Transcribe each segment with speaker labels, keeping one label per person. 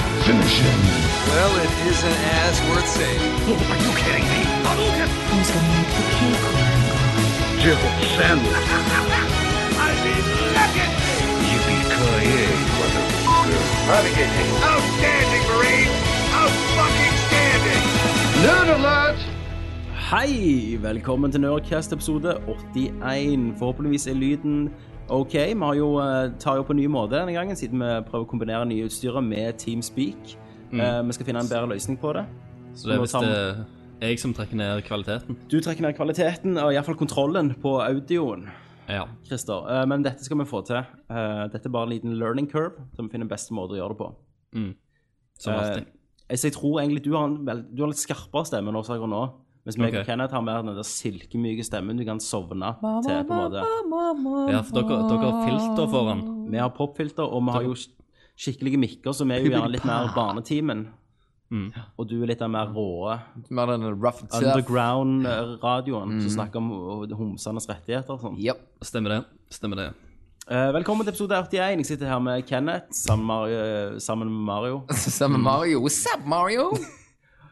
Speaker 1: Edition.
Speaker 2: Well, it isn't as worth saving.
Speaker 3: Are you kidding me? Hadouken!
Speaker 4: Who's gonna make the cake
Speaker 1: Jill Sandler.
Speaker 3: I mean, look at me!
Speaker 1: Yippee-ki-yay, motherfucker.
Speaker 3: Outstanding, Marine! Out-fucking-standing!
Speaker 1: Nerd alert!
Speaker 5: Hei! Velkommen til Nerdcast episode 81. Forhåpentligvis er lyden OK. Vi har jo, eh, tar jo på en ny måte denne gangen, siden vi prøver å kombinere nye utstyret med Teamspeak. Eh, vi skal finne en bedre løsning på det.
Speaker 6: Så det er
Speaker 5: Nå
Speaker 6: hvis
Speaker 5: tar vi-
Speaker 6: det er jeg som trekker ned kvaliteten.
Speaker 5: Du trekker ned kvaliteten, og iallfall kontrollen på audioen,
Speaker 6: Ja.
Speaker 5: Christer. Eh, men dette skal vi få til. Eh, dette er bare en liten learning curve, så vi finner beste måte å gjøre det på.
Speaker 6: Mm. Som alltid.
Speaker 5: Eh, så jeg tror egentlig du har en vel, du har litt skarpere stemme nå, Sager, nå. Mens meg og
Speaker 6: Ok.
Speaker 5: Kenneth har mer den der silkemyke stemmen du kan sovne til, på en måte.
Speaker 6: Ja, for dere, dere har filter foran.
Speaker 5: Vi har popfilter, og vi har jo skik- skikkelige mikker, som er jo gjerne litt mer barnetimen. Og du er litt den mer råe
Speaker 7: Mer den rough and tough.
Speaker 5: underground-radioen som snakker om uh, homsenes rettigheter og sånn.
Speaker 7: Yep.
Speaker 6: Stemmer det. Stemmer det.
Speaker 5: Eh, velkommen til episode 81. Jeg sitter her med Kenneth sammen med Mario. eh, Sammen med Mario.
Speaker 7: Sammen med Mario. What's up, Mario?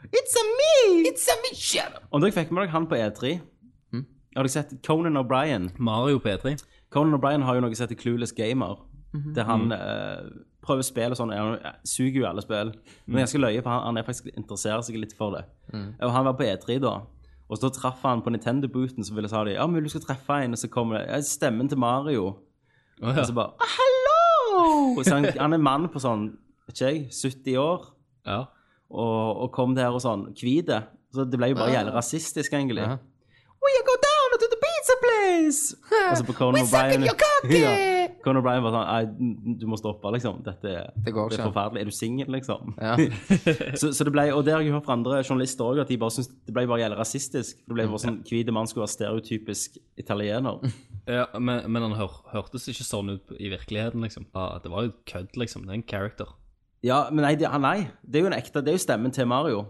Speaker 5: It's a me!
Speaker 7: It's a mission!
Speaker 5: Om dere fikk med dere han på E3 Har dere sett Conan O'Brien?
Speaker 6: Mario P3.
Speaker 5: Conan O'Brien har jo noe som heter Clueless Gamer. Der han eh, prøver spill og sånn. og Han suger jo alle spill. Men jeg skal løye på han, han er faktisk interesserer seg litt for det. Og han var på E3 da. Og så traff han på Nintendo-booten som ville sa de, ja, men du skal treffe en, og så kommer det ja, stemmen til Mario.
Speaker 6: Å
Speaker 5: Og så
Speaker 6: ja.
Speaker 5: bare «Ah, Hallo! Så han, han er en mann på sånn vet ikke jeg, 70 år,
Speaker 6: ja.
Speaker 5: og, og kom der og sånn hvite. Så det ble jo
Speaker 7: Ah.
Speaker 5: bare jævlig rasistisk, egentlig. We go down to the pizza place! Og så på Conan O'Brien ja. Conan O'Brien var sånn Nei, du må stoppe, liksom. Dette er,
Speaker 7: Det går
Speaker 5: er
Speaker 7: ikke.
Speaker 5: forferdelig. Er du singel, liksom?
Speaker 7: Ja.
Speaker 5: Så, så det ble, og det har jeg hørt fra andre journalister òg, at de bare syntes det ble bare jævlig rasistisk. Det ble bare sånn hvite mann skulle være stereotypisk italiener.
Speaker 6: ja men, men han hør, hørtes ikke sånn ut i virkeligheten, liksom. Ja, det var jo kødd, liksom. Det er en character.
Speaker 5: Ja, men nei, det, han- nei. Det er jo en ekte Det er jo stemmen til Mario.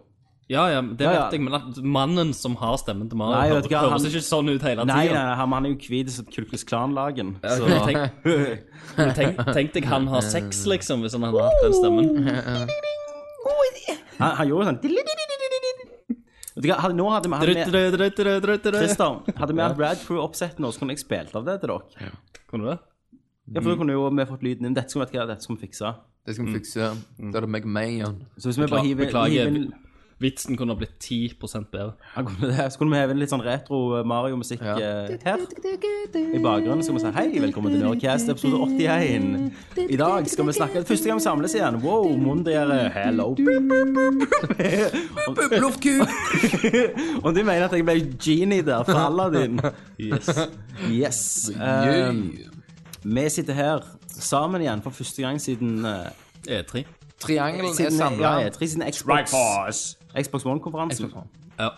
Speaker 6: Ja, ja, det
Speaker 5: Ja, ja.
Speaker 6: vet jeg, men at mannen som har stemmen til Mario,
Speaker 5: Nei, vet
Speaker 6: høres,
Speaker 5: du hva, han-
Speaker 6: ikke sånn ut hele
Speaker 5: Nei, nei,
Speaker 6: tida.
Speaker 5: nei, han han er jo hvit som Kulkus Klan-lagen. Så
Speaker 6: Tenk, men tenk, tenk deg han har sex, liksom, hvis han hadde hatt den stemmen.
Speaker 5: han, han gjorde sånn Vet du hva, hadde- nå hadde vi hadde vi-
Speaker 6: Trist,
Speaker 5: Christer, hadde vi hatt Rad Crew-oppsett nå, så kunne jeg spilt av det til dere.
Speaker 6: Kunne du det?
Speaker 5: Ja, for da kunne jo vi fått lyden inn. Dette skal vi, vet du hva, dette skal vi fikse.
Speaker 7: Det skal vi fikse.
Speaker 5: Mm.
Speaker 7: Da er det meg og meg igjen.
Speaker 5: Så hvis vi bare
Speaker 6: Bekla-
Speaker 5: hiver,
Speaker 6: beklager.
Speaker 5: hiver inn,
Speaker 6: Vitsen kunne ha blitt 10 bedre.
Speaker 5: ja, kunne det, så kunne vi heve inn litt sånn retro eh, Mario-musikk
Speaker 7: Ja.
Speaker 5: eh, her. I bakgrunnen skal vi si hei, velkommen til Nerdcast episode 81. I dag skal vi snakke Første gang vi samles igjen. Wow, Mondriere, hello.
Speaker 7: Luftkuk!
Speaker 5: Om du mener at jeg ble genie der fra Aladdin?
Speaker 6: Yes.
Speaker 5: Yes. Eh, vi sitter her sammen igjen for første gang siden eh,
Speaker 7: E
Speaker 6: E3.
Speaker 7: Triangelen er
Speaker 5: Siden,
Speaker 7: samla.
Speaker 5: ja, E3, siden Xbox, Xbox One-konferansen.
Speaker 6: Ja.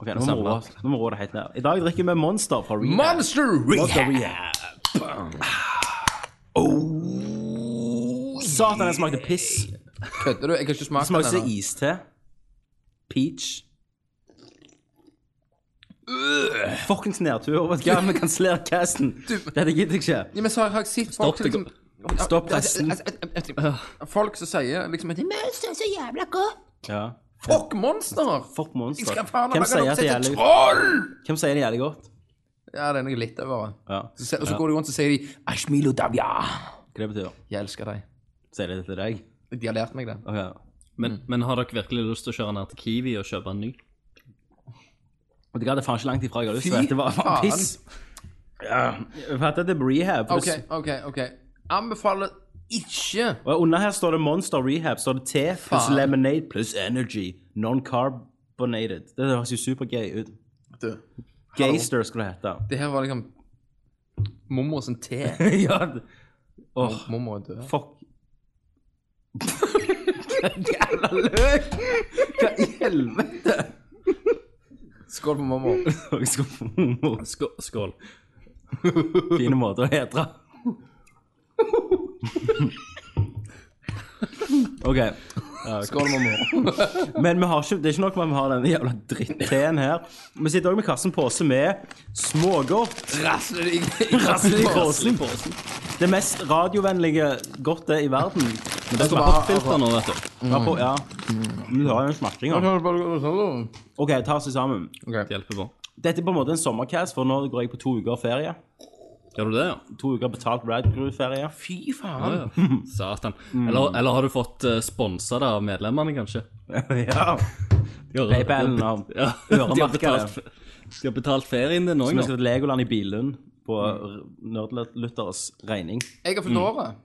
Speaker 5: Ok, nå må vi rå- nå må vi rå det helt ned. I dag drikker vi Monster fra Rehab.
Speaker 7: Monster
Speaker 5: Monster
Speaker 7: Rehab!
Speaker 5: Rehab. Oh. Satan, den smakte piss.
Speaker 7: Kødder du? Jeg har ikke
Speaker 5: Den
Speaker 7: smakt
Speaker 5: smakte
Speaker 7: den
Speaker 5: som
Speaker 7: ennå.
Speaker 5: iste. Peach. Fuckings nedtur. Vet du hva, vi kansellerer casten. Dette gidder jeg ikke.
Speaker 7: Ja, men så har jeg sett folk
Speaker 6: Stopp det
Speaker 7: liksom-
Speaker 5: Stopp resten.
Speaker 7: Altså, altså, altså, Folk som sier liksom at Monster er så jævla godt.
Speaker 5: Ja.
Speaker 7: Fuck monster!
Speaker 5: Fuck
Speaker 7: Jeg
Speaker 5: monster.
Speaker 7: skal faen
Speaker 5: Hvem
Speaker 7: meg
Speaker 5: sier at det
Speaker 7: oppsette
Speaker 5: gjelder-
Speaker 7: troll!
Speaker 5: Hvem sier det jævlig godt?
Speaker 7: Ja, den er jeg litt over.
Speaker 5: Ja,
Speaker 7: Så se- Og så går de rundt og sier de Ashmilo Davia.
Speaker 5: hva det betyr.
Speaker 7: Jeg elsker deg.
Speaker 5: Sier de det til deg?
Speaker 7: De har lært meg det.
Speaker 5: Ok.
Speaker 7: Mm.
Speaker 6: Men, men har dere virkelig lyst til å kjøre ned til Kiwi og kjøpe en ny?
Speaker 5: Og det er faen ikke langt ifra jeg har lyst
Speaker 7: Fy
Speaker 5: til. Dette var
Speaker 7: faen.
Speaker 5: faen piss. Ja, for at det er rehab. for
Speaker 7: OK,
Speaker 5: det
Speaker 7: OK. ok Anbefaler ikke
Speaker 5: Og under her står det Monster Rehab, står det te pluss
Speaker 7: Faen.
Speaker 5: lemonade pluss energy. Non-carbonated. Det høres jo supergay ut.
Speaker 7: du.
Speaker 5: Gayster skulle det hete.
Speaker 7: Det her var liksom Mormor sin te.
Speaker 5: ja. det- Åh,
Speaker 7: Mormor er død.
Speaker 5: fuck. Jævla løk! Hva i helvete?
Speaker 7: Skål for mormor.
Speaker 5: Jeg skal få-
Speaker 6: Skål. skål.
Speaker 5: Fine måter å hedre. OK.
Speaker 7: Skål, mormor.
Speaker 5: Men vi har ikke, det er ikke nok med at vi har denne jævla dritteen her. Vi sitter òg med kassen pose med smågodt.
Speaker 7: Rasler deg
Speaker 5: Rasler i
Speaker 7: i
Speaker 5: posen. Det mest radiovennlige godtet i verden.
Speaker 6: Men det står popfilter nå, vet du.
Speaker 5: Ja, på, ja. Men du har jo en smerting. da. OK, ta oss sammen.
Speaker 6: Det hjelper på.
Speaker 5: Dette er på en måte en sommercast, for nå går jeg på to uker ferie.
Speaker 6: Gjør du det, ja?
Speaker 5: To uker betalt Radcrew-ferie.
Speaker 7: Fy
Speaker 6: Ja,
Speaker 7: faen.
Speaker 6: ja. Satan.
Speaker 5: Mm.
Speaker 6: Eller, eller har du fått uh, sponsa det av medlemmene, kanskje?
Speaker 5: ja.
Speaker 6: De har-
Speaker 5: PayPal-en
Speaker 6: de har-
Speaker 5: av
Speaker 6: Ja, de har,
Speaker 5: øremerket.
Speaker 6: betalt, de har betalt ferien din
Speaker 5: Så
Speaker 6: òg
Speaker 5: vi
Speaker 6: nå.
Speaker 5: skal til Legoland i Billund på Nerdluthers regning.
Speaker 7: Jeg har fylt året.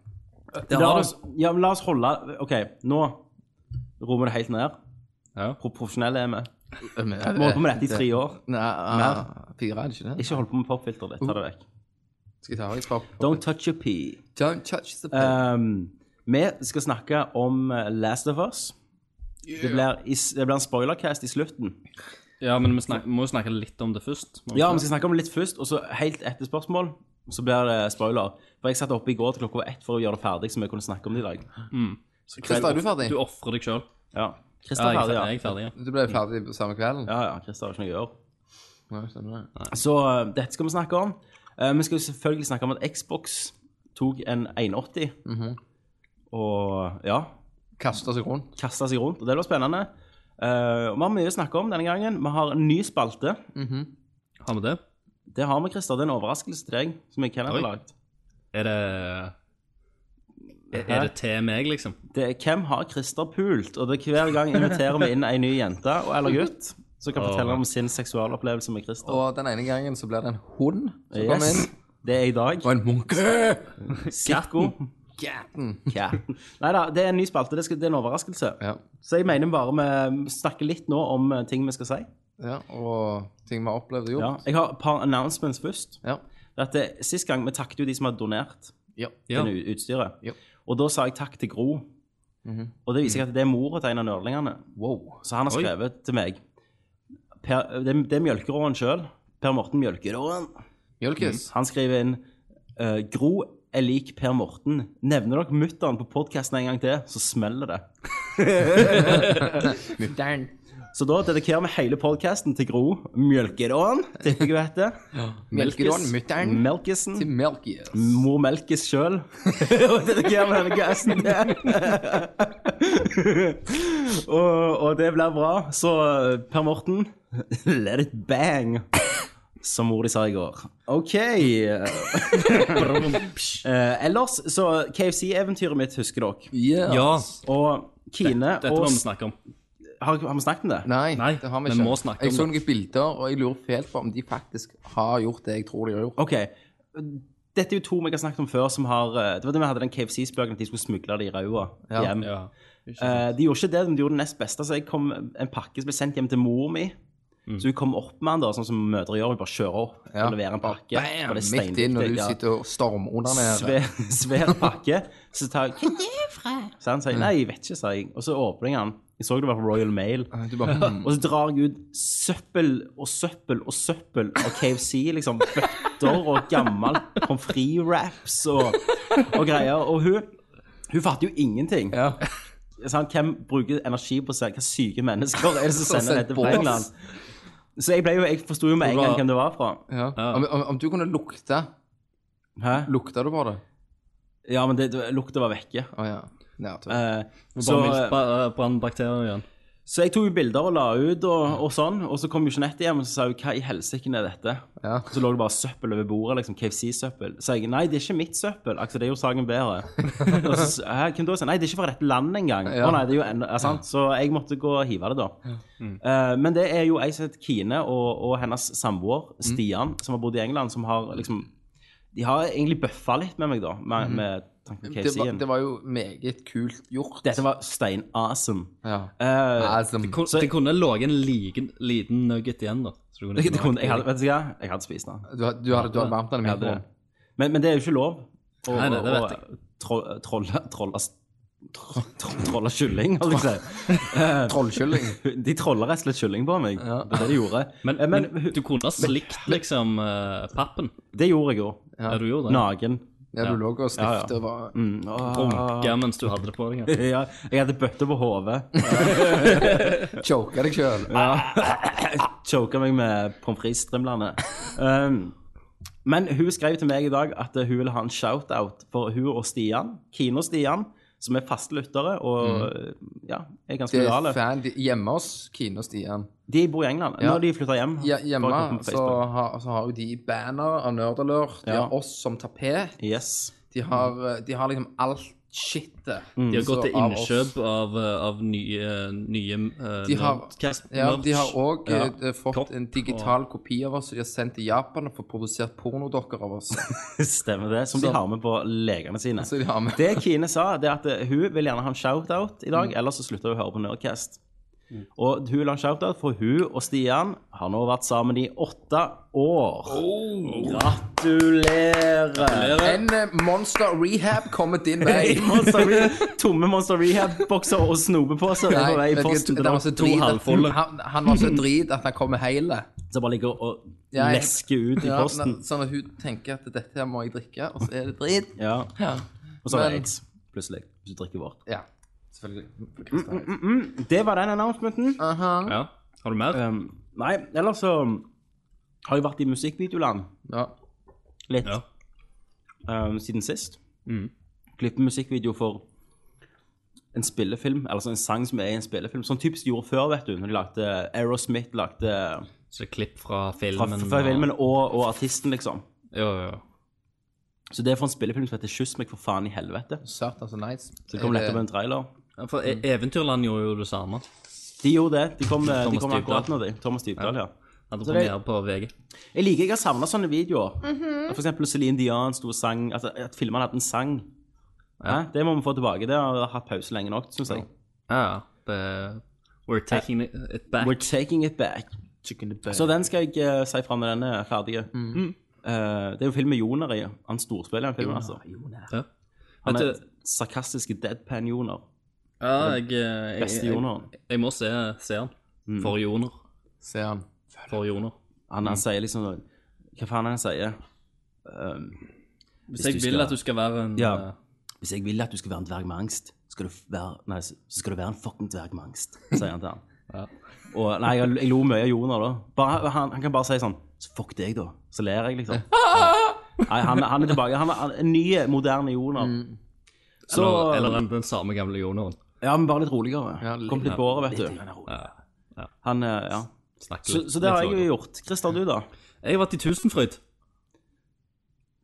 Speaker 5: la oss, ja, men la oss holde OK, nå rommer det helt ned.
Speaker 6: Ja.
Speaker 5: Pro Profesjonelle er vi.
Speaker 7: Vi
Speaker 5: Vi har holdt på med dette i tre år.
Speaker 7: Nei, ah, fire er det ikke det?
Speaker 5: Ikke hold på med popfilter ditt. Ta det vekk.
Speaker 7: Skal jeg ta vekk pop?
Speaker 5: Uh. Don't touch your pee.
Speaker 7: Don't touch the pop.
Speaker 5: Um, vi skal snakke om eh, Last of Us. Det, blir i, det blir en spoilercast i slutten.
Speaker 6: Ja, men vi snak, må jo snakke litt om det først. må vi
Speaker 5: Ja,
Speaker 6: ikke?
Speaker 5: Vi skal snakke om det litt først, og så helt etter spørsmål så blir det spoiler. For Jeg satt oppe i går til klokka var ett for å gjøre det ferdig, så vi kunne snakke om det i dag. Så
Speaker 7: Christer, er du ferdig?
Speaker 6: Du ofrer deg sjøl.
Speaker 5: Ja. Christer
Speaker 6: Ja,
Speaker 5: er ferdig, ja.
Speaker 6: jeg, jeg er ferdig, ja.
Speaker 7: Du ble ferdig på samme kvelden?
Speaker 5: Ja, ja, Christer har ikke noe å gjøre.
Speaker 7: Nei, stemmer det.
Speaker 5: Så eh, dette skal vi snakke om. Eh, vi skal jo selvfølgelig snakke om at Xbox tok en 180, og ja
Speaker 7: Kasta seg rundt.
Speaker 5: kaste seg rundt, og det var spennende. Eh, og vi har mye å snakke om denne gangen. Vi har en ny spalte.
Speaker 6: Har vi det?
Speaker 5: Det har vi, Christer. Det er en overraskelse til deg som jeg Kenneth har
Speaker 6: Oi.
Speaker 5: lagd.
Speaker 6: Er det er, er det til meg, liksom?
Speaker 5: Det er hvem har Christer pult? Og det er hver gang inviterer vi inn ei ny jente og- eller gutt som kan
Speaker 6: Åh.
Speaker 5: fortelle om sin seksualopplevelse med Christer.
Speaker 7: Og den ene gangen så blir det en hund som kommer
Speaker 5: Yes.
Speaker 7: inn.
Speaker 5: Det er i dag.
Speaker 7: Og en munke!
Speaker 5: Sikko.
Speaker 7: Gaten.
Speaker 5: Nei da, det er en ny spalte. Det, skal, det er en overraskelse.
Speaker 7: Ja.
Speaker 5: Så jeg mener bare vi snakker litt nå om eh, ting vi skal si.
Speaker 7: ja. Og ting vi har opplevd og
Speaker 5: Ja.
Speaker 7: gjort.
Speaker 5: Jeg har et par announcements først.
Speaker 7: Ja.
Speaker 5: At, eh, sist gang vi takket jo de som har donert.
Speaker 7: Ja.
Speaker 6: Ja.
Speaker 5: denne utstyret.
Speaker 7: Ja.
Speaker 5: Og da sa jeg takk til Gro.
Speaker 7: Mhm.
Speaker 5: Og det viser seg at det er mora til en av nerdlingene.
Speaker 7: Wow.
Speaker 5: Så han har
Speaker 6: Oi.
Speaker 5: skrevet til meg per, Det, det er Mjølkeråen sjøl. Per Morten Mjølkeråen.
Speaker 7: Mjølkis.
Speaker 5: Han skriver inn eh, Gro er lik Per Morten. Nevner dere mutter'n på podkasten en gang til, så smeller det.
Speaker 7: Mutter'n.
Speaker 5: Så da dedikerer vi hele podkasten til Gro Mjølkeråen, tipper jeg hun heter.
Speaker 7: Melkerån. Mutter'n.
Speaker 5: Melkesen.
Speaker 7: Til Melkis.
Speaker 5: Mor melkes sjøl. og dedikerer vi denne gassen til. og, og det blir bra. Så Per Morten, let it bang. Som mor de sa i går. OK. Eh, ellers så KFC-eventyret mitt husker dere.
Speaker 7: Yeah.
Speaker 6: Ja.
Speaker 5: Og Kine
Speaker 6: Dette
Speaker 5: og
Speaker 6: må vi snakke om.
Speaker 5: har, har vi snakket om det?
Speaker 7: Nei,
Speaker 6: Nei,
Speaker 7: det har vi
Speaker 6: vi
Speaker 7: ikke.
Speaker 6: må snakke om
Speaker 7: jeg så
Speaker 6: det.
Speaker 7: noen bilder, og jeg lurer fælt på om de faktisk har gjort det jeg tror de har gjort.
Speaker 5: OK. Dette er jo to vi har snakket om før, som har eh, Det var det vi hadde den KFC-spøken at de skulle smugle det i ræva
Speaker 7: Ja.
Speaker 5: hjem.
Speaker 6: Ja.
Speaker 5: Eh, de gjorde ikke det, men de gjorde det nest beste. Så jeg kom en pakke som ble sendt hjem til mor mi. Så hun kom opp med den, da, sånn som mødre gjør. Hun bare kjører opp
Speaker 7: Mm. Ja.
Speaker 5: og leverer en pakke. og
Speaker 7: Bam!
Speaker 5: det er
Speaker 7: Midt inn når
Speaker 5: steinviktig,
Speaker 7: du
Speaker 5: ja.
Speaker 7: sitter og stormundernerer.
Speaker 5: Svær, svær pakke. Så tar jeg 'Hva er det fra?' Så han sier 'Nei, jeg vet ikke', sa jeg. Og så åpner jeg den. Jeg så det var fra Royal Mail.
Speaker 7: Du bare hmm.
Speaker 5: Og så drar jeg ut søppel og søppel og søppel av KFC. liksom Bøtter og gammel pommes frites-wraps og, og greier. Og hun, hun fatter jo ingenting.
Speaker 7: Ja.
Speaker 5: sant? Hvem bruker energi på seg? Hva syke mennesker er det som
Speaker 7: sender
Speaker 5: sender dette fra
Speaker 7: bås.
Speaker 5: England? Så jeg, ble jo, jeg forsto jo med en gang hvem det var fra.
Speaker 7: Ja. Om, om, om du kunne lukte
Speaker 5: Hæ?
Speaker 7: Lukta du på det?
Speaker 5: Ja, men det, det, lukta var vekke.
Speaker 7: Å ja. ja tøft.
Speaker 5: Eh, så,
Speaker 6: Så eh, brannbakterier igjen.
Speaker 5: så jeg tok jo bilder og la ut og, og sånn, og så kom jo Jeanette hjem og så sa hun, hva i helsike er dette?
Speaker 7: Ja.
Speaker 5: Og Så lå det bare søppel over bordet, liksom KFC-søppel. Så jeg nei, det er ikke mitt søppel. Altså, det er jo saken bedre. og så sa jeg, hvem da? Så, Nei, det er ikke fra dette landet engang.
Speaker 7: Ja.
Speaker 5: Å nei, det er jo enda, ja, sant? Så jeg måtte gå og hive det, da.
Speaker 7: Mm.
Speaker 5: Eh, men det er jo ei som heter Kine, og, og hennes samboer
Speaker 7: Mm.
Speaker 5: Stian, som har bodd i England, som har liksom De har egentlig bøffa litt med meg, da, med, med
Speaker 7: Mm.
Speaker 5: tanken på
Speaker 7: Det, var,
Speaker 5: KFC-en.
Speaker 7: det var jo meget kult gjort.
Speaker 5: Dette var stein-awesome.
Speaker 7: Ja.
Speaker 5: Eh,
Speaker 7: Awesome.
Speaker 6: Kun- Det kunne ligget en liten, liten nugget igjen, da. Så du kunne
Speaker 5: det kunne, jeg hadde, vet du hva? Jeg hadde spist den.
Speaker 7: Du, had- du hadde, du hadde varmt den i
Speaker 5: Jeg hadde det.
Speaker 7: mikroen.
Speaker 5: Men, men det er jo ikke lov å
Speaker 6: Nei, nei, det vet jeg.
Speaker 5: å- tro- trolle trolle tro- tro- Trolle kylling, holdt jeg på
Speaker 7: Trollkylling.
Speaker 5: å si. Eh, De trolla rett og slett kylling på meg. Det var det de gjorde.
Speaker 6: Men,
Speaker 5: Eh,
Speaker 6: men, du kunne ha slikt liksom eh, pappen.
Speaker 5: det gjorde jeg jo.
Speaker 6: Ja, du gjorde det.
Speaker 5: Nagen.
Speaker 7: Ja, du lå og snifte og var
Speaker 5: Mm, åh.
Speaker 6: Runke mens du hadde det på deg.
Speaker 5: Ja, jeg hadde bøtter på hodet.
Speaker 7: Choka deg sjøl.
Speaker 5: Choka meg med pommes frites-strimlene. Um, men hun skrev til meg i dag at hun ville ha en shout-out for hun og Stian, Kine og Stian, som er faste lyttere og
Speaker 6: Mm.
Speaker 5: ja, er ganske
Speaker 7: Det
Speaker 5: lojale.
Speaker 7: er fan de, hjemme hos Kine og Stian.
Speaker 5: De bor i England.
Speaker 7: Ja.
Speaker 5: Når de flytter hjem.
Speaker 7: Ja, hjemme
Speaker 5: bare kom på
Speaker 7: så
Speaker 5: Facebook.
Speaker 7: har, så har jo de banner av Nerdalert. De
Speaker 5: Ja.
Speaker 7: har oss som tapet.
Speaker 5: Yes.
Speaker 7: De har, de har liksom alt shitet.
Speaker 6: Mm. De har
Speaker 7: Så
Speaker 6: gått til
Speaker 7: av oss-
Speaker 6: innkjøp av, eh, av nye, nye eh,
Speaker 7: De har-
Speaker 6: Nerdcast-
Speaker 7: Ja, de har
Speaker 6: merch.
Speaker 7: òg
Speaker 6: Ja.
Speaker 7: fått
Speaker 6: Kopp
Speaker 7: en
Speaker 6: og-
Speaker 7: digital kopi av oss som de har sendt til Japan og fått produsert pornodokker av oss.
Speaker 5: Stemmer det. Som
Speaker 7: Så-
Speaker 5: de har med på legene sine.
Speaker 7: Så de har med.
Speaker 5: Det Kine sa, det er at eh, hun vil gjerne ha en shout-out i dag,
Speaker 7: Mm.
Speaker 5: ellers så slutter hun å høre på Nerdcast. Og hun vil ha en shout-out, for hun og Stian har nå vært sammen i åtte år.
Speaker 7: Oh.
Speaker 5: Gratulerer!
Speaker 7: En eh, Monster Rehab kommer din vei.
Speaker 5: Hey, Monster Re tomme Monster Rehab-bokser og snopeposer er på vei
Speaker 7: vet
Speaker 5: i
Speaker 7: du hva, det
Speaker 5: posten. til
Speaker 7: var
Speaker 5: dere.
Speaker 7: så
Speaker 6: to
Speaker 7: drit at-
Speaker 6: halvfulle.
Speaker 7: Han, han var så drit at han kommer hele.
Speaker 5: Som bare ligger og
Speaker 7: Ja, jeg-
Speaker 5: lesker ut i
Speaker 7: Ja,
Speaker 5: posten.
Speaker 7: men- sånn at hun tenker at dette her må jeg drikke, og så er det drit.
Speaker 5: Ja.
Speaker 7: Ja,
Speaker 5: Og så er det
Speaker 7: Men-
Speaker 5: aids, plutselig, hvis du drikker vårt.
Speaker 7: ja selvfølgelig. For Kristian.
Speaker 5: Det var den announcementen.
Speaker 7: Aha.
Speaker 6: Ja. Har du mer?
Speaker 5: Um, nei, ellers så um, har jeg vært i musikkvideoland
Speaker 7: Ja.
Speaker 5: litt
Speaker 6: Ja.
Speaker 5: um, siden sist. Klippe musikkvideo for en spillefilm, eller sånn en sang som er i en spillefilm. Sånn typisk de gjorde før, vet du, når de lagde Aerosmith, lagde
Speaker 6: Så det er klipp fra
Speaker 5: fra,
Speaker 6: filmen?
Speaker 5: fra filmen og, og artisten, liksom.
Speaker 6: Og... Ja, ja, ja.
Speaker 5: Så det er for en spillefilm som heter 'Kyss meg for faen i helvete'.
Speaker 7: Satan, så altså, nice.
Speaker 5: Så det kom nettopp en trailer.
Speaker 6: ja. For E- Eventyrland gjorde jo det samme.
Speaker 5: De gjorde det. De kom, de
Speaker 6: Thomas
Speaker 5: kom akkurat nå,
Speaker 6: Dybdahl.
Speaker 5: de. Thomas Dybdahl, ja.
Speaker 6: Hadde
Speaker 5: Så det-
Speaker 6: premiere på VG.
Speaker 5: Jeg liker jeg har savna sånne videoer. For eksempel Celine Dion sto og sang At, at filmene hadde en sang. Hæ? Det må vi få tilbake. Det har hatt pause lenge nok, syns jeg.
Speaker 6: Ja, ja. Det- We're taking it back.
Speaker 5: We're taking it back. Så den skal jeg eh, si fra når den er ferdig. Eh, det er jo filmen Joner i. Han storspiller i den filmen, altså.
Speaker 6: Ja.
Speaker 5: Han
Speaker 6: Vet
Speaker 5: er
Speaker 6: du-
Speaker 5: sarkastiske deadpan-Joner.
Speaker 6: Ja, jeg, eh, jeg,
Speaker 5: Beste Mm.
Speaker 6: jeg,
Speaker 5: Joneren.
Speaker 6: jeg, jeg må se, se han. For Joner.
Speaker 7: Ser han.
Speaker 6: For Joner.
Speaker 5: Han, han sier liksom Hva faen er det han sier? Um,
Speaker 6: Hvis jeg
Speaker 5: du
Speaker 6: vil
Speaker 5: skal-
Speaker 6: at du skal være en
Speaker 5: Ja.
Speaker 6: eh,
Speaker 5: Hvis jeg vil at du skal være en dverg med angst, skal du f- være, nei, så så skal du være en fucking dverg med angst, sier han til han. Og, nei, jeg, jeg lo mye av Joner da. Bare, han, han kan bare si sånn Så fuck deg, da. Så ler jeg, liksom. Nei, han, han er tilbake. Han er, han er en ny, moderne Joner. Så
Speaker 6: eller, eller den, den samme gamle Joneren.
Speaker 5: Ja, men bare litt roligere.
Speaker 7: Ja, litt-
Speaker 5: Kom litt på året, vet du. Han, eh, ja.
Speaker 6: Snakke
Speaker 5: Så,
Speaker 6: litt-
Speaker 5: så det har
Speaker 6: litt
Speaker 5: jeg jo
Speaker 6: lavere.
Speaker 5: gjort. Christer, du, da?
Speaker 6: Jeg har vært i Tusenfryd.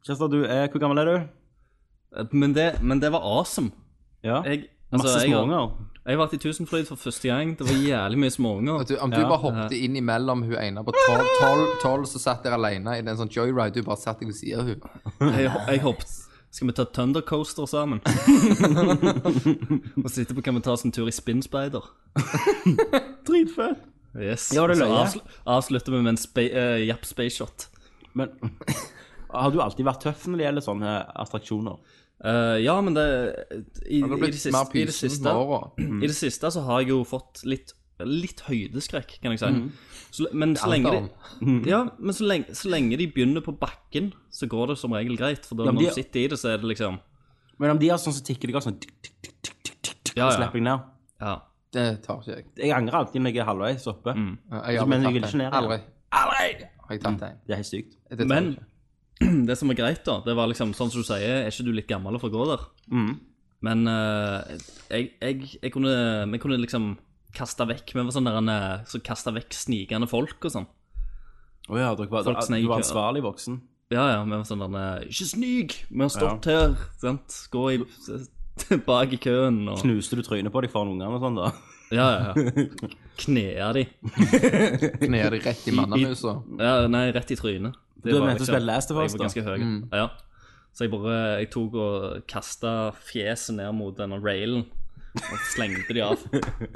Speaker 5: Christer, du er Hvor gammel er du?
Speaker 6: Eh, Men det, men det var awesome.
Speaker 5: Ja.
Speaker 6: Jeg, altså,
Speaker 5: Masse
Speaker 6: jeg, har-
Speaker 5: småunger.
Speaker 6: jeg har vært i Tusenfryd for første gang. Det var jævlig mye småunger.
Speaker 7: At du, om du bare hoppet inn imellom hun ene på tolv, tolv, tolv så satt der alene i den sånn joyride, du bare satt deg ved siden av hun.
Speaker 6: Jeg, jeg hoppet. Skal vi ta Thundercoaster sammen? og så etterpå kan vi ta oss en tur i Spinspider.
Speaker 5: Dritfett.
Speaker 6: Yes.
Speaker 5: Ja, det
Speaker 6: Så
Speaker 5: løy jeg.
Speaker 6: avslu- avslutter vi med en spa eh, Japp Space Shot.
Speaker 5: Men har du alltid vært tøff når det gjelder sånne attraksjoner?
Speaker 6: Eh, ja, men det i, i,
Speaker 7: Har du
Speaker 6: det
Speaker 7: blitt
Speaker 6: siste,
Speaker 7: mer Mm.
Speaker 6: i, det
Speaker 7: pysen
Speaker 6: siste,
Speaker 7: med åra?
Speaker 6: I det siste så har jeg jo fått litt Litt høydeskrekk, kan jeg si.
Speaker 5: Mm.
Speaker 6: Så, le- men, så lenge de, Mm. ja, men så lenge, så lenge de begynner på bakken, så går det som regel greit. For da
Speaker 5: men
Speaker 6: når
Speaker 5: de-
Speaker 6: du sitter i det, så er det liksom
Speaker 5: Men om de har sånn som tikker deg av sånn tikk, tikk, tikk, tikk, tikk, tikk, tikk,
Speaker 6: Ja,
Speaker 5: og
Speaker 6: ja.
Speaker 5: slipper jeg ned.
Speaker 6: Ja.
Speaker 7: Det tar ikke jeg.
Speaker 5: Jeg angrer alltid når jeg er halvveis oppe.
Speaker 6: Mm.
Speaker 7: Jeg har
Speaker 5: Men jeg
Speaker 7: aldri
Speaker 5: vil
Speaker 7: tatt
Speaker 5: ikke
Speaker 7: en.
Speaker 5: ned
Speaker 7: Aldri.
Speaker 5: heller.
Speaker 7: Har jeg tatt en?
Speaker 5: Det er helt sykt.
Speaker 7: Det tar jeg
Speaker 6: Men
Speaker 7: ikke.
Speaker 6: det som var greit, da, det var liksom sånn som du sier, er ikke du litt gammel for å gå der? Men eh, jeg, jeg, jeg, kunne, vi kunne liksom kaste vekk Vi var sånn der en, eh, så kasta vekk snikende folk og sånn.
Speaker 5: Å ja, dere var,
Speaker 6: Folk snek
Speaker 5: du var
Speaker 6: i kø.
Speaker 5: ansvarlig voksen.
Speaker 6: Ja, ja, vi var sånn der eh, Ikke snik! Vi har stått her, sant? Gå i, bak i køen og
Speaker 5: Knuste du trynet på deg foran ungene og sånn, da?
Speaker 6: Ja, ja, ja. Knea de.
Speaker 7: Knea de rett i mannamusa.
Speaker 6: Ja, nei, rett i trynet. Det
Speaker 5: Du
Speaker 6: var
Speaker 5: mente å spille Last of Us,
Speaker 6: Jeg var ganske høy.
Speaker 7: Mm.
Speaker 6: Ja. Så jeg bare jeg tok og kasta fjeset ned mot denne railen og slengte de av.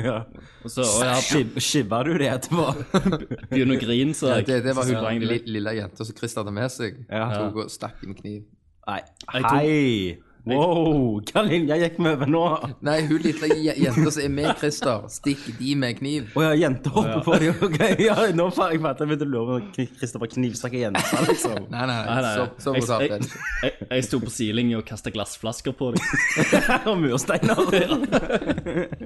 Speaker 5: Ja.
Speaker 6: Og så og jeg
Speaker 5: Skib, skibba du det etterpå?
Speaker 6: begynner å grine, så jeg
Speaker 7: Det, det var
Speaker 6: så sprang
Speaker 7: hun
Speaker 6: de
Speaker 7: li,
Speaker 6: litt.
Speaker 7: lille jenta som Christer hadde med seg.
Speaker 5: Ja.
Speaker 7: Tok og stakk i med kniv.
Speaker 5: Nei.
Speaker 6: Jeg tok-
Speaker 5: Hei! Wow! Hva linje gikk vi over nå? Å
Speaker 7: Nei, hun lille je- jenta som er med Christer, stikker de med kniv.
Speaker 5: ja, jenter hopper på dem. Ok, ja, nå faen, jeg fatter. Jeg begynte å lure på Kristoffer knivstakk jenter, liksom.
Speaker 7: Nei, nei,
Speaker 6: Nei, nei,
Speaker 7: så, så
Speaker 6: jeg,
Speaker 7: sa
Speaker 6: jeg, jeg, jeg sto på sidelinja og kasta glassflasker på dem.
Speaker 5: Og mursteiner.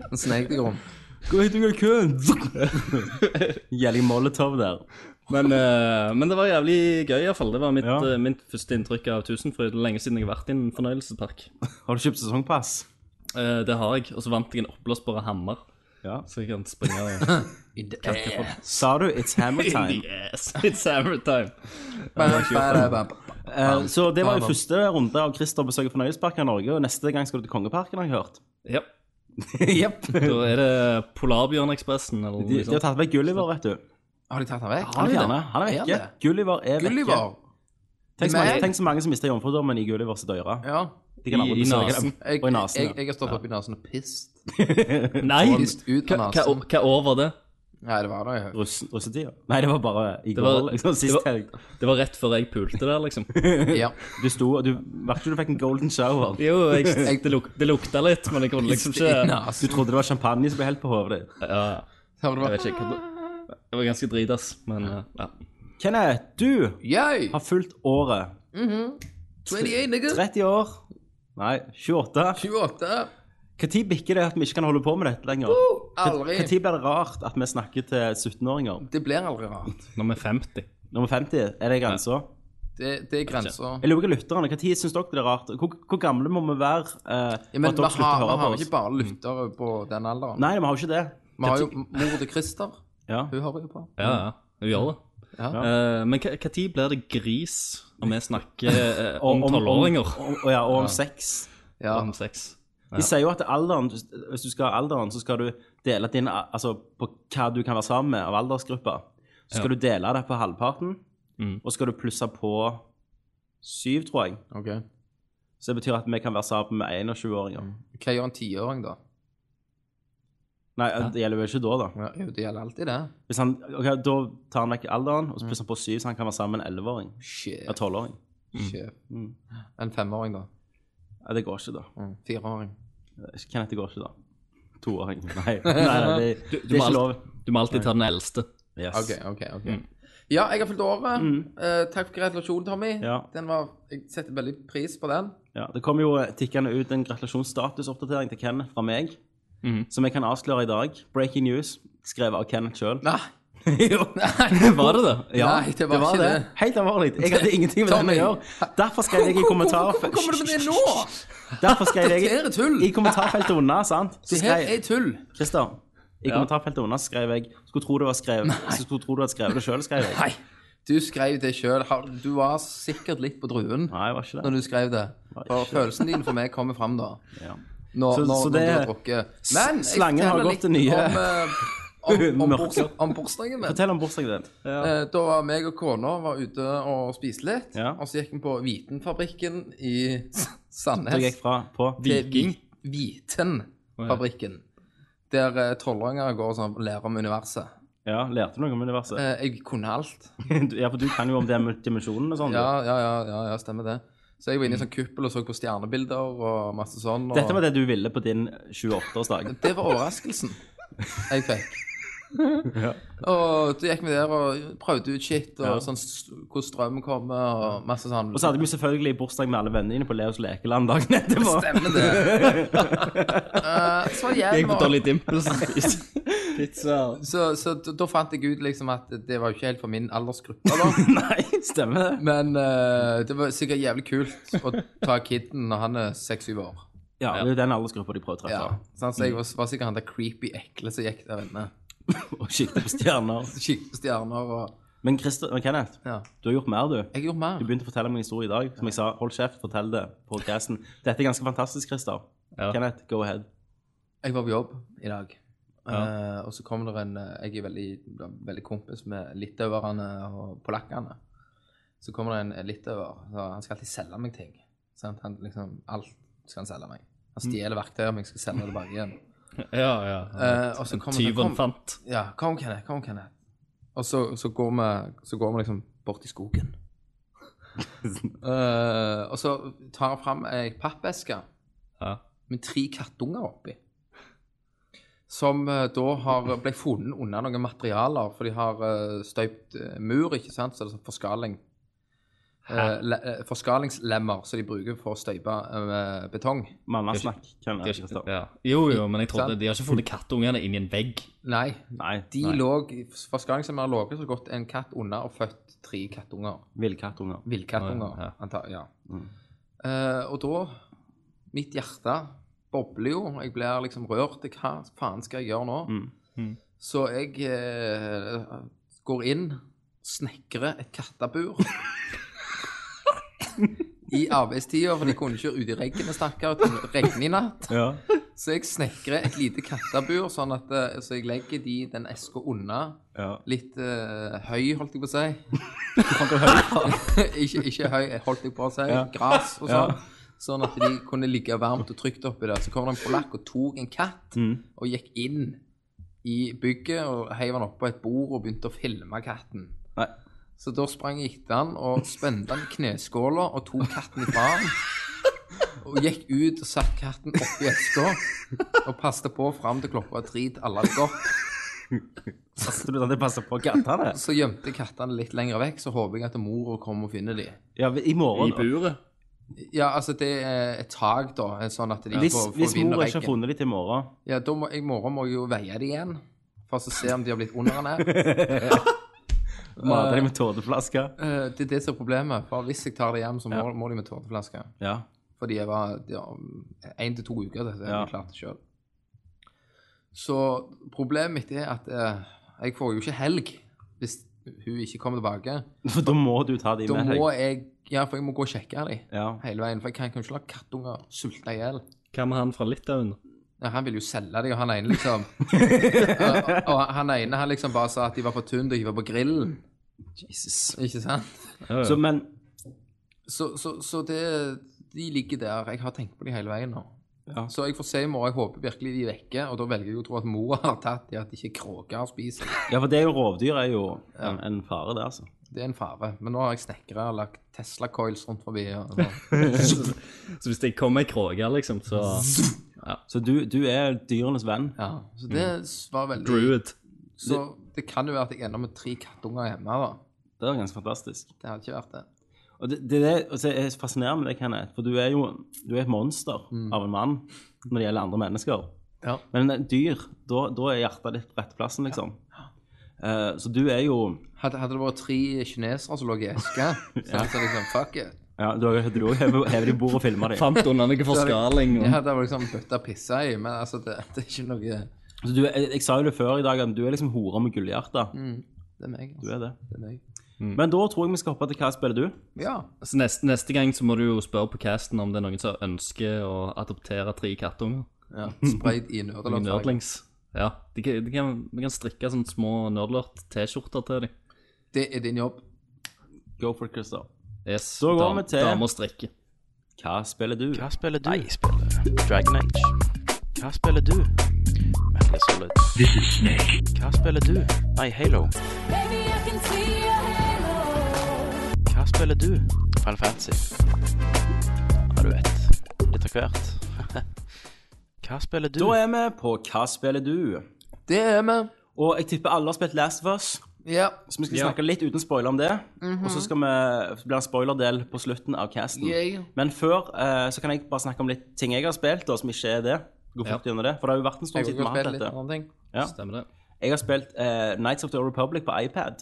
Speaker 7: Han snek deg om.
Speaker 5: Gå hit ut av køen! Gjelder molotov der.
Speaker 6: Men, eh, men det var jævlig gøy, iallfall. Det var mitt,
Speaker 5: Ja.
Speaker 6: eh, mitt første inntrykk av Tusenfryd. Lenge siden jeg har vært i en fornøyelsespark.
Speaker 5: Har du kjøpt sesongpass?
Speaker 6: Eh, Eh, det har jeg. Og så vant jeg en oppblåsbar hammer.
Speaker 5: Ja.
Speaker 6: Så jeg kan springe og kakke folk.
Speaker 5: Sa du 'It's Hammer Time'?
Speaker 6: Yes, it's hammer time.
Speaker 5: Eh, så det var
Speaker 7: Ja,
Speaker 5: jo
Speaker 7: da.
Speaker 5: første runde av Christer besøker fornøyelsesparker i Norge, og neste gang skal du til Kongeparken, har jeg hørt.
Speaker 6: Ja.
Speaker 5: Jepp. De,
Speaker 6: Da er det Polarbjørnekspressen eller liksom,
Speaker 5: de
Speaker 6: noe
Speaker 5: har
Speaker 6: sånt.
Speaker 5: tatt vekk Gulliver, vet du.
Speaker 7: Har de tatt han vekk?
Speaker 5: Han er fjerne. Han er
Speaker 7: Er han
Speaker 5: vekke.
Speaker 7: det?
Speaker 5: Gulliver er vekke.
Speaker 7: Gulliver.
Speaker 5: Tenk så, mange,
Speaker 7: Men-
Speaker 5: tenk så mange som mister jomfrudommen i Gullivers døre.
Speaker 7: Ja.
Speaker 5: De kan aldri
Speaker 6: I- i
Speaker 5: besøke
Speaker 6: nasen.
Speaker 5: dem.
Speaker 7: Jeg,
Speaker 5: Og i nasen.
Speaker 7: jeg,
Speaker 5: ja.
Speaker 7: jeg har stått oppi nasen og pist.
Speaker 6: Nei!
Speaker 7: Pist ut av
Speaker 6: Hva, hva,
Speaker 7: nasen.
Speaker 6: hva år var det?
Speaker 7: Nei, det var det. jeg-
Speaker 5: Russ, russetida? Nei, det var bare i går.
Speaker 6: var-
Speaker 5: liksom,
Speaker 6: det
Speaker 5: sist
Speaker 6: var-
Speaker 5: helg.
Speaker 6: Det var rett før jeg pulte der, liksom.
Speaker 7: Ja.
Speaker 5: Du sto og du Merket du du fikk en golden shower?
Speaker 6: Jo, jeg, det, luk, det lukta litt, men jeg kunne liksom ikke
Speaker 7: I
Speaker 6: ja,
Speaker 5: Du
Speaker 7: nasen.
Speaker 5: trodde det var champagne som ble helt på hodet ditt.
Speaker 6: ja.
Speaker 7: Har du
Speaker 6: Jeg
Speaker 7: vært
Speaker 6: vet ikke. hva- Jeg var ganske drit, ass. Men eh, ja.
Speaker 5: Kenneth, du
Speaker 7: Yay!
Speaker 5: har fulgt året.
Speaker 7: 28, nigga.
Speaker 5: 30 år. Nei, 28.
Speaker 7: 28.
Speaker 5: Når bikker det at vi ikke kan holde på med dette lenger?
Speaker 7: Aldri.
Speaker 5: Når blir det rart at vi snakker til 17-åringer?
Speaker 7: Det blir aldri rart.
Speaker 6: Når vi er 50.
Speaker 5: Nummer 50, er det grensa?
Speaker 7: Det, det er grenser.
Speaker 5: Jeg lurer på lytterne, Når syns dere det er rart? Hvor, hvor gamle må vi være
Speaker 7: Ja,
Speaker 5: eh, for
Speaker 7: men
Speaker 5: at
Speaker 7: vi
Speaker 5: dere slutter
Speaker 7: har,
Speaker 5: å
Speaker 7: vi
Speaker 5: høre
Speaker 7: har
Speaker 5: på
Speaker 7: ikke
Speaker 5: oss?
Speaker 7: bare lyttere på den alderen.
Speaker 5: Nei, vi har jo ikke det.
Speaker 7: Vi har jo mor til Christer.
Speaker 5: Ja.
Speaker 7: Hun hører jo på.
Speaker 6: Ja, ja. Vi gjør det.
Speaker 7: Ja.
Speaker 6: Eh, men når blir det gris når vi snakker eh, om
Speaker 5: om-
Speaker 6: tolvåringer?
Speaker 5: om- Og, ja, og om sex.
Speaker 7: Ja.
Speaker 6: Om sex.
Speaker 5: De sier jo at alderen, hvis du skal ha alderen, så skal du dele din, altså på hva du kan være sammen med av aldersgruppa. Så skal du
Speaker 6: Ja.
Speaker 5: dele det på halvparten,
Speaker 6: Mm.
Speaker 5: og skal du plusse på syv, tror jeg.
Speaker 7: Ok.
Speaker 5: Så det betyr at vi kan være sammen med 21-åringer.
Speaker 7: Hva gjør en tiåring, da?
Speaker 5: Nei, det gjelder jo ikke da, da.
Speaker 7: Ja, jo, det gjelder alltid det.
Speaker 5: Hvis han, ok, da tar han vekk alderen,
Speaker 7: Mm.
Speaker 5: og så plusser han på syv, så han kan være sammen med en 11-åring.
Speaker 7: Shit.
Speaker 5: Ja, 12-åring.
Speaker 7: Shit. En femåring, da.
Speaker 5: Ja, det går ikke, da.
Speaker 7: Mm. Fireåring.
Speaker 5: Kenneth, det går ikke, da. Toåring. Nei, nei, nei det, det er
Speaker 6: må
Speaker 5: ikke
Speaker 6: alt-
Speaker 5: lov.
Speaker 6: Du må alltid ta den eldste.
Speaker 5: Yes.
Speaker 7: OK, OK. ok. Ja, jeg har fulgt året. Eh, takk for gratulasjonen, Tommy.
Speaker 5: Ja.
Speaker 7: Den var, jeg setter veldig pris på den.
Speaker 5: Ja, det kommer jo eh, tikkende ut en gratulasjonsstatusoppdatering til Kenneth fra meg,
Speaker 7: Mhm.
Speaker 5: som jeg kan avsløre i dag. Breaking news, skrevet av Kenneth sjøl.
Speaker 7: Nei,
Speaker 6: Var det det?
Speaker 7: nei det var ikke det.
Speaker 5: Helt alvorlig. Jeg hadde ingenting med den å
Speaker 7: Tommy.
Speaker 5: gjøre. Derfor skrev jeg i kommentarfeltet
Speaker 7: Hvorfor kommer du med det nå?
Speaker 5: Derfor skrev jeg
Speaker 7: Dette er tull.
Speaker 5: i kommentarfeltet unna, sant? Så
Speaker 7: Det her
Speaker 5: skrev
Speaker 7: er tull.
Speaker 5: Christer, i kommentarfeltet unna skrev jeg Skulle tro du var skrevet Skulle tro du hadde skrevet det sjøl, skrev jeg.
Speaker 7: Nei. Du skrev det sjøl. Du var sikkert litt på druen
Speaker 5: Nei, det var ikke det.
Speaker 7: når du skrev det. For følelsen din for meg kommer fram da.
Speaker 5: Ja.
Speaker 7: Når,
Speaker 5: Så-
Speaker 7: når,
Speaker 5: så
Speaker 7: når
Speaker 5: det-
Speaker 7: du har drukket. Men jeg
Speaker 5: slangen har
Speaker 7: forteller
Speaker 5: gått
Speaker 7: litt
Speaker 5: til nye-
Speaker 7: om, eh, om, om,
Speaker 5: Mørker.
Speaker 7: bors- om bursdagen min.
Speaker 5: Fortell om bursdagen din.
Speaker 7: Eh, Da var meg og kona var ute og spiste litt,
Speaker 5: Ja.
Speaker 7: og så gikk vi på Vitenfabrikken i S-
Speaker 5: Så jeg
Speaker 7: Sandnes.
Speaker 5: gikk fra på
Speaker 7: til Vi- Vitenfabrikken. Der eh, tolvåringer går og sånn, lærer om universet.
Speaker 5: Ja, lærte du noe om universet?
Speaker 7: Eh, Jeg kunne alt.
Speaker 5: Du- Ja, for du kan jo om dim- dimensjonen og sånn. du.
Speaker 7: Ja, ja, ja, ja, ja stemmer det. Så jeg var inne i en sånn kuppel og så på stjernebilder og masse sånn. Og
Speaker 5: Dette var det du ville på din 28-årsdag.
Speaker 7: Det var overraskelsen jeg fikk. Og så gikk vi der og prøvde ut shit, og
Speaker 5: Ja.
Speaker 7: sånn s- hvor strøm kommer, og masse sånn.
Speaker 5: Og så hadde vi selvfølgelig bursdag med alle vennene dine på Leos lekeland dagen etterpå.
Speaker 7: Stemmer det. Eh, så
Speaker 6: Jeg
Speaker 7: igjen,
Speaker 6: på
Speaker 7: og,
Speaker 6: Dolly Dimples.
Speaker 7: så, så d- da fant jeg ut liksom at det var jo ikke helt for min aldersgruppe, da.
Speaker 5: Nei, stemmer det?
Speaker 7: Men eh, det var sikkert jævlig kult å ta kiden når han er seks-syv år.
Speaker 5: Ja, det er jo den aldersgruppa de prøver å treffe.
Speaker 7: Ja, sant?
Speaker 5: Mm.
Speaker 7: Så jeg var, var sikkert han der creepy ekle som gikk der inne.
Speaker 5: Og sikte på stjerner.
Speaker 7: Kikket på stjerner og
Speaker 5: Men Christer, men Kenneth,
Speaker 7: Ja.
Speaker 5: du har gjort mer, du.
Speaker 7: Jeg gjorde mer.
Speaker 5: Du begynte å fortelle meg en historie i dag. Som jeg sa, hold kjeft, fortell det på casten. Dette er ganske fantastisk, Christer.
Speaker 6: Ja.
Speaker 5: Kenneth, go ahead.
Speaker 7: Jeg var på jobb i dag. Eh, og så kom det en eh, Jeg er veldig, veldig kompis med litauerne og polakkene. Så kommer det en litauer. så Han skal alltid selge meg ting. Sant? Han, liksom, alt skal han selge meg. Han stjeler verktøy om jeg skal selge det tilbake igjen.
Speaker 6: Ja, ja.
Speaker 7: Eh, og så kommer det-
Speaker 6: Tyven
Speaker 7: kom-
Speaker 6: fant.
Speaker 7: Ja, kom, Kenneth. Kom, Kenneth. Og så, så, går vi, så går vi liksom bort i skogen. Eh, og så tar han fram ei pappeske
Speaker 6: Ja.
Speaker 7: med tre kattunger oppi. Som eh, da har ble funnet under noen materialer, for de har eh, støypt eh, mur, ikke sant? Så det er sånn forskaling. Eh, le, eh, forskalingslemmer som de bruker for å støype eh, betong.
Speaker 5: Mannasnakk, Kenneth. Christer.
Speaker 6: Ja. Jo, jo, men jeg trodde
Speaker 7: Sant?
Speaker 6: de har ikke funnet kattungene inni en vegg.
Speaker 7: Nei,
Speaker 5: Nei.
Speaker 7: de
Speaker 5: nei.
Speaker 7: lå, forskalingslemmer lå så godt en katt under og født tre kattunger.
Speaker 5: Villkattunger.
Speaker 7: Villkattunger,
Speaker 6: Ja, ja.
Speaker 7: antar jeg. Ja. Eh, og da Mitt hjerte bobler jo. Jeg blir liksom rørt. til Hva faen skal jeg gjøre nå? Så jeg eh, går inn, snekrer et kattebur. I arbeidstida, for de kunne ikke ut i regnet, stakkar. Det regner i natt.
Speaker 5: Ja.
Speaker 7: Så jeg snekrer et lite kattebur, sånn at eh, så jeg legger de, den eska unna.
Speaker 5: ja.
Speaker 7: Litt eh, høy, holdt jeg på å si. ikke, ikke høy, holdt jeg på å si. Gras og sånn. Sånn at de kunne ligge varmt og trygt oppi der. Så kom det en polakk og tok en katt og gikk inn i bygget og heiv den oppå et bord og begynte å filme katten.
Speaker 5: Nei.
Speaker 7: Så da sprang jeg etter han og spente han i kneskåla og tok katten ifra han. Og gikk ut og satte katten oppi eska og passet på fram til klokka var tre til alle hadde gått.
Speaker 5: Så du sånn, det passer på kattene?
Speaker 7: Så gjemte kattene litt lenger vekk, så håper jeg at mora kommer og finner dem.
Speaker 5: Ja, i
Speaker 6: I
Speaker 5: morgen.
Speaker 6: buret.
Speaker 7: Ja, altså det er et tak, da, sånn at de
Speaker 5: Hvis,
Speaker 7: får, får
Speaker 5: hvis
Speaker 7: vind og
Speaker 5: mor ikke har
Speaker 7: regn.
Speaker 5: funnet dem til i morgen
Speaker 7: Ja, da må jeg i morgen må jeg jo veie dem igjen, for å se om de har blitt underernært.
Speaker 5: Mate dem med tåteflasker.
Speaker 7: Eh, det er det som er problemet, for hvis jeg tar det hjem, så må, må de med tåteflaske.
Speaker 5: Ja.
Speaker 7: For de var de var én til to uker, dette har
Speaker 5: Ja.
Speaker 7: jeg klart sjøl. Så problemet mitt er at eh, jeg får jo ikke helg hvis hun ikke kommer tilbake.
Speaker 5: For da må du ta dem
Speaker 7: Da
Speaker 5: med
Speaker 7: må
Speaker 5: deg.
Speaker 7: jeg Ja, for jeg må gå og sjekke dem.
Speaker 5: Ja.
Speaker 7: hele veien. For jeg kan, kan jo ikke la kattunger sulte i hjel.
Speaker 6: Hva med han fra Litauen?
Speaker 7: Ja, han ville jo selge dem, og han ene liksom og, og han ene han liksom bare sa at de var for tynne og hiva på grillen.
Speaker 5: Jesus.
Speaker 7: Ikke sant?
Speaker 6: Ja, ja.
Speaker 5: Så, men
Speaker 7: Så, så, så det, de ligger der. Jeg har tenkt på dem hele veien nå.
Speaker 5: Ja.
Speaker 7: Så jeg får se i morgen. Jeg håper virkelig de er vekke. Og da velger jeg å tro at mor har tatt de, at ikke kråker har spist dem.
Speaker 5: Ja, for det er jo rovdyr er jo en, en fare, det, altså.
Speaker 7: Det er en fare. Men nå har jeg snekra og lagt Tesla coils rundt forbi. Og sånn.
Speaker 6: Så hvis det kommer ei kråke, liksom, så
Speaker 5: Så du, du er dyrenes venn.
Speaker 7: ja. Så det
Speaker 5: Mm.
Speaker 7: var veldig
Speaker 6: Druid.
Speaker 7: Så det kan jo være at jeg ender med tre kattunger hjemme, da.
Speaker 5: Det er ganske fantastisk.
Speaker 7: Det hadde ikke vært det.
Speaker 5: Og det, det, er det altså, jeg er fascinerende med deg, Kenneth, for du er jo du er et monster
Speaker 4: Mm.
Speaker 5: av en mann når det gjelder andre mennesker.
Speaker 7: Ja.
Speaker 5: Men et dyr, da da er hjertet ditt på rett plassen, liksom. Eh, så du er jo
Speaker 7: Hadde, hadde det vært tre kinesere som lå i eske, så hadde jeg liksom fuck it.
Speaker 5: ja, Du har du har jo hevet hevet i bordet og filma dem.
Speaker 6: Fant under noe forskaling.
Speaker 7: Jeg
Speaker 6: Og...
Speaker 7: hadde liksom bøtta pissa i, men altså, det, det er ikke noe Det
Speaker 5: Så du, er- jeg, jeg sa jo det før i dag, at du er liksom hora med gullhjerte.
Speaker 4: Mm.
Speaker 7: er meg.
Speaker 5: Du
Speaker 7: Altså.
Speaker 5: er det.
Speaker 7: Det er meg.
Speaker 5: Men da tror jeg vi skal hoppe til hva spiller du?
Speaker 7: Ja.
Speaker 6: Så neste, neste gang så må du jo spørre på casten om det er noen som ønsker å adoptere tre kattunger.
Speaker 7: ja. Sprayt i
Speaker 6: Noen
Speaker 7: nerdeloppdrag.
Speaker 6: nerdlings. Ja, de kan, de kan, Vi kan strikke sånne små nerdlert-T-skjorter til dem.
Speaker 7: Det er din jobb.
Speaker 5: Go for it, Christer.
Speaker 6: Yes,
Speaker 5: Da går vi til-
Speaker 6: Damer strikker.
Speaker 5: Hva spiller du?
Speaker 4: Hva spiller du? Jeg spiller Dragon Age. Hva spiller du? Metal Solid. This is Snake. Hva spiller du? Nei, Halo.
Speaker 8: Baby, I can see your halo.
Speaker 4: Hva spiller du? Final Fantasy. Ja, du vet. Litt av hvert. Hva spiller du?
Speaker 5: Da er vi på Hva spiller du?
Speaker 7: Det er vi.
Speaker 5: Og jeg tipper alle har spilt Last of Us,
Speaker 7: Ja.
Speaker 5: så vi skal snakke litt uten spoiler om det. Og så skal vi bli en spoilerdel på slutten av casten.
Speaker 7: Mhm. Yay.
Speaker 5: Men før eh, så kan jeg bare snakke om litt ting jeg har spilt, og som ikke er det. Gå fort gjennom det, for det har jo vært en stund
Speaker 7: Jeg
Speaker 5: siden vi
Speaker 7: vil
Speaker 5: har
Speaker 7: spille
Speaker 5: hatt
Speaker 7: litt
Speaker 5: dette.
Speaker 7: andre ting.
Speaker 5: Ja.
Speaker 6: Stemmer det?
Speaker 5: Jeg har spilt eh, Nights of the Old Republic på iPad.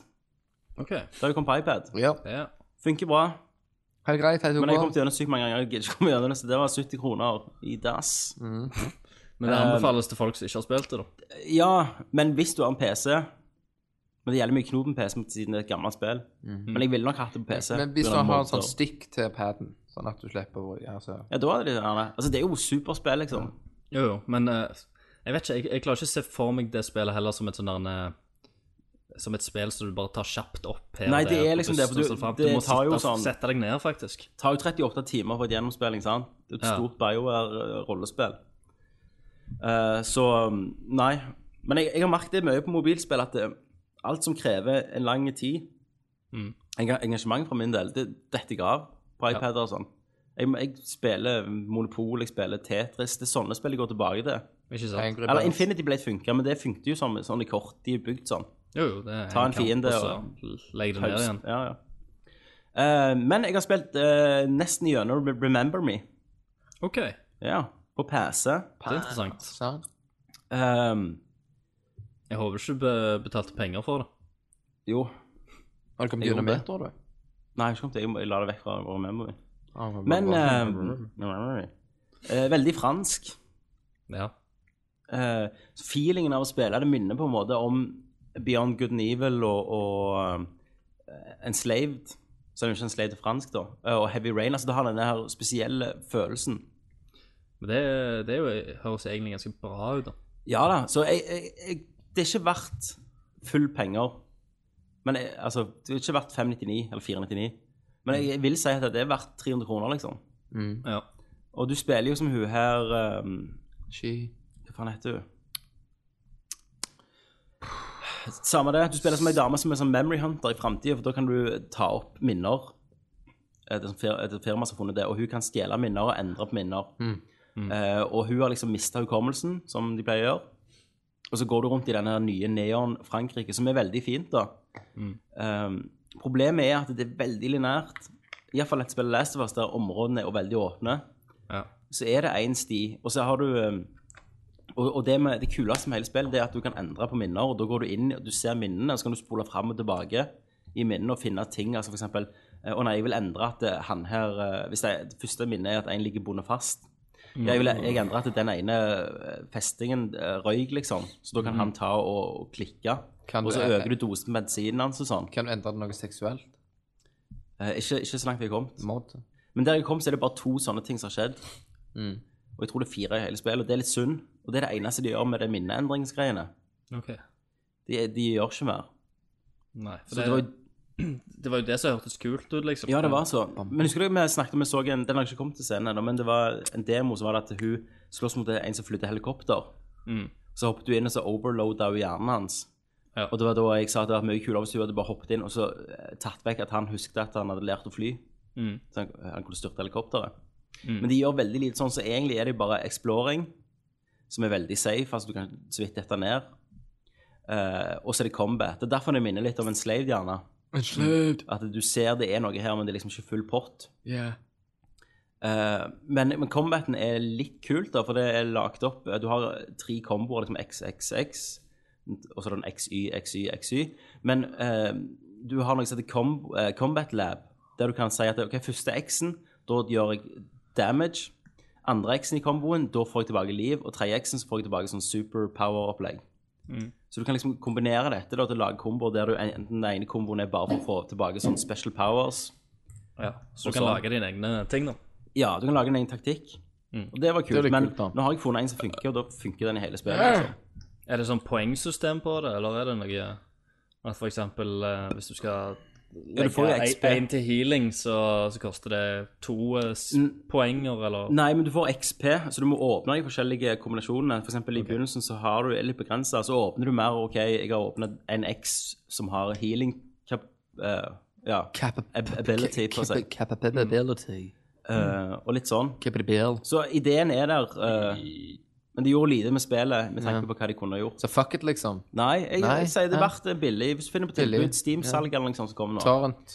Speaker 6: OK.
Speaker 5: Det har jo kommet på iPad.
Speaker 7: Ja.
Speaker 6: Ja.
Speaker 5: Funker bra.
Speaker 7: Helt greit. Helt
Speaker 5: Men jeg kom
Speaker 7: ok.
Speaker 5: til gjennom sykt mange ganger. Jeg gidder ikke komme gjennom det, så det var 70 kroner i dass.
Speaker 7: Mm.
Speaker 6: Men det anbefales til folk som ikke har spilt det, da.
Speaker 5: Ja, men hvis du har en PC Men det gjelder mye knop med PC siden det er et gammelt spill. Men jeg ville nok hatt det på PC.
Speaker 7: Mm. Men hvis du
Speaker 5: på grunn av
Speaker 7: har en
Speaker 5: motor.
Speaker 7: sånn stikk til paden, sånn at du slipper å altså.
Speaker 5: Ja, da er det litt annet. Altså, det er jo superspill, liksom.
Speaker 6: Jo, jo, men eh, jeg vet ikke. Jeg, jeg klarer ikke å se for meg det spillet heller som et sånn der eh, Som et spill som du bare tar kjapt opp her
Speaker 5: Nei,
Speaker 6: og
Speaker 5: det
Speaker 6: der
Speaker 5: er
Speaker 6: på
Speaker 5: liksom det, for du-
Speaker 6: bussen og sånn frem.
Speaker 5: det
Speaker 6: Du må
Speaker 5: tar jo
Speaker 6: sitte,
Speaker 5: sånn-
Speaker 6: sette deg ned, faktisk.
Speaker 5: Det tar jo 38 timer for et gjennomspilling, sant? Det er et
Speaker 6: Ja.
Speaker 5: stort BioWare-rollespill. så um, nei. Men jeg, jeg har merket det mye på mobilspill, at det, alt som krever en lang tid enga- Engasjement fra min del, det detter jeg av på iPader og sånn. Jeg, jeg spiller Monopol, jeg spiller Tetris. Det er sånne spill jeg går tilbake til.
Speaker 6: Ikke sant?
Speaker 7: Angry
Speaker 5: Eller
Speaker 7: Birds.
Speaker 5: Infinity Blade funka, men det funket jo som sånn i kort. De er bygd sånn.
Speaker 6: Jo, jo, det er
Speaker 5: Ta en
Speaker 6: kamp,
Speaker 5: fiende
Speaker 6: og så legg det ned
Speaker 5: Pause.
Speaker 6: igjen.
Speaker 5: Ja, ja. Eh, men jeg har spilt eh, nesten gjennom Re- Remember Me.
Speaker 6: OK, det
Speaker 5: Ja, på PC.
Speaker 6: er interessant.
Speaker 7: Sånn.
Speaker 5: Ehm,
Speaker 6: Jeg håper ikke du be- betalte penger for det.
Speaker 5: jo.
Speaker 7: Har du kommet
Speaker 5: Jeg
Speaker 7: gjennom
Speaker 5: gjorde det.
Speaker 7: meter, du?
Speaker 5: Nei, jeg, kom til, jeg, må- jeg la det vekk fra vår memory.
Speaker 7: Ah,
Speaker 5: Men
Speaker 7: bra, bra.
Speaker 5: ehm, memory. Eh, Veldig fransk.
Speaker 6: Ja.
Speaker 5: Eh, så feelingen av å spille det minner på en måte om Beyond Good and Evil og, og eh, Enslaved. Så er det jo ikke Enslaved er fransk, da. eh, Og Heavy Rain. altså Det har denne her spesielle følelsen.
Speaker 6: Men det, det er jo, høres egentlig ganske bra ut, da.
Speaker 5: Ja da. Så jeg, jeg, jeg, det er ikke verdt full penger. Men jeg, altså, det er ikke verdt 599 eller 499. Men jeg, jeg vil si at det er verdt 300 kroner, liksom.
Speaker 6: Ja.
Speaker 5: Og du spiller jo som hun her eh,
Speaker 7: Sky.
Speaker 5: Hva faen heter hun? Samme det. Du spiller som ei dame som er sånn memory hunter i framtida, for da kan du ta opp minner. Et, sånt fir- et firma som har funnet det, og hun kan stjele minner og endre på minner. Eh, og hun har liksom mista hukommelsen, som de pleier å gjøre. Og så går du rundt i denne nye neon-Frankrike, som er veldig fint, da. Mm. Eh, problemet er at det er veldig linært. Iallfall et spill Last of Us der områdene er veldig åpne.
Speaker 6: Ja.
Speaker 5: Så er det én sti, og så har du eh, og, og det, med, det kuleste med hele spillet det er at du kan endre på minner. og Da går du inn og du ser minnene, og så kan du spole fram og tilbake i minnene og finne ting. altså for eksempel, eh, Å nei, jeg vil endre at eh, han her eh, Hvis det, er- det første minnet er at en ligger bundet fast Jeg, vil, jeg endrer at den ene eh, festingen eh, røyk, liksom. Så da kan han ta og, og klikke.
Speaker 7: Kan
Speaker 5: og
Speaker 7: du-
Speaker 5: så øker du dosen med bensinen hans og sånn.
Speaker 7: Kan du endre det noe seksuelt?
Speaker 5: Eh, ikke, ikke så langt jeg har kommet.
Speaker 7: Mod?
Speaker 5: Men der jeg kom, så er det bare to sånne ting som har skjedd. Og jeg tror det er fire i hele spillet, og det er litt synd. Og det er det eneste de gjør med det minneendringsgreiene.
Speaker 6: OK.
Speaker 5: De, de gjør ikke mer.
Speaker 6: Nei.
Speaker 5: Så
Speaker 6: For det,
Speaker 5: det var,
Speaker 6: det var jo det som hørtes kult ut, liksom.
Speaker 5: ja, det var så. Men husker du vi snakket om vi så en Den har ikke kommet til scenen ennå, men det var en demo som var det at hun slåss mot en som flytter helikopter.
Speaker 6: Mm.
Speaker 5: Så hoppet hun inn, og så overloada hun hjernen hans.
Speaker 6: Ja.
Speaker 5: Og det var da jeg sa at det hadde vært mye kulere hvis hun hadde bare hoppet inn og så eh, tatt vekk at han husket at han hadde lært å fly.
Speaker 6: Mm.
Speaker 5: Så han, han kunne styrte helikopteret.
Speaker 6: Mm.
Speaker 5: Men de gjør veldig lite sånn, så egentlig er det bare exploring, som er veldig safe. Altså du kan så vidt dette ned. Eh, og så er det combat. Det er derfor det minner litt om en slave, gjerne. At du ser det er noe her, men det er liksom ikke full pott. Eh, men, men combaten er litt kult, da, for det er lagt opp eh, Du har tre komboer, liksom XXX, og så er det en XY, XY, XY. Men eh, du har noe som heter com eh, Combat Lab, der du kan si at OK, første X-en, da gjør jeg damage. Andre X-en i komboen, da får jeg tilbake liv. Og tredje X-en, så får jeg tilbake sånn superpower-opplegg. Så du kan liksom kombinere dette da, til å lage komboer der du enten den ene komboen er bare for å få tilbake sånn special powers.
Speaker 6: Ja. Så
Speaker 5: Og
Speaker 6: du kan
Speaker 5: så-
Speaker 6: lage dine egne ting, da.
Speaker 5: Ja, du kan lage en egen taktikk. Og det var kult,
Speaker 7: Mm. litt
Speaker 5: men
Speaker 7: kult, da.
Speaker 5: nå har jeg funnet en som funker, og da funker den i hele spillet. Liksom.
Speaker 6: Er det sånn poengsystem på det, eller er det noe At for eksempel eh, hvis du skal
Speaker 5: du får jo XP.
Speaker 6: én til healing, så, så koster det to eh, s-
Speaker 5: Mm.
Speaker 6: poenger, eller
Speaker 5: Nei, men du får XP, så du må åpne de forskjellige kombinasjonene. For eksempel i begynnelsen så har du er litt begrensa, så åpner du mer OK, jeg har åpnet en X som har healing cap... eh, ja, ab- ability på seg,
Speaker 7: Capability.
Speaker 5: eh, og litt sånn.
Speaker 7: Capability.
Speaker 5: Så ideen er der, eh, men de gjorde lite med spillet med tanke
Speaker 7: Ja.
Speaker 5: på hva de kunne ha gjort.
Speaker 7: Så fuck it, liksom.
Speaker 5: Nei, jeg,
Speaker 7: Nei,
Speaker 5: jeg sier det
Speaker 7: ja.
Speaker 5: er verdt det billig. Hvis du finner på
Speaker 7: Billig,
Speaker 5: tilbud, Steam-salg eller noe sånt som kommer nå.
Speaker 7: Torrent.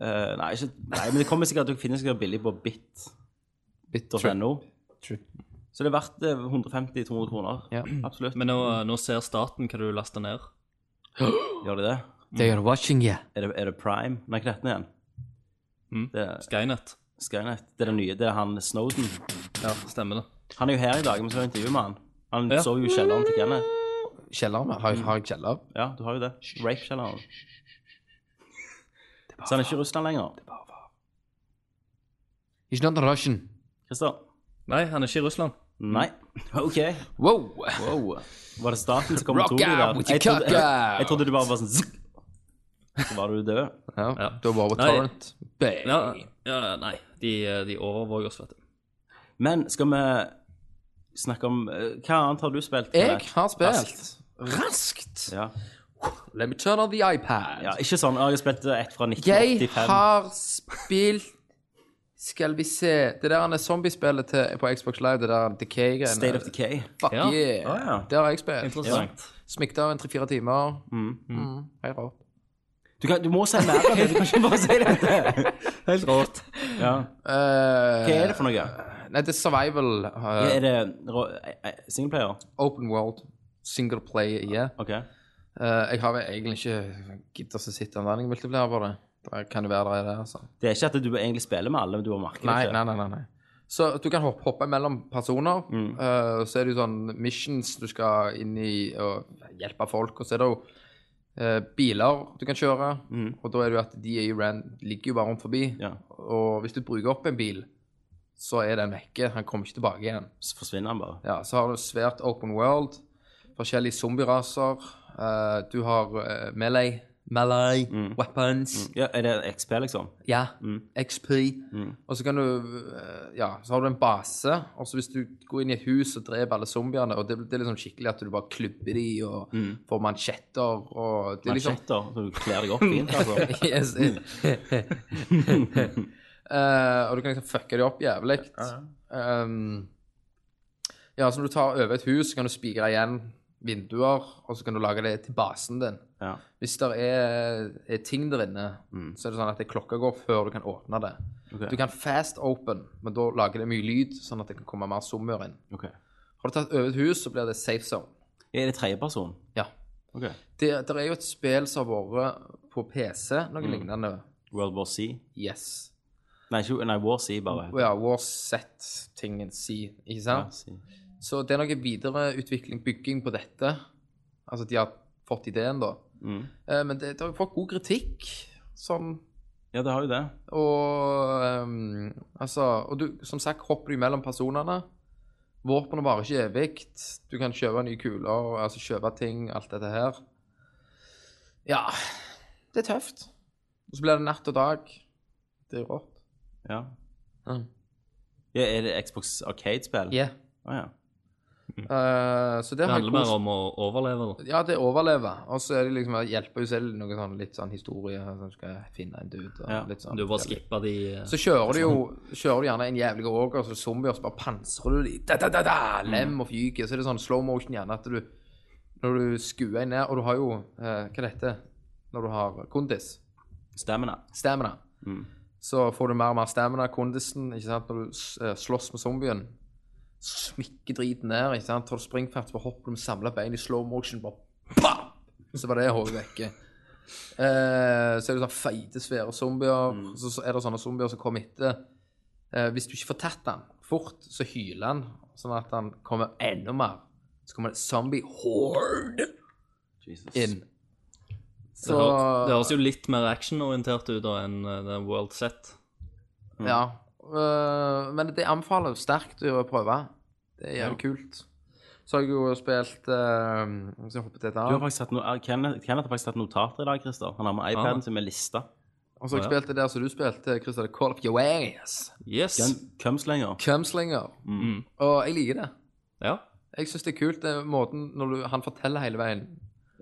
Speaker 5: Eh, nei, ikke, nei, men det kommer sikkert at du finner sikkert billig på bit.no.
Speaker 7: Bit trip. Trip.
Speaker 5: Så det er verdt eh, 150-200 kroner.
Speaker 7: Ja.
Speaker 5: Absolutt.
Speaker 6: Men nå, nå ser staten hva du laster ned.
Speaker 5: Gjør de det?
Speaker 7: They are watching you.
Speaker 5: Er det, er det Prime? Nei, ikke dette igjen.
Speaker 6: Mm.
Speaker 5: Det er
Speaker 6: Skynet.
Speaker 5: Skynet. Det er det nye. Det er han Snowden.
Speaker 6: Ja, stemmer det.
Speaker 5: Han er jo her i dag, vi skal intervjue med han. Han
Speaker 6: Ja.
Speaker 5: så jo i kjelleren til Kenneth.
Speaker 7: Kjeller med.
Speaker 5: Mm.
Speaker 7: Har, har jeg kjeller?
Speaker 5: Ja, du har jo det. Rape-kjelleren. Så han er ikke i Russland lenger.
Speaker 7: He's not Russian.
Speaker 5: Christer?
Speaker 6: Nei, han er ikke i Russland.
Speaker 5: Nei. OK.
Speaker 7: Wow!
Speaker 5: Wow. Var det staten som kom og
Speaker 7: Rock
Speaker 5: tok deg
Speaker 7: out
Speaker 5: der?
Speaker 7: with your
Speaker 5: Jeg trodde-
Speaker 7: cock
Speaker 5: jeg- Jeg
Speaker 7: out.
Speaker 5: trodde du bare var sånn zzz. Så var du død.
Speaker 7: Ja,
Speaker 6: Ja.
Speaker 7: da var det
Speaker 6: Nei.
Speaker 7: torrent. Bang.
Speaker 6: Ja, ja nei. De, eh, de overvåker oss, vet du.
Speaker 5: Men skal vi snakke om eh, Hva annet har du spilt?
Speaker 7: Jeg
Speaker 5: Kenneth?
Speaker 7: har spilt.
Speaker 5: Raskt.
Speaker 7: Raskt!
Speaker 5: Ja.
Speaker 7: Let me turn on the iPad.
Speaker 5: ja, ikke sånn. «Å, Jeg har spilt eh, et fra
Speaker 7: Jeg
Speaker 5: 1985.
Speaker 7: har spilt Skal vi se Det der er zombiespillet til, på Xbox Live, det der Decay-greiene.
Speaker 5: State of Decay.
Speaker 7: Fuck altså.
Speaker 6: Ja.
Speaker 7: yeah.
Speaker 5: Ah, ja.
Speaker 7: Det har jeg spilt.
Speaker 6: Interessant.
Speaker 7: Smikta en tre-fire timer. Mm. Helt rått.
Speaker 5: Du, kan, du må si mer om det. Du kan ikke bare si dette.
Speaker 6: Helt rått.
Speaker 5: Ja.
Speaker 7: Eh,
Speaker 5: Hva er det for noe?
Speaker 7: Nei, det er survival. eh,
Speaker 5: Er det rå- eh, eh, singleplayer?
Speaker 7: open world. Single player. Yeah.
Speaker 5: OK.
Speaker 7: Eh, jeg har vel egentlig ikke giddet å sitte om den. Jeg vil ikke flere på det. Det kan jo være det er det, altså.
Speaker 5: Det er ikke at du egentlig spiller med alle, men du har merket
Speaker 7: Nei,
Speaker 5: det
Speaker 7: nei,
Speaker 5: ikke.
Speaker 7: nei, nei, nei. Så du kan hoppe, hoppe mellom personer. eh, så er det jo sånn missions du skal inn i og hjelpe folk. Og så er det jo eh, biler du kan kjøre. Og da er det jo at de er jo ran, ligger jo bare rundt forbi.
Speaker 5: Ja.
Speaker 7: Og hvis du bruker opp en bil, så er den vekke. Han kommer ikke tilbake igjen.
Speaker 5: Så forsvinner han bare.
Speaker 7: Ja, så har du svært open world, forskjellige zombieraser. eh, du har eh, melee, melee weapons.
Speaker 5: Ja, Er det XP, liksom?
Speaker 7: Ja. XP. Og så kan du eh, Ja, så har du en base. Og så hvis du går inn i et hus og dreper alle zombiene, og det, det er liksom skikkelig at du bare klubber de og får mansjetter og det er liksom,
Speaker 5: Mansjetter, så du kler deg opp fint, altså.
Speaker 7: Yes. Eh, og du kan liksom fucke det opp jævlig. Um, ja, så når du tar over et hus, så kan du spikre igjen vinduer, og så kan du lage det til basen din.
Speaker 5: Ja.
Speaker 7: Hvis det er, er ting der inne, så er det sånn at det klokka går før du kan åpne det. Du kan fast open, men da lager det mye lyd, sånn at det kan komme mer zoomer inn.
Speaker 5: Ok.
Speaker 7: Har du tatt over et hus, så blir det safe zone.
Speaker 5: Er det tredjeperson?
Speaker 7: Ja.
Speaker 5: Ok.
Speaker 7: Det, der er jo et spill som har vært på PC, noe lignende.
Speaker 5: World War C?
Speaker 7: Yes.
Speaker 5: Nei, ikke, nei War C, bare.
Speaker 7: Ja, War Z-tingen si, ikke sant?
Speaker 5: C.
Speaker 7: Så det er noe videreutvikling, bygging på dette. Altså, de har fått ideen, da.
Speaker 5: Mm.
Speaker 7: Eh, men det, det har jo fått god kritikk, sånn.
Speaker 5: Ja, det har jo det.
Speaker 7: Og ehm, altså Og du, som sagt, hopper du mellom personene. Våpenet varer ikke evig. Du kan kjøpe nye kuler, altså kjøpe ting, alt dette her. Ja Det er tøft. Og så blir det natt og dag. Det er rått.
Speaker 5: Ja.
Speaker 7: Mm.
Speaker 5: ja er det Xbox Arcade-spill?
Speaker 7: Yeah.
Speaker 5: Å, ja.
Speaker 7: Eh, så det,
Speaker 6: Mm. Det
Speaker 7: har jeg
Speaker 6: handler
Speaker 7: kost-
Speaker 6: bare om å overleve. da.
Speaker 7: Ja, det overlever. Og så er det liksom å hjelpe henne selv noe sånn litt sånn historie. Som skal finne en dude. Og
Speaker 5: Ja,
Speaker 7: litt sånn.
Speaker 6: Du bare skipper sånn. de eh,
Speaker 7: Så kjører du jo kjører du gjerne en jævlig åker, så zombier, så bare pansrer du de. Da, da, da, da,
Speaker 6: Mm.
Speaker 7: lem og fyker. Så er det sånn slow motion gjerne at du Når du skuer en ned Og du har jo eh, Hva er dette? Når du har kondis?
Speaker 5: Stamina.
Speaker 7: Stamina.
Speaker 6: Mm.
Speaker 7: Så får du mer og mer stamina, kondisen, ikke sant, når du s- eh, slåss med zombien. Smikker driten ned, ikke sant, tar du springfart, så bare hopper du med samlet bein i slow motion, bare bam! Så var det hodet vekke. Eh, så er det sånn feite, svære zombier,
Speaker 6: Mm.
Speaker 7: så, så er det sånne zombier som kommer etter. Eh, hvis du ikke får tatt den fort, så hyler han, sånn at han kommer enda mer. Så kommer det zombie horde
Speaker 5: Jesus.
Speaker 7: inn.
Speaker 6: det, høres, det høres jo litt mer actionorientert ut da enn eh, den World Set.
Speaker 5: Mm.
Speaker 7: Ja. øh, men det anbefaler jeg sterkt å prøve. Det er jævlig kult. Så har jeg jo spilt øh, Hvis jeg hopper til et
Speaker 5: Du har
Speaker 7: annet.
Speaker 5: faktisk tatt no Kenneth, Kenneth har faktisk tatt notater i dag, Christer. Han har
Speaker 7: Ah.
Speaker 5: med
Speaker 6: Ja.
Speaker 5: iPaden sin med lista.
Speaker 7: Og så har jeg spilt det der som du spilte, Christer. det er Call of Your Ways.
Speaker 6: Yes.
Speaker 5: Gun- Cumslinger.
Speaker 7: Cumslinger.
Speaker 5: Mm.
Speaker 7: Og jeg liker det.
Speaker 6: Ja.
Speaker 7: Jeg syns det er kult det er måten når du, han forteller hele veien.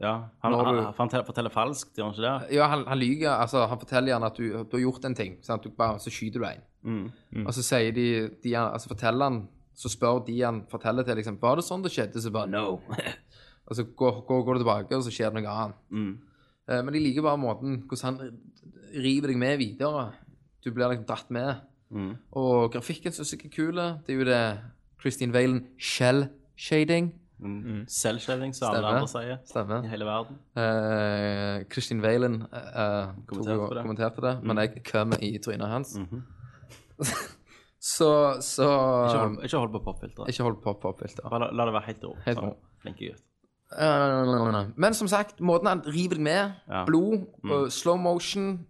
Speaker 5: Ja. Han,
Speaker 7: Når
Speaker 5: han,
Speaker 7: du-
Speaker 5: han forteller, forteller falskt, gjør han ikke det?
Speaker 7: Ja, han, han lyver. Altså, han forteller gjerne at du, du har gjort en ting, sant? Du bare, så skyter du en.
Speaker 5: Mm.
Speaker 7: Og så sier de, de altså, forteller han, så spør de han forteller til, liksom, var det sånn det skjedde? Så bare, no. og så går, går, går det tilbake, og så skjer det noe annet.
Speaker 5: Mm.
Speaker 7: Eh, men de liker bare måten, hvordan han river deg med videre. Du blir liksom dratt med.
Speaker 5: Mm.
Speaker 7: Og grafikken synes jeg er kul. Det er jo det Christine Valen shell shading.
Speaker 5: Selvshaving, Mm. som
Speaker 7: Mm.
Speaker 5: alle
Speaker 7: Stemmer.
Speaker 5: andre sier.
Speaker 7: Stemmer.
Speaker 5: I hele verden.
Speaker 7: Eh, Kristin Valen eh, tok og
Speaker 5: Kommenterte på det. Mm. Mhm.
Speaker 7: kommenterte det, men jeg kom i trynet hans. så så
Speaker 5: Ikke hold, ikke hold på popfilteret.
Speaker 7: Ikke hold på på filter.
Speaker 5: Bare la, la det være helt ro.
Speaker 7: Helt ro.
Speaker 5: Flinke gutt.
Speaker 7: Men som sagt, måten han river deg med,
Speaker 5: Ja.
Speaker 7: blod, og slow motion,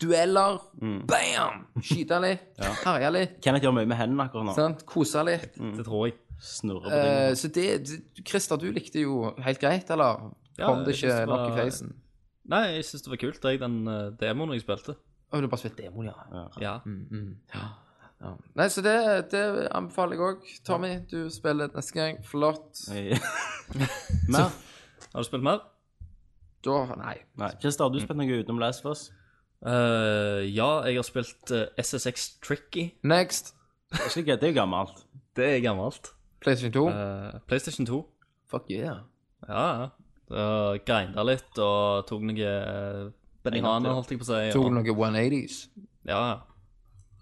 Speaker 7: dueller, bam! Skyte litt, herje litt,
Speaker 5: Kenneth gjør mye med hendene akkurat nå.
Speaker 7: sant? kose litt.
Speaker 6: Det tror jeg.
Speaker 5: Snurrer på
Speaker 7: Eh,
Speaker 5: tingene.
Speaker 7: så det, det Christer, du likte jo helt greit, eller?
Speaker 6: Ja,
Speaker 7: Kom det
Speaker 6: jeg synes
Speaker 7: ikke
Speaker 6: det
Speaker 7: nok i
Speaker 6: var-
Speaker 7: facen?
Speaker 6: Nei, jeg syns det var kult, jeg, den eh, demoen jeg spilte.
Speaker 7: Å, du har bare spilt demoen, ja. Mm.
Speaker 6: Ja.
Speaker 7: Ja. Nei, så det, det anbefaler jeg òg. Tommy, du spiller neste gang. Flott.
Speaker 5: Mer?
Speaker 6: Har du spilt mer?
Speaker 7: Da Nei.
Speaker 5: Nei. Christer, har du spilt noe utenom Last of Us?
Speaker 6: Eh, ja, jeg har spilt eh, SSX Tricky.
Speaker 7: Next.
Speaker 5: Det er ikke gøy, Det er jo gammelt.
Speaker 6: Det er gammelt.
Speaker 7: PlayStation 2.
Speaker 6: Eh, PlayStation 2.
Speaker 7: Fuck yeah.
Speaker 6: Ja, ja. Uh, Grinda litt og tok noe eh, Benihana, holdt jeg på å si.
Speaker 7: Tok
Speaker 6: og-
Speaker 7: noen 180s.
Speaker 6: Ja,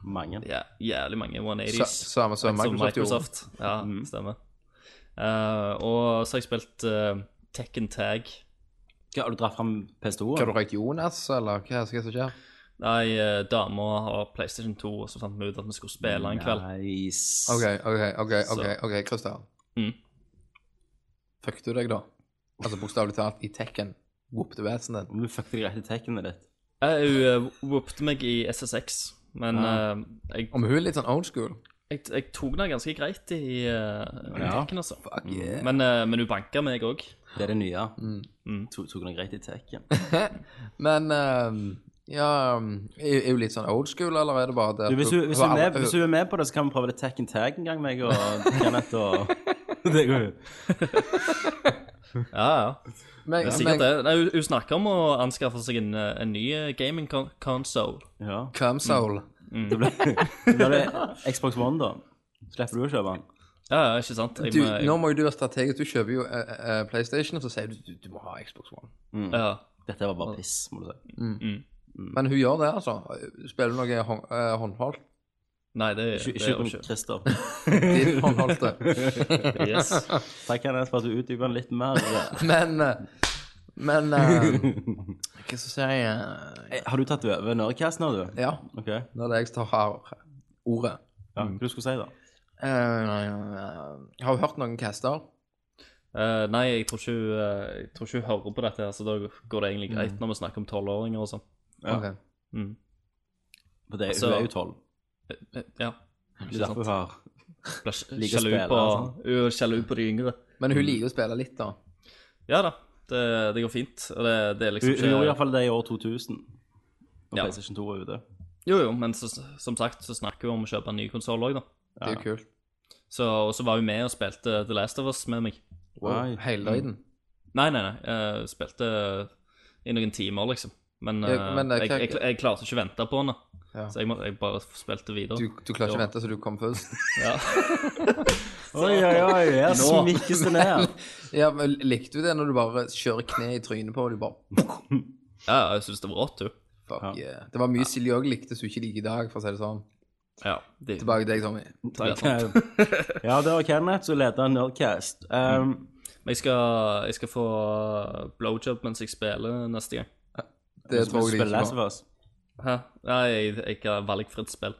Speaker 5: Mange.
Speaker 6: ja. Jævlig mange
Speaker 7: Sa-
Speaker 6: 180s.
Speaker 7: Samme som Microsoft gjorde.
Speaker 6: Microsoft. Ja, stemmer. Eh, og så har jeg spilt eh, Tekken Tag.
Speaker 5: Hva, har du dratt fram PS2?
Speaker 7: Har du røykt Jonas, eller hva er det som skjer?
Speaker 6: Nei, eh, dama har PlayStation 2, og så fant vi ut at vi skulle spille
Speaker 5: Mm,
Speaker 6: en kveld.
Speaker 5: Nice.
Speaker 7: OK, OK, OK, ok,
Speaker 6: Så-
Speaker 7: ok, Christer.
Speaker 6: Mm.
Speaker 7: Fucket du deg, da? Altså bokstavelig talt, i Tekken. Whoopte vesenet din.
Speaker 5: Om du fucket deg rett i tekkene ditt.
Speaker 6: Jeg uh, whoopte meg i SSX, men
Speaker 5: Ja.
Speaker 6: eh, jeg,
Speaker 7: Om hun er litt sånn old school
Speaker 6: jeg, jeg tok den ganske greit i uh,
Speaker 5: Ja.
Speaker 6: tekken, altså.
Speaker 7: Fuck yeah.
Speaker 6: Men, eh, men hun banka meg òg.
Speaker 5: Det er det nye.
Speaker 7: Mm.
Speaker 6: Mm.
Speaker 5: To- Tok noe greit i tekken.
Speaker 7: Men eh, ja um, Er er hun litt sånn old school, eller er det bare det
Speaker 5: Du,
Speaker 7: at
Speaker 5: hvis, du, hvis, du er
Speaker 7: har
Speaker 5: med,
Speaker 7: aldri-
Speaker 5: hvis du er med på det, så kan vi prøve det tag and tag en gang, meg og Kenneth og Det går jo.
Speaker 6: Ja, ja.
Speaker 7: men,
Speaker 6: Det er
Speaker 7: men,
Speaker 6: sikkert det. Nei, hun- hun snakker om å anskaffe seg en, eh, en ny eh, gaming con console.
Speaker 5: Ja.
Speaker 7: Cumsoul.
Speaker 6: Mm.
Speaker 5: Da er det Xbox One, da. Slipper du å kjøpe den?
Speaker 6: Ja, ja, ikke sant? Jeg,
Speaker 7: Du,
Speaker 6: må- jeg,
Speaker 7: nå må jo du være strategisk. Du kjøper jo eh, eh, PlayStation, og så sier du du, du må ha Xbox One.
Speaker 6: ja.
Speaker 5: Dette var bare piss, må du si.
Speaker 6: Mm.
Speaker 7: Men hun gjør det, altså. Spiller du noe hånd, eh, håndholdt?
Speaker 6: Nei, det, det er
Speaker 5: Skyt
Speaker 6: hun
Speaker 5: om
Speaker 6: ikke.
Speaker 5: Christer.
Speaker 7: Ditt håndholdte.
Speaker 6: Yes.
Speaker 5: Takk, Kenneth, for at du utdyper den litt mer.
Speaker 7: Men eh, Men eh, Hva skal jeg si eh,
Speaker 5: Eh, Har du tatt over Nerdcast nå, du?
Speaker 7: Ja,
Speaker 5: OK. Ja,
Speaker 7: nå er det jeg som har ordet.
Speaker 5: Hva du skulle si, da?
Speaker 7: Eh, jeg har jo hørt noen caster.
Speaker 6: Eh, nei, jeg tror, ikke, hun, eh, jeg tror ikke hun hører på dette, her, så da går det egentlig greit når vi snakker om tolvåringer og sånn.
Speaker 5: Ja.
Speaker 7: Ok.
Speaker 6: Mm.
Speaker 5: For det,
Speaker 6: Altså-
Speaker 5: hun er jo tolv.
Speaker 6: Eh, Ja.
Speaker 5: Det er derfor hun har
Speaker 6: Blir sj-
Speaker 5: Liker å
Speaker 6: sjalu
Speaker 5: spille,
Speaker 6: på,
Speaker 7: sånn.
Speaker 5: altså.
Speaker 6: hun er sjalu på de yngre.
Speaker 7: Men
Speaker 5: Mm.
Speaker 7: hun liker å spille litt, da.
Speaker 6: Ja da, det, det går fint. Og det, det er
Speaker 5: Hun,
Speaker 6: liksom
Speaker 5: hun gjorde
Speaker 6: ikke
Speaker 5: iallfall det i år 2000. Når
Speaker 6: Ja.
Speaker 5: PlayStation 2 var ute.
Speaker 6: Jo jo, men så, som sagt så snakker hun om å kjøpe en ny konsoll òg, da.
Speaker 7: Det er jo kult.
Speaker 6: Så, og så var hun med og spilte The Last of Us med meg.
Speaker 5: Wow.
Speaker 7: Hele døgnet.
Speaker 5: Mm.
Speaker 6: Nei, nei, nei. eh, spilte i noen timer, liksom. Men,
Speaker 7: Ja,
Speaker 6: eh,
Speaker 7: men, eh,
Speaker 6: jeg,
Speaker 7: hva-
Speaker 6: jeg, jeg klarte ikke å vente på henne.
Speaker 7: Ja.
Speaker 6: Så jeg, må, jeg bare spilte videre.
Speaker 7: Du, du klarer ikke å vente så du kommer først?
Speaker 6: Ja.
Speaker 5: Oi, oi, oi. Her smikkes det ned.
Speaker 7: Ja, men Likte du det når du bare kjører kne i trynet på og du bare
Speaker 6: ja, jeg syns det var rått, du.
Speaker 7: Fuck
Speaker 5: Ja.
Speaker 7: yeah. Det var mye Silje òg likte som hun ikke liker i dag, for å si det sånn.
Speaker 6: Ja, de,
Speaker 7: Tilbake til deg, Tommy.
Speaker 6: det er sant.
Speaker 5: ja, det var Kenneth som leda Nerdcast.
Speaker 7: Mm.
Speaker 5: Um,
Speaker 6: Men jeg skal, jeg skal få blowjob mens jeg spiller neste gang.
Speaker 7: Det
Speaker 5: Skal
Speaker 7: tror
Speaker 5: vi
Speaker 7: jeg
Speaker 5: spille
Speaker 7: de
Speaker 5: Last
Speaker 7: ikke
Speaker 5: of
Speaker 7: på.
Speaker 5: Us?
Speaker 6: Hæ? Nei, jeg, jeg har valgfritt spill.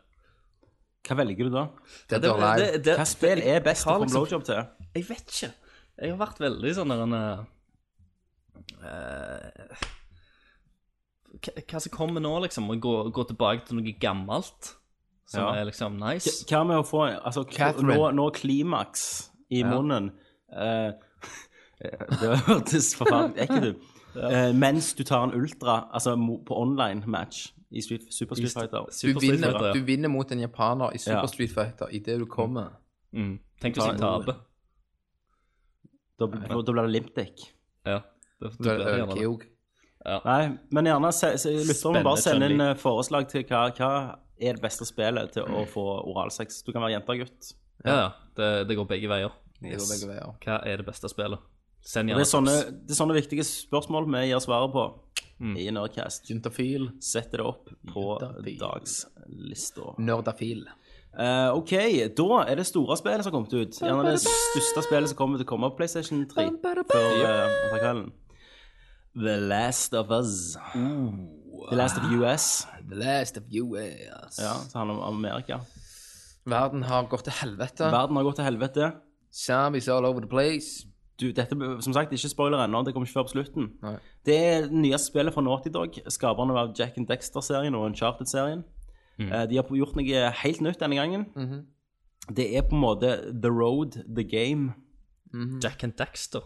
Speaker 5: Hva velger du da?
Speaker 7: Det er live.
Speaker 5: Hva spill er best å
Speaker 6: har
Speaker 5: få
Speaker 6: liksom-
Speaker 5: blowjob til?
Speaker 6: Jeg vet ikke. Jeg har vært veldig sånn der en eh, hva- Hva som kommer nå, liksom? Å gå, gå tilbake til noe gammelt som
Speaker 5: Ja.
Speaker 6: er liksom nice?
Speaker 5: Hva med å få altså,
Speaker 7: Catherine.
Speaker 5: nå, nå klimaks i munnen eh, Det hørtes forferdelig ekkelt ut. Eh, mens du tar en ultra altså, mo- på online-match i Street, Super Street Fighter.
Speaker 7: Du
Speaker 6: Super Street
Speaker 7: vinner,
Speaker 6: Fighter, ja.
Speaker 7: du vinner mot en japaner i Super
Speaker 5: Ja.
Speaker 7: Street Fighter idet du kommer.
Speaker 6: Mm. Tenk hvis jeg taper.
Speaker 5: Da, da, da blir det limp dick.
Speaker 6: Ja. Det, det
Speaker 7: Du er
Speaker 6: blir gjerne det.
Speaker 7: ølkeog.
Speaker 5: Nei, men gjerne se, se, lytter om
Speaker 6: Spennende,
Speaker 5: bare sende inn
Speaker 6: Kjell-Lik.
Speaker 5: eh, forslag til hva, hva er det beste spillet til å få oralsex. Du kan være jente og gutt.
Speaker 6: Ja, ja. Det, det går begge veier.
Speaker 7: Det går begge veier.
Speaker 6: Hva er det beste spillet?
Speaker 5: Og Det
Speaker 6: Send gjerne
Speaker 5: er, sånne,
Speaker 6: tips.
Speaker 5: det er sånne viktige spørsmål vi gir svaret på
Speaker 6: Mm.
Speaker 5: i Nerdcast.
Speaker 7: Juntafil.
Speaker 5: Sett det opp på
Speaker 7: Juntafil.
Speaker 5: dagslista.
Speaker 7: Nerdafil.
Speaker 5: Eh, OK, da er det store spillet som har kommet ut. Gjerne det største spillet som kommer til å komme på PlayStation 3 før eh, før kvelden. The Last of Us. The Last of US.
Speaker 7: The last of you is
Speaker 5: Ja, som handler om Amerika.
Speaker 7: Verden har gått til helvete.
Speaker 5: Verden har gått til helvete.
Speaker 7: Zombies all over the place.
Speaker 5: Du, dette, som sagt, ikke spoiler ennå, det kommer ikke før på slutten.
Speaker 7: Nei.
Speaker 5: Det er det nyeste spillet fra Naughty Dog, skaperne av Jack and Dexter-serien og Uncharted-serien. Eh, De har på- gjort noe helt nytt denne gangen.
Speaker 7: Mhm.
Speaker 5: Det er på en måte The Road, The Game.
Speaker 6: Jack and Daxter.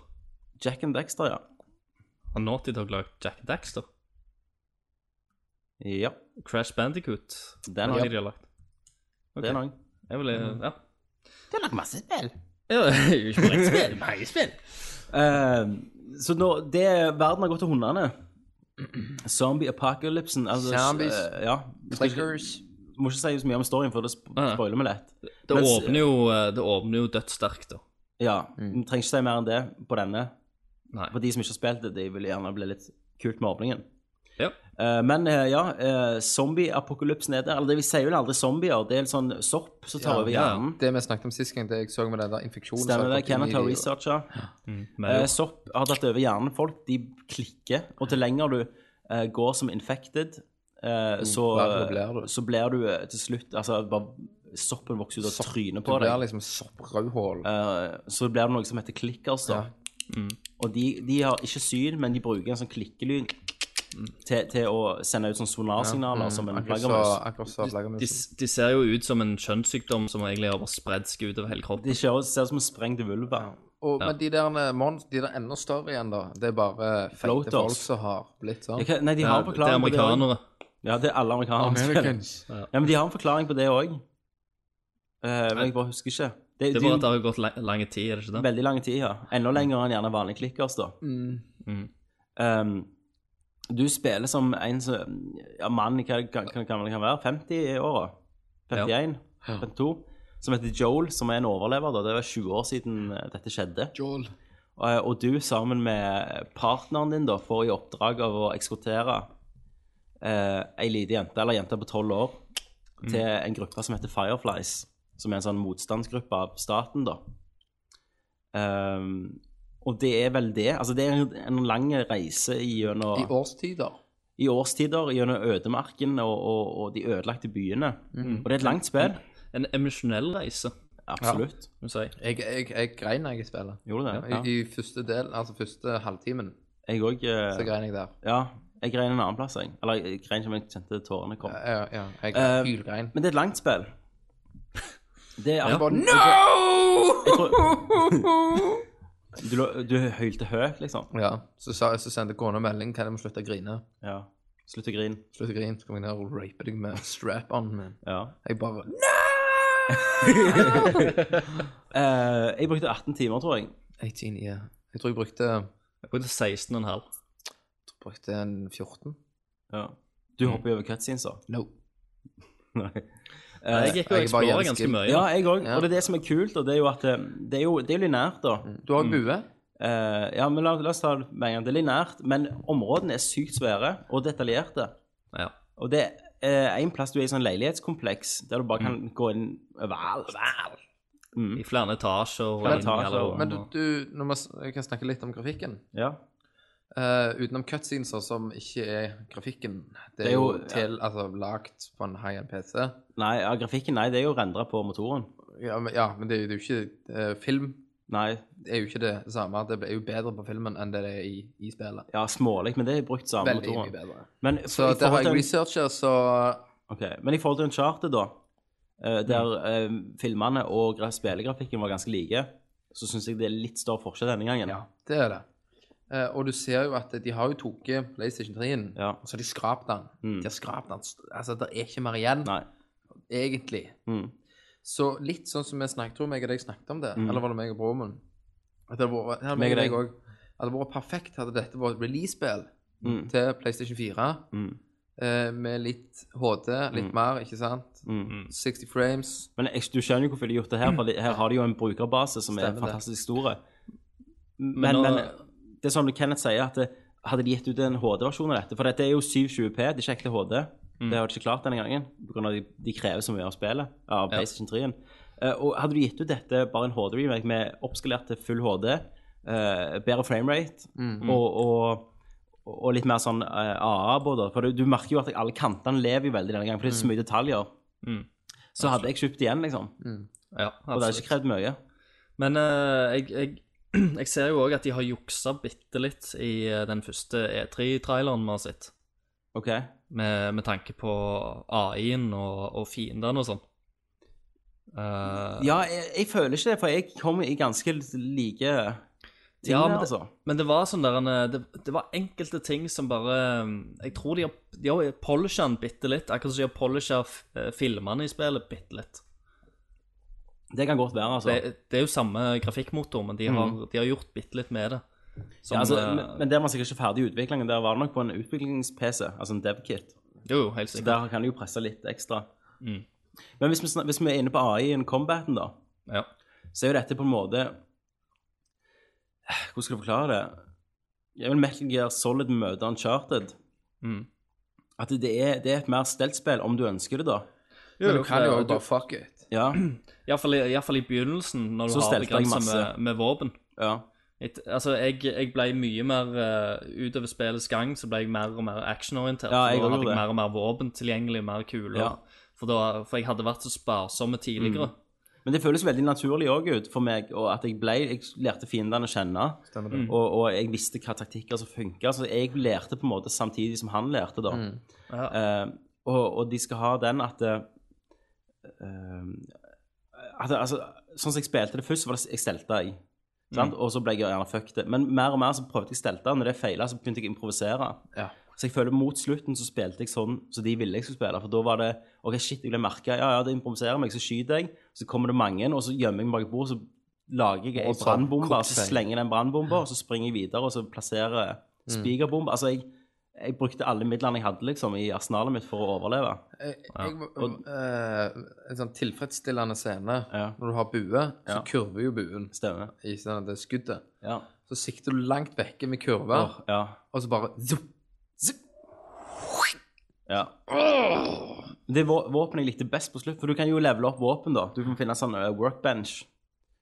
Speaker 5: Jack and Dexter, ja.
Speaker 6: Har Naughty Dog lagd Jack and Daxter?
Speaker 5: Ja,
Speaker 6: Crash Bandicoot.
Speaker 5: det er noe.
Speaker 6: de har lagt.
Speaker 5: Det er noe.
Speaker 6: Jeg vil, ja.
Speaker 5: Det er nok masse spill.
Speaker 6: ja ikke bare ett spill, mange spill.
Speaker 5: Ehm, så nå, det, verden har gått til hundene. Zombie apocalypsen. Altså,
Speaker 7: Zombies.
Speaker 5: eh, ja. Vi skal ikke-
Speaker 7: Clickers.
Speaker 5: Må ikke si så mye om storyen, for det sp-
Speaker 6: Nei, nei.
Speaker 5: spoiler vi lett.
Speaker 6: Det
Speaker 5: Mens-
Speaker 6: åpner jo, eh, det åpner jo dødssterkt, da.
Speaker 5: Ja, vi trenger ikke si mer enn det på denne.
Speaker 6: Mm. Nei.
Speaker 5: For de som ikke har spilt det, de vil gjerne bli litt kult med åpningen.
Speaker 6: Ja.
Speaker 5: Eh, men eh, ja, uh, zombie-apokalypsen er der. Eller det vi sier jo aldri zombier, det er litt sånn sopp som tar over
Speaker 6: ja.
Speaker 5: hjernen.
Speaker 7: Det vi snakket om sist gang, det jeg så med den der infeksjonen som
Speaker 5: Stemmer det,
Speaker 7: gått inn i
Speaker 5: Kenneth har
Speaker 7: de-
Speaker 5: researcha.
Speaker 6: Men
Speaker 5: Eh,
Speaker 6: jo,
Speaker 5: sopp har tatt over hjernen. Folk de klikker, og til lenger du eh, går som infected,
Speaker 7: Mm,
Speaker 5: eh, så,
Speaker 7: verre blir du.
Speaker 5: så blir du eh, til slutt Altså, bare soppen vokser ut av trynet på
Speaker 7: Du blir
Speaker 5: deg.
Speaker 7: liksom sopprødhål.
Speaker 5: Eh, så blir det noe som heter clickers, da.
Speaker 7: Mm.
Speaker 5: Og de, de har ikke syn, men de bruker en sånn klikkelyd til, til å sende ut sånn sonarsignaler som en
Speaker 7: Mm. Akkurat
Speaker 5: flaggermus.
Speaker 7: så- akkurat så
Speaker 6: De,
Speaker 7: flaggermusen.
Speaker 6: de ser jo ut som en kjønnssykdom som egentlig har bare spredd seg utover hele kroppen.
Speaker 5: De ser ut ser ut som en sprengt vulva.
Speaker 7: Og, Men de der, mons, de der enda større igjen, da, det er bare feite
Speaker 5: Floaters.
Speaker 7: folk som har blitt sånn.
Speaker 5: Jeg kan- Nei, de har en
Speaker 6: det er
Speaker 5: forklaring på det også.
Speaker 6: amerikanere.
Speaker 5: Ja, det er alle amerikanere. Ja, men de har en forklaring på det òg. men jeg bare husker ikke. Det,
Speaker 6: Det er bare at det har gått lang, lang tid, er det ikke det?
Speaker 5: Veldig lang tid, ja. Enda lenger enn gjerne vanlige klikkers, da.
Speaker 6: Mm.
Speaker 5: Ehm, du spiller som en som ja, mann i hva det kan, kan, kan, kan være, 50 i åra. 51, 52. Som heter Joel, som er en overlever. da. Det var 20 år siden eh, dette skjedde. Eh, og du sammen med partneren din da, får i oppdrag av å ekskortere eh, ei lita jente, eller jente på tolv år,
Speaker 7: Mm.
Speaker 5: til en gruppe som heter Fireflies. Som er en sånn motstandsgruppe av staten, da. Ehm, og det er vel det. Altså, det er en, en lang reise gjennom
Speaker 7: I årstider.
Speaker 5: i årstider gjennom ødemarken og, og, og de ødelagte byene.
Speaker 7: Mm.
Speaker 5: Og det er et langt spill.
Speaker 6: En emosjonell reise,
Speaker 5: Absolutt.
Speaker 6: må jeg si.
Speaker 7: Jeg, jeg, jeg grein når jeg spiller.
Speaker 5: Gjorde det?
Speaker 7: I, I første del, altså første halvtimen,
Speaker 5: Jeg òg
Speaker 7: så grein jeg der.
Speaker 5: Ja. Jeg grein en annen plass, jeg. Eller jeg grein ikke, men jeg kjente tårene kom.
Speaker 7: Ja, ja, jeg
Speaker 5: Eh,
Speaker 7: hylgrein.
Speaker 5: Men det er et langt spill. Det er
Speaker 7: Bare,
Speaker 5: jeg tror- Du, lå- du høylte høyt, liksom.
Speaker 7: Ja, så, sa, så sendte kona melding kan jeg må slutte å grine.
Speaker 5: Ja. Slutt å grine.
Speaker 7: Slutt å grine, så kommer jeg ned og raper deg med strap-on. min.
Speaker 5: Ja.
Speaker 7: Jeg bare
Speaker 5: Eh, jeg brukte 18 timer, tror jeg.
Speaker 7: 18, ja. Jeg tror jeg brukte,
Speaker 6: Jeg brukte 16,5.
Speaker 7: brukte en 14.
Speaker 5: Ja. Du hopper jo over cutscenes, da.
Speaker 7: No.
Speaker 5: Nei.
Speaker 6: Jeg gikk jo
Speaker 7: jeg
Speaker 6: og
Speaker 7: var
Speaker 6: eksplora
Speaker 7: ganske-
Speaker 6: ganske mye.
Speaker 5: Ja, jeg òg.
Speaker 7: Ja.
Speaker 5: Og det er det som er kult, og det er jo at eh, det er jo, det er jo linært, da.
Speaker 7: Du har jo bue.
Speaker 5: Eh, ja, men la, la oss ta det med en gang. Det er linært, men områdene er sykt svære og detaljerte.
Speaker 6: Ja.
Speaker 5: Og det er en plass du er i sånn leilighetskompleks, der du bare kan gå inn overalt. Mm.
Speaker 6: I flere etasjer. og
Speaker 5: Flere
Speaker 6: inn i
Speaker 5: etasjer,
Speaker 6: alle
Speaker 5: og-
Speaker 6: rommene.
Speaker 7: Men du, du nå må, s- jeg kan snakke litt om grafikken.
Speaker 5: Ja.
Speaker 7: Eh, utenom cutsceneser som ikke er grafikken. Det er,
Speaker 5: Det er
Speaker 7: jo,
Speaker 5: jo-
Speaker 7: til, altså, lagt på en high-end PC.
Speaker 5: Nei, ja, grafikken nei, det er jo rendra på motoren.
Speaker 7: Ja, men, ja, men det, er jo- det er jo ikke eh, Film
Speaker 5: Nei,
Speaker 7: er jo ikke det samme. Det er jo bedre på filmen enn det det er i, i spillet.
Speaker 5: ja, smålig, men det er brukt samme
Speaker 7: Veldig mye
Speaker 5: motoren.
Speaker 7: bedre.
Speaker 5: Men, f-
Speaker 7: Så
Speaker 5: i
Speaker 7: det
Speaker 5: forhold
Speaker 7: har
Speaker 5: til
Speaker 7: jeg
Speaker 5: en-
Speaker 7: researcha, så
Speaker 5: ok, men i forhold til Uncharted, da, eh, der eh,
Speaker 7: Mm.
Speaker 5: filmene og gra- spillegrafikken var ganske like, så syns jeg det er litt større forskjell denne gangen.
Speaker 7: Ja, det er det. Eh, og du ser jo at de har jo tatt PlayStation 3-en,
Speaker 5: Ja.
Speaker 7: og så har de skrapt den.
Speaker 5: Mm.
Speaker 7: De har skrapt den. Altså, det er ikke mer igjen,
Speaker 5: Nei.
Speaker 7: egentlig.
Speaker 5: Mm.
Speaker 7: Så litt sånn som vi snakket, tror meg og deg snakket om det, eller var det meg og Broman? At det hadde vært,
Speaker 5: Meg og deg.
Speaker 7: også. At det hadde vært perfekt hadde dette vært et release-spill
Speaker 5: Mm.
Speaker 7: til PlayStation 4,
Speaker 5: Mm.
Speaker 7: eh, med litt HD, litt mer, ikke sant?
Speaker 5: Mm.
Speaker 7: 60 frames.
Speaker 5: Men jeg, du skjønner jo hvorfor de har gjort det her, for de- her har de jo en brukerbase som
Speaker 7: Mm. Stemmer det.
Speaker 5: er fantastisk stor. Men,
Speaker 6: Men
Speaker 5: men,
Speaker 6: nå-
Speaker 5: det er sånn Kenneth sier, at det, hadde de gitt ut en HD-versjon av dette For dette er jo 720P, det er ikke ekte HD.
Speaker 6: Mm.
Speaker 5: Det har de ikke klart denne gangen, pga. de, de krever så mye av spillet. Av PlayStation 3-en. Eh, og hadde du gitt ut dette bare en HD-remake med oppskalert til full HD, eh, bedre framerate
Speaker 6: Mm.
Speaker 5: og, og og litt mer sånn eh, AA på det. For du, du merker jo at alle kantene lever jo veldig denne gangen, for det er så mye detaljer.
Speaker 6: Mm.
Speaker 5: Så hadde jeg kjøpt igjen, liksom.
Speaker 6: ja,
Speaker 5: Og det har
Speaker 6: absolutt.
Speaker 5: ikke krevd mye.
Speaker 6: Men eh, jeg, jeg, jeg ser jo òg at de har juksa bitte litt i eh, den første E3-traileren vi har sett,
Speaker 5: OK.
Speaker 6: med, med tanke på AI-en og, og fiendene og sånn. Eh,
Speaker 5: Ja, jeg, jeg føler ikke det, for jeg kom i ganske like ting,
Speaker 6: Ja, men det-
Speaker 5: altså.
Speaker 6: Men det var sånn der en, eh, det, det var enkelte ting som bare eh, Jeg tror de har, de har polisha den bitte litt, akkurat som de har polisha f- eh, filmene i spillet bitte litt.
Speaker 5: Det kan godt være, altså.
Speaker 6: Det, det er jo samme grafikkmotor, men de har, de har gjort bitte litt med det.
Speaker 5: Mm.
Speaker 6: Som,
Speaker 5: ja, altså
Speaker 6: eh,
Speaker 5: men, men der var sikkert ikke ferdig i utviklingen. Der var det nok på en utviklings-PC, altså en dev-kit.
Speaker 6: Jo, jo, helt
Speaker 5: Så
Speaker 6: sikkert.
Speaker 5: der kan du jo presse litt ekstra.
Speaker 6: Mm.
Speaker 5: Men hvis vi, snak- hvis vi er inne på AI-en, combaten, da.
Speaker 6: Ja.
Speaker 5: så er jo dette på en måte eh, Hvordan skal jeg forklare det? Jeg vil Metal Gear Solid møte Uncharted.
Speaker 6: Mm.
Speaker 5: At det er, det er et mer stelt spill, om du ønsker det, da.
Speaker 6: Jo,
Speaker 7: Men du
Speaker 6: jo,
Speaker 7: kan
Speaker 6: for-
Speaker 7: jo
Speaker 6: eh, du-
Speaker 7: bare fuck it.
Speaker 5: Ja.
Speaker 6: Iallfall i, i, hvert fall i begynnelsen, når du
Speaker 5: Så
Speaker 6: har
Speaker 5: stelte jeg
Speaker 6: begrensa
Speaker 5: masse.
Speaker 6: med, med våpen.
Speaker 5: ja.
Speaker 6: Et, altså, jeg, jeg ble mye mer eh, Utover spillets gang så ble jeg mer og mer actionorientert.
Speaker 5: Ja, jeg
Speaker 6: for
Speaker 5: gjorde
Speaker 6: da hadde jeg
Speaker 5: det.
Speaker 6: mer og mer våpen tilgjengelig, mer kuler.
Speaker 5: Ja.
Speaker 6: For, da, for jeg hadde vært så sparsomme tidligere.
Speaker 5: Mm. Men det føles veldig naturlig òg ut for meg, og at jeg ble Jeg lærte fiendene å kjenne. Og, og jeg visste hva taktikker som funka, så jeg lærte på en måte samtidig som han lærte, da.
Speaker 6: Ja.
Speaker 5: Eh, og, og de skal ha den at eh, at, det- altså, Sånn som jeg spilte det først, så var det jeg stelte jeg. Sant? Og så ble jeg gjerne fucked. it. Men mer og mer så prøvde jeg stelte, og når det feila, så begynte jeg å improvisere.
Speaker 7: Ja.
Speaker 5: Så jeg føler mot slutten så spilte jeg sånn som de ville jeg skulle spille. For da var det OK, shit, jeg ble merka. Ja, ja, det improviserer meg. Så skyter jeg. Så kommer det mange, og så gjemmer jeg meg bak et bord. Så lager jeg en
Speaker 7: Og så
Speaker 5: brannbombe, og så
Speaker 7: cocktail.
Speaker 5: slenger jeg den brannbomba, og så springer jeg videre, og så plasserer
Speaker 7: Mm.
Speaker 5: spigerbombe. Altså, jeg, jeg brukte alle midlene jeg hadde liksom, i arsenalet mitt for å overleve.
Speaker 7: Jeg, jeg, eh, en sånn tilfredsstillende scene
Speaker 5: Ja.
Speaker 7: Når du har bue, så
Speaker 5: Ja.
Speaker 7: kurver jo buen
Speaker 5: Stemmer.
Speaker 7: i sånn det skuddet.
Speaker 5: Ja.
Speaker 7: Så sikter du langt vekke med kurver,
Speaker 5: Åh, ja.
Speaker 7: og så bare zoom,
Speaker 5: Ja. Det er vå- våpenet jeg likte best på slutt, for du kan jo levele opp våpen, da. Du kan finne sånn eh, workbench,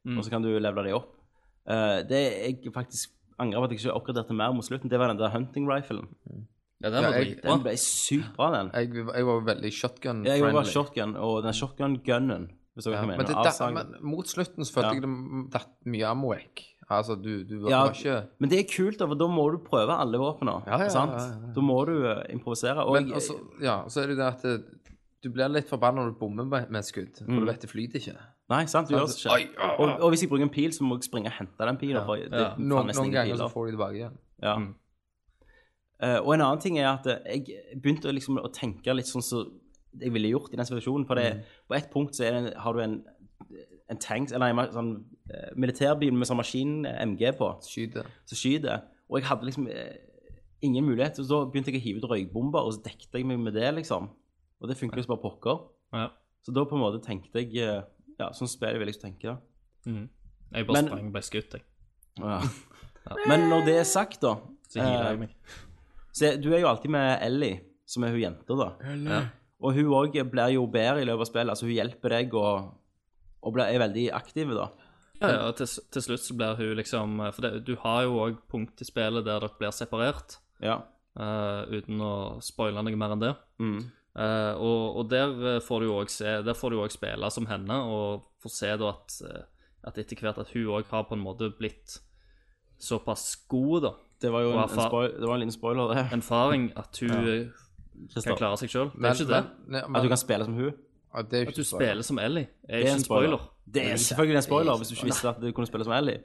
Speaker 7: Mm.
Speaker 5: og så kan du levele de opp. Eh, det jeg faktisk angrer på at jeg ikke oppgraderte mer mot slutten, det var den der hunting riflen.
Speaker 6: Ja, den var
Speaker 7: Ja, jeg-
Speaker 6: dritbra.
Speaker 5: Den ble sykt bra, den.
Speaker 7: Jeg, jeg var jo veldig shotgun-friendly.
Speaker 5: Jeg gjorde bare shotgun, og den shotgun-gunnen, hvis
Speaker 7: Ja,
Speaker 5: dere hva jeg
Speaker 7: men,
Speaker 5: mener.
Speaker 7: det, da,
Speaker 5: avsagen.
Speaker 7: men mot slutten så følte
Speaker 5: Ja.
Speaker 7: jeg det m- datt mye ammo vekk. Altså, du, du var,
Speaker 5: Ja.
Speaker 7: var ikke
Speaker 5: Men det er kult, da, for da må du prøve alle våpnene.
Speaker 7: Ja, ja, ja,
Speaker 5: sant?
Speaker 7: ja, ja.
Speaker 5: Da må du eh, improvisere. Og
Speaker 7: Men
Speaker 5: jeg-
Speaker 7: altså, ja, så er det jo det at det, du blir litt forbanna når du bommer med med et skudd, for du vet det flyter ikke. Altså,
Speaker 5: Nei, sant? Du gjør Mm. det
Speaker 7: Oi,
Speaker 5: ikke. Og, og hvis jeg bruker en pil, så må jeg springe og hente den pilen. for det er faen
Speaker 7: Noen,
Speaker 5: nesten
Speaker 7: noen
Speaker 5: ingen
Speaker 7: ganger
Speaker 5: piler.
Speaker 7: så får du det tilbake igjen.
Speaker 5: Ja. Mm. Eh, og en annen ting er at eh, jeg begynte å liksom å tenke litt sånn som jeg ville gjort i den situasjonen. For det,
Speaker 6: Mm.
Speaker 5: på et punkt så er det, en- har du en, en tanks, eller en ma- sånn eh, militærbil med sånn maskin-MG på,
Speaker 7: Skyter.
Speaker 5: som skyter. Og jeg hadde liksom eh, ingen mulighet. Så da begynte jeg å hive ut røykbomber, og så dekte jeg meg med det, liksom. Og det funker jo som bare pokker.
Speaker 6: Ja.
Speaker 5: Så da på en måte tenkte jeg eh, Ja, sånn spiller vil jeg ikke tenke. da.
Speaker 6: Mm. Jeg bare
Speaker 5: Men-
Speaker 6: sprang og ble skutt, jeg.
Speaker 5: Ja. Men når det er sagt, da
Speaker 6: Så healet
Speaker 5: eh,
Speaker 6: jeg meg.
Speaker 5: Se, du er jo alltid med Ellie, som er hun jenta, da. Ja. Og hun òg blir jo bedre i løpet av spillet. Altså, hun hjelper deg og, og blir, er veldig aktiv, da.
Speaker 6: Ja, ja, og til, s- til slutt så blir hun liksom For det, du har jo òg punkt i spillet der dere blir separert,
Speaker 5: Ja.
Speaker 6: eh, uten å spoile noe mer enn det.
Speaker 5: Mm.
Speaker 6: Eh, og, og der eh, får du jo også se Der får du jo også spille som henne, og får se da at, eh, at etter hvert at hun òg har på en måte blitt såpass god, da,
Speaker 5: Det var jo en,
Speaker 6: Hva
Speaker 5: en,
Speaker 6: faen?
Speaker 5: spoil, det var en liten spoiler, det.
Speaker 6: erfaring, at hun eh, kan
Speaker 5: Kristoffer.
Speaker 6: klare seg sjøl. Det er ikke det.
Speaker 7: Men, nei,
Speaker 5: At du
Speaker 7: men,
Speaker 5: kan spille som hun.
Speaker 7: ja, det er jo
Speaker 6: At du
Speaker 7: ikke spoiler.
Speaker 6: spiller som Ellie, er ikke en spoiler.
Speaker 5: Det er selvfølgelig en spoiler hvis du ikke visste at du kunne spille som Ellie.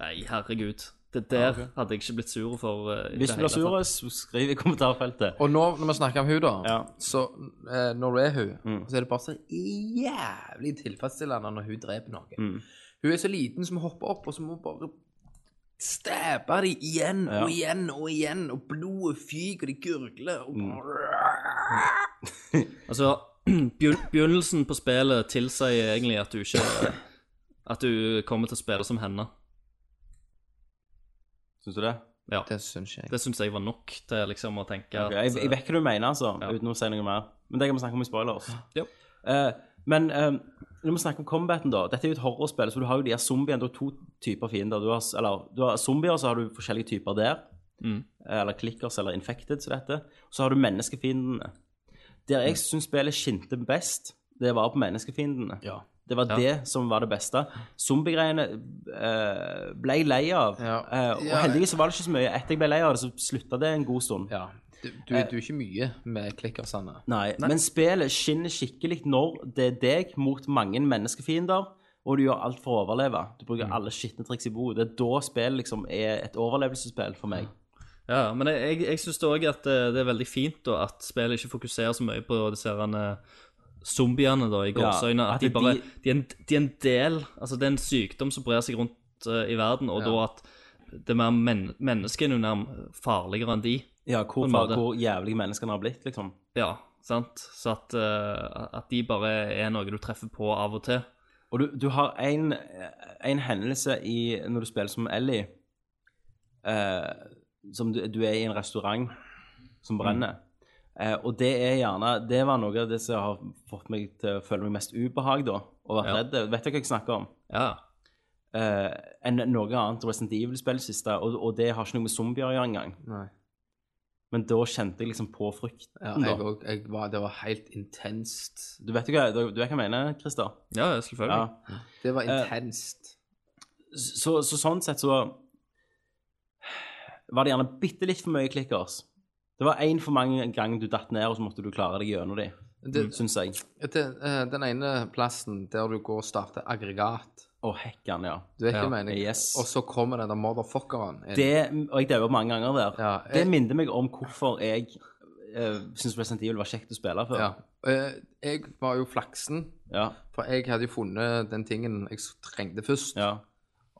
Speaker 6: Nei, herregud. Det der hadde jeg ikke blitt sur for. eh, i
Speaker 5: Hvis
Speaker 6: det
Speaker 5: du blir
Speaker 6: hele
Speaker 5: sur,
Speaker 6: tatt.
Speaker 5: så skriv i kommentarfeltet.
Speaker 7: Og nå når vi snakker om hun da,
Speaker 5: Ja. Mm.
Speaker 7: så eh, når du er hun, så er det bare så jævlig tilfredsstillende når hun dreper noen.
Speaker 5: Mm.
Speaker 7: Hun er så liten som hopper opp, og så må hun bare stabbe de igjen
Speaker 5: Ja.
Speaker 7: og igjen og igjen, og blodet fyker, og de gurgler, og
Speaker 5: Mm.
Speaker 7: bare...
Speaker 6: Altså, begyn- begynnelsen på spillet tilsier egentlig at du ikke At du kommer til å spille som henne.
Speaker 5: Syns du det?
Speaker 6: Ja.
Speaker 7: Det syns jeg.
Speaker 6: Det syns jeg var nok til liksom å tenke
Speaker 5: Ok, Jeg, jeg
Speaker 6: at
Speaker 5: vet hva du mener, altså,
Speaker 6: Ja.
Speaker 5: uten å si noe mer. Men det kan vi snakke om i spoilers.
Speaker 6: Ja.
Speaker 5: Eh, men eh, når vi snakker om combaten, da. Dette er jo et horrorspill, så du har jo de her zombiene. Du har to typer fiender. Du har, s- eller, du har zombier, så har du forskjellige typer der. Eh,
Speaker 6: Mm.
Speaker 5: Eller clickers eller infected, som det heter. Så har du menneskefiendene. Der
Speaker 6: Mm.
Speaker 5: jeg syns spillet skinte best, det var på menneskefiendene. Det var
Speaker 6: Ja.
Speaker 5: det som var det beste. Zombiegreiene eh, ble jeg lei av.
Speaker 7: Ja.
Speaker 5: Eh, og
Speaker 7: Ja,
Speaker 5: heldigvis så var det ikke så mye. Etter jeg ble lei av det, så slutta det en god stund.
Speaker 7: Ja. Eh. Du, du, du er ikke mye med klikkersene.
Speaker 5: Nei, men spillet skinner skikkelig når det er deg mot mange menneskefiender, og du gjør alt for å overleve. Du bruker
Speaker 6: Mm.
Speaker 5: alle skitne triks i bordet. Det er da spillet liksom er et overlevelsesspill for meg.
Speaker 6: Ja, men jeg, jeg, jeg syns òg at eh, det er veldig fint da, at spillet ikke fokuserer så mye på disse herrene zombiene da, i
Speaker 5: Ja,
Speaker 6: gåseøyne.
Speaker 5: at
Speaker 6: at de
Speaker 5: det
Speaker 6: bare
Speaker 5: de-
Speaker 6: de er, en, de er en del Altså, det er en sykdom som brer seg rundt eh, i verden, og da at det mer men, menneskene er jo nærmest farligere enn de.
Speaker 5: Ja, hvor,
Speaker 6: en måte.
Speaker 5: hvor jævlige menneskene har blitt, liksom.
Speaker 6: Ja, sant? Så at, eh, at de bare er noe du treffer på av og til.
Speaker 5: Og du, du har en, en hendelse i, når du spiller som Ellie, eh, som du, du er i en restaurant som
Speaker 6: Mm.
Speaker 5: brenner. Eh, og det er gjerne, det var noe av det som har fått meg til å føle meg mest ubehag da, og vært
Speaker 6: Ja.
Speaker 5: redd. Vet du hva jeg snakker om?
Speaker 6: Ja.
Speaker 5: eh, enn noe annet Resident Evil-spill siste, og, og det har ikke noe med zombier å gjøre engang.
Speaker 7: Nei.
Speaker 5: Men da kjente jeg liksom på frykten.
Speaker 7: Ja,
Speaker 5: da.
Speaker 7: jeg, og, jeg var, det var helt intenst.
Speaker 5: Du vet jo hva, du, du vet hva jeg mener, Christer?
Speaker 6: Ja, ja, selvfølgelig.
Speaker 5: Ja.
Speaker 7: Det
Speaker 5: Eh.
Speaker 7: var intenst.
Speaker 5: Så, så sånn sett så var det gjerne bitte litt for mye clickers. Det var én for mange ganger du datt ned, og så måtte du klare deg gjennom de,
Speaker 7: det,
Speaker 5: syns jeg.
Speaker 7: det, eh, den ene plassen der du går og starter aggregat
Speaker 5: Å, hekkan, ja.
Speaker 7: Du vet
Speaker 6: Ja,
Speaker 7: ikke meningen.
Speaker 5: yes.
Speaker 7: Og så kommer den der motherfuckeren inn.
Speaker 5: Det, og jeg dauer mange ganger der.
Speaker 7: Ja,
Speaker 5: Det
Speaker 7: jeg-
Speaker 5: minner meg om hvorfor jeg uh, syns Resident Evil var kjekt å spille før.
Speaker 7: Ja. Eh, Jeg var jo flaksen,
Speaker 5: Ja.
Speaker 7: for jeg hadde jo funnet den tingen jeg trengte først.
Speaker 5: Ja.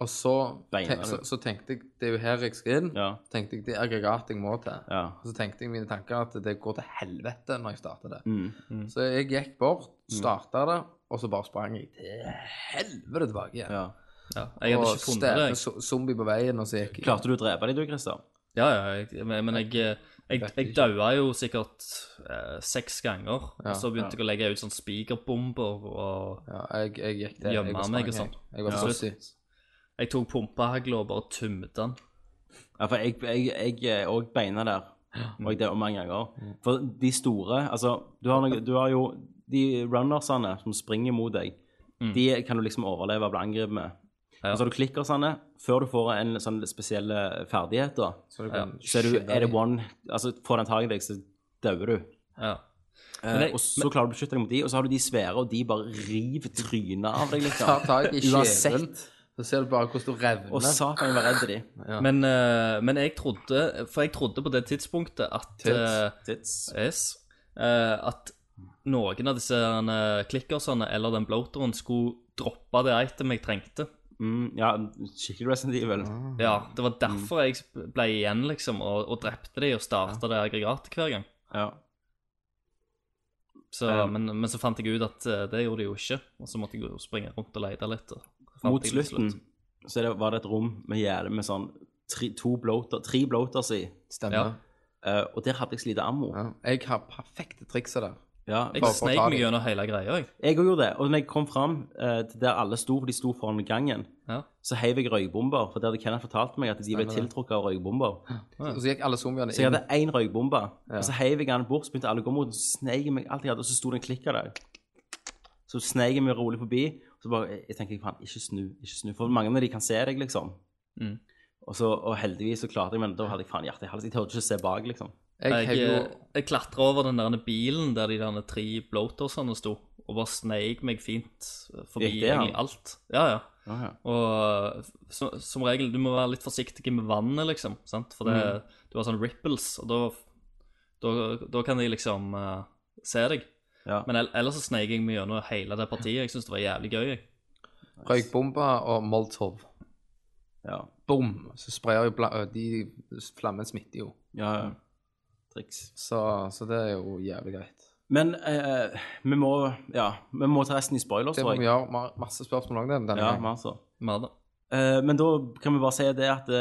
Speaker 7: Og så,
Speaker 5: Beina
Speaker 7: tenk,
Speaker 5: du.
Speaker 7: så, så tenkte jeg det er jo her jeg skal inn.
Speaker 5: Ja.
Speaker 7: Tenkte jeg det er aggregat jeg må til.
Speaker 5: ja.
Speaker 7: Og så tenkte jeg mine tanker at det går til helvete når jeg starter det.
Speaker 5: Mm.
Speaker 7: Så jeg gikk bort, starta det, og så bare sprang jeg til helvete tilbake igjen.
Speaker 5: ja.
Speaker 6: Ja. Jeg hadde
Speaker 7: og
Speaker 6: ikke funnet det.
Speaker 7: stabbe
Speaker 6: jeg.
Speaker 7: zo- zombie på veien, og så gikk jeg
Speaker 5: Klarte du å drepe de, du, Christer?
Speaker 6: Ja, ja, jeg, men men jeg, jeg, jeg daua jo sikkert eh, seks ganger.
Speaker 7: Ja,
Speaker 6: og så begynte jeg å legge ut sånn spikerbomber og
Speaker 7: Ja, jeg, jeg gikk der.
Speaker 6: Gjemme
Speaker 7: jeg var
Speaker 6: meg
Speaker 7: sprang, jeg.
Speaker 6: og sånn.
Speaker 7: Jeg var
Speaker 6: Ja.
Speaker 7: pussy.
Speaker 6: Jeg tok pumpehagla og bare tømte den.
Speaker 5: Ja, for jeg- jeg jeg er òg beina der. Og jeg dauer mange ganger. For de store Altså, du har, noe, du har jo de runnersene som springer mot deg.
Speaker 7: Mm.
Speaker 5: De kan du liksom overleve og bli angrepet med.
Speaker 6: Ja.
Speaker 5: Og så har du klikkersene. Før du får en sånn spesiell ferdighet, da,
Speaker 7: Så du kan
Speaker 5: så er, du,
Speaker 7: skyte
Speaker 5: er det
Speaker 7: de.
Speaker 5: one Altså, får den tak i deg, så dauer du.
Speaker 6: Ja.
Speaker 5: Eh,
Speaker 6: jeg-
Speaker 5: og så klarer du å beskytte deg mot de, og så har du de svære, og de bare river trynet av deg,
Speaker 7: Tar
Speaker 5: liksom.
Speaker 7: tak i kjeven,
Speaker 5: Uansett.
Speaker 7: så ser du bare hvordan du revner.
Speaker 5: Og satan, jeg var redd de.
Speaker 6: Men, eh, men jeg trodde For jeg trodde på det tidspunktet at eh,
Speaker 5: Tits.
Speaker 6: Yes. Eh, at noen av disse herne klikkersene eller den bloateren skulle droppe det itemet jeg trengte.
Speaker 5: Mm, ja, skikkelig Resident Evil.
Speaker 6: Ja,
Speaker 5: Mhm.
Speaker 6: Det var derfor jeg ble igjen, liksom, og, og drepte de og starta det aggregatet hver gang.
Speaker 5: Ja.
Speaker 6: Så,
Speaker 5: Ja.
Speaker 6: men, men så fant jeg ut at eh, det gjorde de jo ikke, og så måtte jeg jo springe rundt og lete litt. Og fant
Speaker 5: Mot
Speaker 6: jeg det til
Speaker 5: slutten
Speaker 6: slutt.
Speaker 5: så er det, var det et rom med gjerde med sånn tre, to bloater, tre bloaters i,
Speaker 6: Ja.
Speaker 7: Stemmer.
Speaker 5: Eh, og der hadde jeg så lite ammo.
Speaker 7: Ja. Jeg har perfekte trikset der.
Speaker 5: Ja,
Speaker 6: Jeg
Speaker 7: Bare for å
Speaker 6: sneik
Speaker 7: ta
Speaker 6: meg
Speaker 7: de.
Speaker 6: gjennom hele greia, jeg.
Speaker 5: jeg òg gjorde det. Og når jeg kom fram eh, til der alle sto, for de sto foran gangen,
Speaker 6: Ja.
Speaker 5: så heiv jeg røykbomber, for det hadde Kenneth fortalt meg at de ble
Speaker 7: Stemmer det.
Speaker 5: tiltrukket av røykbomber.
Speaker 7: Og så gikk alle zombiene
Speaker 5: Så jeg
Speaker 7: inn.
Speaker 5: hadde én røykbombe,
Speaker 7: Ja.
Speaker 5: og så heiv jeg den bort, så begynte alle å gå mot den, så sneik jeg meg alt jeg hadde, og så sto det en klikker der. Så sneik jeg meg rolig forbi, og så bare Jeg tenker faen, ikke snu, ikke snu. For mange av de kan se deg, liksom.
Speaker 6: Mm.
Speaker 5: Og, så, og heldigvis så klarte jeg, men da hadde jeg faen hjertet i halsen. Jeg tørte ikke å se bak, liksom.
Speaker 7: Jeg
Speaker 6: Jeg,
Speaker 7: heiv jo
Speaker 6: eh, jeg klatra over den der bilen der de der tre bloatersene sto, og bare sneik meg fint forbi
Speaker 5: Gikk det, ja?
Speaker 6: egentlig alt. Ja, ja.
Speaker 5: Ah, ja.
Speaker 6: Og eh, så, som regel, du må være litt forsiktig med vannet, liksom. sant? For det, du har sånne ripples, og da, da, da kan de liksom eh, se deg.
Speaker 5: Ja.
Speaker 6: Men ell- ellers så sneik jeg meg gjennom hele det partiet. Jeg syns det var jævlig gøy. jeg.
Speaker 7: røykbomber og Molotov.
Speaker 5: Ja.
Speaker 7: Bom! Så sprayer jo bla... øh, De flammen smitter jo.
Speaker 5: ja,
Speaker 7: Mm.
Speaker 5: ja. Triks.
Speaker 7: Så, så det er jo jævlig greit.
Speaker 5: Men eh, vi må Ja, vi må ta resten i spoilers,
Speaker 7: Det må
Speaker 5: tror
Speaker 7: vi
Speaker 5: jeg.
Speaker 7: gjøre. Vi har masse spørsmål om den denne
Speaker 5: Ja,
Speaker 7: gangen.
Speaker 5: men altså.
Speaker 6: Mer da.
Speaker 5: Eh, men da kan vi bare si det at det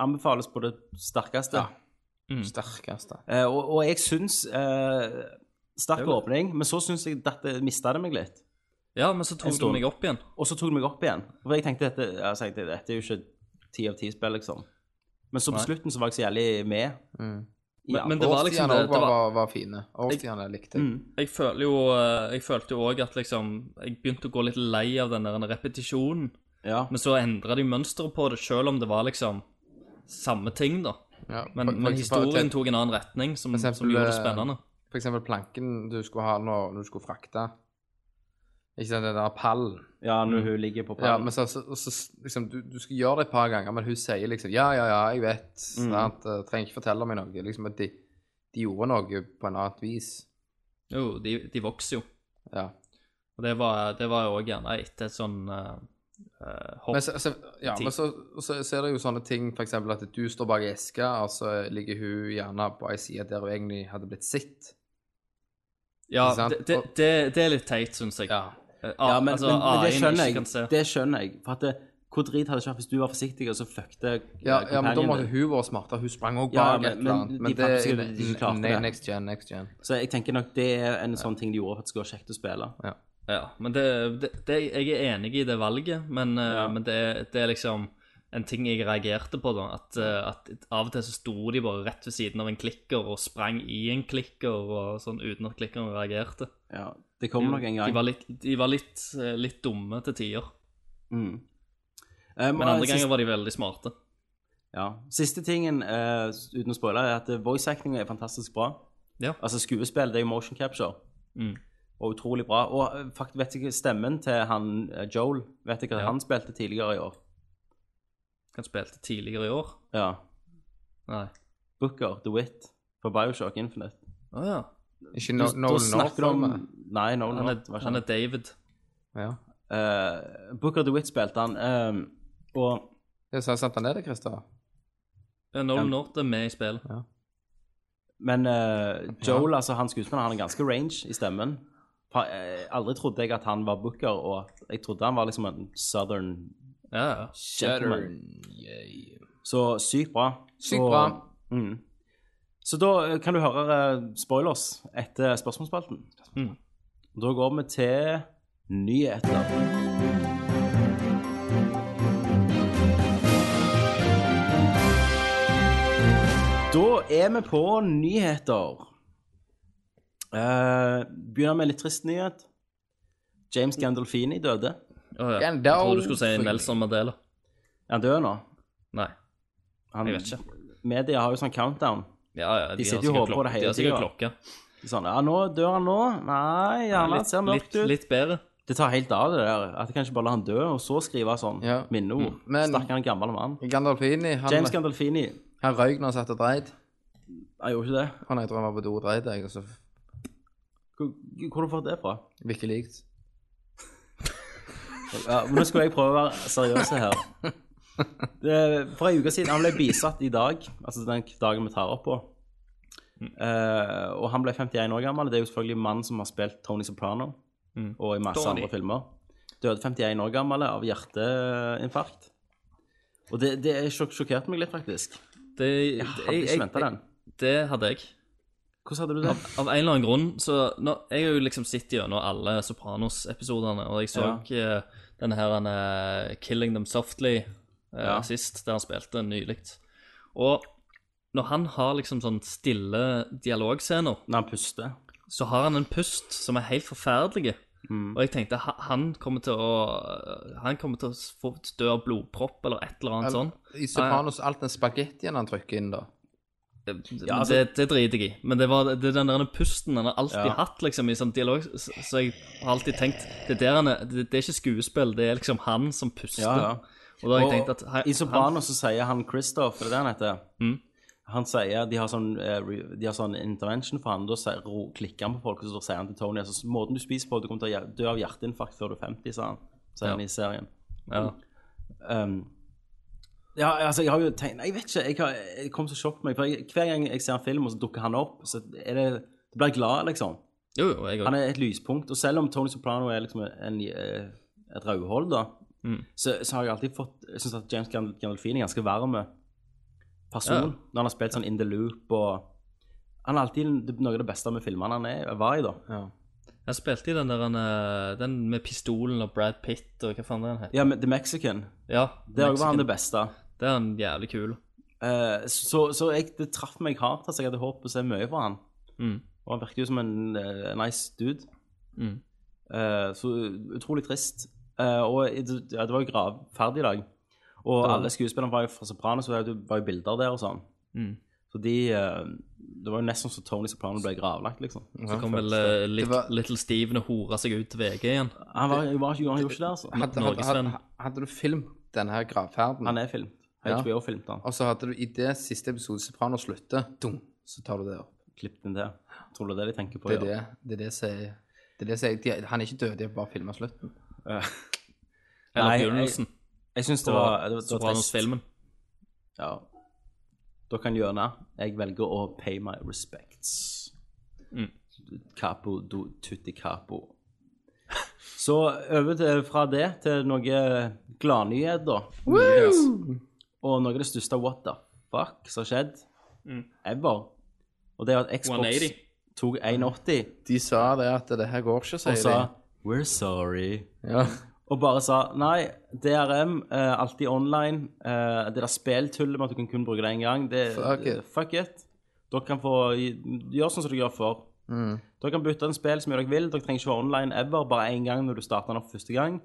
Speaker 5: anbefales på det sterkeste.
Speaker 7: Ja.
Speaker 6: Mm.
Speaker 7: Sterkeste.
Speaker 5: Eh, og, og jeg syns eh, Sterk
Speaker 6: Det er jo det.
Speaker 5: åpning, men så syns jeg dette mista det meg litt.
Speaker 6: Ja, men så tok
Speaker 5: En
Speaker 6: du
Speaker 5: stund.
Speaker 6: meg opp igjen.
Speaker 5: Og så tok det meg opp igjen. For jeg tenkte dette, jeg tenkte, dette er jo ikke ti av ti-spill, liksom. Men så på
Speaker 6: Nei.
Speaker 5: slutten så var jeg så jævlig med.
Speaker 7: Mm.
Speaker 5: i
Speaker 6: Men, men
Speaker 5: alt.
Speaker 6: det var liksom
Speaker 7: Årstidene
Speaker 6: det,
Speaker 7: også
Speaker 6: det
Speaker 7: var,
Speaker 6: var,
Speaker 7: var, var fine. Årstidene likte jeg.
Speaker 5: Mm.
Speaker 6: Jeg føler jo eh, Jeg følte jo òg at liksom Jeg begynte å gå litt lei av den der repetisjonen.
Speaker 5: Ja.
Speaker 6: Men så endra de mønsteret på det, sjøl om det var liksom samme ting, da.
Speaker 7: Ja,
Speaker 6: Men,
Speaker 7: for- for eksempel-
Speaker 6: men historien tok en annen retning, som,
Speaker 7: For eksempel,
Speaker 6: som gjorde det
Speaker 7: eh,
Speaker 6: spennende.
Speaker 7: For eksempel planken du skulle ha når når du skulle frakte. Ikke sant, den der pallen.
Speaker 5: ja, når hun ligger på
Speaker 7: Ja,
Speaker 5: pallen.
Speaker 7: men så, så, og så liksom, du, du skal gjøre det et par ganger, men hun sier liksom Ja, ja, ja, jeg vet.
Speaker 5: Mm.
Speaker 7: Sant? Eh, Trenger ikke fortelle meg noe. Liksom at de, de gjorde noe på en annet vis.
Speaker 6: Jo, de, de vokser jo.
Speaker 7: Ja.
Speaker 6: Og det var det var jo òg gjerne etter et sånn eh, eh, hopp.
Speaker 7: Men, så, så, ja, men så, så, så er det jo sånne ting, f.eks. at du står bak ei eske, og så ligger hun gjerne på ei side der hun egentlig hadde blitt sitt.
Speaker 6: ja,
Speaker 7: ikke sant?
Speaker 6: det, det, det, det er litt teit, syns jeg.
Speaker 7: Ja.
Speaker 6: Eh,
Speaker 5: Ja,
Speaker 6: ah,
Speaker 5: men,
Speaker 6: altså,
Speaker 5: men, men det
Speaker 6: AI-en
Speaker 5: skjønner
Speaker 6: ikke
Speaker 5: jeg.
Speaker 6: kan se.
Speaker 5: Det skjønner jeg. For at det, hvor drit hadde det ikke vært hvis du var forsiktig, og så fuckte eh,
Speaker 7: Ja, ja, men da
Speaker 5: kompanien
Speaker 7: måtte
Speaker 5: din.
Speaker 7: hun vært smartere. Hun sprang òg
Speaker 5: Ja,
Speaker 7: bak
Speaker 5: men-
Speaker 7: et eller annet.
Speaker 5: men
Speaker 7: Men
Speaker 5: de
Speaker 7: det
Speaker 5: faktisk
Speaker 7: er
Speaker 5: ikke klarte
Speaker 7: nei,
Speaker 5: det.
Speaker 7: next gen, next gen.
Speaker 5: Så jeg tenker nok det er en sånn ting de gjorde for at det skulle være kjekt å spille.
Speaker 7: Ja.
Speaker 6: Ja, men det, det, det, jeg er enig i det valget, men, eh, men det, det er liksom en ting jeg reagerte på, da. At, eh, at av og til så sto de bare rett ved siden av en klikker og sprang i en klikker og sånn uten at klikkeren reagerte.
Speaker 5: Ja, det kommer nok en gang.
Speaker 6: De var litt, de var litt, eh, litt dumme til tider,
Speaker 5: Mm. Eh,
Speaker 6: men andre ganger var de veldig smarte.
Speaker 5: Ja. Siste tingen, eh, uten å spoile, er at eh, voice acting er fantastisk bra.
Speaker 6: Ja.
Speaker 5: Altså skuespill, det er jo motion capture.
Speaker 6: Mm.
Speaker 5: Og utrolig bra. Og eh, fakt, vet jeg ikke stemmen til han eh, Joel, vet jeg hva
Speaker 6: Ja.
Speaker 5: han spilte tidligere i år?
Speaker 6: Han spilte tidligere i år.
Speaker 5: Ja.
Speaker 6: Nei.
Speaker 5: Booker, DeWitt, fra Bioshock Infinite.
Speaker 6: Å ja.
Speaker 7: Ikke no,
Speaker 5: Da
Speaker 7: Nolan North.
Speaker 5: snakker du om...
Speaker 7: eller?
Speaker 5: Nei, Nolan
Speaker 6: Han er,
Speaker 5: North. var ikke
Speaker 6: han er David.
Speaker 7: Ja.
Speaker 5: Eh, Booker DeWitt spilte han, eh, og
Speaker 7: Det sa sant han er det, Christer.
Speaker 6: Ja, Nolan North er med i spillet.
Speaker 5: Men eh, Joel, altså han skuespilleren, han har ganske range i stemmen. Fa- eh, aldri trodde jeg at han var booker, og jeg trodde han var liksom en southern
Speaker 6: Ja, ja.
Speaker 5: gentleman. Så sykt bra.
Speaker 7: Sykt
Speaker 5: Så-
Speaker 7: bra.
Speaker 5: Mm. Så da eh, kan du høre eh, spoilers etter spørsmålsspalten.
Speaker 6: Mm.
Speaker 5: Da går vi til nyheter. Da er vi på nyheter. Eh, begynner med en litt trist nyhet. James Gandolfini døde.
Speaker 6: Å, ja. Jeg
Speaker 7: Gandalf.
Speaker 6: tror du skulle si Nelson Mandela.
Speaker 5: Er han død nå?
Speaker 6: Nei,
Speaker 5: Han,
Speaker 6: jeg vet ikke.
Speaker 5: Media har jo sånn countdown.
Speaker 6: Ja, ja,
Speaker 5: De
Speaker 6: har
Speaker 5: sitter jo og
Speaker 6: sikkert
Speaker 5: håper på det
Speaker 6: klok- De har
Speaker 5: hele
Speaker 6: sikkert
Speaker 5: tiden.
Speaker 6: klokke.
Speaker 5: Sånn, ja, nå dør han nå. Nei, ja, han ser mørkt
Speaker 6: litt,
Speaker 5: ut.
Speaker 6: litt bedre.
Speaker 5: Det tar helt av, det der. At jeg kan ikke bare la han dø, og så skrive sånn
Speaker 7: Ja.
Speaker 5: minneord.
Speaker 7: Men-
Speaker 5: Stakkaren gamle mann.
Speaker 7: Gandalfini, han,
Speaker 5: James Gandolfini
Speaker 7: han røyk når han satt og dreit.
Speaker 5: Jeg gjorde ikke det.
Speaker 7: Han jeg tror han var på do og dreit, jeg, og så
Speaker 5: Hvor hvor har du fått det fra?
Speaker 7: virker likt.
Speaker 5: Ja, men nå skulle jeg prøve å være seriøs her. Det, for en uke siden Han ble bisatt i dag, altså den dagen vi tar opp på. Eh, og han ble 51 år gammel. Det er jo selvfølgelig mannen som har spilt Tony Soprano
Speaker 6: Mm.
Speaker 5: og i masse
Speaker 6: Tony.
Speaker 5: andre filmer. Døde 51 år gammel av hjerteinfarkt. Og det, det sjok- sjokkerte meg litt, faktisk.
Speaker 6: Det,
Speaker 5: Jeg hadde ikke venta den.
Speaker 6: det hadde jeg.
Speaker 5: Hvordan hadde du det?
Speaker 6: Av en eller annen grunn så nå, Jeg har jo liksom sett gjennom alle Sopranos-episodene, og jeg så eh, denne her han, eh, 'Killing Them Softly' eh,
Speaker 5: Ja.
Speaker 6: sist, der han spilte nylig. Og når han har liksom sånn stille dialogscener,
Speaker 5: Når han puster.
Speaker 6: så har han en pust som er helt forferdelig.
Speaker 5: Mm.
Speaker 6: Og jeg tenkte ha- han kommer til å eh, Han kommer til å få dø av blodpropp eller et eller annet
Speaker 5: sånn?
Speaker 7: Eller-
Speaker 6: sånt.
Speaker 7: I Sopranos alt den spagettien han trykker inn, da.
Speaker 6: Men
Speaker 5: altså-
Speaker 6: det, det driter jeg i. Men det, var, det er den der pusten han har alltid
Speaker 5: Ja.
Speaker 6: hatt liksom, i sånn dialog, så så jeg har alltid tenkt det, der han er, det, det er ikke skuespill, det er liksom han som puster.
Speaker 5: Ja, ja.
Speaker 6: Og da har jeg
Speaker 5: Og
Speaker 6: tenkt at han-
Speaker 5: I Soprano så sier han Christoph, er det det han heter?
Speaker 6: Mm.
Speaker 5: Han sier, De har sånn, eh, re- de har sånn intervention for han, da sier, ro, klikker han på folk, og så sier han til Tony altså, Måten du spiser på, du kommer til å hjer- dø av hjerteinfarkt før du er 50, sa han. Sier
Speaker 6: Ja.
Speaker 5: han i serien.
Speaker 6: han, ja.
Speaker 5: Um, ja, altså, jeg har jo tenkt Nei, Jeg vet ikke. Jeg, har, jeg kom så sjokk på meg. For jeg, hver gang jeg ser en film, og så dukker han opp, så er det, da blir jeg glad, liksom.
Speaker 6: Jo, jo, jeg
Speaker 5: Han
Speaker 6: òg.
Speaker 5: er et lyspunkt. Og selv om Tony Soprano er liksom en, eh, et rødhold, da,
Speaker 6: Mm.
Speaker 5: så, så har jeg alltid fått Jeg syns at James Gan- Gandolfini er en ganske varm eh, person
Speaker 6: Ja.
Speaker 5: når han har spilt sånn In the Loop og Han er alltid det- noe av det beste med filmene han er, eh, var i, da.
Speaker 6: Han spilte i den der han, eh, Den med pistolen og Brad Pitt og hva faen er den het?
Speaker 5: Ja, men The Mexican.
Speaker 6: Ja,
Speaker 5: Det òg var han
Speaker 6: Mexican.
Speaker 5: det beste.
Speaker 6: Det er han jævlig kul.
Speaker 5: Eh, så så jeg, det traff meg hardt. Altså, jeg hadde håpet å se mye fra han.
Speaker 6: Mm.
Speaker 5: Og han virker jo som en eh, nice dude.
Speaker 6: Mm.
Speaker 5: Eh, så utrolig trist. Eh, og i- det, ja, det var jo gravferd i dag. Og
Speaker 6: var
Speaker 5: alle
Speaker 6: det.
Speaker 5: skuespillerne var jo fra Soprano, så det var jo bilder der og sånn.
Speaker 6: Mm.
Speaker 5: Så de eh, Det var jo nesten så Tony Soprano ble gravlagt, liksom.
Speaker 6: Så kom vel eh,
Speaker 7: Det
Speaker 6: Lit-
Speaker 7: var-
Speaker 6: Little Steven og hora seg ut til VG igjen.
Speaker 5: Han var, han var ikke, han gjorde ikke det, altså.
Speaker 7: Hadde, hadde,
Speaker 6: Norgesvenn.
Speaker 7: hadde, hadde du filmt denne her gravferden,
Speaker 5: Han er filmt.
Speaker 7: Ja.
Speaker 5: HBO-filmt han.
Speaker 7: og så hadde du i det siste episode Sopranos slutter, dum, så tar du det opp.
Speaker 5: Klippet inn der. Tror du det er det de tenker på?
Speaker 7: Det er
Speaker 5: ja.
Speaker 7: det det er det som er det er det som er, de, han er ikke død, de har bare filma slutten.
Speaker 5: Nei,
Speaker 6: Eller
Speaker 5: jeg-
Speaker 6: begynnelsen.
Speaker 5: Jeg syns det
Speaker 6: på
Speaker 5: var, det var, det var trist.
Speaker 6: Sopranos-filmen.
Speaker 5: Ja. Da kan gjøre Jeg velger å pay my respects.
Speaker 6: Mm.
Speaker 5: Capo do tutti capo. Så over til, fra det til noen gladnyheter. Yes. Og noe av det største what the fuck som har skjedd ever. Og det er at Xbox
Speaker 6: 180.
Speaker 5: tok 180
Speaker 7: De sa det at det her går ikke,
Speaker 5: og
Speaker 7: sier
Speaker 5: sa
Speaker 7: de.
Speaker 5: We're sorry.
Speaker 7: Ja.
Speaker 5: Og bare sa nei, DRM, eh, alltid online. eh, det der speltullet med at du kan kun bruke det én gang, det
Speaker 7: Fuck it.
Speaker 5: fuck it. Dere kan få gjøre sånn som dere gjør før.
Speaker 7: Mm.
Speaker 5: Dere kan bytte en spill som dere vil. Dere trenger ikke være online ever, bare én gang når du starter den opp første gang.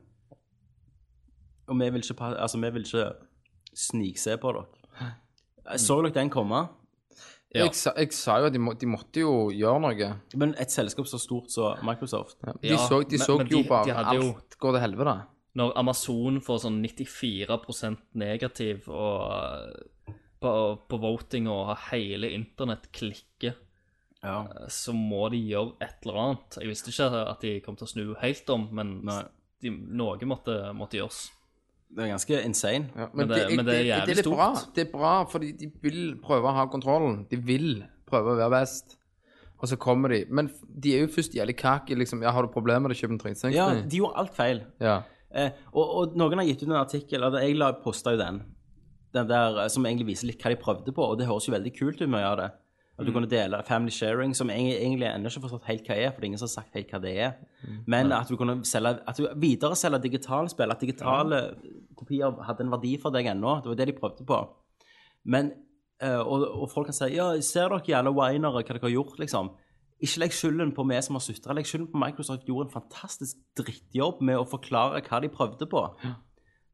Speaker 5: Og vi vil ikke, pa- altså, vi vil ikke snikse på dere. Jeg så dere den komme,
Speaker 6: Ja.
Speaker 7: Jeg, sa, jeg sa jo at de, må, de måtte jo gjøre noe.
Speaker 5: men et selskap så stort som Microsoft
Speaker 7: De
Speaker 6: Ja,
Speaker 7: så, de
Speaker 6: men-
Speaker 7: så
Speaker 6: men
Speaker 7: jo
Speaker 6: de-
Speaker 7: bare
Speaker 6: de hadde
Speaker 7: alt
Speaker 6: jo-
Speaker 7: går til helvete.
Speaker 6: Når Amazon får sånn 94 negativ og, eh, på, på voting og hele internett klikker,
Speaker 5: Ja.
Speaker 6: eh, så må de gjøre et eller annet. Jeg visste ikke at de kom til å snu helt om, men
Speaker 5: Nei.
Speaker 6: de, noe måtte, måtte gjøres.
Speaker 5: Det er ganske insane.
Speaker 7: Ja,
Speaker 6: Men det- men det er jævlig
Speaker 7: det,
Speaker 6: stort.
Speaker 7: Bra. Det er bra, fordi de vil prøve å ha kontrollen. De vil prøve å være best. Og så kommer de. Men f- de er jo først jævlig kake. Liksom, ja, har du problemer med det, kjøp en 360.
Speaker 5: Ja, de gjorde alt feil.
Speaker 7: ja.
Speaker 5: Eh, og, og noen har gitt ut en artikkel, eller jeg la- postet jo den, den der, eh, som egentlig viser litt hva de prøvde på, og det høres jo veldig kult ut med å gjøre det. At du kunne dele family sharing, som jeg egentlig ennå ikke har forstått helt hva er, for det er ingen som har sagt helt hva det er. Men at du kunne selge, at du videre selge digitale spill, at digitale kopier hadde en verdi for deg ennå, det var det de prøvde på. Men, eh, og, og folk kan si, ja, ser dere jævla winere hva dere har gjort, liksom. Ikke legg skylden på meg som har sutret, legg skylden på Microsoft gjorde en fantastisk drittjobb med å forklare hva de prøvde på.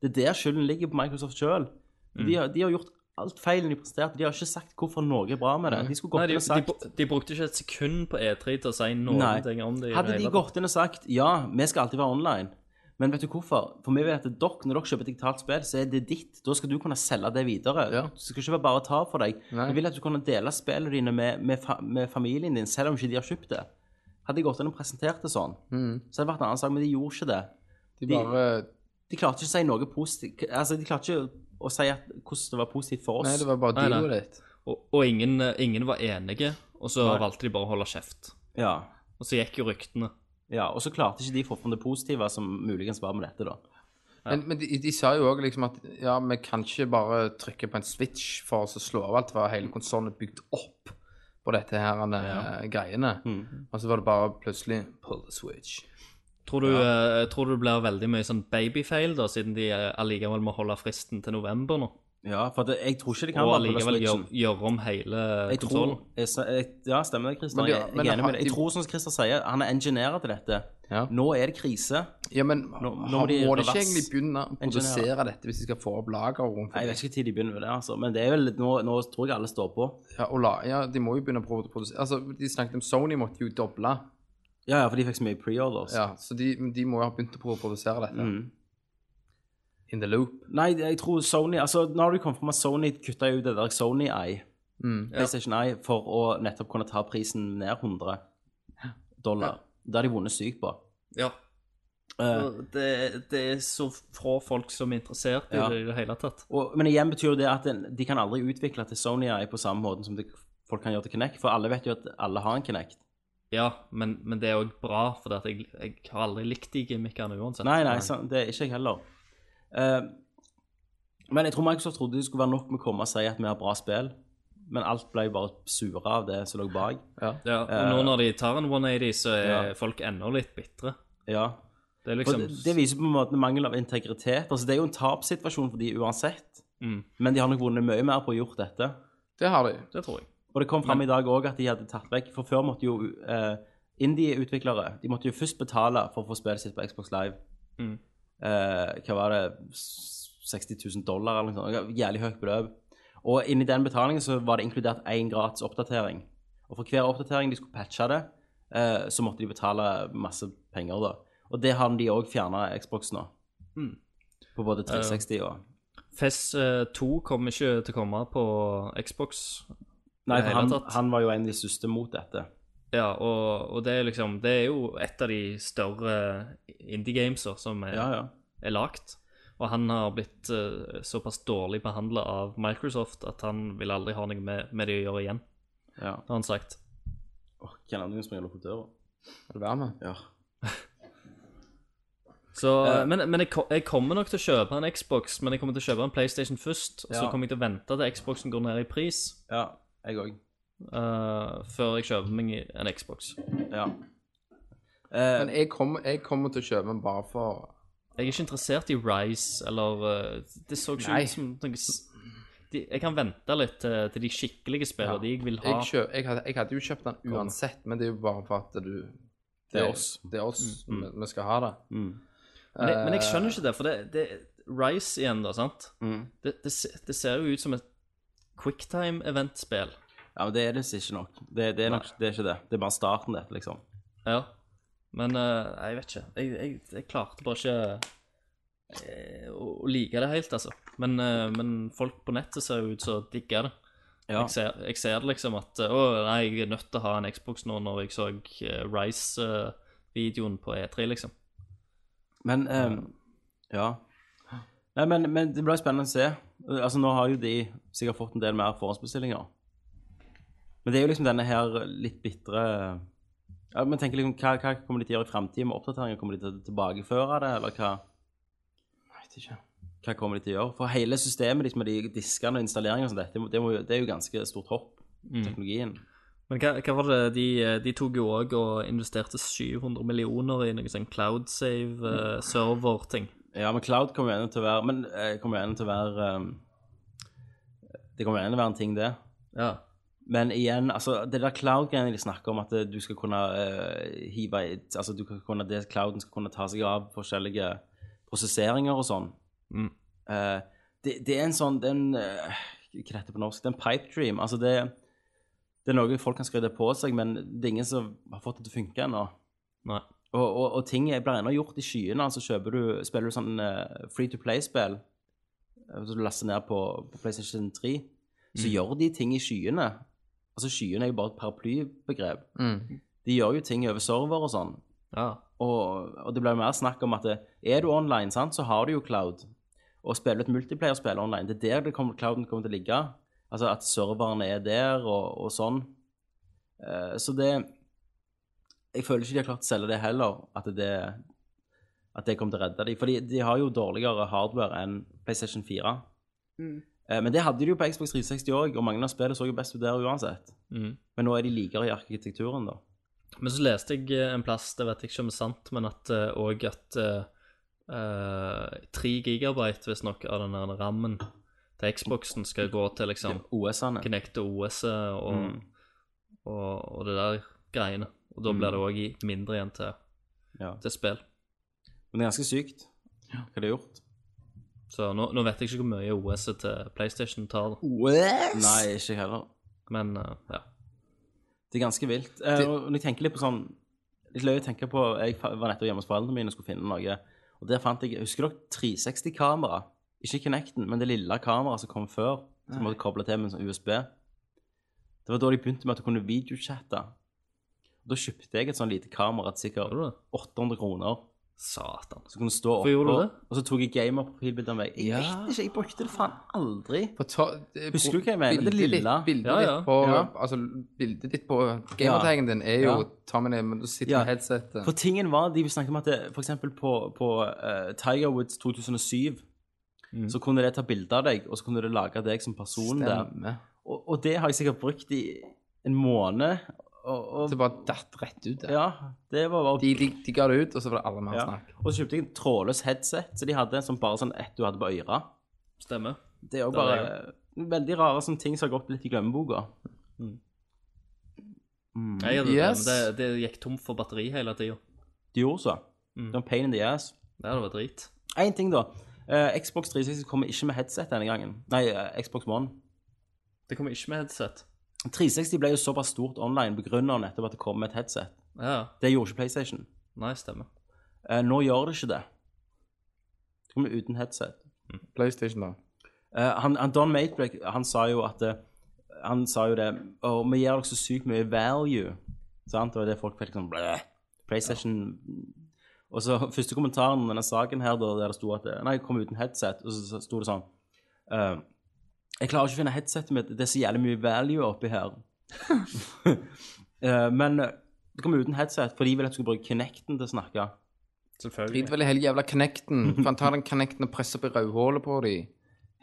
Speaker 5: Det er der skylden ligger på Microsoft selv. De, har, de har gjort alt feil de presenterte, de har ikke sagt hvorfor noe er bra med det. De skulle gått
Speaker 6: Nei, de,
Speaker 5: inn og
Speaker 6: de,
Speaker 5: sagt...
Speaker 6: bru- de brukte ikke et sekund på E3 til å si noen
Speaker 5: Nei.
Speaker 6: ting om det. i
Speaker 5: Hadde
Speaker 6: det
Speaker 5: de
Speaker 6: hele tatt.
Speaker 5: gått inn og sagt ja, vi skal alltid være online, men vet du hvorfor? For vi vet at dere, når dere kjøper et digitalt spill, så er det ditt. Da skal du kunne selge det videre.
Speaker 7: Ja.
Speaker 5: Det skal ikke være bare å ta for deg.
Speaker 7: Nei.
Speaker 5: Vi vil at du kan dele spillene dine med, med, fa med familien din, selv om ikke de har kjøpt det. Hadde de gått inn og presentert det sånn, så hadde det vært en annen sak, men de gjorde ikke det.
Speaker 7: Mm. De bare
Speaker 5: De klarte ikke å si noe positivt Altså, de klarte ikke å si at, hvordan det var positivt for oss.
Speaker 7: Nei, det var bare
Speaker 6: Nei, nei.
Speaker 7: dealet ditt.
Speaker 6: Og, og ingen, ingen var enige, og så
Speaker 5: Nei.
Speaker 6: valgte de bare å holde kjeft.
Speaker 5: Ja.
Speaker 6: Og så gikk jo ryktene.
Speaker 5: ja. Og så klarte ikke de å få fram det positive som muligens var med dette, da.
Speaker 7: Men, men de, de sa jo òg liksom at ja, vi kan ikke bare trykke på en switch for oss å slå av alt, for hele konsollen er bygd opp på dette her eh, greiene.
Speaker 5: Mm.
Speaker 7: Og så var det bare plutselig pull the switch.
Speaker 6: Tror du, eh, tror du det blir veldig mye sånn babyfail, da, siden de eh, allikevel må holde fristen til november nå?
Speaker 5: Ja, for det, jeg tror ikke de kan
Speaker 6: Og
Speaker 5: bare pulle
Speaker 6: allikevel
Speaker 5: switchen.
Speaker 6: gjøre gjør om hele
Speaker 5: Jeg tror,
Speaker 6: konsollen?
Speaker 5: jeg, sa- jeg, ja, stemmer det, Christer.
Speaker 7: Men de-
Speaker 5: Jeg,
Speaker 7: men
Speaker 5: jeg er enig
Speaker 7: har
Speaker 5: med deg. Jeg
Speaker 7: de-
Speaker 5: tror, som Christer sier, han er engineerer til dette.
Speaker 7: Ja.
Speaker 5: Nå er det krise.
Speaker 7: Ja, men
Speaker 5: nå
Speaker 7: har-
Speaker 5: må
Speaker 7: må
Speaker 5: de
Speaker 7: de
Speaker 5: revers-
Speaker 7: ikke egentlig begynne å
Speaker 5: engineere.
Speaker 7: produsere dette hvis de skal få opp lager rundt
Speaker 5: Nei, Jeg
Speaker 7: forbi?
Speaker 5: vet ikke når de begynner med det, altså. men det er vel, nå, nå tror jeg alle står på.
Speaker 7: Ja, og la, ja, de må jo begynne å prøve å produsere Altså, de snakket om Sony måtte jo doble.
Speaker 5: Ja, ja, for de fikk så mye pre-orders.
Speaker 7: Ja, så de, de må jo ha begynt å prøve å produsere dette.
Speaker 5: Mm.
Speaker 7: In the loop.
Speaker 5: Nei, jeg tror Sony altså Nå har det jo kommet fram at Sony kutta ut det der Sony Eye,
Speaker 7: Mm.
Speaker 5: PlayStation Eye, for å nettopp kunne ta prisen ned 100 dollar. Det har de vunnet sykt på.
Speaker 6: Ja.
Speaker 5: Eh,
Speaker 6: Og Det, det er så få folk som er interessert i
Speaker 5: Ja.
Speaker 6: det i det hele tatt.
Speaker 5: Og, men igjen betyr jo det at en- de kan aldri utvikle til Sony Eye på samme måten som det, folk kan gjøre til Kinect, for alle vet jo at alle har en Kinect.
Speaker 6: Ja, men, men det er òg bra, for at jeg, jeg har aldri likt de gimmickene uansett.
Speaker 5: Nei, nei, sant, det er ikke jeg heller. Eh, men jeg tror Microsoft trodde det skulle være nok med å komme og si at vi har bra spill, men alt ble jo bare sure av det som lå bak.
Speaker 6: Ja, og nå når de tar en 180, så er
Speaker 5: Eh. Ja.
Speaker 6: folk ennå litt bitre.
Speaker 5: Ja.
Speaker 6: Det er
Speaker 5: Og
Speaker 6: liksom
Speaker 5: det, det viser på en måte mangel av integritet. Altså, det er jo en tapssituasjon for de uansett,
Speaker 6: Mm.
Speaker 5: men de har nok vunnet mye mer på å gjort dette.
Speaker 7: Det har de.
Speaker 6: Det tror jeg.
Speaker 5: Og det kom fram i dag òg at de hadde tatt vekk For før måtte jo eh, indie-utviklere De måtte jo først betale for å få spillet sitt på Xbox Live.
Speaker 6: Mm.
Speaker 5: Eh, hva var det 60 000 dollar eller noe sånt. Jævlig høyt beløp. Og inni den betalingen så var det inkludert én gratis oppdatering. Og for hver oppdatering de skulle patche det, eh, så måtte de betale masse penger, da. Og det har de òg fjerna Xbox nå.
Speaker 6: Mm.
Speaker 5: På både 360 og
Speaker 6: FES eh, 2 kommer ikke til å komme på Xbox.
Speaker 5: Nei,
Speaker 6: det
Speaker 5: for
Speaker 6: hele
Speaker 5: han,
Speaker 6: tatt.
Speaker 5: han var jo en av de siste mot dette.
Speaker 6: Ja, og, og det er liksom Det er jo et av de større indie-gameser som er,
Speaker 5: Ja, ja.
Speaker 6: er lagt. Og han har blitt eh, såpass dårlig behandla av Microsoft at han vil aldri ha noe med, med det å gjøre igjen,
Speaker 5: ja.
Speaker 6: har han sagt.
Speaker 5: Åh, Hvem andre springer og lukker døra?
Speaker 7: Skal du være med?
Speaker 5: Ja.
Speaker 6: Så,
Speaker 5: Eh.
Speaker 6: men men jeg, ko- jeg kommer nok til å kjøpe en Xbox, men jeg kommer til å kjøpe en PlayStation først. Og så
Speaker 5: Ja.
Speaker 6: kommer jeg til å vente til Xboxen går ned i pris
Speaker 5: Ja, jeg òg.
Speaker 6: eh, før jeg kjøper meg en Xbox.
Speaker 5: Ja. Eh,
Speaker 7: Men jeg kommer, jeg kommer til å kjøpe den bare for
Speaker 6: Jeg er ikke interessert i Rise eller eh, Det så ikke
Speaker 7: Nei.
Speaker 6: ut som noe s- de, Jeg kan vente litt til, til de skikkelige spillene, de jeg vil ha.
Speaker 7: jeg, kjø, jeg, hadde, jeg hadde jo kjøpt den uansett, men det er jo bare for at du
Speaker 5: Det er oss. Mm,
Speaker 7: Det er oss vi, vi skal ha det.
Speaker 6: Men jeg,
Speaker 7: eh,
Speaker 6: men jeg skjønner ikke det, for det, det Rise igjen, da, sant?
Speaker 7: Mm.
Speaker 6: Det, det, se- det ser jo ut som et quicktime-event-spill.
Speaker 5: ja, men det er det ikke nok. Det, det er nok det er ikke det. Det er bare starten, det, liksom.
Speaker 6: Ja. Men eh, jeg vet ikke. Jeg, jeg, jeg klarte bare ikke eh, å, å like det helt, altså. Men, eh, men folk på nettet ser jo ut som digger det.
Speaker 5: Ja.
Speaker 6: Jeg, ser, jeg ser det liksom at eh, Å, nei, jeg er nødt til å ha en Xbox nå når jeg så Rice-videoen på E3, liksom.
Speaker 5: Men eh, Ja. Nei, men, men det blir spennende å se. Eh, Altså, Nå har jo de sikkert fått en del mer forhåndsbestillinger. Men det er jo liksom denne her litt bitre ja, Men tenker liksom, hva, hva kommer de til å gjøre i fremtiden med oppdateringer? Kommer de til å tilbakeføre det, eller hva? Vet ikke. Hva kommer de til å gjøre? For hele systemet liksom, med de diskene og installeringer og sånt, det, må, det, må, jo- det er jo ganske stort hopp.
Speaker 6: Mm.
Speaker 5: Teknologien.
Speaker 6: Men hva, hva var det de, de tok jo òg og investerte 700 millioner i noe sånn Mm. cloudsave-server-ting.
Speaker 5: Ja, men cloud kommer jo ennå til å være Men eh, kommer jo ennå til å være eh, Det kommer jo ennå til å være en ting, det.
Speaker 6: Ja.
Speaker 5: Men igjen, altså, det der cloud-greiene de snakker om, at eh, du skal kunne eh, hive i Altså du skal kunne, det clouden skal kunne ta seg av forskjellige prosesseringer og sånn.
Speaker 6: Mm.
Speaker 5: Eh, det, det er en sånn det er en, eh, Hva heter det på norsk? Det er en pipe dream. Altså det, det er noe folk kan skryte på seg, men det er ingen som har fått det til å funke ennå.
Speaker 6: Nei.
Speaker 5: Og, og, og ting er- blir ennå gjort i skyene. altså kjøper du, Spiller du sånn eh, free to play-spill, eh, som du laster ned på, på PlayStation 3,
Speaker 6: Mm.
Speaker 5: så gjør de ting i skyene. Altså Skyene er jo bare et paraplybegrep. De gjør jo ting over server og sånn.
Speaker 6: ja.
Speaker 5: Og, og det blir jo mer snakk om at det, er du online, sant, så har du jo cloud. Og spiller du et multiplayer-spill online, det er der det kommer, clouden kommer til å ligge. Altså at serverne er der, og, og sånn. Eh, så det Jeg føler ikke de har klart å selge det heller, at det, at det kommer til å redde dem. For de har jo dårligere hardware enn PlayStation 4. Eh, men det hadde de jo på Xbox 360 òg, og mange av spillene så jo best ut der uansett.
Speaker 6: Mm.
Speaker 5: Men nå er de likere i arkitekturen, da.
Speaker 6: Men så leste jeg eh, en plass, det vet jeg ikke om det er sant, men at òg at eh, 3 gigabyte, visstnok, av den der rammen til Xboxen skal gå til liksom
Speaker 5: OS-ene.
Speaker 6: Kinect og OS E og,
Speaker 5: Mm.
Speaker 6: og, og det der greiene. Og da blir det
Speaker 5: Mm.
Speaker 6: òg mindre igjen til,
Speaker 5: Ja.
Speaker 6: til spill.
Speaker 5: Men det er ganske sykt hva de har gjort.
Speaker 6: Så nå, nå vet jeg ikke hvor mye OS et til PlayStation tar,
Speaker 5: Oh.
Speaker 6: da.
Speaker 5: Nei, ikke heller.
Speaker 6: men eh, ja.
Speaker 5: Det er ganske vilt. Eh, og når jeg tenker litt på sånn Litt løye å tenke på Jeg fa- var nettopp hjemme hos foreldrene mine og skulle finne noe. Og der fant jeg Husker dere 360-kamera? Ikke Kinecten, men det lille kameraet som kom før. Som måtte koble til med en sånn USB. Det var da de begynte med at du kunne videochatte. Og Da kjøpte jeg et sånn lite kamera til sikkert
Speaker 6: Gjorde du det?
Speaker 5: 800 kroner.
Speaker 6: Satan.
Speaker 5: Så kunne du stå
Speaker 6: Hvorfor gjorde du
Speaker 5: oppå,
Speaker 6: det?
Speaker 5: og så tok jeg gamerprofilbilde av meg. Jeg vet ikke, jeg brukte det faen aldri.
Speaker 7: For ta, det-
Speaker 5: Husker du hva jeg mener? Det
Speaker 7: bildet ditt-
Speaker 5: lilla.
Speaker 7: Bildet,
Speaker 6: Ja, ja.
Speaker 7: Ditt på,
Speaker 5: Ja.
Speaker 7: Altså, bildet ditt på gamertagen din er jo
Speaker 5: Ja.
Speaker 7: Tommy men du sitter
Speaker 5: Ja.
Speaker 7: med headsetet.
Speaker 5: For tingen var, de snakket om at det, for eksempel på, på eh, Tiger Woods 2007,
Speaker 6: Mm.
Speaker 5: så kunne det ta bilder av deg, og så kunne det lage deg som person der.
Speaker 7: Stemme.
Speaker 5: Og, og det har jeg sikkert brukt i en måned. Og, og,
Speaker 7: Det bare datt rett ut. der.
Speaker 5: ja, det var bare...
Speaker 7: De, de, de ga det ut, og så var det alle mer
Speaker 5: ja.
Speaker 7: snakk.
Speaker 5: Og så kjøpte jeg en trådløs headset, så de hadde en sånn, bare sånn ett du hadde på øyra.
Speaker 6: Stemmer.
Speaker 5: Det er jo
Speaker 6: Det er
Speaker 5: bare veldig rare sånne ting som har gått litt i glemmeboka.
Speaker 6: Mm.
Speaker 5: Mm.
Speaker 6: Jeg hadde
Speaker 7: Yes.
Speaker 6: det, men det, det gikk tomt for batteri hele tida.
Speaker 5: De gjorde så. Det var en pain in the ass.
Speaker 6: Det hadde vært drit.
Speaker 5: En ting da, eh, Xbox 360 kommer ikke med headset denne gangen. Nei, eh, Xbox One.
Speaker 6: Det kommer ikke med headset.
Speaker 5: 360 ble jo såpass stort online pga. nettopp at det kom med et headset.
Speaker 6: Ja.
Speaker 5: Det gjorde ikke PlayStation.
Speaker 6: Nei, stemmer.
Speaker 5: Eh, nå gjør det ikke det. Det kommer uten headset.
Speaker 7: PlayStation, da.
Speaker 5: Eh, han, han, Don Matrick han sa jo at eh, Han sa jo det Og vi gir dere så sykt mye value. Sant? Det var det folk fikk sånn blæh. PlayStation Og så første kommentaren om denne saken her, da, der det sto at eh, Nei, kom uten headset. Og så, så sto det sånn eh, Jeg klarer ikke å finne headsetet mitt. Det er så jævlig mye value oppi her. Eh, men eh, det kom uten headset, for de ville at du skulle bruke Kinecten til å snakke.
Speaker 6: Selvfølgelig.
Speaker 7: Drit vel i hele jævla Connecten. Faen, ta den Connecten og press opp i rødhålet på de.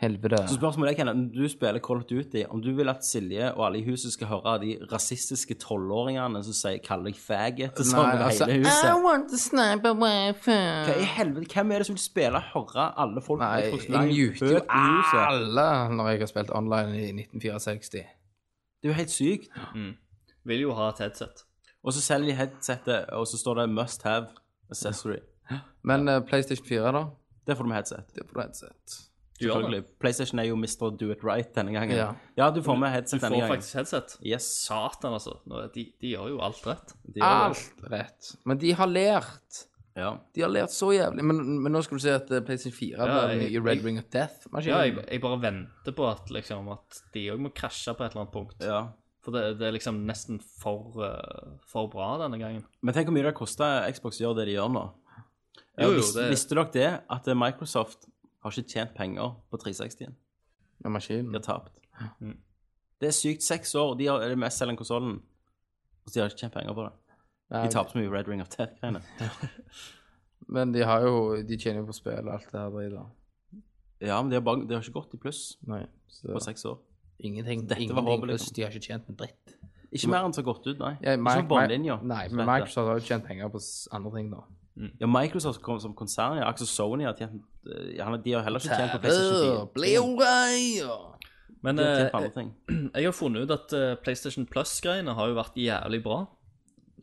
Speaker 7: Helvete.
Speaker 5: Så spørsmålet er, Kenneth, når du spiller Call of Duty, om du vil at Silje og alle i huset skal høre de rasistiske tolvåringene som sier 'kaller deg faggot' og sånn over
Speaker 7: altså,
Speaker 5: hele
Speaker 7: I
Speaker 5: huset?
Speaker 7: want to snipe away from
Speaker 5: Hva i helvete, Hvem er det som vil spille og høre alle folk
Speaker 7: Nei,
Speaker 5: på
Speaker 7: jeg
Speaker 5: restaurant,
Speaker 7: muter jo
Speaker 5: høyt i huset?
Speaker 7: alle når jeg har spilt online i 1964.
Speaker 5: Det er jo helt sykt.
Speaker 6: Vil jo ha et headset.
Speaker 5: Og så selger de headsetet, og så står det 'must have accessory'.
Speaker 7: Men eh, PlayStation 4, da?
Speaker 5: Der får du med headset.
Speaker 7: Det er på et sett.
Speaker 6: Du gjør det.
Speaker 5: Selvfølgelig. PlayStation er jo Mr. Do It Right denne gangen.
Speaker 7: Ja.
Speaker 5: Ja, du får med headset
Speaker 6: Du
Speaker 5: denne
Speaker 6: får
Speaker 5: gangen.
Speaker 6: faktisk headset.
Speaker 5: Yes.
Speaker 6: Satan, altså. Nå, De, de gjør jo alt rett.
Speaker 5: Det gjør det.
Speaker 7: Alt rett. Men de har lært.
Speaker 5: Ja.
Speaker 7: De har lært så jævlig. Men, men nå skal du se at eh, PlayStation 4
Speaker 6: Ja,
Speaker 7: blir
Speaker 6: jeg-
Speaker 7: den nye Red
Speaker 6: jeg-
Speaker 7: Ring of Death-maskinen.
Speaker 6: Ja, jeg, jeg bare venter på at, liksom, at de òg må krasje på et eller annet punkt.
Speaker 5: ja.
Speaker 6: For det, det er liksom nesten for, eh, for bra denne gangen.
Speaker 5: Men tenk hvor mye det koster Xbox å gjøre det de gjør nå.
Speaker 6: Jo, jo,
Speaker 5: Vis-
Speaker 6: det-
Speaker 5: Visste dere det, at eh, Microsoft har ikke tjent penger på 360-en?
Speaker 7: Med maskinen.
Speaker 5: De har tapt.
Speaker 7: Mm.
Speaker 5: Det er sykt. Seks år, de har er det mestselgende konsollen, og de har ikke tjent penger på det.
Speaker 7: Nei,
Speaker 5: De tapte mye Red Ring of Death-greiene.
Speaker 7: Men de har jo De tjener jo på spill og alt det her dritet.
Speaker 5: Ja, men de har, bare, de har ikke gått i pluss
Speaker 7: Nei. Så
Speaker 5: på seks år.
Speaker 7: ingenting.
Speaker 5: Dette var
Speaker 7: ingenting
Speaker 5: håpet,
Speaker 7: pluss
Speaker 5: liksom.
Speaker 7: de har ikke tjent en dritt.
Speaker 5: Ikke mer enn som har gått ut, nei.
Speaker 7: Ja,
Speaker 5: ikke
Speaker 7: Mi-
Speaker 5: på båndlinja.
Speaker 7: Mi- Nei, men
Speaker 5: som det heter.
Speaker 7: Microsoft har jo tjent penger på s- andre ting, da.
Speaker 5: Ja, Microsoft kom som konsern, ja. Akkurat Sony har tjent eh, ja, De har heller ikke tjent på
Speaker 7: Øh,
Speaker 5: PlayStation 4.
Speaker 7: Blu-ray, og-
Speaker 6: Men
Speaker 5: De har tjent på
Speaker 6: eh,
Speaker 5: andre ting.
Speaker 6: jeg har funnet ut at eh, PlayStation Plus-greiene har jo vært jævlig bra.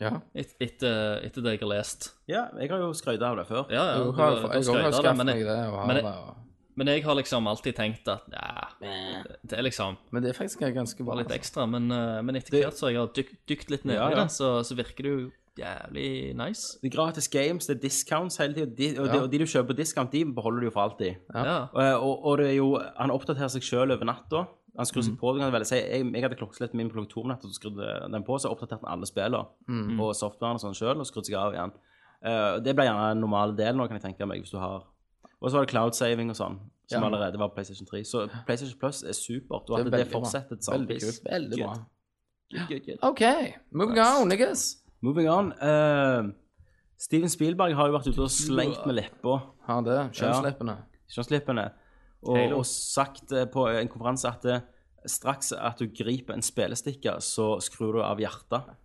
Speaker 7: Ja.
Speaker 6: Et, etter, etter det jeg har lest.
Speaker 5: Ja, jeg har jo skrøyta av det før.
Speaker 6: Ja, ja,
Speaker 7: Jo, jeg
Speaker 6: du-
Speaker 7: har
Speaker 6: du
Speaker 7: jeg
Speaker 6: skrøt
Speaker 7: har
Speaker 6: av det,
Speaker 7: skaffet
Speaker 6: men
Speaker 7: meg
Speaker 6: jeg-
Speaker 7: det. Og har
Speaker 6: men
Speaker 7: det
Speaker 6: jeg-
Speaker 7: og...
Speaker 6: Men jeg har liksom alltid tenkt at ja, det er liksom
Speaker 7: Men det er faktisk ganske bra.
Speaker 6: bare litt
Speaker 7: altså.
Speaker 6: ekstra. Men, eh, men etter hvert så jeg har dykt, dykt litt ned
Speaker 5: Ja,
Speaker 6: i
Speaker 5: ja.
Speaker 6: det, så, så virker det jo jævlig nice.
Speaker 5: Det er gratis games, det er discounts hele tiden, de, og, de,
Speaker 7: Ja.
Speaker 5: og de du kjøper på discount, de beholder du jo for alltid.
Speaker 6: Ja.
Speaker 5: Og, eh, og, og det er jo, han oppdaterer seg selv over natta. Han skrur
Speaker 7: Mm.
Speaker 5: seg på, du kan vel si, jeg, jeg hadde klokkeslett min på klokka to om natta, så skrudde den på, så oppdaterte han alle spillene
Speaker 7: Mm.
Speaker 5: og softwaren og sånn selv, og skrudde seg av igjen. Eh, det ble gjerne en normal del nå, kan jeg tenke meg, hvis du har. Og så var det cloud saving og sånn,
Speaker 7: Ja.
Speaker 5: som allerede var på PlayStation 3. Så PlayStation Plus er supert, og
Speaker 7: Det er
Speaker 5: at det,
Speaker 7: veldig bra.
Speaker 5: fortsetter et
Speaker 7: Veldig
Speaker 5: samarbeid.
Speaker 7: kult. Veldig bra.
Speaker 5: Good, good.
Speaker 7: OK, moving on, niggas.
Speaker 5: Moving on. eh, Steven Spielberg har jo vært ute og slengt med leppa.
Speaker 7: Har det. Kjønnsleppene.
Speaker 5: kjønnsleppene, og, og sagt eh, på en konferanse at eh, straks at du griper en spillestikker, så skrur du av hjertet.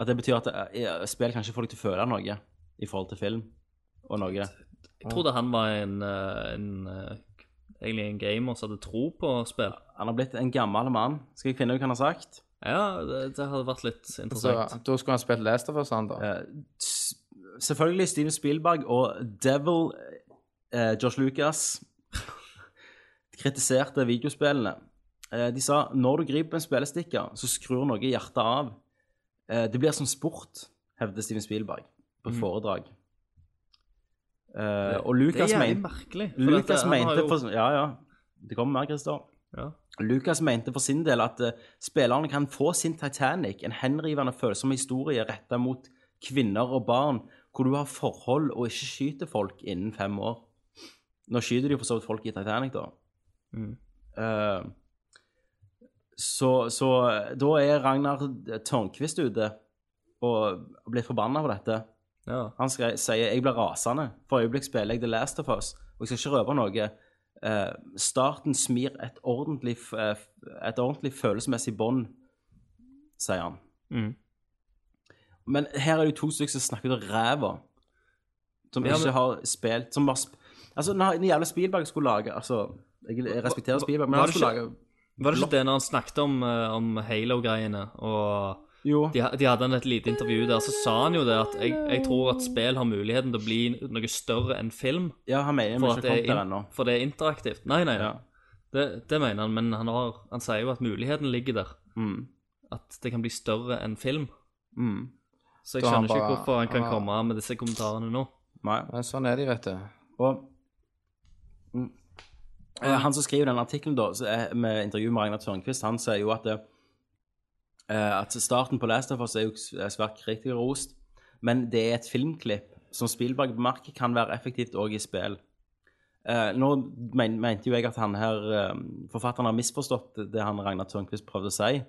Speaker 5: At det betyr at eh, spill kan ikke få deg til å føle noe i forhold til film og noe.
Speaker 6: Jeg trodde han var en, eh, en eh, egentlig en gamer som hadde tro på spill.
Speaker 5: Han har blitt en gammel mann. Skal jeg finne ut hva han har sagt?
Speaker 6: Ja, det, det hadde vært litt
Speaker 5: Altså,
Speaker 7: Så
Speaker 6: interessant.
Speaker 7: da skulle han spilt Last of Us, han, da.
Speaker 5: Eh, s- selvfølgelig Steven Spielberg og Devil eh, Josh Lucas kritiserte videospillene. Eh, de sa når du griper en spillestikker, så skrur noe i hjertet av. Eh, det blir som sport, hevder Steven Spielberg på et foredrag. Eh, og Lucas
Speaker 6: Mm. det er jævlig
Speaker 5: mente
Speaker 6: merkelig. for
Speaker 5: Lucas
Speaker 6: dette- han har
Speaker 5: mente
Speaker 6: jo-
Speaker 5: for, Ja, ja. Det kommer mer, Christer.
Speaker 6: Ja.
Speaker 5: Lucas mente for sin del at eh, spillerne kan få sin Titanic, en henrivende følsom historie retta mot kvinner og barn, hvor du har forhold og ikke skyter folk innen fem år. Nå skyter de jo for så vidt folk i Titanic, da.
Speaker 6: Mm.
Speaker 5: Eh, så, så eh, da er Ragnar Tørnquist ute og blitt forbanna på dette.
Speaker 6: Ja.
Speaker 5: Han skre, sier jeg blir rasende. For øyeblikk spiller jeg The Last of Us, og jeg skal ikke røpe noe. Eh, starten smir et ordentlig, f- eh, f- et ordentlig følelsesmessig bånd, sier han. Mm. Men her er det jo to stykker som snakker ut av ræva, som
Speaker 6: Ja, men-
Speaker 5: ikke har spilt som har sp Altså, når når jævla Spielberg skulle lage Altså, jeg, jeg respekterer Spielberg, men
Speaker 6: var
Speaker 5: han
Speaker 6: det
Speaker 5: skulle
Speaker 6: ikke-
Speaker 5: lage
Speaker 6: Var det ikke det når han snakket om, eh, om Halo-greiene, og
Speaker 5: Jo.
Speaker 6: de, de hadde han et lite intervju der, så sa han jo det at jeg, jeg tror at spill har muligheten til å bli noe større enn film,
Speaker 5: Ja, han mener vi ikke
Speaker 6: for, at
Speaker 5: har kommet
Speaker 6: det, er
Speaker 5: der
Speaker 6: in,
Speaker 5: ennå.
Speaker 6: for det er interaktivt. Nei, nei,
Speaker 5: Ja.
Speaker 6: det, det mener han, men han, har, han sier jo at muligheten ligger der.
Speaker 5: Mm.
Speaker 6: At det kan bli større enn film.
Speaker 5: Mm.
Speaker 6: Så jeg
Speaker 7: Da han
Speaker 6: skjønner ikke
Speaker 7: bare-
Speaker 6: hvorfor han kan
Speaker 7: han-
Speaker 6: komme med disse kommentarene nå.
Speaker 5: Nei.
Speaker 7: Ja, sånn er de, vet du.
Speaker 5: Og mm, eh, han som skriver den artikkelen da, så er- med intervju med Ragnar Tørnquist, han sier jo at, det, eh, at starten på Last of Us er jo s- er svært kritikerrost, men det er et filmklipp som Spielberg bemerker kan være effektivt òg i spill. Eh, nå men, mente jo jeg at han her, eh, forfatteren har misforstått det han Ragnar Tørnquist prøvde å si.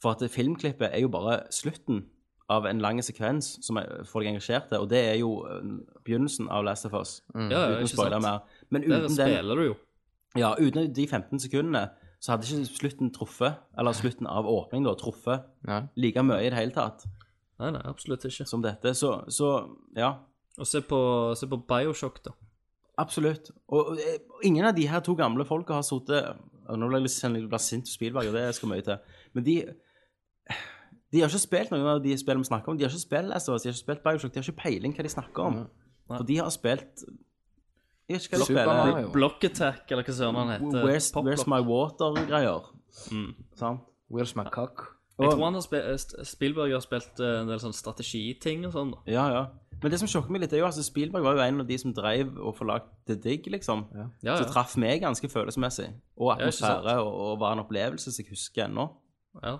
Speaker 5: For at det filmklippet er jo bare slutten av en lang sekvens som er- får deg engasjert, og det er jo eh, begynnelsen av Last of Us.
Speaker 6: Ja, ja,
Speaker 5: Mm. uten å
Speaker 6: ikke
Speaker 5: spoile
Speaker 6: sant.
Speaker 5: mer. Men
Speaker 6: Der
Speaker 5: uten, den,
Speaker 6: spiller du jo.
Speaker 5: ja, uten de 15 sekundene så hadde ikke slutten truffet, eller slutten av åpning da, truffet
Speaker 7: Nei.
Speaker 5: like mye i det hele tatt
Speaker 6: Nei, nei, absolutt ikke.
Speaker 5: som dette. Så, så ja,
Speaker 6: Og se på, se på Bioshock, da.
Speaker 5: absolutt. Og, og eh, ingen av de her to gamle folka har sittet Nå blir jeg litt kjenner jeg blir sint på Spielberg, og det skal mye til. Men de de har ikke spilt noen av de spillene vi snakker om. De har ikke spilt Last of Us, de har ikke spilt Bioshock, de har ikke peiling hva de snakker
Speaker 6: Mm,
Speaker 5: om. For de har spilt Jeg vet ikke hva
Speaker 7: Super
Speaker 5: de spiller.
Speaker 7: Mario.
Speaker 6: Block Attack, eller hva søren han heter.
Speaker 5: Where's,
Speaker 6: eh, Pop Mm.
Speaker 5: where's
Speaker 6: Block.
Speaker 5: My Water-greier. Sant?
Speaker 7: Where's my cock?
Speaker 6: Jeg tror han har spilt, Spielberg har spilt eh, en del sånn strategiting og sånn. da.
Speaker 5: Ja, ja. Men det som sjokker meg litt, er jo altså Spielberg var jo en av de som drev og forlagte The Digg, liksom.
Speaker 6: Ja,
Speaker 5: Så
Speaker 6: ja.
Speaker 5: traff meg ganske følelsesmessig. Og
Speaker 6: Ja, ikke sant.
Speaker 5: atmosfære, og, og var en opplevelse som jeg husker ennå.
Speaker 6: ja.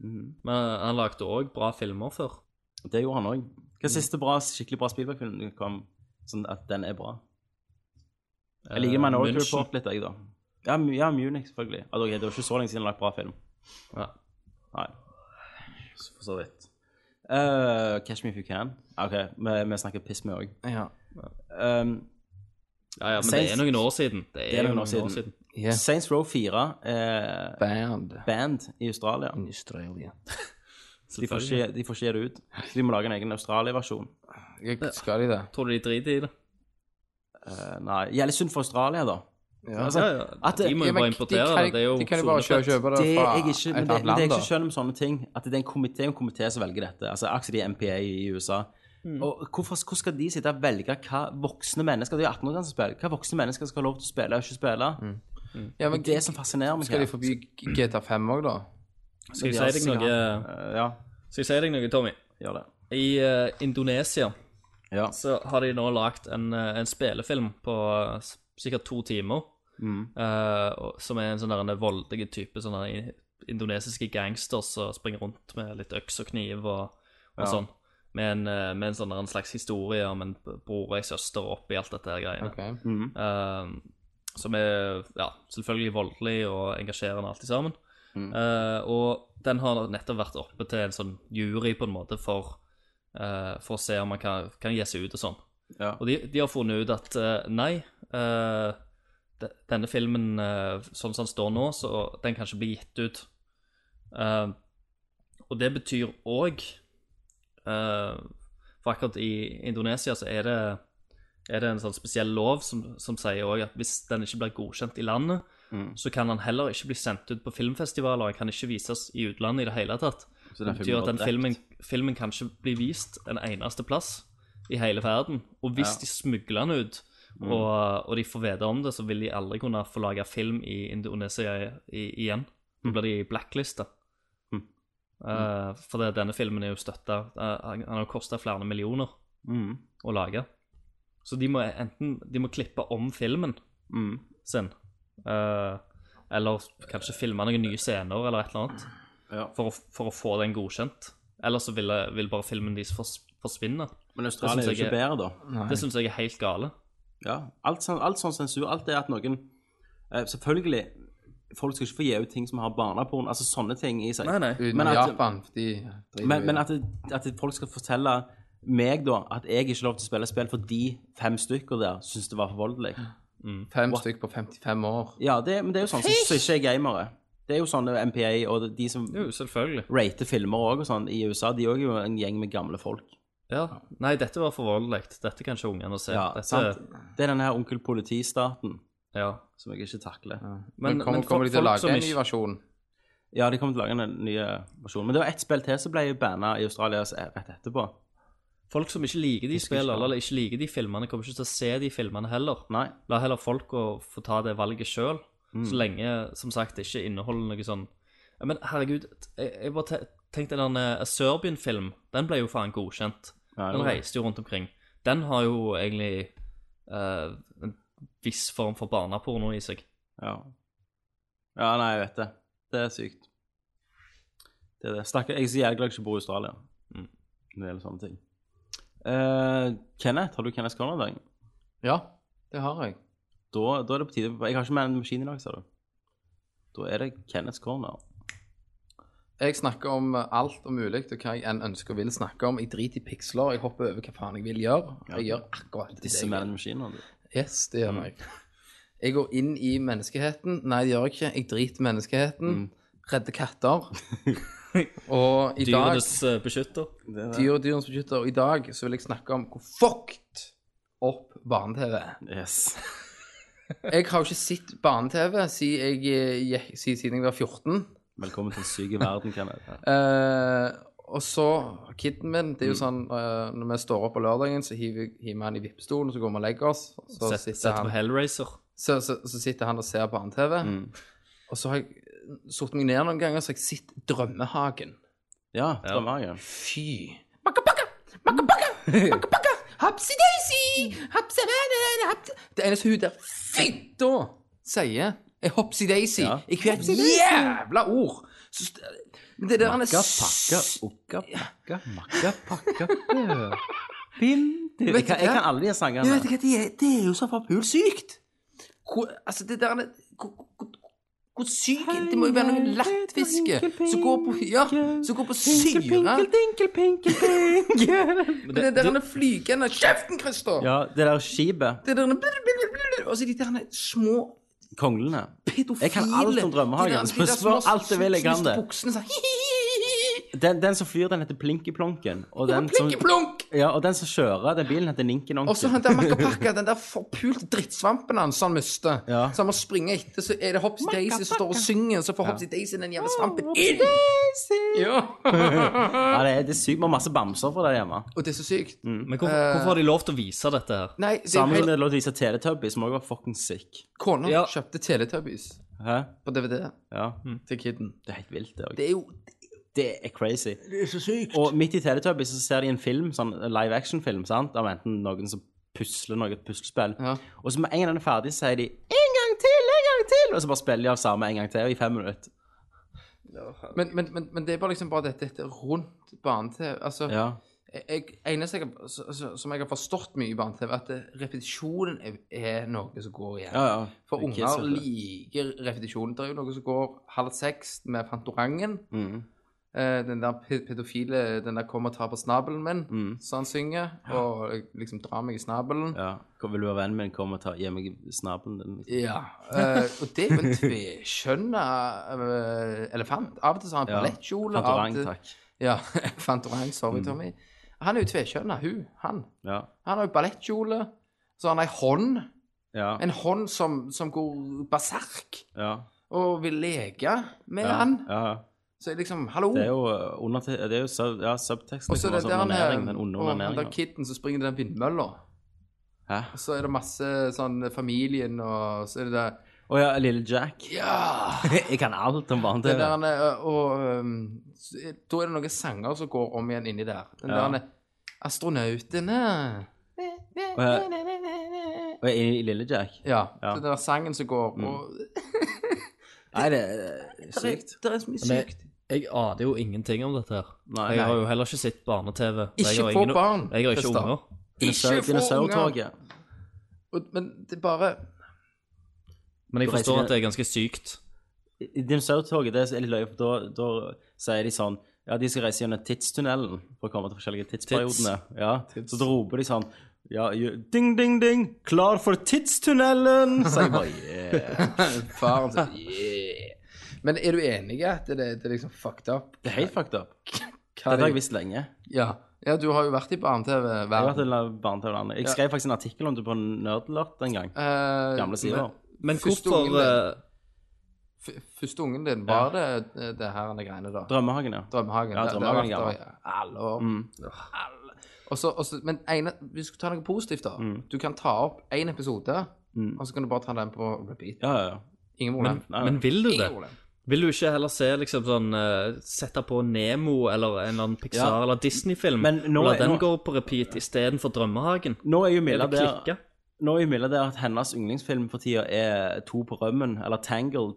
Speaker 6: Men han lagde òg bra filmer før.
Speaker 5: Det gjorde han òg. Hva er
Speaker 6: Mm.
Speaker 5: siste bra, skikkelig bra Spielberg-film du kom sånn at den er bra? Jeg liker
Speaker 6: Eh,
Speaker 5: Minority
Speaker 6: München.
Speaker 5: Report litt, jeg, da. Ja, Mu- ja Munich, selvfølgelig. Ja, det var- det var ikke så lenge siden han lagde bra film.
Speaker 6: Ja.
Speaker 5: Nei. Så- For så vidt. Eh, catch me if you can. OK, vi, vi snakker piss, vi òg.
Speaker 7: Ja.
Speaker 5: Um,
Speaker 6: Ja, ja, men det er noen år siden. Det er, noen, år siden.
Speaker 7: Yeah.
Speaker 5: Saints Row 4 er
Speaker 7: Band.
Speaker 5: band i Australia.
Speaker 7: In Australia.
Speaker 5: De får, ikke, de får ikke gi det ut. Så de må lage en egen Australia-versjon.
Speaker 7: Jeg- Skal de det?
Speaker 6: Tror du de driter i det?
Speaker 5: Eh, nei Gjelder synd for Australia, da.
Speaker 6: Ja, ja.
Speaker 5: altså, at-
Speaker 6: de må
Speaker 7: Ja,
Speaker 6: jo
Speaker 7: men
Speaker 6: bare
Speaker 7: Altså, de
Speaker 6: importere
Speaker 7: kan-
Speaker 6: det. Det er jo
Speaker 7: De kan jo bare kjø-
Speaker 6: solefett.
Speaker 7: kjøpe det
Speaker 5: Det er
Speaker 7: fra
Speaker 5: jeg ikke, men
Speaker 7: et annet
Speaker 5: det, men det er
Speaker 7: land,
Speaker 5: ikke
Speaker 7: da.
Speaker 5: skjønn om sånne ting. At det er en komité en komité som velger dette. Altså Akkurat som de er MPA i USA.
Speaker 6: Mm.
Speaker 5: Og hvorfor, Hvordan skal de sitte og velge hva voksne mennesker det er jo 18 år gamle som spiller, hva voksne mennesker skal ha lov til å spille og ikke spille?
Speaker 7: Mm. Ja,
Speaker 5: Men det som fascinerer meg
Speaker 7: Skal de
Speaker 5: her
Speaker 7: forby GTA5 òg, da?
Speaker 6: Skal
Speaker 5: Men de har
Speaker 6: jeg si deg noe,
Speaker 5: sikkert- Eh, Ja,
Speaker 6: skal jeg si deg noe Tommy?
Speaker 5: gjør det.
Speaker 6: I eh, Indonesia
Speaker 5: Ja.
Speaker 6: så har de nå lagt en, eh, en spillefilm på eh, s- sikkert to timer.
Speaker 5: Mm.
Speaker 6: eh, og- som er en sånn der en voldelig type sånn der i- indonesiske gangsters som springer rundt med litt øks og kniv og, og sånn. Med en, eh, med en sånn der en slags historie om en b- bror og ei søster oppi alt dette her greiene.
Speaker 7: Ok.
Speaker 5: Mm.
Speaker 6: Eh, som er ja, selvfølgelig voldelig og engasjerende alt i sammen. Eh, og den har nettopp vært oppe til en sånn jury på en måte for, eh, for å se om man kan, kan gi seg ut og sånn.
Speaker 5: Ja.
Speaker 6: Og de, de har funnet ut at eh, nei, eh, de, denne filmen eh, sånn som den står nå, så den kan ikke bli gitt ut. Eh, og det betyr òg For akkurat i Indonesia så er det er det en sånn spesiell lov som, som sier også at hvis den ikke blir godkjent i landet, så kan den heller ikke bli sendt ut på filmfestivaler, den kan ikke vises i utlandet i det hele tatt.
Speaker 5: Så
Speaker 6: Det
Speaker 5: den
Speaker 6: betyr
Speaker 5: filmen
Speaker 6: at den
Speaker 5: var
Speaker 6: filmen, filmen kan ikke bli vist en eneste plass i hele verden. Og hvis de smugler den ut,
Speaker 5: Mm.
Speaker 6: og, og de får vite om det, så vil de aldri kunne få lage film i Indonesia i, igjen.
Speaker 5: Mm.
Speaker 6: Da blir de blacklista. Eh, for det, denne filmen er jo støtta Han har kosta flere millioner
Speaker 5: Mhm.
Speaker 6: å lage. Så de må enten de må klippe om filmen
Speaker 5: Mhm.
Speaker 6: sin, eh, eller kanskje filme noen nye scener eller et eller annet,
Speaker 5: Ja.
Speaker 6: for, å, for å få den godkjent. Eller så vil, vil bare filmen deres fors, forsvinne.
Speaker 5: Men Australia er jo
Speaker 6: synes jeg
Speaker 5: ikke bedre, da.
Speaker 6: Det syns jeg er helt gale.
Speaker 5: Ja. Alt, sånn, alt sånn sensur, alt det at noen eh, Selvfølgelig, folk skal ikke få gi ut ting som har barneporn, altså sånne ting i seg.
Speaker 7: Utenom
Speaker 5: Men at-
Speaker 7: Japan, for de driter jo i
Speaker 5: Men, men
Speaker 7: det.
Speaker 5: at, det- at det- folk skal fortelle meg da at jeg ikke har lov til å spille spill fordi fem stykker der syns det var for voldelig.
Speaker 7: Fem stykk på 55 år.
Speaker 5: Ja, det, men det er jo sånn som som ikke er gamere. Det er jo sånn, eh, sånne MPA og de som
Speaker 6: Jo, selvfølgelig.
Speaker 5: rater filmer òg og sånn i USA, de er jo en gjeng med gamle folk.
Speaker 6: Ja. Nei, dette var for voldelig. Dette kan ikke ungene se.
Speaker 5: Ja,
Speaker 6: dette,
Speaker 5: sant? Det er den her onkel politi-staten
Speaker 6: Ja.
Speaker 5: som jeg ikke takler.
Speaker 7: Men, kommer,
Speaker 6: for-
Speaker 7: kommer de til å
Speaker 6: folk
Speaker 7: lage
Speaker 6: som
Speaker 7: en ny
Speaker 6: ikke-
Speaker 7: versjon?
Speaker 5: Ja, de kommer til å lage en ny eh, versjon. Men det var ett spill til som ble banna i Australia s- rett etterpå.
Speaker 6: Folk som ikke liker de
Speaker 5: ikke
Speaker 6: spillene,
Speaker 5: ha-
Speaker 6: eller ikke liker de filmene, kommer ikke til å se de filmene heller.
Speaker 5: Nei.
Speaker 6: La heller folk å få ta det valget sjøl, så lenge som sagt det ikke inneholder noe sånn Ja, Men herregud, jeg, jeg bare te- tenkte den der, eh, Serbian-film, den ble jo faen godkjent.
Speaker 5: Ja, det
Speaker 6: den
Speaker 5: var det.
Speaker 6: reiste jo rundt omkring. Den har jo egentlig eh, en viss form for barneporno i seg.
Speaker 5: Ja. ja, nei, jeg vet det. Det er sykt. Det er det. Stakkar, jeg er så jævlig glad jeg ikke bor i Australia når det gjelder sånne ting. Eh, Kenneth, har du Kenneth Conrad i dag?
Speaker 7: Ja, det har jeg.
Speaker 5: Da, da er det på tide Jeg har ikke Man in the Machine i dag, sa du. Da er det Kenneths corner.
Speaker 7: Jeg snakker om eh, alt og mulig og hva jeg enn ønsker og vil snakke om. Jeg driter i piksler, jeg hopper over hva faen jeg vil gjøre. Jeg gjør akkurat det
Speaker 5: Disse
Speaker 7: jeg vil.
Speaker 5: mellom maskiner. du.
Speaker 7: Yes, det gjør jeg. Jeg går inn i menneskeheten. Nei, det gjør jeg ikke. Jeg driter i menneskeheten. Redder katter. og i dag
Speaker 6: Dyrenes eh, beskytter.
Speaker 7: Dyr og dyrens beskytter. Og i dag så vil jeg snakke om hvor fucked opp barne-TV er.
Speaker 5: Yes.
Speaker 7: Jeg har jo ikke sett barne-TV siden, jeg eh, gikk- si- siden jeg var 14.
Speaker 5: Velkommen til en syk verden, Kenneth.
Speaker 7: Eh, og så Kiden min det er jo
Speaker 6: Mm.
Speaker 7: sånn eh, Når vi står opp på lørdagen, så hiver hiver vi han i vippestolen, og så går vi og legger oss. og Så,
Speaker 6: Sett-
Speaker 7: sitter,
Speaker 6: Setter på Mm.
Speaker 7: han,
Speaker 6: Hellraiser.
Speaker 7: så, så, så sitter han og ser barne-TV.
Speaker 5: Mm.
Speaker 7: Og så har jeg satt meg ned noen ganger, så har jeg sett Drømmehagen.
Speaker 5: Ja, Drømmehagen.
Speaker 7: Fy. Makkapakka, makkapakka, makkapakka, hapsi-daisy, hapsi-daisy, hapsi... Det eneste hun der fitta sier, er hopsi-daisy
Speaker 5: Ja.
Speaker 7: i hvert jævla ord. Så, st- men det der han er
Speaker 5: Makka, pakka,
Speaker 7: s-
Speaker 5: okka, pakka, makka, pakka, bø. Bim. Du, jeg,
Speaker 7: Vet du
Speaker 5: kan, jeg
Speaker 7: hva?
Speaker 5: kan alle de
Speaker 7: Jeg vet
Speaker 5: sangene.
Speaker 7: ikke, det er, det er jo så forpulsykt. Hvor, altså, det der han er hvor- hvor- Hvor syk Det må jo være noen lattfiske som går på, ja, som går på syre. Men det der han er flygende Kjeften, Christer!
Speaker 5: Ja, det der skipet.
Speaker 7: Det der blub, blub, blub, Og så de der små
Speaker 5: Konglene.
Speaker 7: pedofile
Speaker 5: Jeg kan alt om Drømmehagen,
Speaker 7: de der-
Speaker 5: så
Speaker 7: de der
Speaker 5: spør
Speaker 7: små
Speaker 5: alt jeg vil, jeg kan
Speaker 7: snuste
Speaker 5: det.
Speaker 7: Buksene, sånn, hi, hi, hi, hi.
Speaker 5: Den, den som flyr, den heter Plinkiplonken. Og den som,
Speaker 7: Plinkeplunk!
Speaker 5: ja, og den som kjører den bilen, heter Ninkinonken.
Speaker 7: Og så han der makkapakka, den der forpulte drittsvampen hans han mister.
Speaker 5: Ja.
Speaker 7: Så han må springe etter, så er det Hopsy Daisy som står og synger, så får Hopsy Daisy den jævla svampen inn! Ja.
Speaker 5: Ja, det, er, det er sykt. Vi har masse bamser for det hjemme.
Speaker 7: Og det er så sykt.
Speaker 6: Men hvorfor, hvorfor har de lov til å vise dette her?
Speaker 7: Nei, det er
Speaker 5: Mm. Samme
Speaker 7: helt
Speaker 5: med lov til å vise Teletubby, som også var fucking sick.
Speaker 7: Kona
Speaker 6: Ja.
Speaker 7: kjøpte Teletubbies
Speaker 5: Hæ?
Speaker 7: på DVD
Speaker 5: Ja.
Speaker 7: til kiden.
Speaker 5: Det er helt vilt, det
Speaker 7: Mm.
Speaker 5: òg.
Speaker 7: Det er jo
Speaker 5: Det er crazy. Det er så sykt. Og midt i Teletubbies så ser de en film, sånn live action-film, sant, av enten noen som pusler noe puslespill,
Speaker 7: Ja.
Speaker 5: og så med en gang den er ferdig, så sier de 'en gang til, en gang til', og så bare spiller de av samme en gang til i fem minutter.
Speaker 7: men, men, men, men det er bare liksom bare dette, dette rundt barne-TV. Altså,
Speaker 5: Ja.
Speaker 7: jeg, jeg- eneste jeg, har- s- s- som jeg har forstått mye i barne-TV, er at det- repetisjonen er, er noe som går igjen.
Speaker 5: Ja, ja.
Speaker 7: For
Speaker 5: Det er
Speaker 7: unger
Speaker 5: kids, vet du.
Speaker 7: liker repetisjonen. Det er jo noe som går halv seks med Fantorangen.
Speaker 5: Mm,
Speaker 7: Eh, den der pe- pedofile Den der 'Kom og ta på snabelen min', som han synger. Og liksom 'Dra meg i snabelen'.
Speaker 5: Mm. Ja. Hvor vil du være vennen min? Kom og ta, gi meg snabelen din.
Speaker 7: Ja. eh, og det er jo en tveskjønna eh, elefant. Av og til så har han
Speaker 5: Ja.
Speaker 7: palettkjole. av og
Speaker 5: Fantorang,
Speaker 7: til-
Speaker 5: takk. Mm.
Speaker 7: Ja, Fantorang, sorry, Tommy. Han er jo tvekjønna, hun. Han
Speaker 5: Ja.
Speaker 7: Han har jo ballettkjole, så han har ei hånd.
Speaker 5: Ja.
Speaker 7: En hånd som, som går berserk
Speaker 5: ja.
Speaker 7: og vil leke med
Speaker 5: ja.
Speaker 7: han.
Speaker 5: ja.
Speaker 7: Så jeg liksom, hallo.
Speaker 5: Det er jo uh, under... Det er jo sub, ja, subteksten.
Speaker 7: Og så er det
Speaker 5: liksom,
Speaker 7: der
Speaker 5: altså,
Speaker 7: han
Speaker 5: onanering, Den onde
Speaker 7: og han der
Speaker 5: onaneringen.
Speaker 7: kiden som springer i den vindmølla.
Speaker 5: Hæ?
Speaker 7: Og så er det masse sånn familien, og så er det der
Speaker 5: Å ja, lille Jack.
Speaker 7: Ja!
Speaker 5: Jeg kan alt om
Speaker 7: Det
Speaker 5: barne-TV.
Speaker 7: der han er, og um, så er- Da er det noen sanger som går om igjen inni der. Den
Speaker 5: Ja.
Speaker 7: der han er Astronautene.
Speaker 5: Og jeg- Og jeg er i Lille Jack.
Speaker 7: Ja.
Speaker 5: Ja. Mm.
Speaker 7: Den der sangen som går og
Speaker 5: Nei, det er eh, sykt.
Speaker 7: Det er så mye
Speaker 6: Men-
Speaker 7: sykt.
Speaker 6: Jeg aner jo ingenting om dette her.
Speaker 5: Nei.
Speaker 6: jeg har jo heller ikke sett barne-TV. for jeg
Speaker 7: Ikke
Speaker 6: har
Speaker 7: få
Speaker 6: ingen-
Speaker 7: barn,
Speaker 6: Jeg har ikke
Speaker 7: Christer.
Speaker 6: unger.
Speaker 5: Dinosaur- Dinosaurtoget.
Speaker 7: Og- Men det er bare
Speaker 6: Men jeg
Speaker 5: Du reiser
Speaker 6: forstår
Speaker 5: ned-
Speaker 6: at det er ganske sykt.
Speaker 5: I Dinosaurtoget det er litt løye, for da, da sier de sånn Ja, de skal reise gjennom tidstunnelen for å komme til forskjellige tidsperiodene. Ja, Så da roper de sånn ja, ju- Ding, ding, ding! Klar for tidstunnelen! Så jeg bare yeah.
Speaker 7: eh, Faren sier yeah. Men er du enig i at det, det er liksom fucked up?
Speaker 5: Det er helt fucked up.
Speaker 7: Hva
Speaker 5: Dette har
Speaker 7: er
Speaker 5: jeg
Speaker 7: det-
Speaker 5: visst lenge.
Speaker 7: Ja. ja, du har jo vært i
Speaker 5: Jeg har vært
Speaker 7: barne-TV-verden.
Speaker 5: en av barne-TV-landet. Jeg skrev faktisk en artikkel om det på Nerdlert en gang.
Speaker 7: Eh,
Speaker 5: Gamle sider.
Speaker 6: Men
Speaker 7: Første
Speaker 6: hvorfor
Speaker 7: ungen
Speaker 6: eh,
Speaker 7: f- Første ungen din, var det eh, det her ene greiene da?
Speaker 5: Drømmehagen, ja.
Speaker 7: Drømmehagen.
Speaker 5: Ja,
Speaker 7: Det- det har
Speaker 5: Drømmehagen
Speaker 7: vært
Speaker 5: er
Speaker 7: der i Alle år.
Speaker 6: Mm.
Speaker 7: Alle. Og så- og så- men ene, vi skal ta noe positivt, da.
Speaker 6: Mm.
Speaker 7: Du kan ta opp én episode, og så kan du bare ta den på repeat.
Speaker 5: Ja, ja, ja.
Speaker 7: Ingen problem.
Speaker 5: Nei,
Speaker 6: Men vil du det?
Speaker 7: Ingen problem.
Speaker 6: Vil du ikke heller se liksom sånn eh, Sette på Nemo eller en eller annen Pixar eller Disney-film?
Speaker 5: Men nå
Speaker 6: og
Speaker 5: er-
Speaker 6: la den
Speaker 5: nå-
Speaker 6: går på repeat istedenfor Drømmehagen?
Speaker 5: Nå er jo
Speaker 6: Eller
Speaker 5: Milla der
Speaker 6: klikke?
Speaker 5: Nå er jo Milla der at hennes yndlingsfilm for tida er To på rømmen, eller Tangled.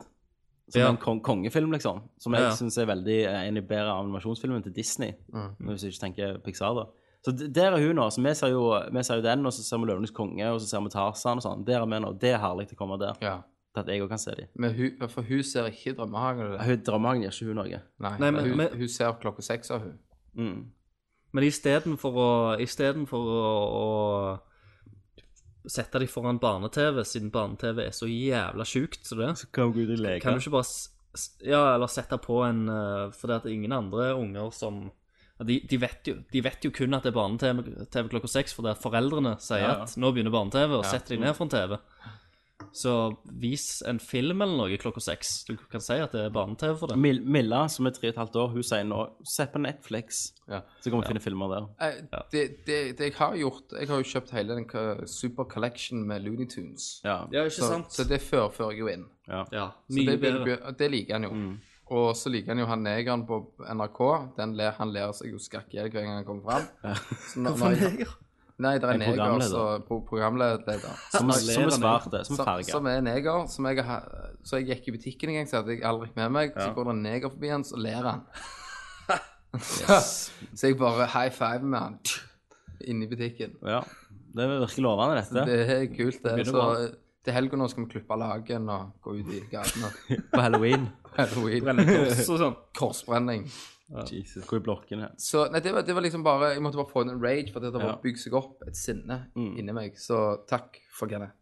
Speaker 5: Som
Speaker 6: Ja.
Speaker 5: er en kong kongefilm, liksom. Som jeg
Speaker 6: Ja, ja.
Speaker 5: synes er veldig eh, en av de bedre animasjonsfilmene til Disney.
Speaker 6: Mm.
Speaker 5: Hvis du ikke tenker Pixar, da. Så d- der er hun nå. Så vi ser jo, vi ser jo den, og så ser vi Løvenes konge, og så ser vi Tarzan og sånn. Der er vi nå. Det er herlig å komme der.
Speaker 7: Ja.
Speaker 5: til at jeg òg kan se dem.
Speaker 7: Men hun, for hun ser ikke drømmehagen. eller?
Speaker 5: Hun Drømmehagen gjør ikke hun noe.
Speaker 7: Nei,
Speaker 6: Nei, men-
Speaker 7: hun,
Speaker 6: men-
Speaker 7: hun ser klokka seks, sa hun.
Speaker 5: Mm.
Speaker 6: Men istedenfor å, i stedet for å, å sette de foran barne-TV, siden barne-TV er så jævla sjukt som det er,
Speaker 5: Kan du leke?
Speaker 6: kan du ikke bare s- s- Ja, eller sette på en eh, For det at ingen andre unger som ja, de, de, vet jo, de vet jo kun at det er barne-TV TV klokka seks, fordi at foreldrene sier
Speaker 5: Ja, mm. ja.
Speaker 6: at nå begynner barne-TV, og setter de ned foran TV. Så vis en film eller noe klokka seks. Du kan si at det er barne-TV for det.
Speaker 5: Mil Milla, som er tre og et halvt år, hun sier nå Se på Netflix,
Speaker 7: Ja.
Speaker 5: så kan vi finne filmer der.
Speaker 7: Eh, Det, det, det jeg har gjort Jeg har jo kjøpt hele den ka- Super Collection med Looney Tunes.
Speaker 5: Ja.
Speaker 6: Ja, ikke
Speaker 7: Så,
Speaker 6: sant?
Speaker 7: så det førfører jeg jo inn.
Speaker 6: ja,
Speaker 7: Så det,
Speaker 6: mye
Speaker 7: vil-
Speaker 6: bedre. Mm.
Speaker 7: det liker han jo. Og så liker han jo han negeren på NRK. Den ler, han ler seg jo skakk i hjel hver gang han kommer fram. Så når- når jeg- Nei, det er en
Speaker 5: En
Speaker 7: neger
Speaker 5: programleder.
Speaker 7: som pro programleder.
Speaker 5: Som,
Speaker 7: Nei,
Speaker 5: som er svarte, som er
Speaker 7: Som,
Speaker 5: farga.
Speaker 7: som er en neger. Som jeg, har- så jeg gikk i butikken en gang, så hadde jeg aldri med meg. Så går det en neger forbi han, så ler han. så, så jeg bare high five med han inne i butikken.
Speaker 5: Ja. Det er virkelig lovende, dette.
Speaker 7: Det er kult, det.
Speaker 6: Begynner
Speaker 7: Så
Speaker 6: bra.
Speaker 7: eh, til helga nå skal vi klippe lagen og gå ut i gatene.
Speaker 5: På halloween.
Speaker 7: Halloween.
Speaker 6: Brennekors og sånn.
Speaker 7: Korsbrenning.
Speaker 5: Jesus, hvor er blokkene?
Speaker 7: Så nei, det var, det var liksom bare Jeg måtte bare få inn en rage, for det har
Speaker 5: Ja.
Speaker 7: bygd seg opp et sinne
Speaker 6: Mm.
Speaker 7: inni meg. Så takk for Kenneth.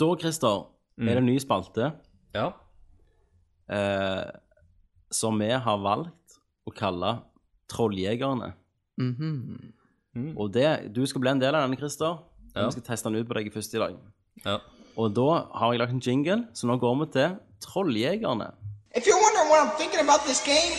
Speaker 5: Da, Christer, er det
Speaker 6: Mm.
Speaker 5: en ny spalte
Speaker 6: Ja.
Speaker 5: eh, som vi har valgt å kalle Trolljegerne.
Speaker 6: Mhm.
Speaker 5: Og det, du skal bli en del av denne, Christer. og
Speaker 6: Ja.
Speaker 5: Vi skal teste den ut på deg først i dag.
Speaker 6: ja.
Speaker 5: Og da har jeg lagt en jingle, så nå går vi til Trolljegerne.
Speaker 9: If you're wondering what I'm thinking about this game,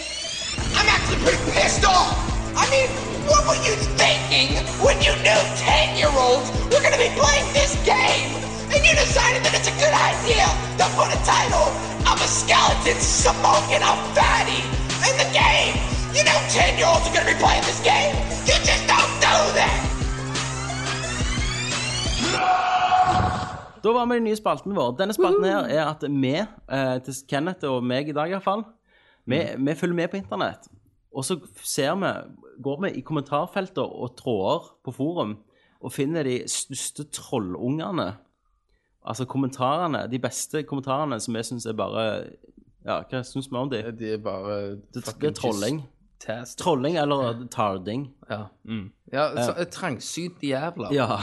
Speaker 9: I'm actually pretty pissed off. I mean, what were you thinking when you knew 10 year olds were going to be playing this game? And you decided that it's a good idea to put a title of a skeleton smoking a fatty in the game. You know 10 year olds are going to be playing this game. You just don't do that.
Speaker 5: Da var vi i den nye spalten vår. Denne spalten her er at vi, eh, til Kenneth og meg i dag iallfall, vi, vi følger med på internett. Og så ser vi, går vi i kommentarfelter og tråder på forum og finner de største trollungene. Altså kommentarene, de beste kommentarene som vi syns er bare Ja, hva syns vi om de?
Speaker 7: De er bare
Speaker 5: Det er trolling. Trolling eller tarding.
Speaker 7: Ja, ja så, eh, trangsynte jævler.
Speaker 5: Ja.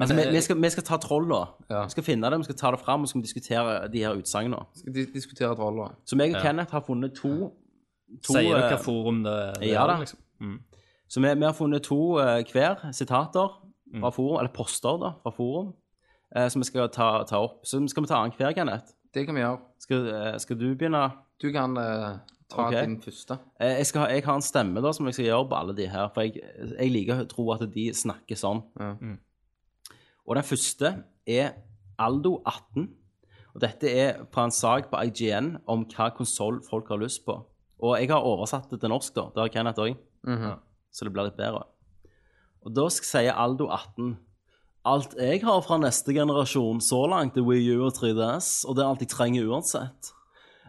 Speaker 5: Altså, vi, vi, skal, vi skal ta trolla.
Speaker 7: Ja.
Speaker 5: Vi skal finne dem, vi skal ta det fram og så skal vi diskutere de her utsagnene.
Speaker 7: Skal de diskutere troller.
Speaker 5: Så meg og Kenneth har funnet to, to
Speaker 6: Sier du
Speaker 5: eh,
Speaker 6: hva forum det, det
Speaker 5: ja liksom-
Speaker 6: er,
Speaker 5: da. Så vi, vi har funnet to eh, hver sitater fra forum, eller poster da, fra forum, eh, som vi skal ta, ta opp. Så skal vi ta an hver, Kenneth.
Speaker 7: Det kan vi gjøre.
Speaker 5: Skal, eh, skal du begynne?
Speaker 7: Du kan eh, ta
Speaker 5: Ok.
Speaker 7: din første.
Speaker 5: Eh, jeg, skal, ha- jeg har en stemme da, som jeg skal gjøre på alle de her, for jeg, jeg liker å tro at de snakker sånn.
Speaker 7: Ja.
Speaker 5: Og den første er Aldo 18, og dette er fra en sag på IGN om hva konsol folk har lyst på. Og jeg har oversatt det til norsk da, det har Kenneth også. Så det blir litt bedre. Og da sk- sier Aldo 18, alt jeg har fra neste generasjon så langt er Wii U og 3DS, og det er alt jeg trenger uansett.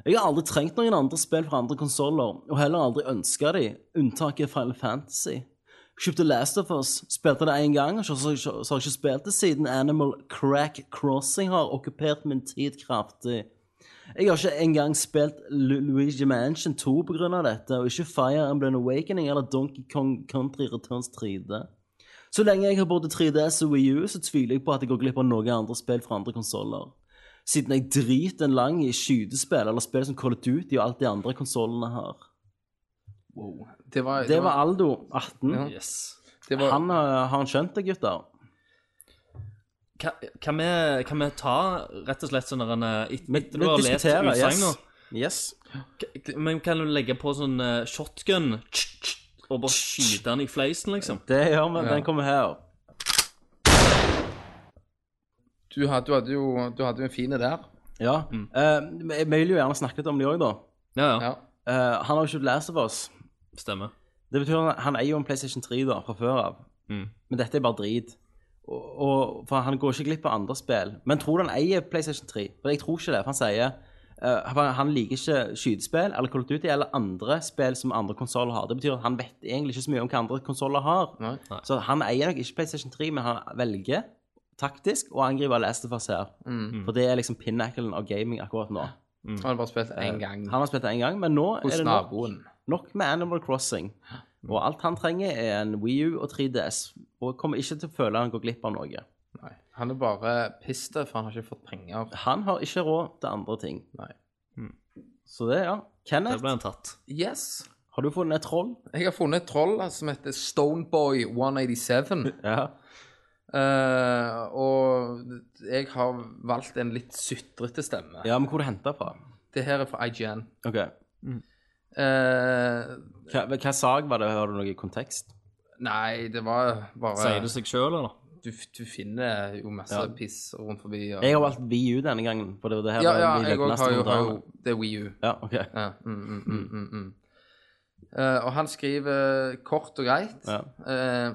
Speaker 5: Jeg har aldri trengt noen andre spill fra andre konsoller, og heller aldri ønska de, unntaket Final Fantasy. Kjøpte Last of Us, spilte det én gang, og så så- så så har jeg ikke spilt det siden Animal Crack Crossing har okkupert min tid kraftig. Jeg har ikke engang spilt Lu Luigi Mansion 2 pga. dette, og ikke Fire Emblem Awakening eller Donkey Kong Country Returns 3D. Så lenge jeg har både 3DS og Wii U, så tviler jeg på at jeg går glipp av noen andre spill fra andre konsoller siden jeg driter en lang i skytespill eller spill som Call of Duty og alt de andre konsollene har.
Speaker 7: Det var,
Speaker 5: Det var Aldo, 18.
Speaker 7: Ja.
Speaker 6: Yes.
Speaker 7: det var,
Speaker 5: Han eh, har han skjønt det, gutter?
Speaker 6: Kan, kan, vi, kan vi ta rett og slett sånn der en eh, et-
Speaker 5: Vi- vi
Speaker 6: Etter du har lest
Speaker 5: diskuterer, yes.
Speaker 6: utsagn nå,
Speaker 5: Yes.
Speaker 6: k- men kan du legge på sånn eh, shotgun tsk, tsk, og bare skyte han i fleisen, liksom?
Speaker 5: Det gjør vi. Den kommer her.
Speaker 7: du, hadde, du, hadde jo, du hadde jo en fin der.
Speaker 5: Ja. Eh, vi- vi vil jo gjerne snakke litt om de òg, da.
Speaker 6: Ja, ja.
Speaker 7: Ja.
Speaker 5: Eh, han har jo ikke lest av oss.
Speaker 6: Stemmer.
Speaker 5: Det betyr at han eier jo en PlayStation 3 da, fra før av.
Speaker 6: Mm.
Speaker 5: Men dette er bare drit. Og, og, for han går ikke glipp av andre spill. Men tror du han eier PlayStation 3? For jeg tror ikke det. For han sier eh, for han liker ikke skytespill eller Call of Duty eller andre spill som andre konsoller har. Det betyr at han vet egentlig ikke så mye om hva andre konsoller har.
Speaker 7: Nei.
Speaker 5: Så han eier nok ikke PlayStation 3, men han velger taktisk å angripe Lastefas her.
Speaker 7: Mm.
Speaker 5: For det er liksom pinnaclen av gaming akkurat nå.
Speaker 7: Han har bare spilt én gang
Speaker 5: Mm. Eh, Han har spilt det én gang, men nå
Speaker 7: hos
Speaker 5: er det nok,
Speaker 7: naboen.
Speaker 5: nok med Animal Crossing. Og alt han trenger, er en Wii U og 3DS. Og kommer ikke til å føle han går glipp av noe.
Speaker 7: Nei. Han er bare pissed, for han har ikke fått penger.
Speaker 5: Han har ikke råd til andre ting. Hmm.
Speaker 7: Nei.
Speaker 5: Så det, ja.
Speaker 6: Der
Speaker 5: Kenneth,
Speaker 6: ble han tatt.
Speaker 7: Yes.
Speaker 5: har du funnet et troll?
Speaker 7: Jeg har funnet et troll som heter Stoneboy187.
Speaker 5: Ja.
Speaker 7: Eh, og jeg har valgt en litt sutrete stemme.
Speaker 5: ja men hvor er det henta fra?
Speaker 7: Det her er fra IGN.
Speaker 5: OK.
Speaker 7: Eh,
Speaker 5: Hva, hva sak var det? Har du noe kontekst?
Speaker 7: nei, det var bare
Speaker 6: Sier det seg sjøl, eller?
Speaker 7: du, du finner jo masse
Speaker 5: Ja.
Speaker 7: piss rundt forbi. Og...
Speaker 5: Jeg har valgt VU denne gangen, for det var det her
Speaker 7: ja,
Speaker 5: var
Speaker 7: ja,
Speaker 5: de
Speaker 7: jeg òg
Speaker 5: løgneste
Speaker 7: har jo, har jo
Speaker 5: kommentarene.
Speaker 7: Det er Wii U.
Speaker 5: Ja, OK.
Speaker 7: Ja. Mm, mm, mm, mm, mm. Eh, og han skriver eh, kort og greit.
Speaker 5: Ja.
Speaker 7: Eh,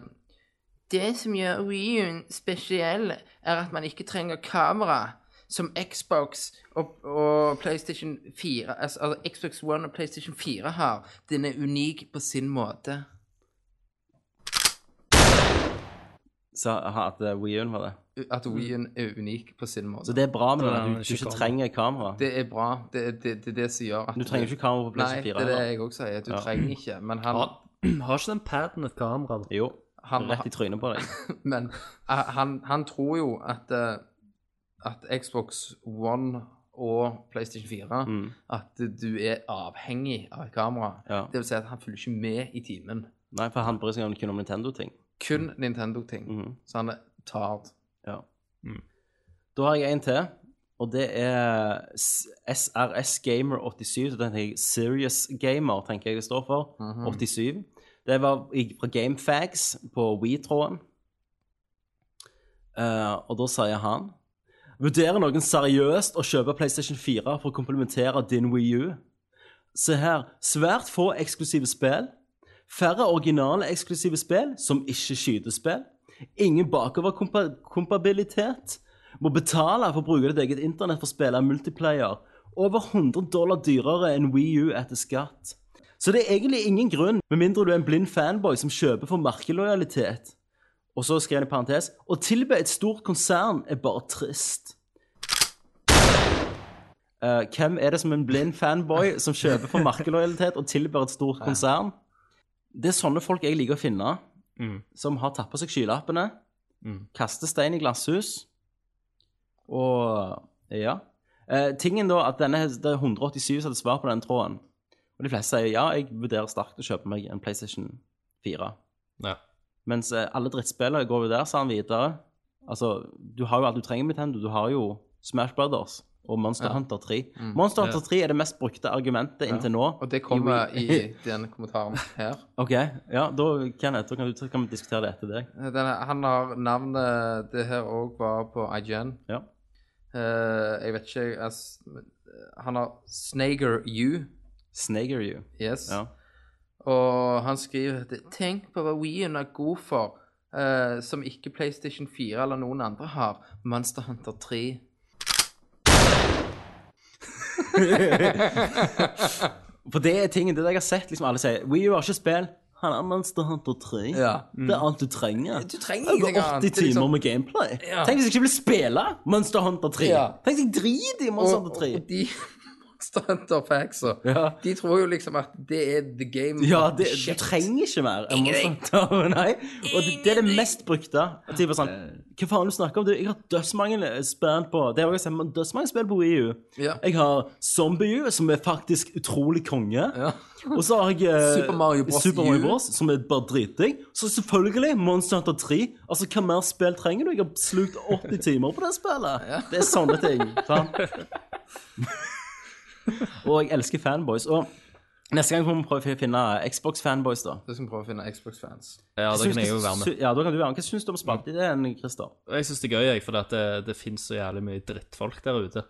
Speaker 7: det som gjør Wii-en spesiell, er at man ikke trenger kamera som Xbox og, og PlayStation 4 altså, altså Xbox One og PlayStation 4 har. Den er unik på sin måte.
Speaker 5: Så at WeUn var det.
Speaker 7: At Wii-en er unik på sin måte.
Speaker 5: Mm. Så det er bra med den at
Speaker 6: Ja,
Speaker 5: du,
Speaker 6: men
Speaker 5: du
Speaker 6: ikke
Speaker 5: ikke
Speaker 6: kamera.
Speaker 5: trenger kamera.
Speaker 7: Det er bra. Det er det, det, er det som gjør at
Speaker 5: Du trenger ikke kamera på
Speaker 7: Nei,
Speaker 5: PlayStation 4.
Speaker 7: det er det
Speaker 5: heller.
Speaker 7: jeg også sier. Du
Speaker 5: Ja.
Speaker 7: trenger ikke. Men han,
Speaker 6: Har, har ikke den paden et kamera? da?
Speaker 5: Jo.
Speaker 7: han,
Speaker 5: Rett i trynet på deg.
Speaker 7: men eh, han, han tror jo at, eh, at Xbox One og PlayStation 4
Speaker 5: Mm.
Speaker 7: At du er avhengig av et kamera.
Speaker 5: Ja.
Speaker 7: Det vil si at han følger ikke med i timen.
Speaker 5: Nei, for han bryr seg om- kun om Nintendo-ting. Mm.
Speaker 7: Kun Nintendo-ting.
Speaker 5: Mhm.
Speaker 7: Så han er tard.
Speaker 5: Ja. Da har jeg en til, og det er S- SRS Gamer 87. Så den tenker jeg Serious Gamer, tenker jeg det står for. 87. Det var i- fra Gamefags på We-tråden. Eh, og da sier han Vurderer noen seriøst å kjøpe PlayStation 4 for å komplementere din Wii U? Se her. Svært få eksklusive spill. Færre originale eksklusive spill, som ikke skytespill. Ingen bakoverkompabilitet. Må betale for å bruke ditt eget internett for å spille multiplayer. Over 100 dollar dyrere enn Wii U etter skatt. Så det er egentlig ingen grunn, med mindre du er en blind fanboy som kjøper for merkelojalitet. Og så skrev han i parentes Å tilby et stort konsern er bare trist. Eh, hvem er det som en blind fanboy som kjøper for merkelojalitet og tilbyr et stort konsern? Det er sånne folk jeg liker å finne
Speaker 7: Mm.
Speaker 5: som har tatt på seg skylappene, kaster stein i glasshus, og ja. Eh, tingen da, at denne, det er 187 som hadde svar på den tråden, og de fleste sier ja, jeg vurderer sterkt å kjøpe meg en Playstation 4.
Speaker 6: Ja.
Speaker 5: Mens eh, alle drittspillere går jo der, sa han videre. Altså, du har jo alt du trenger med Nintendo, du har jo Smash Brothers og Monster Hunter 3. Monster Hunter 3 er det mest brukte argumentet inntil nå.
Speaker 7: Mm. Og det kommer i den kommentaren her.
Speaker 5: Ok, ja, da, Kenneth, da kan, du, så kan vi diskutere det etter deg.
Speaker 7: Eh, Den, han har navnet Det her òg var på IGN.
Speaker 5: Ja.
Speaker 7: Eh, jeg vet ikke jeg, s- eh, Han har Snager U.
Speaker 5: Snager you.
Speaker 7: Yes.
Speaker 5: Ja.
Speaker 7: Og han skriver at Tenk på hva Wien er god for, eh, som ikke PlayStation 4 eller noen andre har. Monster Hunter 3.
Speaker 5: For det er tingen, det er det jeg har sett liksom alle sier. Wii U har ikke spill. Han er Monster Hunter 3. Det er alt du trenger.
Speaker 7: Du trenger
Speaker 5: Over
Speaker 7: ingenting
Speaker 5: 80
Speaker 7: annet. Det er
Speaker 5: timer
Speaker 7: liksom-
Speaker 5: med gameplay. Tenk hvis jeg ikke vil spille Monster Hunter 3.
Speaker 7: Ja.
Speaker 5: Tenk hvis jeg driter i Monster
Speaker 7: Og,
Speaker 5: Hunter 3.
Speaker 7: og de Monster Hunter-factsa,
Speaker 5: Ja.
Speaker 7: de tror jo liksom at det er the game.
Speaker 5: Ja,
Speaker 7: of
Speaker 5: det,
Speaker 7: the
Speaker 5: du
Speaker 7: shit.
Speaker 5: trenger ikke mer enn Monster Hunter. Nei. Og det, det er det mest brukte. Og typ sånn,
Speaker 7: Eh.
Speaker 5: Hva faen du snakker om? Du, jeg har dødsmange spill på Det har jeg sett, men dødsmange spill på Wii U.
Speaker 7: Ja.
Speaker 5: Jeg har Zombie U, som er faktisk utrolig konge.
Speaker 7: Ja.
Speaker 5: Og så har jeg eh,
Speaker 7: Super Mario Bros.
Speaker 5: Super Mario
Speaker 7: U.
Speaker 5: Bros, som er bare dritdigg. Så selvfølgelig Monster Hunter 3. Altså, Hva mer spill trenger du? Jeg har slukt 80 timer på det spillet. Det er sånne ting. sant? og jeg elsker fanboys. Og neste gang må vi prøve å finne Xbox-fanboys, da.
Speaker 7: Du skal prøve å finne Xbox-fans.
Speaker 6: Ja, det
Speaker 5: Syns
Speaker 6: kan jeg
Speaker 5: du-
Speaker 6: jo være med.
Speaker 5: sy- Ja, da kan du være med. Hva syns du om spalteideen, Christer?
Speaker 6: Jeg syns det er gøy, jeg, for det, det fins så jævlig mye drittfolk der ute.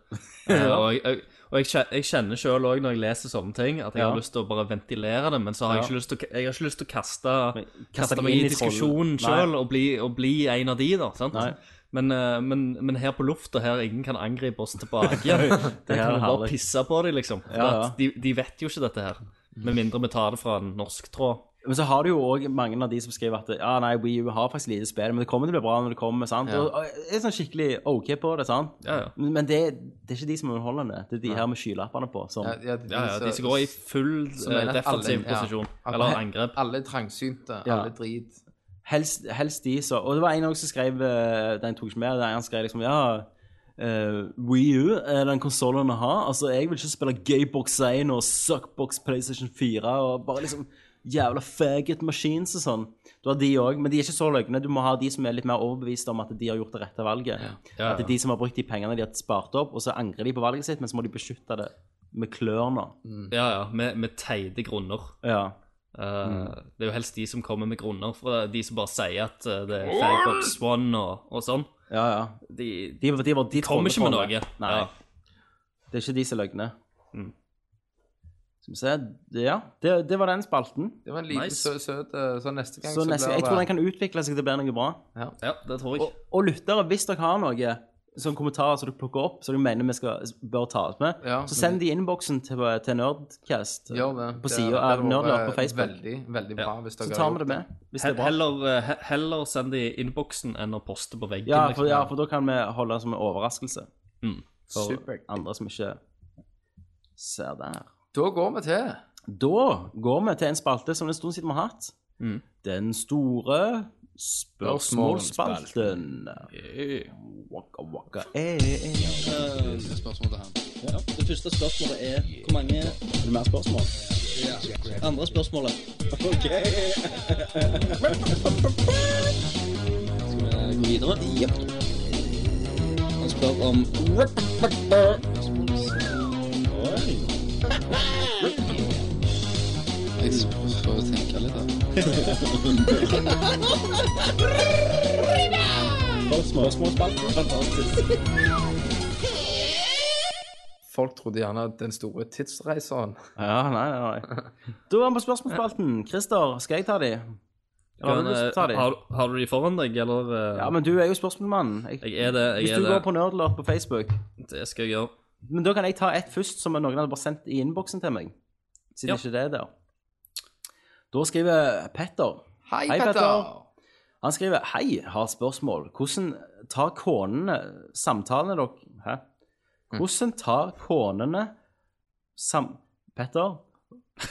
Speaker 6: Eh, og jeg, jeg, og jeg, kje- jeg kjenner sjøl òg, når jeg leser sånne ting, at jeg
Speaker 5: Ja.
Speaker 6: har lyst til å bare ventilere det, men så har jeg ikke lyst til å, jeg har ikke lyst til å kaste,
Speaker 5: Men- kaste
Speaker 6: kaste
Speaker 5: deg
Speaker 6: meg
Speaker 5: inn
Speaker 6: inn
Speaker 5: i
Speaker 6: i diskusjonen
Speaker 5: trollen.
Speaker 6: sjøl og, bli- og bli en av de, da. sant?
Speaker 5: Nei.
Speaker 6: Men, eh, men, men her på lufta, her ingen kan angripe oss tilbake. Der
Speaker 5: er
Speaker 6: kan vi bare
Speaker 5: herlig.
Speaker 6: pisse på dem, liksom. For
Speaker 5: Ja, ja.
Speaker 6: At de, de vet jo ikke dette her. Med mindre vi tar det fra en norsk tråd.
Speaker 5: Men så har du jo òg mange av de som skriver at ja, nei, Wii U har faktisk lite spill, men det kommer til å bli bra når det kommer. sant?
Speaker 7: Ja.
Speaker 5: Og, og er sånn skikkelig OK på det, sant?
Speaker 6: Ja, ja.
Speaker 5: Men men det, det er ikke de som er underholdende. Det er de her med skylappene på. som...
Speaker 7: Ja, ja, de,
Speaker 6: Ja, ja, de som går i full
Speaker 7: så
Speaker 6: eh,
Speaker 7: mener jeg alle-
Speaker 6: defensiv
Speaker 7: ja,
Speaker 6: posisjon.
Speaker 7: at
Speaker 6: Eller
Speaker 7: he-
Speaker 6: angrep.
Speaker 7: Alle er trangsynte,
Speaker 5: Ja.
Speaker 7: alle er drit.
Speaker 5: Helst, helst de som Og det var en også som skrev eh, Den tok ikke med, der han skrev liksom Ja, eh, Wii U er den konsollen å ha. Altså, jeg vil ikke spille Gaybox 1 og Suckbox PlayStation 4 og bare liksom jævla faggot machines og sånn. Du har de òg, men de er ikke så løgne. Du må ha de som er litt mer overbevist om at de har gjort det rette valget.
Speaker 6: Ja, ja.
Speaker 5: At det er de som har brukt de pengene de har spart opp, og så angrer de på valget sitt, men så må de beskytte det med klørne.
Speaker 6: Ja, ja, med, med teite grunner.
Speaker 5: Ja.
Speaker 6: Eh, Det er jo helst de som kommer med grunner, for det er de som bare sier at eh, det er Fagbox One og, og sånn.
Speaker 5: Ja, ja.
Speaker 6: De, de
Speaker 5: De, de, var- de
Speaker 6: kommer ikke med
Speaker 5: trolletrollet.
Speaker 6: noe.
Speaker 5: Nei.
Speaker 6: Ja.
Speaker 5: Det er ikke de som er løgne.
Speaker 6: Mm.
Speaker 5: Skal vi se det- Ja, det, det var den spalten.
Speaker 7: Det var en liten
Speaker 6: Nice.
Speaker 7: sø- søt eh, Så neste gang
Speaker 5: Så neste,
Speaker 7: blir
Speaker 5: jeg tror den
Speaker 7: det
Speaker 5: kan utvikle seg til å bli noe bra.
Speaker 6: ja, det tror jeg.
Speaker 5: Og, og lyttere, hvis dere har noe som kommentarer som dere plukker opp, som dere mener vi skal, bør ta oss med,
Speaker 7: Ja.
Speaker 5: så send de i innboksen til, til Nerdcast
Speaker 7: Gjør det.
Speaker 5: på
Speaker 7: Det-
Speaker 5: sida
Speaker 7: det
Speaker 5: av
Speaker 7: hadde
Speaker 5: Nerdlert på
Speaker 7: vært
Speaker 5: Facebook.
Speaker 7: Veldig, veldig bra hvis dere
Speaker 5: Så
Speaker 7: har
Speaker 5: tar vi
Speaker 7: gjort
Speaker 5: det med. Hvis det er
Speaker 6: He-
Speaker 5: bra.
Speaker 6: Heller, eh, he- heller send det i innboksen enn å poste på veggen.
Speaker 5: Ja,
Speaker 6: liksom.
Speaker 5: for, ja, for da kan vi holde det som en overraskelse
Speaker 6: Mm.
Speaker 5: for andre som ikke ser det her.
Speaker 7: Da går vi til
Speaker 5: Da går vi til en spalte som det er en stund siden vi har hatt.
Speaker 6: Mm.
Speaker 5: Den store spørsmålsspalten. Waka, waka, eh, eh.
Speaker 6: Det første spørsmålet er hvor mange
Speaker 5: Er det mer spørsmål?
Speaker 6: andre spørsmålet. Skal vi gå videre? Jepp. Han spør om
Speaker 7: Folk trodde gjerne at den store tidsreiseren
Speaker 5: Ja, nei, nei, nei. Da er vi på spørsmålsspalten. Christer, skal jeg ta de? Eller har du lyst til å ta de?
Speaker 6: eh, har, har du de foran deg, eller? eh,
Speaker 5: Ja, men du er jo spørsmålmannen. Jeg-
Speaker 6: Jeg er det. jeg
Speaker 5: Hvis
Speaker 6: er
Speaker 5: du
Speaker 6: det.
Speaker 5: går på Nerdlert på Facebook,
Speaker 6: Det skal jeg gjøre.
Speaker 5: men da kan jeg ta ett først som noen hadde bare sendt i innboksen til meg. Siden
Speaker 6: Ja.
Speaker 5: ikke det er der. Da skriver Petter.
Speaker 7: Hei,
Speaker 5: Hei,
Speaker 7: Petter!
Speaker 5: Petter. Han skriver Hei, har spørsmål. Hvordan tar konene samtalene dere Hæ? Hvordan tar konene sam... Petter?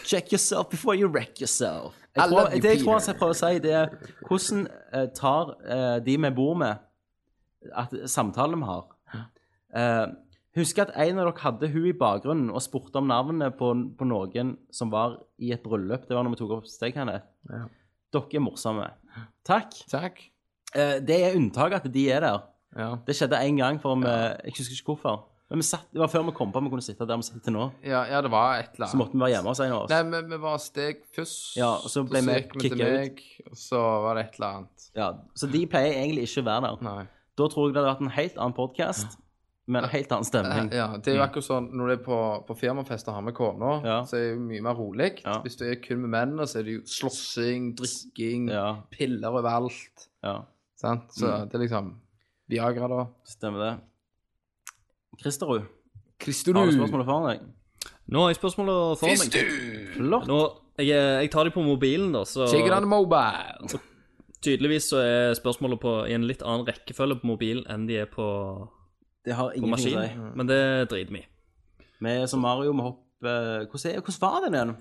Speaker 5: Check yourself before you wreck yourself. Jeg
Speaker 7: I
Speaker 5: tror,
Speaker 7: love you,
Speaker 5: det jeg tror
Speaker 7: Peter.
Speaker 5: jeg prøver å si, det er hvordan eh, tar eh, de vi bor med, at samtalen vi har eh, Husker at en av dere hadde hun i bakgrunnen og spurte om navnet på, på noen som var i et bryllup. Det var når vi tok opp steg, Kenneth.
Speaker 7: Ja.
Speaker 5: Dere er morsomme. Takk.
Speaker 7: Takk.
Speaker 5: Eh, det er unntaket at de er der.
Speaker 7: Ja.
Speaker 5: Det skjedde én gang, for vi, jeg husker ikke hvorfor. Men vi satt, det var før vi kom på at vi kunne sitte der vi sitter til nå.
Speaker 7: Ja, ja, det var et eller
Speaker 5: Så måtte vi være hjemme hos en av oss.
Speaker 7: Nei, vi, vi var steg først.
Speaker 5: Ja, og så ble
Speaker 7: og
Speaker 5: vi
Speaker 7: gikk til
Speaker 5: kicka ut.
Speaker 7: meg, Og så var det et eller annet.
Speaker 5: Ja, så de pleier egentlig ikke å være der.
Speaker 7: Nei.
Speaker 5: Da tror jeg det hadde vært en helt annen podkast med en helt annen stemning.
Speaker 7: Ja, det er jo akkurat sånn når du er på, på firmafest og har med kona,
Speaker 5: Mm. Ja.
Speaker 7: så er det jo mye mer rolig.
Speaker 5: Ja.
Speaker 7: Hvis du er kun med mennene, så er det jo slåssing, drikking,
Speaker 5: Ja, Mm.
Speaker 7: piller overalt.
Speaker 5: ja,
Speaker 7: Sant? Så det er liksom Viagra, da.
Speaker 5: stemmer det. Kristerud, har du
Speaker 7: Kristerud!
Speaker 5: spørsmålet foran deg?
Speaker 6: Nå har jeg spørsmålet for meg.
Speaker 5: Flott.
Speaker 6: Nå, jeg, eh, jeg tar de på mobilen, da, så
Speaker 7: Check it on the mobile!
Speaker 6: tydeligvis så er spørsmålet på, i en litt annen rekkefølge på mobilen enn de er på,
Speaker 5: Det har
Speaker 6: på
Speaker 5: ingenting å si.
Speaker 6: maskinen. Men det driter vi i.
Speaker 5: Vi er som Mario, vi hopper eh, Hvordan, er, hvordan var den igjen?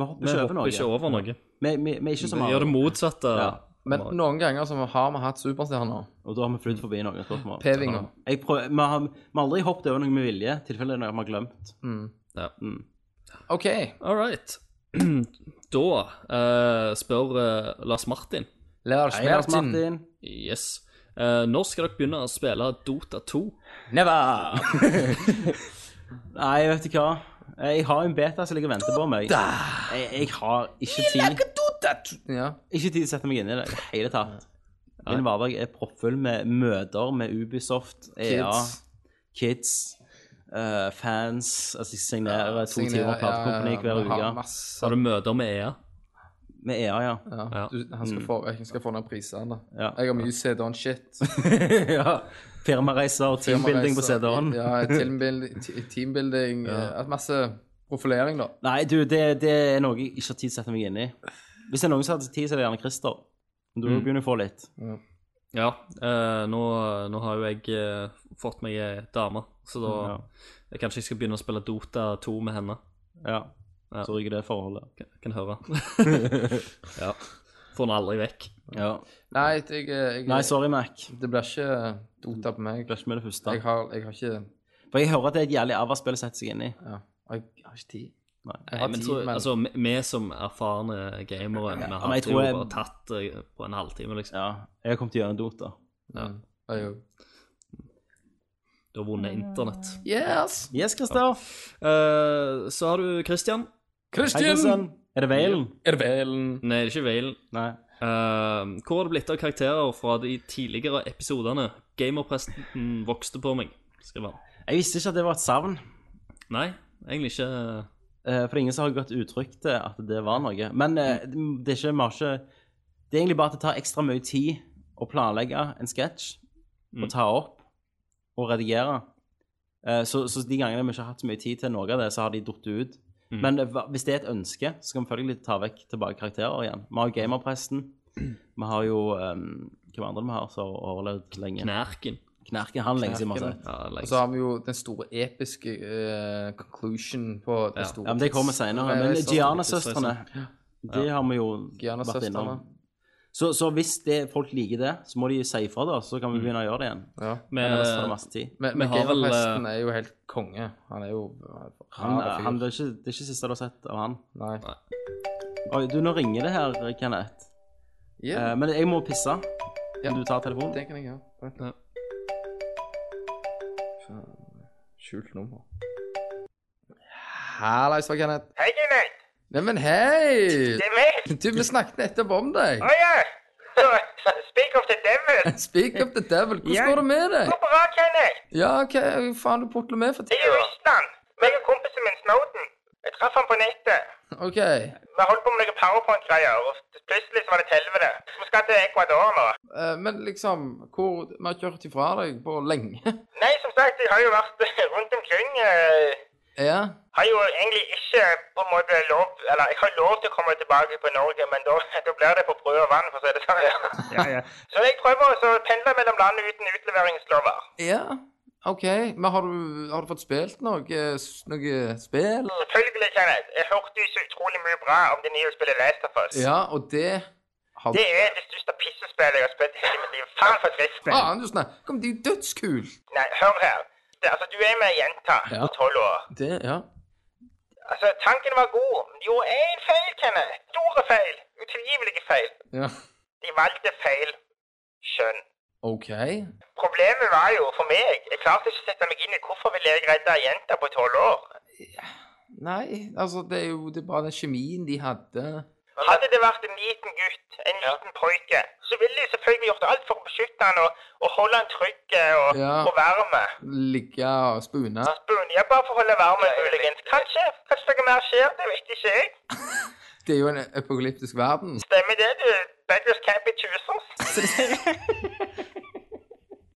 Speaker 5: Vi hopper
Speaker 6: Vi
Speaker 5: ikke over
Speaker 6: hopper
Speaker 5: noe.
Speaker 6: ikke over noe.
Speaker 5: Vi, vi, vi er Mm. ikke som
Speaker 6: Vi gjør det
Speaker 5: Mario,
Speaker 6: motsatte.
Speaker 5: Ja.
Speaker 7: Men noen ganger så har vi hatt superstjerner.
Speaker 5: og da har vi flydd forbi noen spørsmål.
Speaker 7: P-vinger.
Speaker 5: Jeg prøver, vi, har, vi har aldri hoppet over noe med vilje, i tilfelle det er noe vi har glemt.
Speaker 7: OK.
Speaker 6: All right. Da eh, spør eh, Lars Martin.
Speaker 7: Lars
Speaker 5: Hei, Lars
Speaker 7: Martin.
Speaker 5: Martin.
Speaker 6: Yes. Eh, når skal dere begynne å spille Dota 2?
Speaker 5: Never! Nei, vet du hva? Jeg har en beta som ligger og venter på meg. Jeg, jeg har ikke tid
Speaker 7: Ja.
Speaker 5: Ikke tid til å sette meg inn i det i det hele tatt. Min hverdag er proppfull med møter med Ubisoft, EA,
Speaker 7: Kids.
Speaker 5: kids, eh, fans Altså, jeg signerer to
Speaker 7: Signere-
Speaker 5: timer platekompani hver
Speaker 7: vi har
Speaker 5: uke.
Speaker 7: masse-
Speaker 6: Har du møter med E EA?
Speaker 5: Med EA, ja. Mm.
Speaker 7: Ja. Du, han skal få, jeg skal få ned prisene.
Speaker 5: Ja.
Speaker 7: Jeg har mye CD-on-shit.
Speaker 5: ja. Firmareiser, teambuilding på CD-en.
Speaker 7: Ja, teambuilding, te- teambuilding eh, Masse profilering, da.
Speaker 5: Nei, du, det, det er noe jeg ikke har tid til å sette meg inn i. Hvis det er noen som hadde tid, så er det gjerne Christer. Men du
Speaker 7: Mm.
Speaker 5: begynner å få litt.
Speaker 6: Ja, eh, nå, nå har jo jeg eh, fått meg ei dame, så da
Speaker 5: Ja.
Speaker 6: jeg Kanskje jeg skal begynne å spille Dota 2 med henne.
Speaker 5: Ja.
Speaker 6: Ja.
Speaker 5: Så ryker det forholdet.
Speaker 6: Kan, kan høre. ja. Får den aldri vekk.
Speaker 5: Ja.
Speaker 7: Nei, jeg, jeg,
Speaker 5: Nei, sorry, Mac.
Speaker 7: det blir ikke dota på meg.
Speaker 5: Det blir ikke med det første.
Speaker 7: Jeg har, jeg har ikke
Speaker 5: For jeg hører at det er et jævlig ava spill å sette seg inn i.
Speaker 7: ja, Jeg har ikke tid.
Speaker 5: Nei.
Speaker 7: Jeg
Speaker 6: Nei,
Speaker 7: har
Speaker 6: men
Speaker 7: tid,
Speaker 6: så,
Speaker 7: men
Speaker 6: altså, vi- vi som erfarne gamere, vi
Speaker 5: men
Speaker 6: har
Speaker 5: jeg
Speaker 6: jo
Speaker 5: tror jeg-
Speaker 6: bare tatt eh, på en halvtime, liksom.
Speaker 5: Ja, jeg har kommet gjennom Dota.
Speaker 6: ja.
Speaker 7: Mm. Jeg jo-
Speaker 6: Du har vunnet internett.
Speaker 7: Yes!
Speaker 5: Yes, Christer.
Speaker 6: Eh, så har du Christian.
Speaker 5: Hei,
Speaker 7: Christian!
Speaker 5: Kristian. Er det Valen?
Speaker 7: Er det Valen?
Speaker 6: Nei, det er ikke Valen.
Speaker 5: Nei.
Speaker 6: Eh, hvor har det blitt av karakterer fra de tidligere episodene? Gamerpresten vokste på meg, skriver han.
Speaker 5: Jeg visste ikke at det var et savn.
Speaker 6: Nei, egentlig ikke.
Speaker 5: Eh, For det er ingen som har gått uttrykk til at det var noe. Men eh, det er ikke, vi har ikke Det er egentlig bare at det tar ekstra mye tid å planlegge en sketsj, og ta opp og redigere. Eh, Så, så de gangene vi ikke har hatt så mye tid til noe av det, så har de datt ut. Men eh, hva- hvis det er et ønske, så skal vi selvfølgelig ta vekk tilbake karakterer igjen. Vi har jo gamerpresten. Vi har jo um, Hvem andre vi har som har overlevd lenge?
Speaker 6: Knerken.
Speaker 5: Knerken. Han lenge siden vi har sett.
Speaker 6: Ja,
Speaker 7: Og
Speaker 6: like.
Speaker 7: så har vi jo den store episke eh, conclusion på det
Speaker 6: Ja.
Speaker 7: store Eh,
Speaker 5: Ja, men det kommer senere. Men Giana-søstrene, det har vi jo vært
Speaker 7: Giana-søstrene.
Speaker 5: innom. Så, så hvis det, folk liker det, så må de si ifra, da. Så
Speaker 7: Mm.
Speaker 5: kan vi begynne å gjøre det igjen.
Speaker 7: Ja.
Speaker 5: Men
Speaker 6: Med,
Speaker 5: ellers tar det masse tid.
Speaker 7: Men,
Speaker 6: Vi
Speaker 7: men
Speaker 6: har vel, eh,
Speaker 7: Gamerpresten er jo helt konge. Han er jo
Speaker 5: Han,
Speaker 7: rar fyr.
Speaker 5: han, Eh, det, er ikke, det er ikke siste du har sett av han.
Speaker 7: Nei.
Speaker 5: Oi, du, nå ringer det her, Kenneth. Eh,
Speaker 7: Yeah,
Speaker 5: men jeg må pisse.
Speaker 7: Ja.
Speaker 5: Kan du ta telefonen?
Speaker 7: det kan jeg gjøre.
Speaker 6: Ja.
Speaker 7: Faen, Skjult nummer. Hallais, var Kenneth.
Speaker 3: Hei, Kenneth.
Speaker 7: Neimen, hei!
Speaker 3: Det er meg.
Speaker 7: Du, vi snakket nettopp om deg.
Speaker 3: Å ja. Så, Oh, Speak of the devil.
Speaker 7: Speak up the devil. Hvordan går det med deg?
Speaker 3: Så bra, Kenneth.
Speaker 7: Ja, hva faen du putler med for
Speaker 3: Jeg er i
Speaker 7: tida?
Speaker 3: Russland. Meg og kompisen min Snowden. Jeg traff han på nettet.
Speaker 7: OK.
Speaker 3: Vi holdt på med noen powerpoint-greier, og plutselig så var det et helvete. Vi skal til Ecuador nå.
Speaker 7: eh, Men liksom, hvor Vi har ikke hørt ifra deg på lenge.
Speaker 3: Nei, som sagt, jeg har jo vært rundt omkring. eh,
Speaker 7: Ja?
Speaker 3: har jo egentlig ikke på en måte lov Eller jeg har lov til å komme tilbake på Norge, men da, da blir det på brød og vann, for å si det sånn. Ja, ja. Så jeg prøver også å pendle mellom land uten utleveringslover.
Speaker 7: Ja? OK. Men har du, har du fått spilt noe, noe spill?
Speaker 3: Selvfølgelig, Kenneth. Jeg hørte jo så utrolig mye bra om det nye spillet Last of Us.
Speaker 7: Ja, og det har
Speaker 3: Det er det største pissespillet jeg har spilt i hele mitt liv. Faen for et drittspill.
Speaker 7: Faen, du snakker om! Det er jo dødskult!
Speaker 3: Nei, hør her. Det, altså, du er med ei jente på tolv år.
Speaker 7: Det, ja.
Speaker 3: Altså, tanken var god. men De gjorde én feil, Kenneth. Store feil. Utilgivelige feil.
Speaker 7: ja.
Speaker 3: De valgte feil kjønn.
Speaker 7: OK.
Speaker 3: Problemet var jo for meg Jeg klarte ikke å sette meg inn i hvorfor ville jeg redde ei jente på tolv år.
Speaker 7: Nei, altså, det er jo det er bare den kjemien de hadde.
Speaker 3: Hadde det vært en liten gutt, en liten pojke, så ville de selvfølgelig gjort alt for å beskytte han og, og holde han trygg eh, og,
Speaker 7: Ja.
Speaker 3: og varme.
Speaker 7: Ligge og spune.
Speaker 3: Bunn, jeg bare for å holde varmen, muligens. Kanskje kanskje noe mer skjer, det vet ikke jeg.
Speaker 7: Det er jo en apokalyptisk verden.
Speaker 3: Stemmer det, du? Beggars can't be choosers.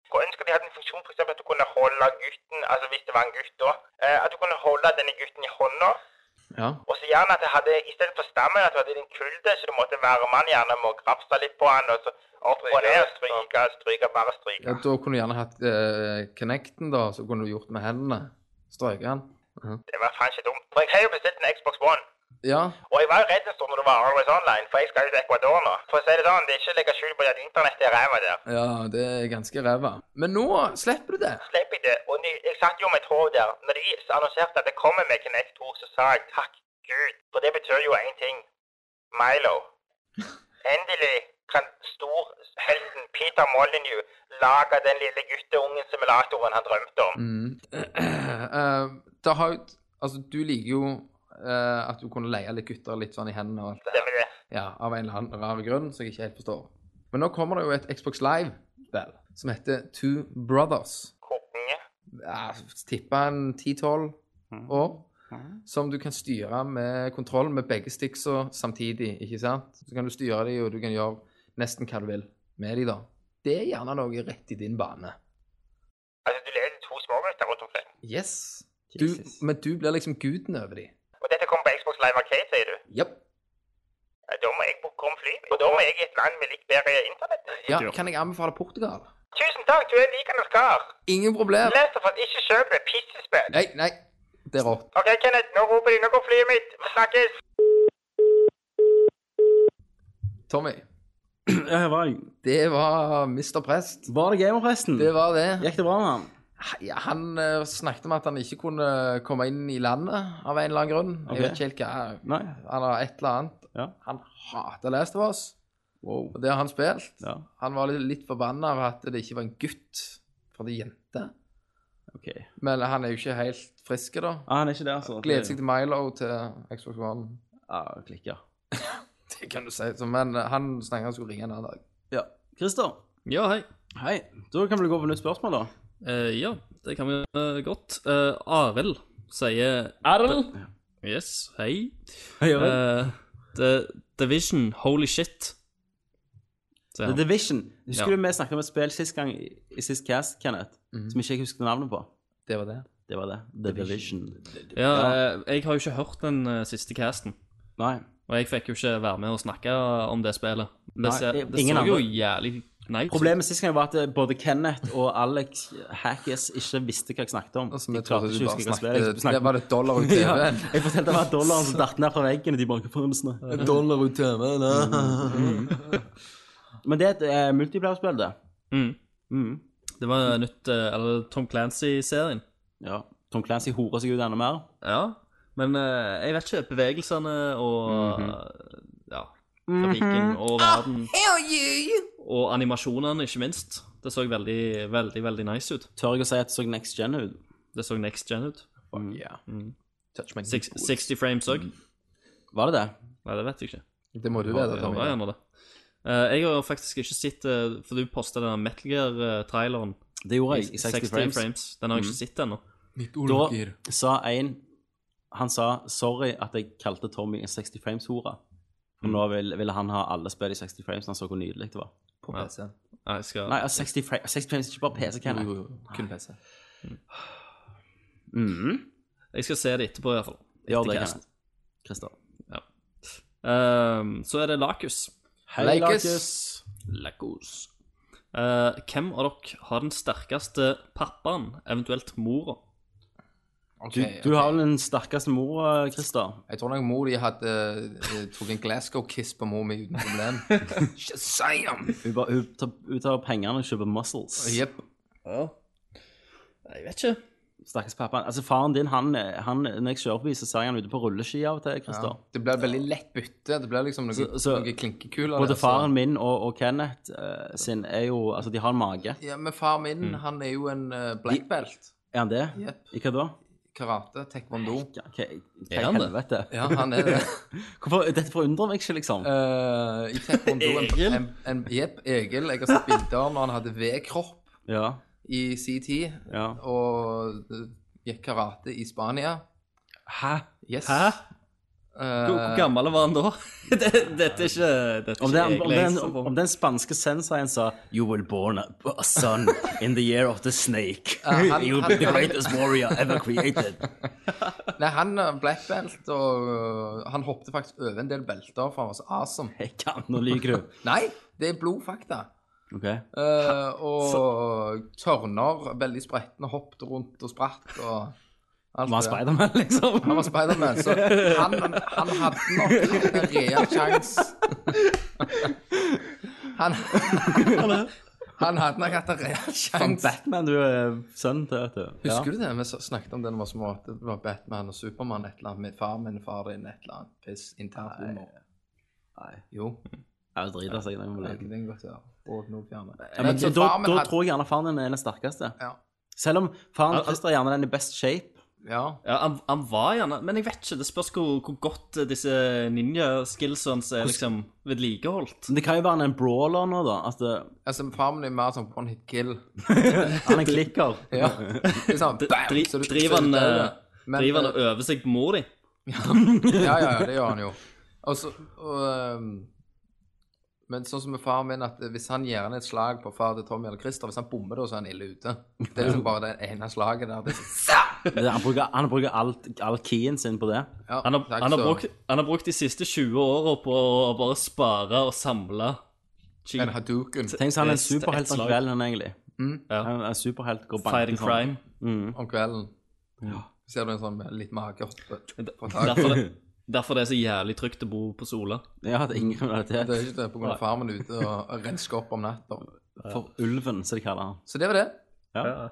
Speaker 3: Skulle ønske de hadde en funksjon, f.eks. at du kunne holde gutten, altså hvis det var en gutt da, eh, at du kunne holde denne gutten i hånda.
Speaker 7: Ja.
Speaker 3: Og så gjerne at jeg hadde, i stedet for stammen, at du hadde din kulde, så du måtte være mann gjerne med å grafse litt på han, og så opp og ned, stryke, stryke, bare
Speaker 7: ja,
Speaker 3: stryke.
Speaker 7: Da kunne du gjerne hatt eh, Connecten, da, så kunne du gjort med hendene. Strøket han.
Speaker 3: Det var faen ikke dumt. For jeg har jo bestilt en Xbox One,
Speaker 7: Ja.
Speaker 3: og jeg var jo redd en stund når det var Always Online, for jeg skal jo til Ecuador nå. For å si det sånn, det er ikke å legge skjul på at internettet er ræva der.
Speaker 7: ja, det er ganske ræva. Men nå slipper du det.
Speaker 3: Slepp jeg det, og ny- jeg satt jo med et hår der. Når de annonserte at det kommer med Kinect 2, så sa jeg takk Gud, for det betyr jo én ting. Milo. Endelig kan storhelten Peter Molyneux lage den lille gutteungen-simulatoren han drømte om.
Speaker 7: Mm. Eh, det har jo Altså, du liker jo eh, at du kunne leie litt gutter litt sånn i hendene og alt det.
Speaker 3: Stemmer det?
Speaker 7: Ja, av en eller annen rar grunn som jeg ikke helt forstår. Men nå kommer det jo et Xbox Live vel, som heter Two Brothers.
Speaker 3: Konge.
Speaker 7: Ja, Tippa en 10-12 år. Som du kan styre med kontroll med begge sticksa samtidig. ikke sant? Så kan du styre de, og du kan gjøre nesten hva du vil med de da. Det er gjerne noe rett i din bane.
Speaker 3: Altså, du leder to smågutter rundt omkring.
Speaker 7: Yes. Du, men du blir liksom guden over de.
Speaker 3: Og dette kommer på Xbox Live Arcade, sier du?
Speaker 7: Jepp.
Speaker 3: Ja, Da må jeg bo- kom fly. Og da må jeg i et land med litt bedre internett.
Speaker 7: Ja, kan jeg anbefale Portugal?
Speaker 3: Tusen takk, du er en likende kar.
Speaker 7: Ingen problem.
Speaker 3: Les for at ikke kjøp et pissespill.
Speaker 7: Nei, nei. Det er rått.
Speaker 3: OK, Kenneth, nå roper de. Nå går flyet mitt. Vi snakkes.
Speaker 7: Tommy,
Speaker 5: Ja, her var jeg.
Speaker 7: det var Mr. Prest.
Speaker 5: Var det gamer, forresten?
Speaker 7: Det var det.
Speaker 5: Gikk det bra med han?
Speaker 7: Ja, han eh, snakket om at han ikke kunne eh, komme inn i landet av en eller annen grunn.
Speaker 5: Ok.
Speaker 7: Jeg vet ikke helt hva.
Speaker 5: Nei.
Speaker 7: Han har et eller annet.
Speaker 5: Ja.
Speaker 7: Han hater Last of Us,
Speaker 5: Wow.
Speaker 7: og det har han spilt.
Speaker 5: Ja,
Speaker 7: Han var litt, litt forbanna over at det ikke var en gutt, for det er jente.
Speaker 5: ok.
Speaker 7: Men han er jo ikke helt frisk, da.
Speaker 5: Ah, han er ikke der, så.
Speaker 7: Gleder seg til Milo til Xbox One.
Speaker 5: Ja, klikker.
Speaker 7: Det kan du si. Så, men eh, han snakket han skulle ringe en annen dag.
Speaker 5: Ja. Christer,
Speaker 6: Ja, hei.
Speaker 5: hei. Da kan vi gå på nytt spørsmål, da.
Speaker 6: Eh, ja, det kan vi gjøre godt. Uh, Arild sier Arild? Yes, hei.
Speaker 5: Hei,
Speaker 6: Eh, The Division, holy shit.
Speaker 5: The
Speaker 6: Så,
Speaker 5: Division. Husker
Speaker 6: Ja. Mhm.
Speaker 5: du vi snakket om et spill sist gang i i sist cast, Kenneth, som ikke jeg husker navnet på?
Speaker 7: Det var det.
Speaker 5: Det var det. The Division.
Speaker 6: ja, eh, jeg har jo ikke hørt den eh, siste casten.
Speaker 5: Nei.
Speaker 6: Og jeg fikk jo ikke være med og snakke om det spillet.
Speaker 5: Nei,
Speaker 6: Det, ser,
Speaker 5: det-
Speaker 6: det
Speaker 5: ingen
Speaker 6: så jo
Speaker 5: andre.
Speaker 6: jævlig nice
Speaker 5: Problemet sist gang var at eh, både Kenneth og Alex Hackes ikke visste hva jeg snakket om.
Speaker 7: Altså, vi
Speaker 5: Jeg
Speaker 7: trodde
Speaker 5: klarte
Speaker 7: du
Speaker 5: ikke å
Speaker 7: bare
Speaker 5: huske hva spillet
Speaker 7: snakket
Speaker 5: jeg
Speaker 7: Det
Speaker 5: snakket
Speaker 7: var
Speaker 5: om.
Speaker 7: det dollar ut
Speaker 5: Ja,
Speaker 7: TV-en.
Speaker 5: jeg fortalte det var dollaren som datt ned fra veggen, og de bare «Hva faen snakker du om?»
Speaker 7: Dollar ut TV-en,
Speaker 5: Mhm. Men det er et eh, multiplayer-spill, det.
Speaker 6: Mm.
Speaker 5: Mm.
Speaker 6: Det var nytt eh, Eller Tom Clancy-serien.
Speaker 5: Ja. Tom Clancy horer seg ut enda mer.
Speaker 6: Ja. Men eh, jeg vet ikke. Bevegelsene og
Speaker 7: Mhm.
Speaker 6: eh, Ja. Trafikken og
Speaker 7: Ah,
Speaker 6: verden. Og animasjonene, ikke minst. Det så veldig, veldig veldig nice ut.
Speaker 5: Tør jeg å si at det så next gen ut? Mhm.
Speaker 6: Det så next gen ut. Mm.
Speaker 7: Ja. Touch my
Speaker 6: Six, 60 frames òg.
Speaker 5: Var det det?
Speaker 6: Nei, det vet jeg ikke.
Speaker 7: Det må Mm. du vite,
Speaker 6: Ja,
Speaker 7: Tommy.
Speaker 6: ja, gjerne det. Eh, jeg har faktisk ikke sett eh, For du posta denne Metal eh, Gear-traileren.
Speaker 5: Det gjorde jeg i 60, frames.
Speaker 6: Den har jeg
Speaker 7: Mm.
Speaker 6: ikke sett ennå.
Speaker 5: Da sa en Han sa sorry at jeg kalte Tommy en 60 frames-hore. For nå ville, ville han ha alle spill i 60 frames. Han så hvor nydelig det var.
Speaker 7: På PC.
Speaker 6: Nei, jeg skal
Speaker 5: Nei, altså, 60 frames, 60 frames er ikke bare PC, kan
Speaker 7: Jo,
Speaker 5: jeg?
Speaker 7: jo, jo. Kun PC.
Speaker 5: Mhm.
Speaker 6: Jeg skal se det etterpå, i hvert fall.
Speaker 5: Gjør
Speaker 6: Etter
Speaker 5: det,
Speaker 6: casten.
Speaker 5: Kenneth. Christer.
Speaker 6: Ehm, så er det Lakus.
Speaker 5: Hei,
Speaker 7: Lakers.
Speaker 5: Lakers.
Speaker 6: Lakus. Eh, hvem av dere har den sterkeste pappaen, eventuelt mora?
Speaker 5: Du, du har vel den sterkeste
Speaker 2: eh,
Speaker 5: mora, Christer.
Speaker 7: Jeg tror nok mor de hadde eh, tok en Glasgow-kiss på mor mi uten problem. Shazam!
Speaker 5: Hun, bare, hun, tar, hun tar pengene og kjøper muscles.
Speaker 7: Jepp.
Speaker 6: Ja. Jeg vet ikke.
Speaker 5: Stakkars pappa. Altså, faren din, han, han, når jeg kjører forbi, så ser jeg han ute på rulleski av og til,
Speaker 7: Ja.
Speaker 5: Christer.
Speaker 7: Det ble veldig lett bytte. Det ble liksom noe,
Speaker 5: Så- så-
Speaker 7: noe klinkekuler.
Speaker 5: Både
Speaker 7: der, så-
Speaker 5: faren min og, og Kenneth eh, sin er jo Altså, de har en mage.
Speaker 7: Ja, men far min,
Speaker 5: Mm.
Speaker 7: han er jo en eh, black belt.
Speaker 5: Er han det?
Speaker 7: Jepp.
Speaker 5: I hva da?
Speaker 7: Karate, taekwondo.
Speaker 5: Ja, Hva hva i
Speaker 6: Er han det?
Speaker 5: helvete?
Speaker 7: Ja, han er det.
Speaker 5: Hvorfor, dette forundrer meg ikke, liksom.
Speaker 7: Eh, I taekwondo en- en- en- Jepp, Egil. Jeg har sett bilder når han hadde V-kropp
Speaker 5: Ja.
Speaker 7: i sin tid,
Speaker 5: ja.
Speaker 7: og eh, gikk karate i Spania.
Speaker 5: Hæ?
Speaker 7: Yes.
Speaker 6: Hæ?
Speaker 7: Eh,
Speaker 6: Hvor, hvor gammel var han da? det, dette er ikke Dette
Speaker 5: Om
Speaker 6: er
Speaker 5: den,
Speaker 6: ikke
Speaker 5: om,
Speaker 6: jeg
Speaker 5: den,
Speaker 6: leser på.
Speaker 5: om den spanske sensaen sa You were born a a son in the year of the snake.
Speaker 7: han- han-
Speaker 5: You will be the
Speaker 7: han-
Speaker 5: greatest warrior ever created.
Speaker 7: Nei, han er black belt, og øh, han hoppet faktisk over en del belter, for han var så awesome.
Speaker 5: Jeg kan, nå lyver du.
Speaker 7: Nei, det er blodfakta.
Speaker 5: Ok.
Speaker 7: Eh, og tørner, veldig spretne, hoppet rundt og spratt og alt
Speaker 5: Var han
Speaker 7: det.
Speaker 5: Spiderman, liksom?
Speaker 7: Han var Spiderman, så han, han hadde nok en reell sjanse. Han, han hadde nok hatt en reell
Speaker 5: Som
Speaker 7: sjanse.
Speaker 5: Batman, du er sønnen til, vet du. Ja.
Speaker 7: Husker du det? Vi s- snakket om det da vi var små, at det var Batman og Supermann, et eller annet med far min, far din, et eller annet piss, internt humor.
Speaker 5: Nei.
Speaker 7: Jo.
Speaker 5: Ja, det driter seg. Den
Speaker 7: Nei,
Speaker 5: ja,
Speaker 7: det kan godt være. Og noe fjerne.
Speaker 5: men,
Speaker 7: så
Speaker 5: da,
Speaker 7: far min
Speaker 5: da
Speaker 7: hadde-
Speaker 5: tror jeg gjerne faren din er den sterkeste.
Speaker 7: Ja.
Speaker 5: Selv om faren
Speaker 6: Al-
Speaker 5: til Christer er gjerne den i best shape.
Speaker 7: Ja.
Speaker 6: Ja, han, han var gjerne Men jeg vet ikke. Det spørs hvor, hvor godt eh, disse ninja-skillsene hans er liksom vedlikeholdt.
Speaker 5: Men det kan jo være han er en brawler nå, da. At det,
Speaker 7: Altså, far min er mer sånn one hit kill.
Speaker 5: han er en klikker.
Speaker 7: Ja. Det er sånn, bam,
Speaker 6: dri-
Speaker 7: så du-
Speaker 6: driver
Speaker 7: så du
Speaker 6: han,
Speaker 7: dør.
Speaker 6: eh,
Speaker 7: Men,
Speaker 6: Driver han
Speaker 7: eh,
Speaker 6: og øver seg på mor di?
Speaker 7: Ja, ja, ja, det gjør han jo. Og så, og, ehm, men sånn som med faren min, at hvis han gir han et slag på far til Tommy eller Christer, hvis han bommer da, så er han ille ute. Det er liksom bare det ene slaget der. Det er sånn,
Speaker 2: Det er- Han bruker, han bruker alt, all keyen sin på det.
Speaker 7: Ja,
Speaker 6: Han har,
Speaker 7: takk,
Speaker 6: han, har
Speaker 7: så-
Speaker 6: brukt, han har brukt de siste 20 årene på å bare spare og samle chi-
Speaker 7: en Hadouken.
Speaker 2: Tenk så han er en
Speaker 6: Det er et
Speaker 2: superhelt om
Speaker 6: slag.
Speaker 2: kvelden, han egentlig.
Speaker 6: Ja.
Speaker 2: Han er en superhelt går banken
Speaker 6: fighting crime.
Speaker 7: om kvelden. Ser du en sånn med litt magert på taket.
Speaker 6: Derfor det, derfor det er så jævlig trygt å bo på Sola.
Speaker 2: Ja, det er ingen kriminalitet.
Speaker 7: Det er ikke det, på grunn av farmen er ute og rensker opp om natta.
Speaker 2: For ulven, som de kaller han.
Speaker 7: Så det var det.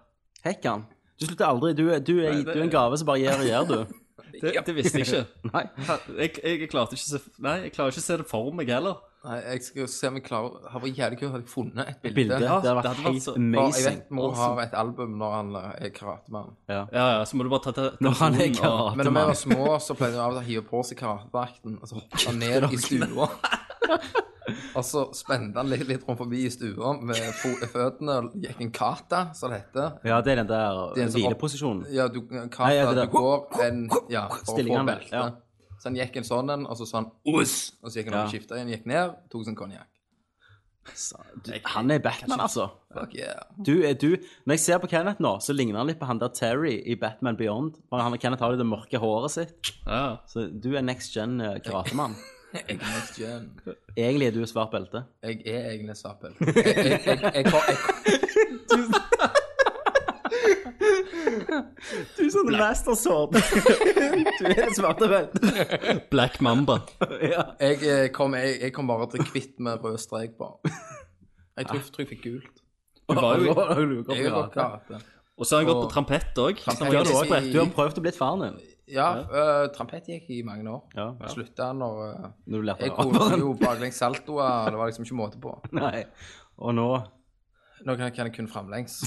Speaker 2: Hekkan. Du slutter aldri. Du, er- du, er, du er en gave som bare gir og gir, du.
Speaker 6: Det, det visste jeg ikke.
Speaker 2: Nei.
Speaker 6: Jeg, jeg, jeg klarte ikke å se, nei, jeg klarer ikke å se det for meg heller.
Speaker 7: Nei, jeg skal jo se om jeg klarer Det hadde vært jævlig kult hadde jeg funnet et bilde.
Speaker 2: Bildet. Det hadde
Speaker 6: det
Speaker 2: vært
Speaker 6: hadde vært
Speaker 2: helt
Speaker 6: så-
Speaker 7: For jeg
Speaker 2: amazing.
Speaker 7: vet mor har et album når han eh, er karatemann.
Speaker 6: Ja, ja, så må du bare ta te-
Speaker 2: Når han er
Speaker 7: Men
Speaker 6: telefonen og-
Speaker 7: da vi
Speaker 2: karatemann.
Speaker 7: var små, så pleide vi av og til å hive på oss i karatedrakten, og så hoppet han ned i stua. og så spente han litt, litt rundt forbi i stua med fo- føttene og gikk en kata, som det heter.
Speaker 2: Ja, det er den der
Speaker 7: er en sånn opp-
Speaker 2: hvileposisjonen.
Speaker 7: Ja, du, kata,
Speaker 2: Nei, ja, det der.
Speaker 7: du går en ja, for å få
Speaker 2: Stillingen,
Speaker 7: belte.
Speaker 2: ja.
Speaker 7: Så han gikk en sånn en, og så sa han oss, og så gikk han
Speaker 2: Ja.
Speaker 7: opp og skifta igjen, gikk ned, tok sin konjakk.
Speaker 2: Du, Han er Batman, altså.
Speaker 7: Fuck yeah.
Speaker 2: Du er du. Når jeg ser på Kenneth nå, så ligner han litt på han der Terry i Batman Beyond. For han Kenneth har jo det mørke håret sitt.
Speaker 6: Ja,
Speaker 2: Så du er next gen eh, karatemann.
Speaker 7: Jeg er next gen.
Speaker 2: Egentlig er du svart belte.
Speaker 7: Jeg er egentlig Svapel. Jeg, jeg, jeg, jeg, jeg, jeg,
Speaker 2: Du som The Master Sword. du er det svarte belte.
Speaker 6: Black Mamba.
Speaker 2: ja.
Speaker 7: jeg, eh, kom, jeg, jeg kom bare til kvitt med rød strek på. Jeg
Speaker 2: Ah.
Speaker 7: tror, tror jeg fikk gult.
Speaker 6: Du var jo,
Speaker 7: Jeg er godt karate.
Speaker 6: og så har han gått på trampett òg.
Speaker 2: Du har,
Speaker 7: Jeg-
Speaker 2: også, du har prøvd å bli faren din.
Speaker 7: Ja, øh, trampett gikk jeg i mange år.
Speaker 2: Ja.
Speaker 7: Slutta når øh,
Speaker 2: Når du lærte
Speaker 7: Jeg
Speaker 2: det
Speaker 7: kunne
Speaker 2: av.
Speaker 7: jo baklengs saltoer. Det var liksom ikke måte på.
Speaker 2: Nei. Og nå
Speaker 7: Nå kan jeg, kan jeg kun framlengs.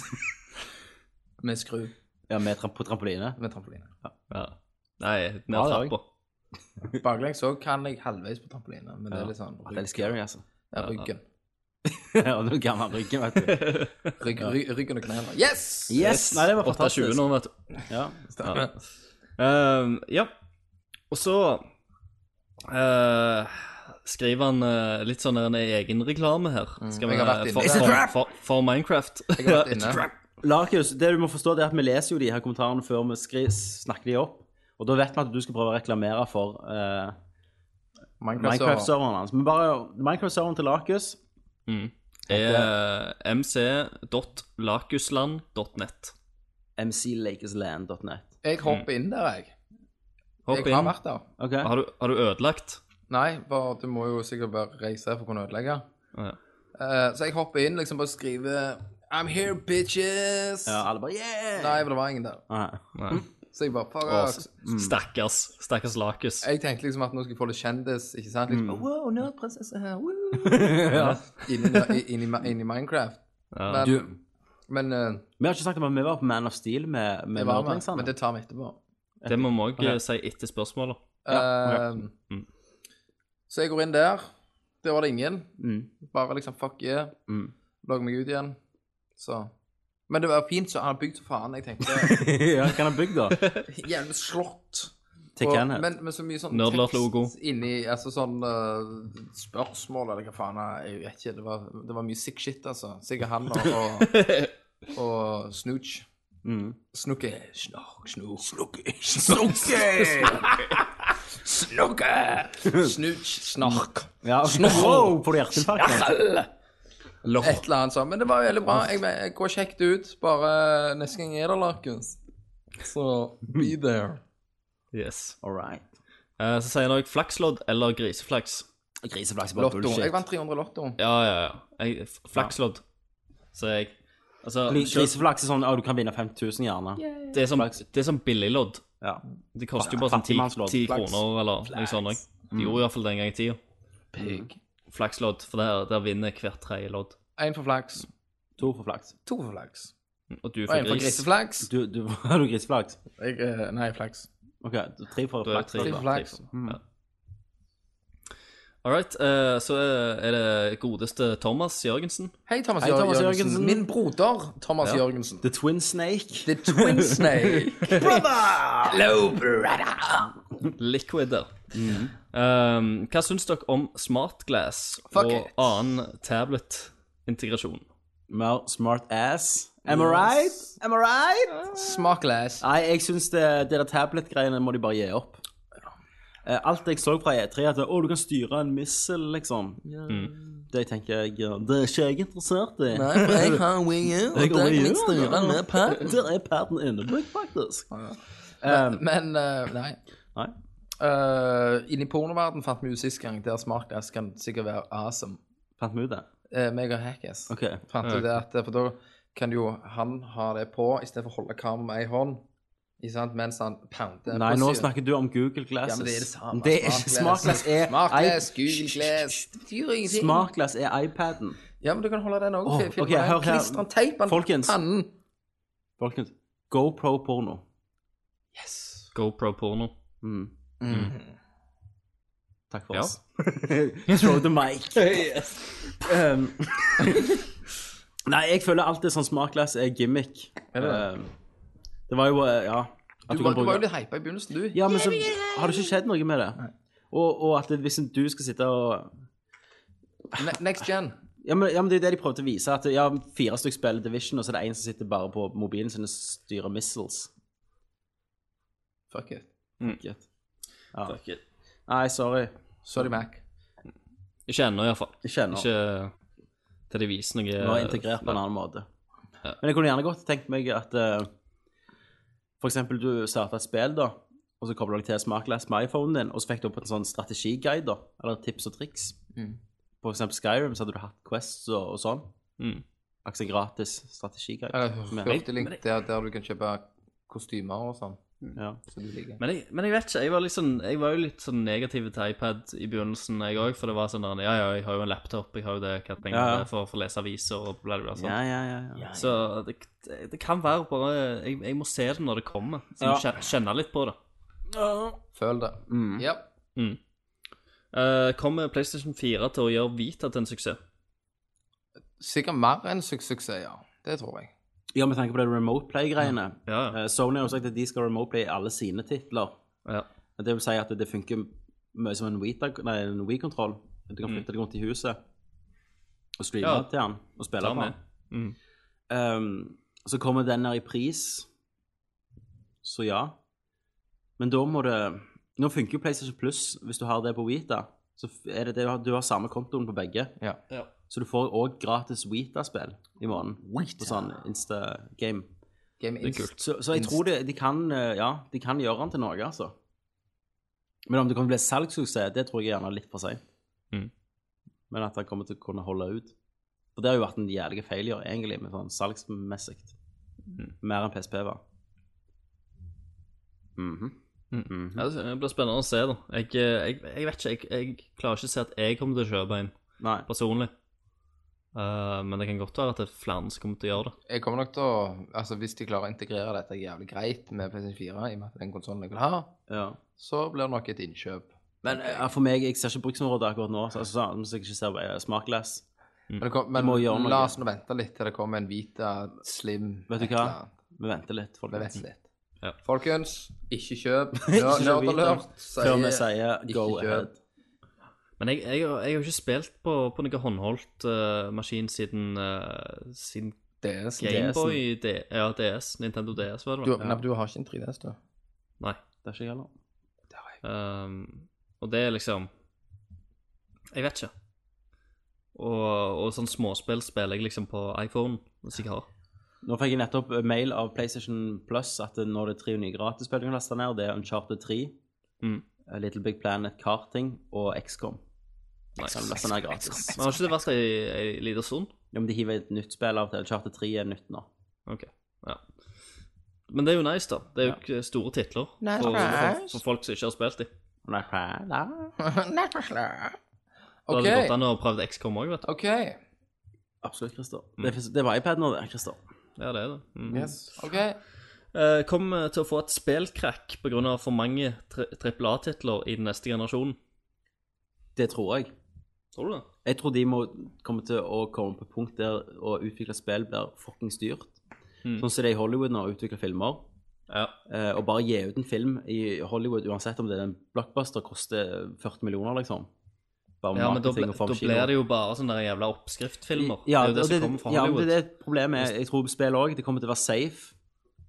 Speaker 7: Med skru.
Speaker 2: ja, med tramp på trampoline.
Speaker 7: Med trampoline.
Speaker 6: Ja. Nei,
Speaker 2: Ja,
Speaker 6: ned
Speaker 2: det er
Speaker 6: trappa.
Speaker 7: Baklengs òg kan jeg halvveis på trampoline, men det er litt sånn
Speaker 2: Ah, Det er litt scary, altså.
Speaker 7: Ja, ryggen.
Speaker 2: Ja, du er gammel ryggen, vet du.
Speaker 7: Rygg, ry- ryggen og knærne. Yes!
Speaker 2: Yes! Nei, det var
Speaker 6: 28
Speaker 2: fantastisk.
Speaker 6: nå, vet du.
Speaker 2: Ja.
Speaker 6: Ja. Ehm, ja. Og så eh, skriver han eh, litt sånn der en egen reklame her. Skal
Speaker 7: Mm. jeg har vært inne
Speaker 6: for,
Speaker 7: der.
Speaker 6: for, for, for Minecraft.
Speaker 7: Jeg har vært inne.
Speaker 2: Larkus, det du må forstå det er at vi leser jo de her kommentarene før vi skri snakker de opp. Og da vet vi at du skal prøve å reklamere for eh,
Speaker 7: Minecraft-server.
Speaker 2: Minecraft-serveren hans. Men bare Minecraft-serveren til Larkus
Speaker 6: er Eh, mc.lakusland.net.
Speaker 2: mclakesland.net.
Speaker 7: Jeg hopper inn der, jeg.
Speaker 6: Hopp
Speaker 7: Jeg har
Speaker 6: inn.
Speaker 7: vært der.
Speaker 2: OK?
Speaker 6: Har du, har du ødelagt?
Speaker 7: Nei, bare, du må jo sikkert bare registrere for å kunne ødelegge.
Speaker 6: Ja.
Speaker 7: Eh, så jeg hopper inn liksom bare skriver I'm here, bitches!
Speaker 2: Ja, alle bare yeah!
Speaker 7: Nei, for det var ingen der.
Speaker 2: Nei.
Speaker 6: Nei.
Speaker 7: Så jeg bare fuck
Speaker 6: Å,
Speaker 7: off.
Speaker 6: s- Mm. Stakkars. Stakkars Lakus.
Speaker 7: Jeg tenkte liksom at nå skal jeg få litt kjendis, ikke sant? Liksom, Wow, nerdprinsesse her, woo! Inni inn, i- inn i Minecraft.
Speaker 6: Ja.
Speaker 7: Men, men eh,
Speaker 2: Vi har ikke snakket om at vi var på Man of Steel med, med
Speaker 7: det var med,
Speaker 2: nerdlingsene.
Speaker 7: men det tar vi etterpå.
Speaker 6: Det må vi òg
Speaker 2: Ok.
Speaker 6: si etter spørsmålet.
Speaker 7: Eh, Så jeg går inn der. Der var det ingen.
Speaker 2: Mm.
Speaker 7: Bare liksom fuck yeah.
Speaker 2: Mm.
Speaker 7: Logg meg ut igjen. Så. Men det var fint, så han har bygd så faen. Jeg tenkte
Speaker 2: ja, hva har han bygd, da?
Speaker 7: jævlig slott.
Speaker 2: Til
Speaker 7: Og-
Speaker 2: Kenneth?
Speaker 7: Men, men så mye sånn
Speaker 6: Nerdlert
Speaker 7: tekst
Speaker 6: logo.
Speaker 7: inni Altså sånn eh, spørsmål eller hva faen Jeg vet ikke. Det var, det var mye sick shit, altså. Sikkert han og, og, og Snooch.
Speaker 2: Mm.
Speaker 7: Snukke, snork, snok, snukke, snukke, snukke, snutch, snark,
Speaker 2: Ja, ok.
Speaker 7: Snor.
Speaker 2: Wow, får du hjerteinfarkt? nå?
Speaker 7: et eller annet sånt. Men det var veldig bra. Jeg, jeg går kjekt ut, bare neste gang er det Larkus. Så be there.
Speaker 6: Yes.
Speaker 2: All right.
Speaker 6: Eh, så sier han òg flakslodd eller griseflaks.
Speaker 2: Griseflaks er bare
Speaker 7: Lotto. Jeg
Speaker 2: bullshit.
Speaker 7: vant 300 Lotto.
Speaker 6: Ja, ja, ja. Jeg, f- flakslodd, sier jeg. Altså, kjøp-
Speaker 2: Griseflaks er sånn å, du kan vinne 50 000, gjerne.
Speaker 6: det er som, det er som billiglodd.
Speaker 2: Ja.
Speaker 6: Det koster jo bare sånn
Speaker 2: Fattigmannslodd.
Speaker 6: 10
Speaker 7: Flaks. Mm.
Speaker 6: kroner eller noe sånt. også. De gjorde iallfall den gang i tida. Flakslodd, for der, der vinner hvert tredje lodd.
Speaker 7: Én for flaks,
Speaker 2: To for flaks.
Speaker 7: to for flaks
Speaker 6: Og du
Speaker 7: og
Speaker 6: får
Speaker 7: én for
Speaker 6: gris.
Speaker 7: griseflaks.
Speaker 2: Du, du, har du griseflaks?
Speaker 7: Jeg, eh, nei, flaks.
Speaker 2: OK, du- tre for
Speaker 6: Da er det
Speaker 2: flaks.
Speaker 6: tre,
Speaker 7: Tre
Speaker 6: da.
Speaker 7: flaks. Mm.
Speaker 6: Tre, sånn. Ja. All right, eh, så eh, er det godeste Thomas Jørgensen.
Speaker 7: Hei, Thomas,
Speaker 2: Hei, Thomas
Speaker 7: Jørgensen.
Speaker 2: Jørgensen.
Speaker 7: Min broder Thomas Jørgensen.
Speaker 2: The Twin Snake.
Speaker 7: The Twin Snake.
Speaker 6: Liquid der.
Speaker 7: Mm.
Speaker 6: Um, hva syns dere om smartglass
Speaker 7: Fuck
Speaker 6: og
Speaker 7: it.
Speaker 6: annen tablet-integrasjon?
Speaker 2: Mer smart ass. Am I right? Am I right?
Speaker 7: Smakless.
Speaker 2: Nei, jeg syns det, det der tablet-greiene må de bare gi opp. Eh, Alt jeg så fra E3, at å, du kan styre en missel, liksom. Det tenker jeg ja, Det er ikke jeg interessert i.
Speaker 7: Nei, for jeg har Wing U, og
Speaker 2: Jeg har
Speaker 7: der kan
Speaker 2: Wii U,
Speaker 7: jeg styre den med paden.
Speaker 2: Der er paden inne, faktisk.
Speaker 7: Men, men eh, nei.
Speaker 2: Um, Nei.
Speaker 7: Uh, Inni pornoverden fant vi ut sist gang der smartass kan sikkert være awesome.
Speaker 2: Fant vi ut det?
Speaker 7: Uh, meg og Hackass
Speaker 2: OK.
Speaker 7: fant ut det at eh, For da kan jo han ha det på istedenfor å holde kameraet med ei hånd. Ikke sant? Mens han pounder.
Speaker 2: Nei,
Speaker 7: på
Speaker 2: nå
Speaker 7: siden.
Speaker 2: snakker du om Google Glasses.
Speaker 7: Ja, men det er det samme.
Speaker 2: Det er ikke Smartglass. Er
Speaker 7: Smartglass,
Speaker 2: i-
Speaker 7: Google Glass Det betyr ingenting.
Speaker 2: Smartglass er iPaden.
Speaker 7: Ja, men du kan holde den òg.
Speaker 2: Åh, ok, hør her.
Speaker 7: Klistre en teip på
Speaker 2: Folkens.
Speaker 7: pannen.
Speaker 2: Folkens, GoPro-porno.
Speaker 6: GoPro-porno.
Speaker 2: Mm. Takk for
Speaker 6: Ja.
Speaker 2: oss. Throw the mic. um, nei, jeg føler alltid sånn smartglass er gimmick. Um, det var jo eh, Ja. at
Speaker 7: Du,
Speaker 2: kan
Speaker 7: var- du
Speaker 2: bruke-
Speaker 7: var jo litt hypa i begynnelsen, du.
Speaker 2: Ja, men så har det ikke skjedd noe med det. Og, og at det, hvis du skal sitte og
Speaker 7: Ne- Next gen.
Speaker 2: ja men, ja, men det er jo det de prøvde å vise. At ja, fire stykker spiller Division, og så er det én som sitter bare på mobilen sin og styrer missiles.
Speaker 7: Fuck it.
Speaker 2: Fuck it. Ja. Nei, sorry.
Speaker 7: Sorry, Mac.
Speaker 6: Ikke ennå, iallfall.
Speaker 2: Ikke ennå.
Speaker 6: Ikke til de viser noe
Speaker 2: Nå er integrert på en annen måte.
Speaker 6: Ja.
Speaker 2: Men jeg kunne gjerne godt tenkt meg at eh, For eksempel du starter et spill, da, og så kobler du deg til Smartless med iPhonen din, og så fikk du opp en sånn strategiguide, da, eller tips og triks.
Speaker 7: Mm.
Speaker 2: For eksempel Skyrim, så hadde du hatt Quests og, og sånn.
Speaker 6: Mm.
Speaker 2: Altså gratis strategiguide.
Speaker 7: Eller
Speaker 2: Men-
Speaker 7: hurtiglink der, der du kan kjøpe kostymer og sånn.
Speaker 2: ja.
Speaker 7: Som du liker.
Speaker 6: Men jeg, men jeg vet ikke. Jeg var, litt sånn- jeg var jo litt sånn negativ til iPad i begynnelsen, jeg òg. For det var sånn der, ja, ja, jeg har jo en laptop, jeg har jo det, hva trenger
Speaker 2: Ja, ja.
Speaker 6: jeg det for for å lese aviser og bla, bla, bla. sånn.
Speaker 2: ja, ja, ja, ja.
Speaker 6: Så det, det det kan være bare jeg, jeg må se det når det kommer, så jeg kjen- kjenner litt på det.
Speaker 7: Føl det.
Speaker 2: Mm.
Speaker 7: Ja.
Speaker 6: Eh, kommer PlayStation 4 til å gjøre Vita til en suksess?
Speaker 7: Sikkert mer enn su- suksess, ja. Det tror jeg.
Speaker 2: ja, med tanke på det remote play-greiene.
Speaker 6: Ja, ja.
Speaker 2: Eh, Sony har jo sagt at de skal remote play alle sine titler.
Speaker 6: Ja.
Speaker 2: Det vil si at det funker mye som en Wii-tak- nei, en Wii-kontroll. Du kan flytte deg rundt i huset og streame
Speaker 6: Ja.
Speaker 2: til den og spille
Speaker 6: Ta
Speaker 2: på
Speaker 6: med.
Speaker 2: den. Ehm, så kommer den her i pris, så ja. Men da må det Nå funker jo PlayStation Plus hvis du har det på Wita. Så f- er det det du har, du har samme kontoen på begge.
Speaker 7: Ja.
Speaker 6: Ja.
Speaker 2: Så du får òg gratis Wita-spill i morgen. På sånn Insta-game.
Speaker 7: Game
Speaker 6: Det er
Speaker 7: Inst.
Speaker 6: kult.
Speaker 2: Så, så jeg tror de, de kan eh, Ja, de kan gjøre den til Norge, altså. Men om det kommer til å bli salgssuksess, det tror jeg gjerne er litt for sent.
Speaker 6: Mm.
Speaker 2: Men at han kommer til å kunne holde ut. For det har jo vært en jævlig failure, egentlig, med sånn salgsmessig. Mer enn PSP var. Mhm.
Speaker 6: Ja, det det blir spennende å se, da. Jeg, eh, jeg, jeg vet ikke, jeg, jeg klarer ikke å se at jeg kommer til å kjøpe en
Speaker 2: Nei.
Speaker 6: personlig. Eh, men det kan godt være at det er flere som kommer til å gjøre det.
Speaker 7: Jeg kommer nok til å Altså, hvis de klarer å integrere dette jævlig greit med PlayStation 4, i og med at den konsollen jeg vil ha,
Speaker 2: Ja.
Speaker 7: så blir det nok et innkjøp.
Speaker 2: Men eh, for meg, jeg ser ikke bruksområdet akkurat nå. Så, altså, sånn, hvis jeg ikke ser eh, Smartless
Speaker 7: Men, det kom, men
Speaker 2: må gjøre noe.
Speaker 7: la oss nå vente litt til det kommer en Vita Slim
Speaker 2: Vet du
Speaker 7: et
Speaker 2: hva?
Speaker 7: eller annet.
Speaker 2: Vi venter litt,
Speaker 7: Vi
Speaker 2: folkens.
Speaker 7: vet litt.
Speaker 6: Ja.
Speaker 7: Folkens, ikke kjøp.
Speaker 2: kjøp Vita.
Speaker 7: Nerdalert
Speaker 2: Før vi sier
Speaker 7: ikke
Speaker 2: go
Speaker 7: kjøp.
Speaker 2: ahead.
Speaker 6: Men jeg, jeg, har- jeg har jo ikke spilt på, på noen håndholdt eh, maskin siden, eh, siden
Speaker 7: DS.
Speaker 6: Gameboy D- ja, DS, Nintendo DS, var
Speaker 7: Du,
Speaker 6: det vel?
Speaker 7: Nei, men du har ikke en 3DS, du.
Speaker 6: Nei.
Speaker 2: Det er ikke jeg heller.
Speaker 6: Ehm, og det er liksom Jeg vet ikke. Og, og sånn småspill spiller jeg liksom på iPhone hvis jeg har.
Speaker 2: Nå fikk jeg nettopp eh, mail av PlayStation Plus at eh, nå er det tre nye gratisspill du kan laste ned. og Det er Uncharted 3,
Speaker 6: Mm.
Speaker 2: A Little Big Planet Karting og XCOM. Som du laster ned gratis.
Speaker 6: Men har ikke det vært ei, ei lita stund?
Speaker 2: Ja, men de hiver et nytt spill av til. Uncharted 3 er nytt nå.
Speaker 6: Ok, ja. Men det er jo nice, da. Det er jo ikke store titler for, for, for folk som ikke har spilt dem.
Speaker 2: Nei, hæ? sånn, Nei.
Speaker 6: Da hadde det gått
Speaker 7: OK.
Speaker 6: an å prøve XCOM òg, vet du.
Speaker 7: OK.
Speaker 2: Absolutt, Christer. Det, er- det var iPad nå, det, Christer.
Speaker 6: Ja, det er det. Mm.
Speaker 7: OK.
Speaker 6: Eh, kommer til å få et spillkrakk pga. for mange trippel A-titler i den neste generasjonen.
Speaker 2: Det tror jeg.
Speaker 6: Tror du det?
Speaker 2: Jeg tror de må komme til å komme på et punkt der å utvikle spill blir fuckings dyrt.
Speaker 6: Mm.
Speaker 2: Sånn som det er i Hollywood nå, å utvikle filmer.
Speaker 6: Ja.
Speaker 2: Eh, og bare gi ut en film i Hollywood, uansett om det er en blockbuster, koster 40 millioner, liksom. bare
Speaker 6: Ja, men da,
Speaker 2: marketing
Speaker 6: ble,
Speaker 2: og
Speaker 6: da
Speaker 2: formkino.
Speaker 6: blir det jo bare sånne der jævla oppskriftfilmer.
Speaker 2: ja,
Speaker 6: det er jo det
Speaker 2: og
Speaker 6: som kommer fra
Speaker 2: ja, men
Speaker 6: Hollywood.
Speaker 2: det er det problemet er- jeg tror spill òg. Det kommer til å være safe.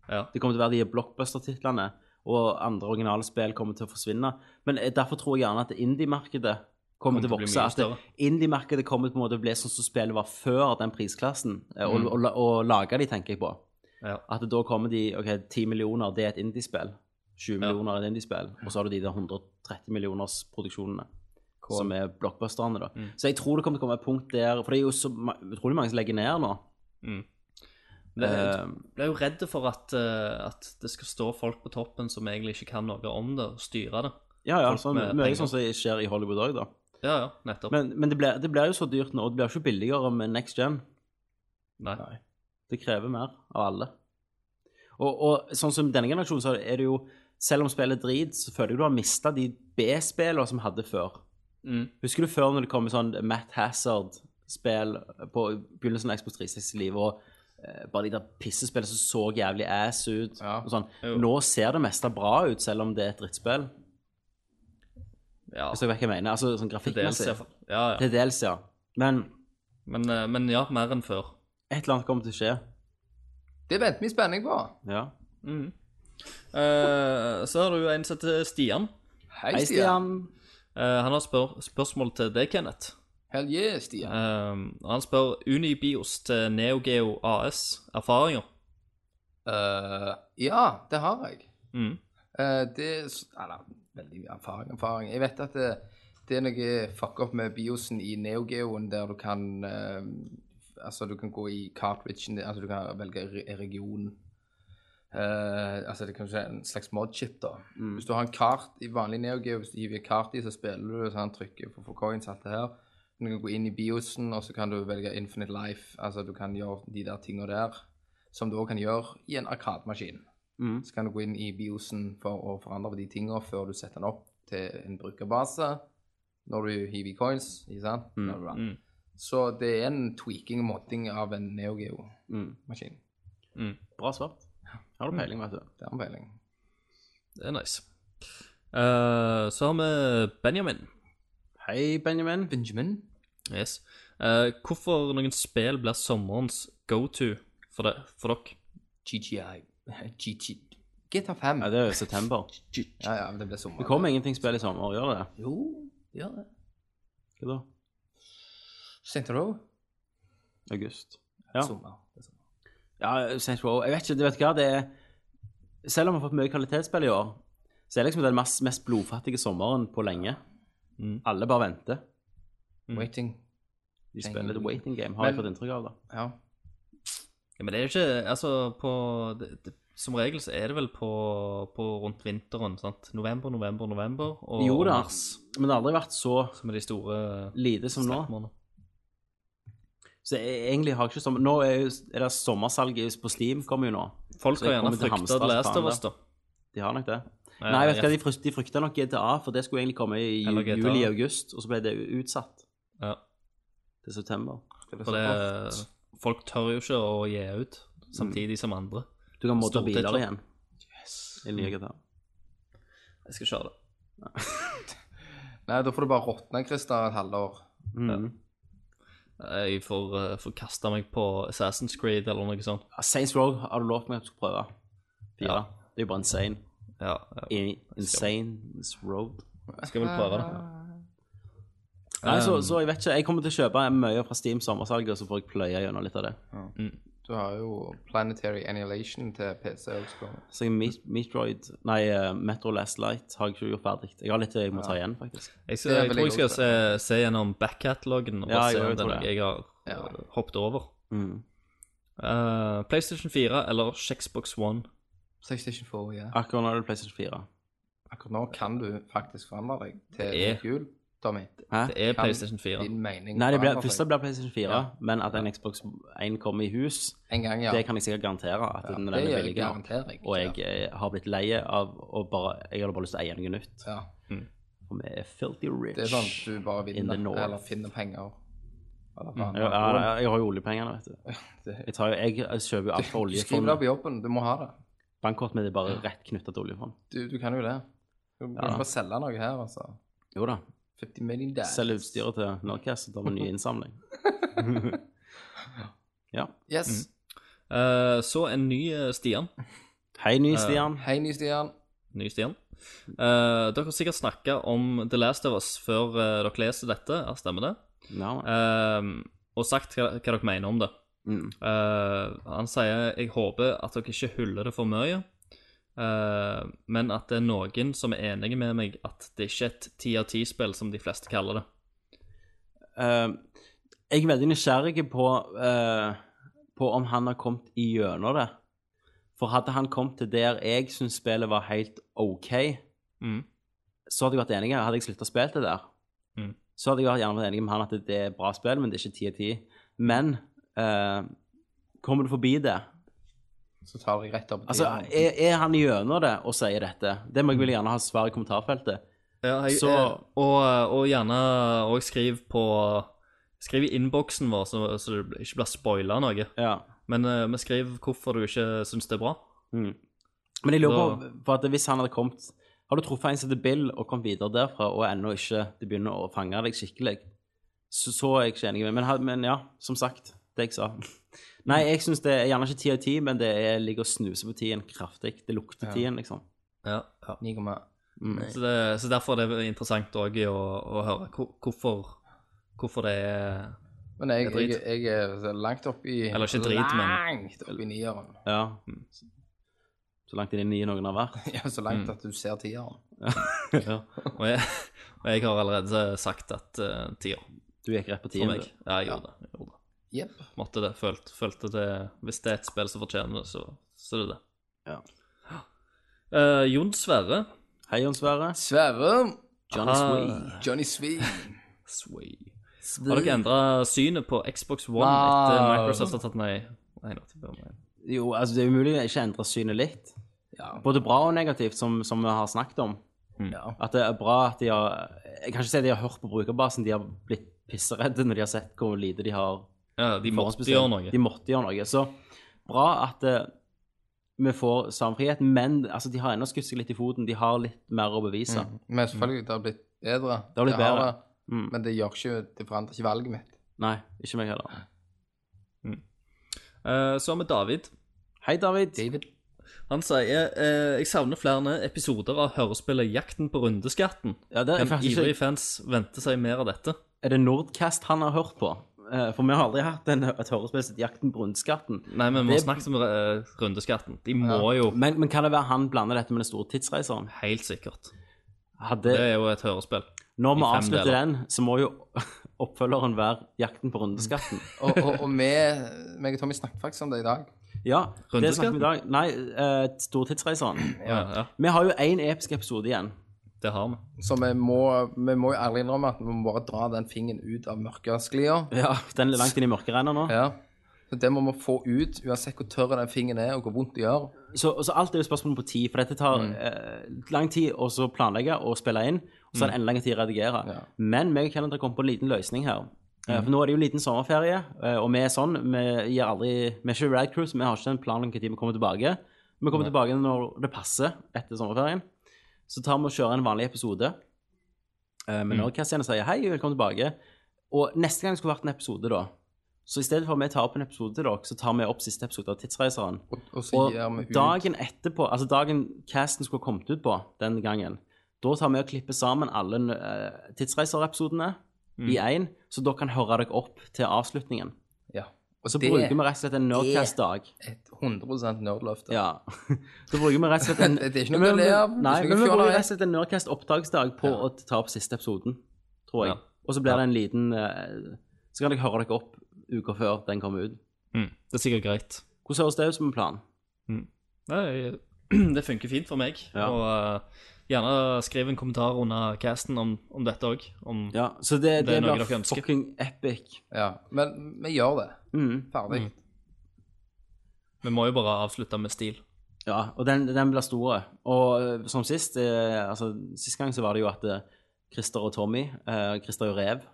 Speaker 6: Ja.
Speaker 2: Det kommer til å være de blockbuster-titlene, og andre originale spill kommer til å forsvinne. Men eh, derfor tror jeg gjerne at indie-markedet kommer,
Speaker 6: Kommer
Speaker 2: til å
Speaker 6: til å bli
Speaker 2: vokse. altså.
Speaker 6: mye
Speaker 2: At det-
Speaker 6: større.
Speaker 2: indie-markedet kommer på en måte til å bli sånn som spillet var før den prisklassen, eh, og, og, la- og lage de, tenker jeg på.
Speaker 6: Mm. Ja.
Speaker 2: At da kommer de OK, 10 millioner, det er et indie-spill. 20
Speaker 6: Ja.
Speaker 2: millioner er et indie-spill. Og så har du de der 130 millioners produksjonene. Som er blockbusterne, da.
Speaker 6: Mm.
Speaker 2: Så jeg tror det kommer til å komme et punkt der For det er jo så ma- utrolig mange som legger ned nå.
Speaker 6: Det,
Speaker 2: Eh,
Speaker 6: jeg er jo redd for at, eh, at det skal stå folk på toppen som egentlig ikke kan noe om det, og styre det.
Speaker 2: ja, ja.
Speaker 6: folk
Speaker 2: Sånn,
Speaker 6: med
Speaker 2: mye
Speaker 6: penger.
Speaker 2: sånn som skjer i Hollywood òg, da.
Speaker 6: Ja, ja, nettopp.
Speaker 2: Men, men det, blir, det blir jo så dyrt nå, og det blir jo ikke billigere med next gen.
Speaker 6: Nei.
Speaker 2: Det krever mer av alle. Og, og sånn som denne generasjonen, så er det jo Selv om spillet er drit, så føler jeg du har mista de B-spillene som vi hadde før.
Speaker 6: Mm.
Speaker 2: Husker du før når det kom sånn Matt Hazard-spill på begynnelsen av Expo 360-livet, og eh, bare de der pissespillene som så jævlig ass ut?
Speaker 7: Ja.
Speaker 2: Og sånn.
Speaker 6: Jo.
Speaker 2: Nå ser det meste bra ut, selv om det er et drittspill.
Speaker 6: Ja,
Speaker 2: Hvis dere vet hva jeg mener. Altså sånn
Speaker 6: til dels, i
Speaker 2: grafikkmessig.
Speaker 6: hvert fall. ja, ja.
Speaker 2: Til dels, ja. Men
Speaker 6: Men, eh, men ja, mer enn før.
Speaker 2: et eller annet kommer til å skje.
Speaker 7: Det venter vi i spenning på.
Speaker 2: Ja. Mm.
Speaker 6: Eh, så har du en som heter Stian.
Speaker 7: Hei,
Speaker 2: Hei,
Speaker 7: Stian.
Speaker 2: Stian.
Speaker 6: Eh, han har spør spørsmål til deg, Kenneth.
Speaker 7: Hell yeah, Stian.
Speaker 6: Eh, og han spør Unibios til NeoGeo AS erfaringer.
Speaker 7: Eh, ja, det har jeg.
Speaker 6: Mm.
Speaker 7: Eh, det er s- Eller veldig mye erfaring, erfaring. Jeg vet at det, det er noe fuck up med biosen i NeoGeoen der du kan eh, Altså, du kan gå i cartridgen din, altså du kan velge re- region. Eh, altså det kan skje en slags modchip, da. Hvis du har en kart i vanlig NeoGeo, hvis du hiver et kart i, så spiller du, så han trykker for å få coins, alt det her. Men Du kan gå inn i biosen, og så kan du velge Infinite Life. Altså du kan gjøre de der tinga der, som du òg kan gjøre i en arkademaskin.
Speaker 2: Mm,
Speaker 7: Så kan du gå inn i biosen for å forandre på de tinga før du setter den opp til en brukerbase. Når du hiver i coins, ikke sant?
Speaker 2: Mm.
Speaker 7: Bla, bla, bla.
Speaker 6: Mm.
Speaker 7: Så det er en tweaking og modding av en NeoGeo-maskin.
Speaker 2: mm. Bra svart. Har du peiling, vet du.
Speaker 7: Det er en peiling.
Speaker 6: Det er nice. Eh, så har vi Benjamin.
Speaker 2: Hei, Benjamin.
Speaker 7: Benjamin?
Speaker 6: Yes. Eh, hvorfor noen spill blir sommerens go-to for, det- for dere?
Speaker 7: GGI. GG. GTA 5.
Speaker 2: Ja, det er jo september.
Speaker 7: Ja, ja, men det blir sommer.
Speaker 2: Det kommer ingenting spill i sommer, gjør det?
Speaker 7: Jo, det gjør det.
Speaker 2: Hva da?
Speaker 7: Saint Row?
Speaker 2: August. Ja.
Speaker 7: Sommer. Det er sommer.
Speaker 2: Ja, Saints Row. Jeg vet ikke, du vet hva, det er Selv om vi har fått mye kvalitetsspill i år, så er det liksom den mest, mest blodfattige sommeren på lenge.
Speaker 6: Mm.
Speaker 2: Alle bare venter. Mm.
Speaker 7: Waiting.
Speaker 2: De
Speaker 7: Tenk.
Speaker 2: spiller The Waiting Game, har jeg
Speaker 7: Men-
Speaker 2: fått inntrykk av. da.
Speaker 7: Ja.
Speaker 6: Ja, men det er jo ikke Altså, på det, det, Som regel så er det vel på, på rundt vinteren, sant? November, november, november og
Speaker 2: Jo da,
Speaker 6: og mars,
Speaker 2: men det har aldri vært så
Speaker 6: som er de store
Speaker 2: lite som nå.
Speaker 6: slettmånedene.
Speaker 2: Så jeg, egentlig har jeg ikke sommer... Nå er, jo, er det sommersalget på Steam kommer jo nå.
Speaker 6: Folk
Speaker 2: Så
Speaker 6: har
Speaker 2: jeg
Speaker 6: gjerne
Speaker 2: kommer til
Speaker 6: frykta
Speaker 2: Hamstad
Speaker 6: The Last of Us, da.
Speaker 2: De har nok det.
Speaker 6: Nei,
Speaker 2: Nei, vet du
Speaker 6: ja.
Speaker 2: hva, de, frykt, de frykta nok GTA, for det skulle egentlig komme i
Speaker 6: Eller GTA.
Speaker 2: juli-august, og så ble det utsatt
Speaker 6: Ja,
Speaker 2: til september.
Speaker 6: for det, folk tør jo ikke å gi ut samtidig som andre.
Speaker 2: Du kan modde
Speaker 6: Stor
Speaker 2: biler
Speaker 6: titler.
Speaker 2: igjen. I nye GTA.
Speaker 6: Jeg skal kjøre det.
Speaker 7: Nei, da får du bare råtne, Christer, et halvår.
Speaker 6: Jeg får, eh, får kaste meg på Assassin's Creed eller noe sånt.
Speaker 2: Ja, Saints Row har du lovt meg at du skal prøve. Fire. Det er jo bare insane.
Speaker 6: Ja, jeg
Speaker 2: I- Insane Road.
Speaker 6: skal vel prøve det. Um,
Speaker 2: Nei, så, så jeg vet ikke. Jeg kommer til å kjøpe mye fra Steam sommersalget, og så får jeg pløye gjennom litt av det.
Speaker 7: Du har jo Planetary Annihilation til PC også. kommer.
Speaker 2: Så jeg Met- Metroid Nei, eh, Metro Last Light har jeg ikke gjort ferdig. Jeg har litt jeg må ta igjen, faktisk.
Speaker 6: Jeg,
Speaker 7: Det
Speaker 6: skal,
Speaker 7: er
Speaker 6: jeg
Speaker 7: vel
Speaker 6: tror jeg
Speaker 7: jeg
Speaker 6: skal
Speaker 7: også.
Speaker 6: se, se gjennom back-catalogen og
Speaker 2: Ja,
Speaker 6: bare
Speaker 2: jeg
Speaker 6: se om
Speaker 2: tror
Speaker 6: det er
Speaker 2: det.
Speaker 6: noe jeg har eh, hoppet over.
Speaker 7: Mm.
Speaker 6: Eh, PlayStation 4 eller Xbox One?
Speaker 7: PlayStation 4, ja.
Speaker 2: Akkurat nå er det PlayStation 4.
Speaker 7: Akkurat nå kan du faktisk forandre deg til
Speaker 6: Det er-
Speaker 7: et jul, Tommy.
Speaker 2: Hæ?
Speaker 6: Det er
Speaker 7: Kan
Speaker 6: PlayStation 4.
Speaker 7: Din mening
Speaker 2: Nei, det blir,
Speaker 7: forandre
Speaker 2: først
Speaker 7: seg.
Speaker 2: det blir PlayStation 4, men at en Xbox 1 kommer i hus,
Speaker 7: En gang, ja.
Speaker 2: det kan jeg sikkert garantere. At den,
Speaker 7: det
Speaker 2: den er
Speaker 7: gjør jeg,
Speaker 2: billigere.
Speaker 7: garanterer jeg.
Speaker 2: Og jeg eh, har blitt lei av å bare Jeg hadde bare lyst til å eie noe nytt.
Speaker 7: Ja.
Speaker 2: For vi er filthy rich.
Speaker 7: Det er sånn du bare
Speaker 2: In the
Speaker 7: vinner,
Speaker 2: north. Mm,
Speaker 7: eller finner penger. Eller faen.
Speaker 2: Ja, ja, ja, jeg har jo oljepengene, vet du.
Speaker 7: Det-
Speaker 2: Jeg, tar jo, jeg, jeg kjøper jo alt fra
Speaker 7: Du skriver det
Speaker 2: oljefondet.
Speaker 7: på jobben, du må ha det.
Speaker 2: Bankkort mitt er bare rett knytta til oljefond.
Speaker 7: Du, du kan jo det. Du kan
Speaker 2: Ja.
Speaker 7: bare selge noe her, altså.
Speaker 2: Jo da.
Speaker 7: 50 million dollars.
Speaker 2: Selge utstyret til Nordcast, da med ny innsamling. ja.
Speaker 7: Yes.
Speaker 2: Mm.
Speaker 6: Eh, så en ny eh, Stian.
Speaker 2: Hei, ny Stian.
Speaker 7: Hei, ny Stian.
Speaker 6: Ny Stian. Eh, dere har sikkert snakka om The Last of Us før eh, dere leser dette, ja, stemmer det?
Speaker 2: Ja,
Speaker 6: Eh, og sagt hva, hva dere mener om det.
Speaker 2: mm.
Speaker 6: Eh, han sier jeg håper at dere ikke hyller det for mye, eh, men at det er noen som er enige med meg at det ikke er et ti av ti-spill, som de fleste kaller det.
Speaker 2: Eh, jeg er veldig nysgjerrig på, eh, på om han har kommet igjennom det. For hadde han kommet til der jeg syns spillet var helt OK,
Speaker 6: Mm.
Speaker 2: så hadde jeg vært enig. Hadde jeg slutta å spille det der,
Speaker 6: Mm.
Speaker 2: så hadde jeg vært- gjerne vært enig med han at det er bra spill, men det er ikke ti av ti. Men eh, kommer du forbi det
Speaker 7: Så tar jeg rett opp
Speaker 2: Altså, Mm.
Speaker 7: Stian.
Speaker 2: er, er han igjennom det og sier dette? Det må jeg vel gjerne ha svar i kommentarfeltet.
Speaker 6: Ja, jeg,
Speaker 2: Så-
Speaker 6: eh, og, og gjerne òg skriv på Skriv i innboksen vår, så, så det ikke blir spoila noe.
Speaker 2: Ja.
Speaker 6: Men, eh, men skriv hvorfor du ikke syns det er bra.
Speaker 2: Mm. Men jeg lurer
Speaker 6: Da-
Speaker 2: på, for at hvis han hadde kommet Har du truffet en som heter Bill og kommet videre derfra, og ennå ikke det begynner å fange deg skikkelig, så, så er jeg ikke enig med men, ha- men ja, som sagt, det jeg sa. Nei, jeg syns det er gjerne ikke ti av ti, men det er, ligger og snuser på tien kraftig. Det lukter
Speaker 7: Ja.
Speaker 2: tien, liksom.
Speaker 6: Ja, ja.
Speaker 7: 9,1.
Speaker 2: Mm.
Speaker 6: Så, det, så derfor er det interessant òg å, å høre hvor- hvorfor, hvorfor det er
Speaker 7: Men jeg,
Speaker 6: Det er
Speaker 7: jeg,
Speaker 6: drit.
Speaker 7: jeg er så langt oppi
Speaker 6: Eller ikke drit, men-
Speaker 7: Langt oppi nieren.
Speaker 2: Ja. Så langt inn i noen har vært.
Speaker 7: Ja, så
Speaker 6: Mm.
Speaker 7: langt at du ser tieren.
Speaker 2: Ja.
Speaker 6: Og jeg, og jeg har allerede sagt at uh, tier
Speaker 2: Du gikk rett på
Speaker 6: for
Speaker 2: tien.
Speaker 6: meg.
Speaker 2: du.
Speaker 6: Ja, jeg gjorde det. Jeg gjorde det.
Speaker 7: Jepp.
Speaker 6: Måtte det. Følte, følte det Hvis det er et spill som fortjener det, så, så er det det.
Speaker 2: Ja.
Speaker 6: Eh, Jon Sverre
Speaker 2: Hei, Jon Sverre.
Speaker 7: Sverre.
Speaker 2: Johnny Swee.
Speaker 7: Johnny Sveen.
Speaker 6: Sway. Har dere endra synet på Xbox One etter
Speaker 7: Wow.
Speaker 6: Microsoft har tatt Nei, nei, nå, det bør vi-
Speaker 2: Jo, altså, det er umulig å ikke endre synet litt.
Speaker 7: Ja.
Speaker 2: Både bra og negativt, som, som vi har snakket om.
Speaker 7: Ja.
Speaker 2: At det er bra at de har Jeg kan ikke si de har hørt på brukerbasen, de har blitt pisseredde når de har sett hvor lite de har
Speaker 6: Ja, de måtte
Speaker 2: forhåndsbestemt.
Speaker 6: gjøre noe.
Speaker 2: De måtte gjøre noe. Så bra at eh, vi får samfrihet, men altså, de har ennå skutt seg litt i foten. De har litt mer å bevise.
Speaker 7: Mm. Men selvfølgelig, det har blitt bedre.
Speaker 2: Det har blitt bedre. Mm.
Speaker 7: Men det gjør ikke, det forandrer ikke valget mitt.
Speaker 2: Nei, ikke meg heller.
Speaker 6: Eh, så har vi David.
Speaker 2: Hei, David.
Speaker 6: Han sier eh, jeg savner flere episoder av hørespillet Jakten på rundeskatten.
Speaker 2: Ja, det er,
Speaker 6: Kan
Speaker 2: faktisk
Speaker 6: ivrige
Speaker 2: ikke,
Speaker 6: fans vente seg mer av dette?
Speaker 2: er det Nordcast han har hørt på? Eh, for vi har aldri hatt en, et hørespill som heter Jakten på rundskatten.
Speaker 6: Nei, men vi må
Speaker 2: Det-
Speaker 6: snakke om eh, rundeskatten. De må jo
Speaker 2: Men, men kan det være han blander dette med den store tidsreiseren?
Speaker 6: Helt sikkert.
Speaker 2: Hadde,
Speaker 6: Det er jo et hørespill.
Speaker 2: når vi
Speaker 6: i fem
Speaker 2: avslutter
Speaker 6: deler.
Speaker 2: den, så må jo oppfølgeren være Jakten på rundeskatten.
Speaker 7: Og, og, og vi, meg og Tommy snakket faktisk om det i dag.
Speaker 2: Ja, det snakket vi i
Speaker 6: Rundeskatten?
Speaker 2: dag. Nei, eh, Stortidsreiseren.
Speaker 6: Ja, ja,
Speaker 2: Vi har jo én episk episode igjen.
Speaker 6: det har vi.
Speaker 7: Så vi må, vi må jo ærlig innrømme at vi må bare dra den fingeren ut av mørkesklia.
Speaker 2: Ja, Den er langt inn i mørkerenna nå.
Speaker 7: Ja. Så det må vi få ut, uansett hvor tørr den fingeren er, og hvor vondt det gjør.
Speaker 2: Så, så alt er jo spørsmål på tid, for dette tar eh, lang tid å så planlegge og spille inn. Og så er det
Speaker 6: Mm.
Speaker 2: enda lengre tid å redigere.
Speaker 7: Ja.
Speaker 2: Men meg og Kenneth har kommet på en liten løsning her.
Speaker 6: Mm.
Speaker 2: Eh, For nå er det jo en liten sommerferie, eh, og vi er sånn. Vi gir aldri Vi er ikke Rad Cruise, vi har ikke en plan om når vi kommer tilbake. Vi kommer tilbake når det passer etter sommerferien. Så tar vi og kjører en vanlig episode. Eh,
Speaker 6: Mm.
Speaker 2: Men når Kristian sier 'hei, velkommen tilbake', og neste gang skulle vært en episode, da Så i stedet for at vi tar opp en episode til dere, så tar vi opp siste episode av Tidsreiseren.
Speaker 7: Og, og så
Speaker 2: Og
Speaker 7: gir vi ut
Speaker 2: dagen etterpå, altså dagen casten skulle ha kommet ut på den gangen, da tar vi og klipper sammen alle eh, tidsreiserepisodene
Speaker 7: Mm.
Speaker 2: i én, så dere kan høre dere opp til avslutningen.
Speaker 7: ja. Og
Speaker 2: Så
Speaker 7: det
Speaker 2: bruker vi rett og slett en Nerdcast-dag.
Speaker 7: er et 100 nerdløfte.
Speaker 2: Ja. Så bruker vi rett og slett en
Speaker 7: Det- det er ikke noe å le av, det er
Speaker 2: Nei,
Speaker 7: ikke noe
Speaker 2: men vi
Speaker 7: fjoll av det.
Speaker 2: bruker rett og slett en Nerdcast-opptaksdag på
Speaker 7: Ja.
Speaker 2: å ta opp siste episoden, tror jeg.
Speaker 6: Ja.
Speaker 2: Og så blir det en liten eh, Så kan dere høre dere opp uka før den kommer ut.
Speaker 6: Mm. Det er sikkert greit.
Speaker 2: Hvordan høres det ut som en plan?
Speaker 6: Nei, det funker fint for meg.
Speaker 2: Ja.
Speaker 6: Og eh, gjerne skriv en kommentar under casten om, om dette òg. Om
Speaker 2: Ja, så det,
Speaker 6: Det
Speaker 2: det,
Speaker 6: er noe dere
Speaker 2: blir
Speaker 6: ønsker.
Speaker 2: fucking epic.
Speaker 7: Ja. Men vi gjør det.
Speaker 2: Mm.
Speaker 7: Ferdig.
Speaker 6: Vi må jo bare avslutte med stil.
Speaker 2: Ja, og den, den blir store. Og eh, som sist, eh, altså sist gang så var det jo at eh, Christer og Tommy, eh, Christer og Rev,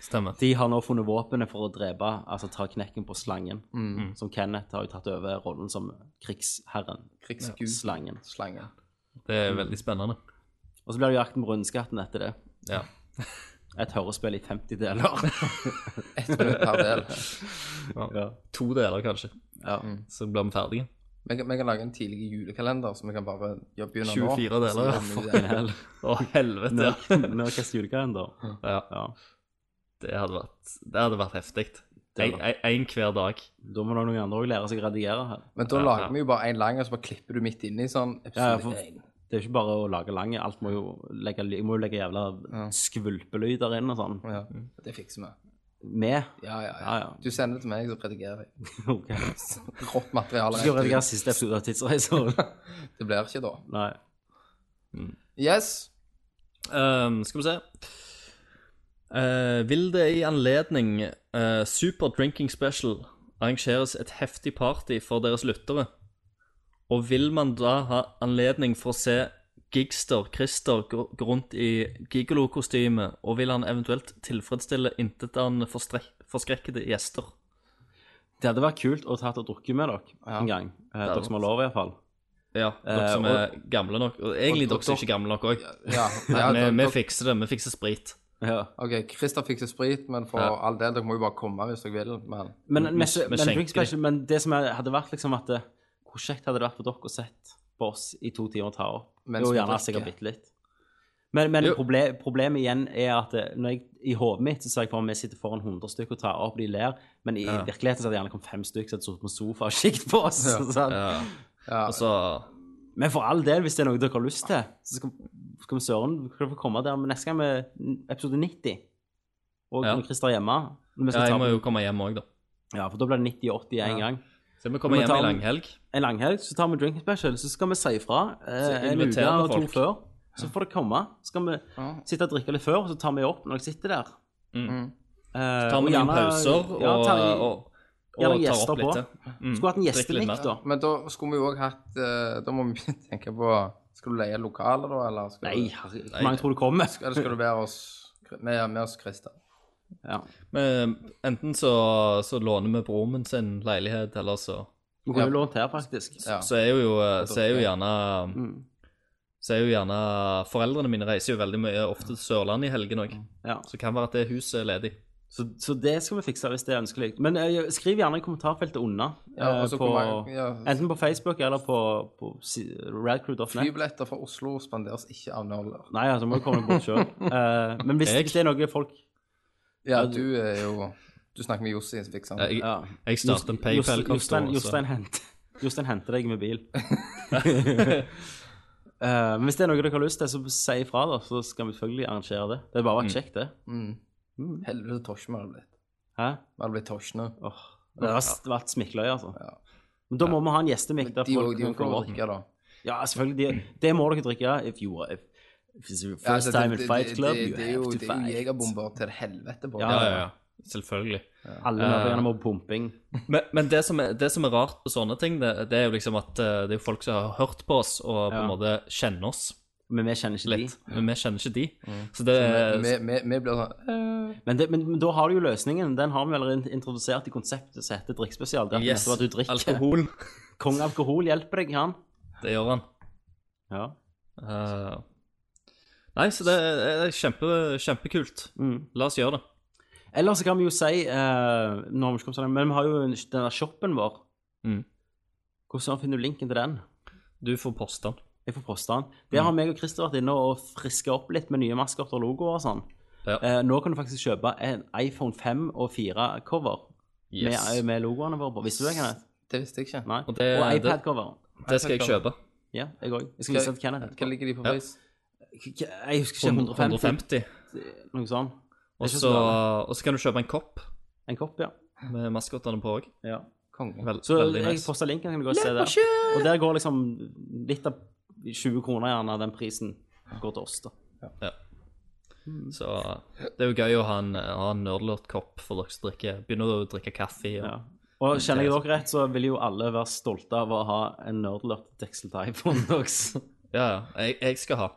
Speaker 6: Stemmer.
Speaker 2: de har nå funnet våpenet for å drepe, altså ta knekken på slangen.
Speaker 7: Mm.
Speaker 2: Som Kenneth har jo tatt over rollen som krigsherren.
Speaker 7: Krigsgud.
Speaker 2: Slangen.
Speaker 7: Slangen.
Speaker 6: Det er veldig spennende.
Speaker 2: Og så blir det jo jakten på rundskatten etter det.
Speaker 6: Ja.
Speaker 2: Et hørespill i 50 deler.
Speaker 7: Ett minutt per del. mm.
Speaker 6: To deler, kanskje.
Speaker 2: Ja.
Speaker 6: Så blir vi ferdige.
Speaker 7: Vi kan, vi kan lage en tidlig julekalender, så vi kan bare ja, begynne nå.
Speaker 6: 24 deler.
Speaker 7: Så gjør vi det.
Speaker 6: Å, helvete.
Speaker 2: Norges julekalender.
Speaker 6: Ja.
Speaker 2: Ja.
Speaker 6: Det hadde vært, det hadde vært heftig. En, en, en hver dag.
Speaker 2: Da må da noen andre også lære seg å redigere her.
Speaker 7: Men da lager vi jo bare én lang, og så bare klipper du midt inni sånn
Speaker 2: Ja, ja,
Speaker 7: episode
Speaker 2: for-
Speaker 7: én.
Speaker 2: Det er jo ikke bare å lage lange. Alt må jo legge, jeg må jo legge jævla skvulpelyder inn og sånn.
Speaker 7: Ja, Det fikser vi.
Speaker 2: Med.
Speaker 7: Ja, ja, ja.
Speaker 2: Ja, ja.
Speaker 7: Du sender det til meg, så redigerer jeg.
Speaker 2: Ok.
Speaker 7: Rått materiale.
Speaker 2: Så skal jeg
Speaker 7: rett
Speaker 2: redigere
Speaker 7: ut.
Speaker 2: siste episode av Tidsreiser.
Speaker 7: Det blir ikke da.
Speaker 2: Nei.
Speaker 7: Yes.
Speaker 6: Ehm, skal vi se. Eh, vil det i anledning eh, Super Drinking Special arrangeres et heftig party for deres lyttere? Og vil man da ha anledning for å se Gigster Christer gå gå rundt i gigolo-kostyme, og vil han eventuelt tilfredsstille intetanende forstre- forskrekkede gjester?
Speaker 2: Det hadde vært kult å tatt og drukket med dere en gang. Eh,
Speaker 6: hadde
Speaker 2: dere som har lov, i hvert fall.
Speaker 6: Ja, dere
Speaker 2: Eh,
Speaker 6: som
Speaker 2: og-
Speaker 6: er gamle nok. Og egentlig
Speaker 7: og
Speaker 6: dere som
Speaker 7: dere-
Speaker 6: ikke er gamle nok òg.
Speaker 7: Ja. ja
Speaker 6: vi,
Speaker 7: da-
Speaker 6: vi
Speaker 7: da-
Speaker 6: fikser det. Vi fikser sprit.
Speaker 2: Ja.
Speaker 7: OK, Christer fikser sprit, men for
Speaker 6: Ja.
Speaker 7: all del, dere må jo bare komme hvis dere vil. Men
Speaker 2: Men,
Speaker 6: Med-
Speaker 2: men, men,
Speaker 6: med
Speaker 2: drink
Speaker 6: skjenke.
Speaker 2: special, men det som er- hadde vært liksom at det- Hvor kjekt hadde det vært for dere å sett på oss i to timer og ta opp?
Speaker 7: Mens
Speaker 2: jo,
Speaker 7: vi
Speaker 2: gjerne
Speaker 7: drikker.
Speaker 2: sikkert bitte litt. Men, men
Speaker 6: Jo.
Speaker 2: proble problemet igjen er at eh, når jeg, i hodet mitt så ser jeg for meg vi sitter foran 100 stykker og tar opp, de ler, men i virkeligheten så hadde det gjerne kommet fem stykker som hadde sittet på sofa og kikket på oss. sånn.
Speaker 6: Ja.
Speaker 7: Ja.
Speaker 6: Og så
Speaker 2: Men for all del, hvis det er noe dere har lyst til, så skal, skal vi søren skal dere få komme der. Men neste gang med episode 90, og
Speaker 6: Ja.
Speaker 2: når Christer er hjemme når vi
Speaker 6: Ja,
Speaker 2: skal
Speaker 6: jeg
Speaker 2: ta
Speaker 6: må
Speaker 2: på-
Speaker 6: jo komme hjem òg, da.
Speaker 2: ja, For da blir det 90 og 80 i en gang.
Speaker 6: Så vi
Speaker 2: Vi
Speaker 6: kommer
Speaker 2: må
Speaker 6: hjem
Speaker 2: ta
Speaker 6: i
Speaker 2: om-
Speaker 6: langhelg.
Speaker 2: En langhelg, så tar vi drinking special, så skal vi si ifra
Speaker 6: Så
Speaker 2: eh, en uke
Speaker 6: inviterer vi
Speaker 2: eller to
Speaker 6: folk.
Speaker 2: før. Så får dere komme. Så skal vi
Speaker 7: Ja.
Speaker 2: sitte og drikke litt før, og så tar vi opp når dere sitter der.
Speaker 6: Mm.
Speaker 2: Eh,
Speaker 6: Tar
Speaker 2: og
Speaker 6: vi noen
Speaker 2: gjerne-
Speaker 6: pauser og,
Speaker 2: ja, tar,
Speaker 6: og, og,
Speaker 2: gjerne
Speaker 6: tar
Speaker 2: gjester
Speaker 6: opp litt
Speaker 2: på.
Speaker 6: til. Mm.
Speaker 2: Skulle hatt en
Speaker 6: Drikke litt
Speaker 2: gjestelink,
Speaker 6: mer.
Speaker 2: da.
Speaker 7: Men da skulle vi jo òg hatt eh, Da må vi tenke på Skal du leie lokaler, da, eller skal
Speaker 2: Nei,
Speaker 7: du,
Speaker 2: herregud. Hvor mange tror du kommer?
Speaker 7: eller skal du være oss, med, med oss Christer?
Speaker 2: Ja.
Speaker 6: Men eh, enten så, så låner vi broren min sin leilighet, eller så
Speaker 2: Vi kunne jo lånt her, faktisk.
Speaker 7: Ja.
Speaker 6: Så er jo, eh, så er jo gjerne
Speaker 2: Mm.
Speaker 6: Så er jo gjerne Foreldrene mine reiser jo veldig mye ofte til Sørlandet i helgen òg.
Speaker 2: Ja.
Speaker 6: Så kan være at det huset er ledig.
Speaker 2: Så, så det skal vi fikse hvis det er ønskelig. Men eh, skriv gjerne i kommentarfeltet unna.
Speaker 7: Ja,
Speaker 2: eh,
Speaker 7: og så
Speaker 2: på,
Speaker 7: kommer- ja.
Speaker 2: Enten på Facebook eller på, på si- radcrew.net.
Speaker 7: Flybilletter fra Oslo spanderes ikke av nerder.
Speaker 2: Nei, altså, må jo komme bort sjøl. Eh, men hvis
Speaker 6: Jeg-
Speaker 2: det er noe folk
Speaker 7: Ja, du er jo Du snakker med Jossi, som fikser den.
Speaker 6: Jeg,
Speaker 2: ja.
Speaker 6: jeg starter
Speaker 2: Jostein-
Speaker 6: en
Speaker 2: Jostein-
Speaker 6: PayPal-konto. altså.
Speaker 2: Jostein hent- Jostein henter deg med bil. Eh, men hvis det er noe dere har lyst til, så si ifra, da, så skal vi selvfølgelig arrangere det. Det har
Speaker 6: Mm.
Speaker 2: bare vært kjekt, det.
Speaker 7: Mm.
Speaker 2: Mm.
Speaker 7: Helvete, tosje vi hadde blitt.
Speaker 2: Hæ?
Speaker 7: Vi hadde blitt tosjene.
Speaker 2: Åh, det har s- vært smikkeløy, altså.
Speaker 7: Ja.
Speaker 2: Men da må vi ha en gjestemikk der
Speaker 7: De òg
Speaker 2: folk
Speaker 7: de
Speaker 2: kan
Speaker 7: får
Speaker 2: komme
Speaker 7: lov å
Speaker 2: opp.
Speaker 7: drikke, da.
Speaker 2: Ja, selvfølgelig. Det, det må dere drikke. If you are, if, if it's your first
Speaker 7: Ja, altså,
Speaker 2: time in
Speaker 7: det-
Speaker 2: fight
Speaker 7: det-
Speaker 2: club,
Speaker 7: det-
Speaker 2: you
Speaker 7: det er
Speaker 2: have
Speaker 7: jo-
Speaker 2: to
Speaker 7: Det er jo
Speaker 2: fight.
Speaker 7: jegerbomber til helvete på.
Speaker 2: Ja,
Speaker 6: Ja, ja, ja. Selvfølgelig.
Speaker 2: Alle må gjerne må pumping.
Speaker 6: Men, men det, som er, det som er rart på sånne ting, det, det er jo liksom at eh, det er jo folk som har hørt på oss og på
Speaker 2: Ja.
Speaker 6: en måte kjenner oss
Speaker 2: Men vi kjenner ikke
Speaker 6: litt.
Speaker 2: de. Mm.
Speaker 6: Men vi kjenner ikke de. Så det
Speaker 7: Vi- vi- Vi blir sånn
Speaker 2: Men, det, men, men da har du jo løsningen. Den har vi allerede in- introdusert i konseptet som heter drikkspesial. Det er
Speaker 6: Yes,
Speaker 2: yes. at du drikker.
Speaker 6: alkohol.
Speaker 2: Kong alkohol hjelper deg, han.
Speaker 6: Det gjør han.
Speaker 2: Ja.
Speaker 6: Eh, nei, så det er, det er kjempe, kjempekult.
Speaker 2: Mm.
Speaker 6: La oss gjøre det.
Speaker 2: Eller så kan vi jo si eh, nå har vi ikke kommet så langt, Men vi har jo en- denne shoppen vår.
Speaker 6: Mm.
Speaker 2: Hvordan finner du linken til den?
Speaker 6: Du får poste den.
Speaker 2: Jeg får poste den. Der
Speaker 6: Mm.
Speaker 2: har meg og Christer vært inne og friska opp litt med nye maskoter og logoer og sånn.
Speaker 6: Ja.
Speaker 2: Eh, nå kan du faktisk kjøpe en iPhone 5 og 4-cover
Speaker 6: Yes.
Speaker 2: med, med logoene våre på. Visste du det, Kenneth?
Speaker 7: Det visste jeg ikke.
Speaker 2: Nei.
Speaker 6: Og
Speaker 2: Og,
Speaker 6: det-
Speaker 2: iPad-cover.
Speaker 6: det skal jeg kjøpe.
Speaker 2: Ja, jeg òg. Jeg skal vise det til Kenneth.
Speaker 7: Hva ligger de på
Speaker 6: Ja.
Speaker 7: pris?
Speaker 2: K- Jeg husker ikke 150,
Speaker 6: 150.
Speaker 2: noe sånt.
Speaker 6: Og
Speaker 2: Det er ikke
Speaker 6: så
Speaker 2: så
Speaker 6: og så kan du kjøpe en kopp
Speaker 2: En kopp, ja.
Speaker 6: med maskotene på òg.
Speaker 2: ja.
Speaker 7: Konge.
Speaker 6: Vel,
Speaker 2: Så
Speaker 6: veldig
Speaker 2: jeg
Speaker 6: nice.
Speaker 2: posta linken, kan du gå og se der. Og der går liksom litt av 20 kroner gjerne av den prisen går til oss, da.
Speaker 6: Så det er jo gøy å ha en, ha en nerdlort-kopp for dere som drikker, begynner å drikke kaffe. Og,
Speaker 2: Ja. Og kjenner jeg dere rett, så vil jo alle være stolte av å ha en nerdlert deksel til iPhone deres.
Speaker 6: Ja, ja. Jeg, jeg skal ha.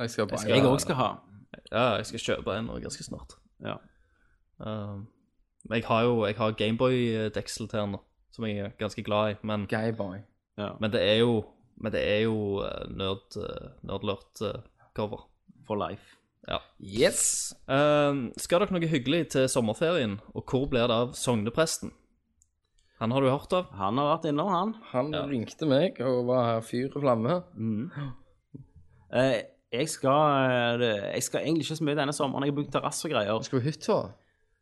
Speaker 7: Jeg skal bare
Speaker 2: Jeg òg skal ha.
Speaker 6: Ja, jeg skal kjøpe en nå ganske snart.
Speaker 2: Ja.
Speaker 6: Um, men jeg har jo jeg har Gameboy-deksel til den, nå, som jeg er ganske glad i. Men,
Speaker 7: Gayboy.
Speaker 2: ja.
Speaker 6: men det er jo Men det er jo eh, nerd, eh, nerdlert eh, cover.
Speaker 2: For life.
Speaker 6: Ja.
Speaker 7: Yes!
Speaker 6: Ehm, skal dere noe hyggelig til sommerferien, og hvor blir det av sognepresten? Han har du hørt av?
Speaker 2: Han har vært innom, han.
Speaker 7: Han ringte meg og var her fyr og flamme.
Speaker 2: Mm. Eh, jeg, skal, eh, det- jeg skal egentlig ikke så mye denne sommeren. Jeg har brukt terrasse og greier.
Speaker 7: Skal vi hytta?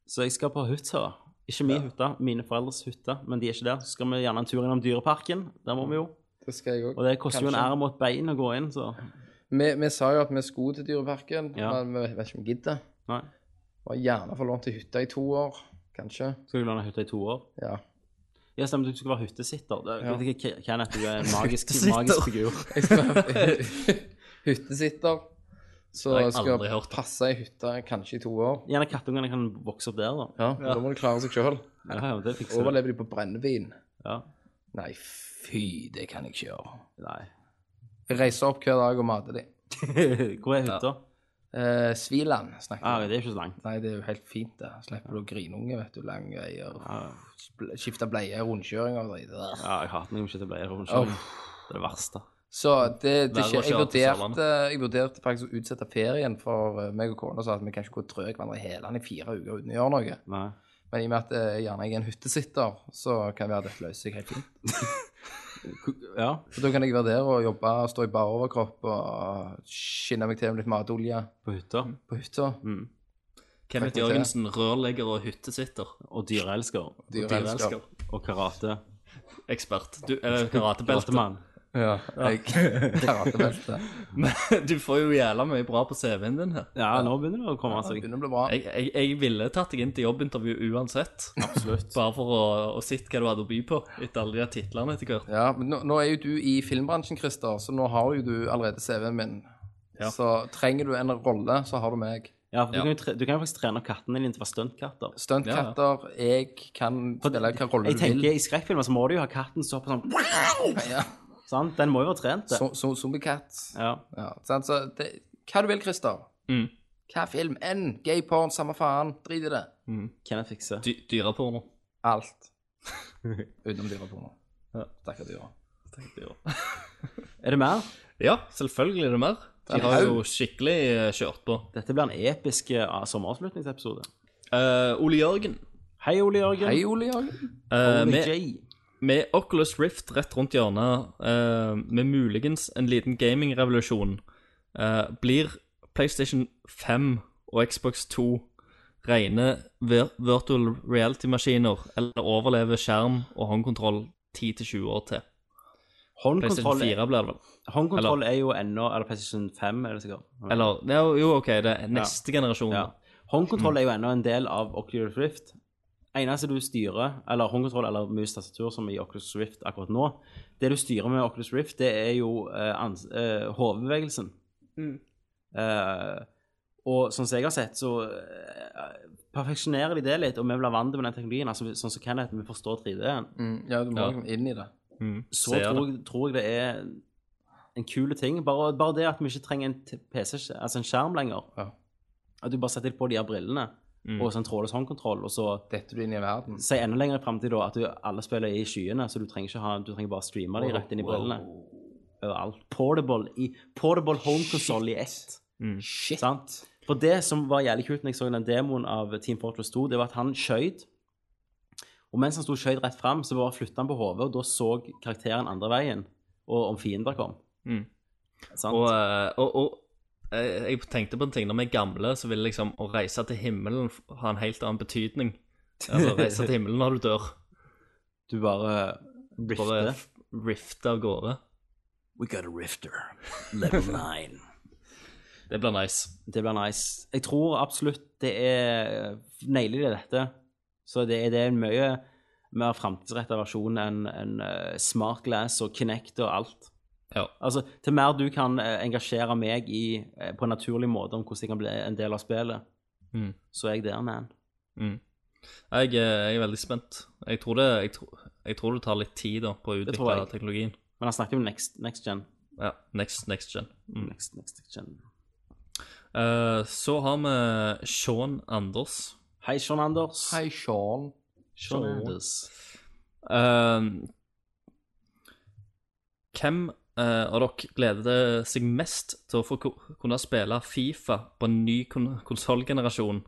Speaker 2: Så jeg skal på hytta. Ikke min hytte, mine foreldres hytte, men de er ikke der. Så skal vi gjerne en tur innom Dyreparken. Der må vi jo.
Speaker 7: Det skal jeg
Speaker 2: Og
Speaker 7: òg.
Speaker 2: det koster jo en
Speaker 7: Kanskje.
Speaker 2: arm og et bein å gå inn, så
Speaker 7: Vi, vi sa jo at vi skulle til Dyreparken,
Speaker 2: Ja.
Speaker 7: men vi vet ikke om vi gidder.
Speaker 2: Nei.
Speaker 7: Var gjerne få lånt ei hytte i to år, kanskje.
Speaker 2: Skal du låne hytte i to år?
Speaker 7: Ja.
Speaker 2: Ja, stemmer, du skal være hyttesitter. Det,
Speaker 7: Ja.
Speaker 2: vet ikke, Kenneth, du er en magisk,
Speaker 6: Hyttesitter.
Speaker 2: magisk figur.
Speaker 7: Jeg skal være hyttesitter. Så
Speaker 6: Det har jeg
Speaker 7: skal
Speaker 6: aldri hørt.
Speaker 7: passe ei hytte kanskje i to år.
Speaker 2: Gjerne kattungene kan vokse opp der, da.
Speaker 7: Ja, men Da må de klare seg sjøl.
Speaker 2: Ja, ja, det fikser du.
Speaker 7: Overlever de på brennevin?
Speaker 2: Ja.
Speaker 7: Nei, fy, det kan jeg ikke gjøre.
Speaker 2: Nei.
Speaker 7: Jeg reiser opp hver dag og mater dem.
Speaker 2: Hvor er hytta?
Speaker 7: Eh, Sviland snakker
Speaker 2: Ah,
Speaker 7: jeg om.
Speaker 2: det er ikke så langt.
Speaker 7: Nei, det er jo helt fint, det. Slipper du å grine unge, vet du. Lang veier. Bl- Skifte bleie, rundkjøring og dritt.
Speaker 2: Ja, jeg hater når jeg ikke blir rundt
Speaker 7: Åh.
Speaker 2: Det er det verste.
Speaker 7: Så det, det
Speaker 6: Verre
Speaker 7: skjer.
Speaker 6: å
Speaker 7: Jeg
Speaker 6: kjøre til
Speaker 7: vurderte, jeg vurderte faktisk å utsette ferien for eh, meg og kona, så at vi kan ikke gå og trø hverandre i hælene i fire uker uten å gjøre noe.
Speaker 2: Nei.
Speaker 7: Men i og med at eh, gjerne jeg er en hyttesitter, så kan jeg være dette løser jeg helt fint.
Speaker 2: Ja.
Speaker 7: For da kan jeg være der og jobbe, stå i bar overkropp og skinne meg til med litt matolje
Speaker 2: På hytta. Mm.
Speaker 7: på hytta.
Speaker 6: Kenneth
Speaker 7: Faktisk, ja.
Speaker 6: Jørgensen, rørlegger og hyttesitter.
Speaker 2: Og dyreelsker.
Speaker 7: Dyreelsker.
Speaker 2: Og karate.
Speaker 6: Ekspert. Du, eh, eller karatebelte.
Speaker 2: Beltemann.
Speaker 7: Ja. Jeg karatebelte.
Speaker 6: Men du får jo jævla mye bra på CV-en din her.
Speaker 2: Ja, nå begynner det å komme
Speaker 7: Det
Speaker 2: seg.
Speaker 7: begynner å bli bra.
Speaker 6: Jeg, jeg, jeg ville tatt deg inn til jobbintervju uansett.
Speaker 2: Absolutt.
Speaker 6: Bare for å, å sitte hva du hadde å by på etter alle de her titlene etter hvert.
Speaker 7: Ja, men nå, nå er jo du i filmbransjen, Christer, så nå har jo du allerede CV-en min.
Speaker 6: Ja.
Speaker 7: Så trenger du en rolle, så har du meg.
Speaker 2: Ja, for du,
Speaker 6: Ja.
Speaker 2: Kan, jo tre- du kan jo faktisk trene opp kattene dine til å være stuntkatter.
Speaker 7: Stuntkatter, jeg kan spille hvilken rolle
Speaker 2: Jeg
Speaker 7: du vil.
Speaker 2: tenker, I skrekkfilmer så må du jo ha katten stå på sånn
Speaker 7: Ja.
Speaker 2: Sant? Den må jo være trent. det.
Speaker 7: Zo- zo- Zombiecat.
Speaker 2: Ja.
Speaker 7: Ja, sant? Så det, hva du vil, Christer.
Speaker 6: Mm.
Speaker 7: Hva film enn. Gay porn, samme faen. Drit i det.
Speaker 2: Kenneth fikser.
Speaker 6: Dy, dyreporno.
Speaker 7: Alt. Utenom dyreporno. Stakkar dyra.
Speaker 6: tenkte jeg også.
Speaker 2: Er det mer?
Speaker 6: Ja, selvfølgelig er det mer. De har jo skikkelig eh, kjørt på.
Speaker 2: Dette blir en episk eh, sommeravslutningsepisode.
Speaker 6: Eh, Ole Jørgen,
Speaker 2: Hei, Ole Jørgen.
Speaker 7: Hei, Ole Jørgen.
Speaker 6: eh,
Speaker 2: Ole
Speaker 6: med,
Speaker 2: J.
Speaker 6: med Oculus Rift rett rundt hjørnet, eh, med muligens en liten gamingrevolusjon, eh, blir PlayStation 5 og Xbox 2 rene vir virtual reality-maskiner, eller overleve skjerm og håndkontroll 10-20 år til. PlayStation
Speaker 2: Håndkontroll,
Speaker 6: 4 blir det vel?
Speaker 2: håndkontroll er jo ennå Eller PlayStation 5, er det sikkert.
Speaker 6: Eller ja, Jo, OK, det er neste generasjon.
Speaker 2: Ja.
Speaker 6: Mm.
Speaker 2: Håndkontroll er jo ennå en del av Oculus Rift. Eneste du styrer, eller håndkontroll eller mus-tastatur, som i Oculus Rift akkurat nå Det du styrer med Oculus Rift, det er jo eh, ans- eh, hodebevegelsen. Eh, og sånn som jeg har sett, så eh, perfeksjonerer de det litt, og vi blir vant med den teknologien. Altså, sånn som Kenneth, vi forstår 3D-en.
Speaker 7: Mm, ja, du må
Speaker 6: Ja.
Speaker 7: liksom inn i det.
Speaker 6: Mm,
Speaker 2: Så
Speaker 6: ser
Speaker 2: tror
Speaker 6: det.
Speaker 2: jeg, tror jeg det er en kul ting. Bare, bare det at vi ikke trenger en t- PC, altså en skjerm lenger.
Speaker 7: Ja.
Speaker 2: At du bare setter på de her brillene
Speaker 6: Mm.
Speaker 2: og sånn trådløs håndkontroll, og så
Speaker 7: Detter du inn i verden.
Speaker 2: si enda lenger i fremtiden da at du, alle spiller i skyene, så du trenger ikke ha, du trenger bare streame de rett inn i brillene. Overalt. Portable, i, portable home console i ett.
Speaker 6: mm.
Speaker 7: Shit.
Speaker 2: Sant? For det som var jævlig kult når jeg så den demoen av Team Fortress 2, det var at han skjøyd. Og mens han sto og skjøyd rett fram, så bare flytta han på hodet, og da så karakteren andre veien. Og om fiender kom.
Speaker 6: Mm.
Speaker 2: Sant?
Speaker 6: Og, eh, og, og eh, jeg tenkte på en ting. Når vi er gamle, så vil liksom å reise til himmelen ha en helt annen betydning. Altså reise til himmelen når du dør.
Speaker 2: du bare
Speaker 6: Bare
Speaker 2: rifter.
Speaker 6: f- rifte av gårde.
Speaker 2: We got a rifter. Level 9.
Speaker 6: Det blir nice.
Speaker 2: det blir nice. Jeg tror absolutt det er Nailer de dette, så det er, det er en mye mer framtidsretta versjon enn enn, eh, Smart Glass og Kinect og alt.
Speaker 6: Ja.
Speaker 2: Altså, til mer du kan eh, engasjere meg i eh, på en naturlig måte om hvordan jeg kan bli en del av spillet,
Speaker 6: Mm.
Speaker 2: så er jeg der, man.
Speaker 6: Jeg, eh, jeg er veldig spent. Jeg tror det, jeg tro, jeg tror det tar litt tid da, på å
Speaker 2: Det tror
Speaker 6: utvikle
Speaker 2: jeg.
Speaker 6: teknologien.
Speaker 2: Men han snakker om next, next gen.
Speaker 6: Ja, next, next gen. Mm.
Speaker 2: Next, next gen.
Speaker 6: Eh, så har vi Sean Anders.
Speaker 2: Hei, Sean Anders.
Speaker 7: Hei, Sean.
Speaker 2: Sean
Speaker 6: Sean.
Speaker 2: Anders.
Speaker 6: Eh, Ehm, hvem eh, og dere gleder seg mest til å få ku- kunne spille Fifa på en ny kon konsollgenerasjon?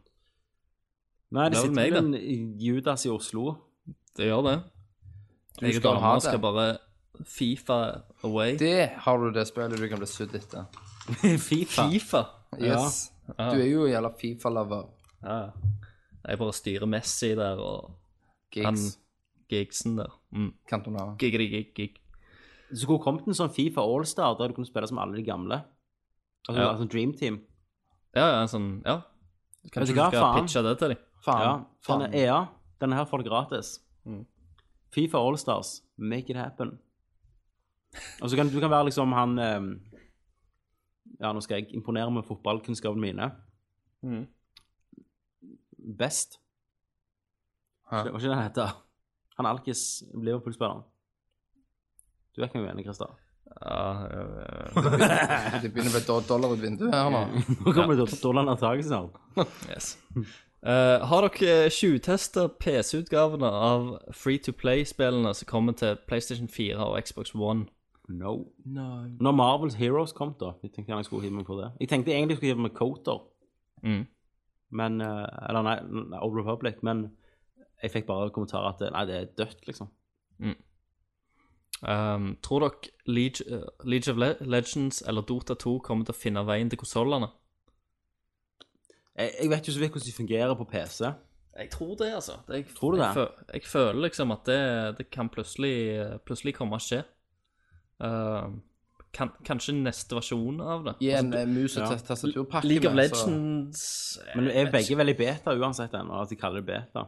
Speaker 2: Nei, det
Speaker 6: Det er vel
Speaker 2: sitter
Speaker 6: meg,
Speaker 2: vel en eh, Judas i Oslo.
Speaker 6: Det gjør det. Jeg og
Speaker 7: skal ha
Speaker 6: dama
Speaker 7: det.
Speaker 6: skal bare Fifa away.
Speaker 7: Det har du det spillet du kan bli sudd etter.
Speaker 2: Fifa.
Speaker 6: Fifa?
Speaker 7: Yes.
Speaker 6: Ja.
Speaker 7: Du er jo en jævla Fifa-lover.
Speaker 6: Ja. Jeg bare styrer Messi der og han
Speaker 7: Gigs.
Speaker 6: Gigsen der. Mm.
Speaker 7: Cantona.
Speaker 6: Gigri, gig, gig.
Speaker 2: Så hvor kom det en sånn Fifa Allstar der du kunne spille som alle de gamle? Altså,
Speaker 6: Ja.
Speaker 2: altså Dream Team.
Speaker 6: Ja, ja, sånn, ja.
Speaker 2: Vet
Speaker 6: Kanskje
Speaker 2: du
Speaker 6: du
Speaker 2: hva,
Speaker 6: skal
Speaker 2: faen?
Speaker 6: pitche det til dem?
Speaker 2: Ja,
Speaker 7: Faen.
Speaker 2: den
Speaker 7: faen.
Speaker 2: er EA. Denne her får det gratis. Fifa Allstars, make it happen. Og så kan du kan være liksom han eh, Ja, nå skal jeg imponere med fotballkunnskapene mine. Best.
Speaker 7: Hæ?
Speaker 2: Det var ikke det han heter. Han Alkis, Liverpool-spilleren. Du vet hvem jeg mener, Christer.
Speaker 6: Ja, øh,
Speaker 7: Det begynner å bli do- dollar ut vinduet her nå.
Speaker 2: Nå kommer det til Dolland Artagelsen her.
Speaker 6: Yes. Eh, har dere tjuvtesta PC-utgavene av Free to Play-spillene som kommer til PlayStation 4 og Xbox One?
Speaker 2: No. Når Marvels Heroes kom, da Jeg tenkte gjerne jeg skulle hive meg på det. Jeg tenkte egentlig jeg skulle hive meg Coter.
Speaker 6: Mm.
Speaker 2: Men eh, Eller nei, nei, Old Republic. Men jeg fikk bare kommentarer at eh, nei, det er dødt, liksom.
Speaker 6: Um, tror dere League, eh, League of Le- Legends eller Dota 2 kommer til å finne veien til konsollene?
Speaker 2: Jeg, jeg vet jo så vidt hvordan de fungerer på PC.
Speaker 6: Jeg tror det, altså. Det, jeg,
Speaker 2: Tror du
Speaker 6: jeg,
Speaker 2: det?
Speaker 6: fø- jeg føler liksom at det, det kan plutselig, plutselig komme å skje. Um, kan, kanskje neste versjon av det. Altså,
Speaker 7: Gi en eh, altså- mus og
Speaker 2: ja.
Speaker 7: tas- tastaturpakke.
Speaker 6: League of
Speaker 7: med, så-
Speaker 6: Legends
Speaker 2: Men er begge veldig beta uansett ennå, at de kaller det beta.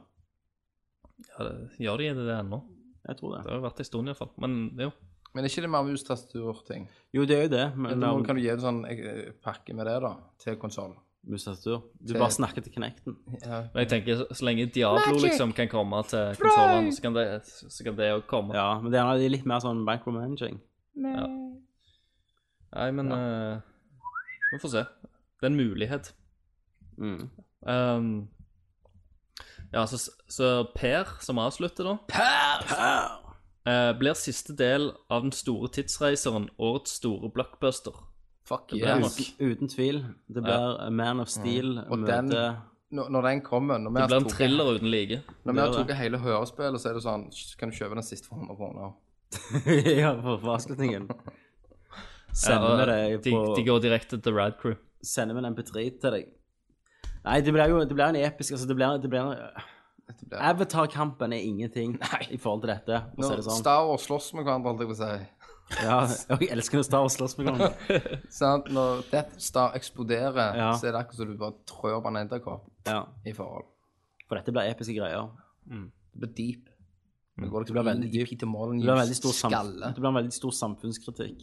Speaker 6: ja, det- Gjør de det ennå?
Speaker 2: Jeg tror
Speaker 6: Det
Speaker 2: det.
Speaker 6: har jo vært en stund, iallfall. Men jo.
Speaker 7: Men er ikke det mer mus-tastatur-ting?
Speaker 2: Jo, det er jo det, men
Speaker 7: Nå
Speaker 2: um,
Speaker 7: kan du gi en sånn eh, pakke med det, da, til konsoll.
Speaker 2: musatur Du bare snakker til Kinecten.
Speaker 7: Ja.
Speaker 6: Men jeg tenker, så- så lenge Diablo liksom kan komme til konsollene, så kan det- så kan det òg komme.
Speaker 2: Ja, men det er gjerne litt mer sånn micromanaging.
Speaker 6: Nei, men eh, Vi får se. Det er en mulighet.
Speaker 7: Mm.
Speaker 6: Um, ja, så, så Per, som avslutter, da eh, blir siste del av den store tidsreiseren årets store blockbuster.
Speaker 7: Fuck
Speaker 6: Det blir
Speaker 7: yes.
Speaker 6: nok.
Speaker 2: Uten tvil. Det blir Man of Steel
Speaker 7: Og den-
Speaker 2: møte
Speaker 7: Når, når den kommer Når vi
Speaker 6: Det
Speaker 7: har
Speaker 6: blir en
Speaker 7: tatt-
Speaker 6: thriller uten like.
Speaker 7: når vi har
Speaker 2: det er det.
Speaker 7: tatt hele hørespillet, så er det sånn «Sj, Kan du kjøpe den siste for 100 kroner?
Speaker 2: Ja, for for avslutningen. Sender vi
Speaker 6: Eh,
Speaker 2: det
Speaker 6: de,
Speaker 2: på
Speaker 6: de går direkte til Rad Crew.
Speaker 2: sender vi en MP3 til deg. Nei, det blir jo det blir en episk altså det blir, det blir en,
Speaker 7: Dette blir-
Speaker 2: Avatar-kampen er ingenting i forhold til dette. for å si
Speaker 7: Når
Speaker 2: det sånn.
Speaker 7: Star Wars slåss med hverandre, holdt jeg på å si.
Speaker 2: Ja, jeg elsker når Star Wars slåss med hverandre.
Speaker 7: Sant? Når Death Star eksploderer,
Speaker 2: Ja.
Speaker 7: så er det akkurat som du bare trør på en edderkopp
Speaker 2: Ja,
Speaker 7: i forhold.
Speaker 2: for dette blir episke greier.
Speaker 7: Det blir deep. Det går
Speaker 2: Det
Speaker 7: liksom
Speaker 2: blir
Speaker 7: inn
Speaker 2: veldig
Speaker 7: i
Speaker 2: dypt.
Speaker 7: Peter
Speaker 2: Det blir en veldig stor,
Speaker 7: Molyneux'
Speaker 2: sam
Speaker 7: skalle.
Speaker 2: det blir en veldig stor samfunnskritikk.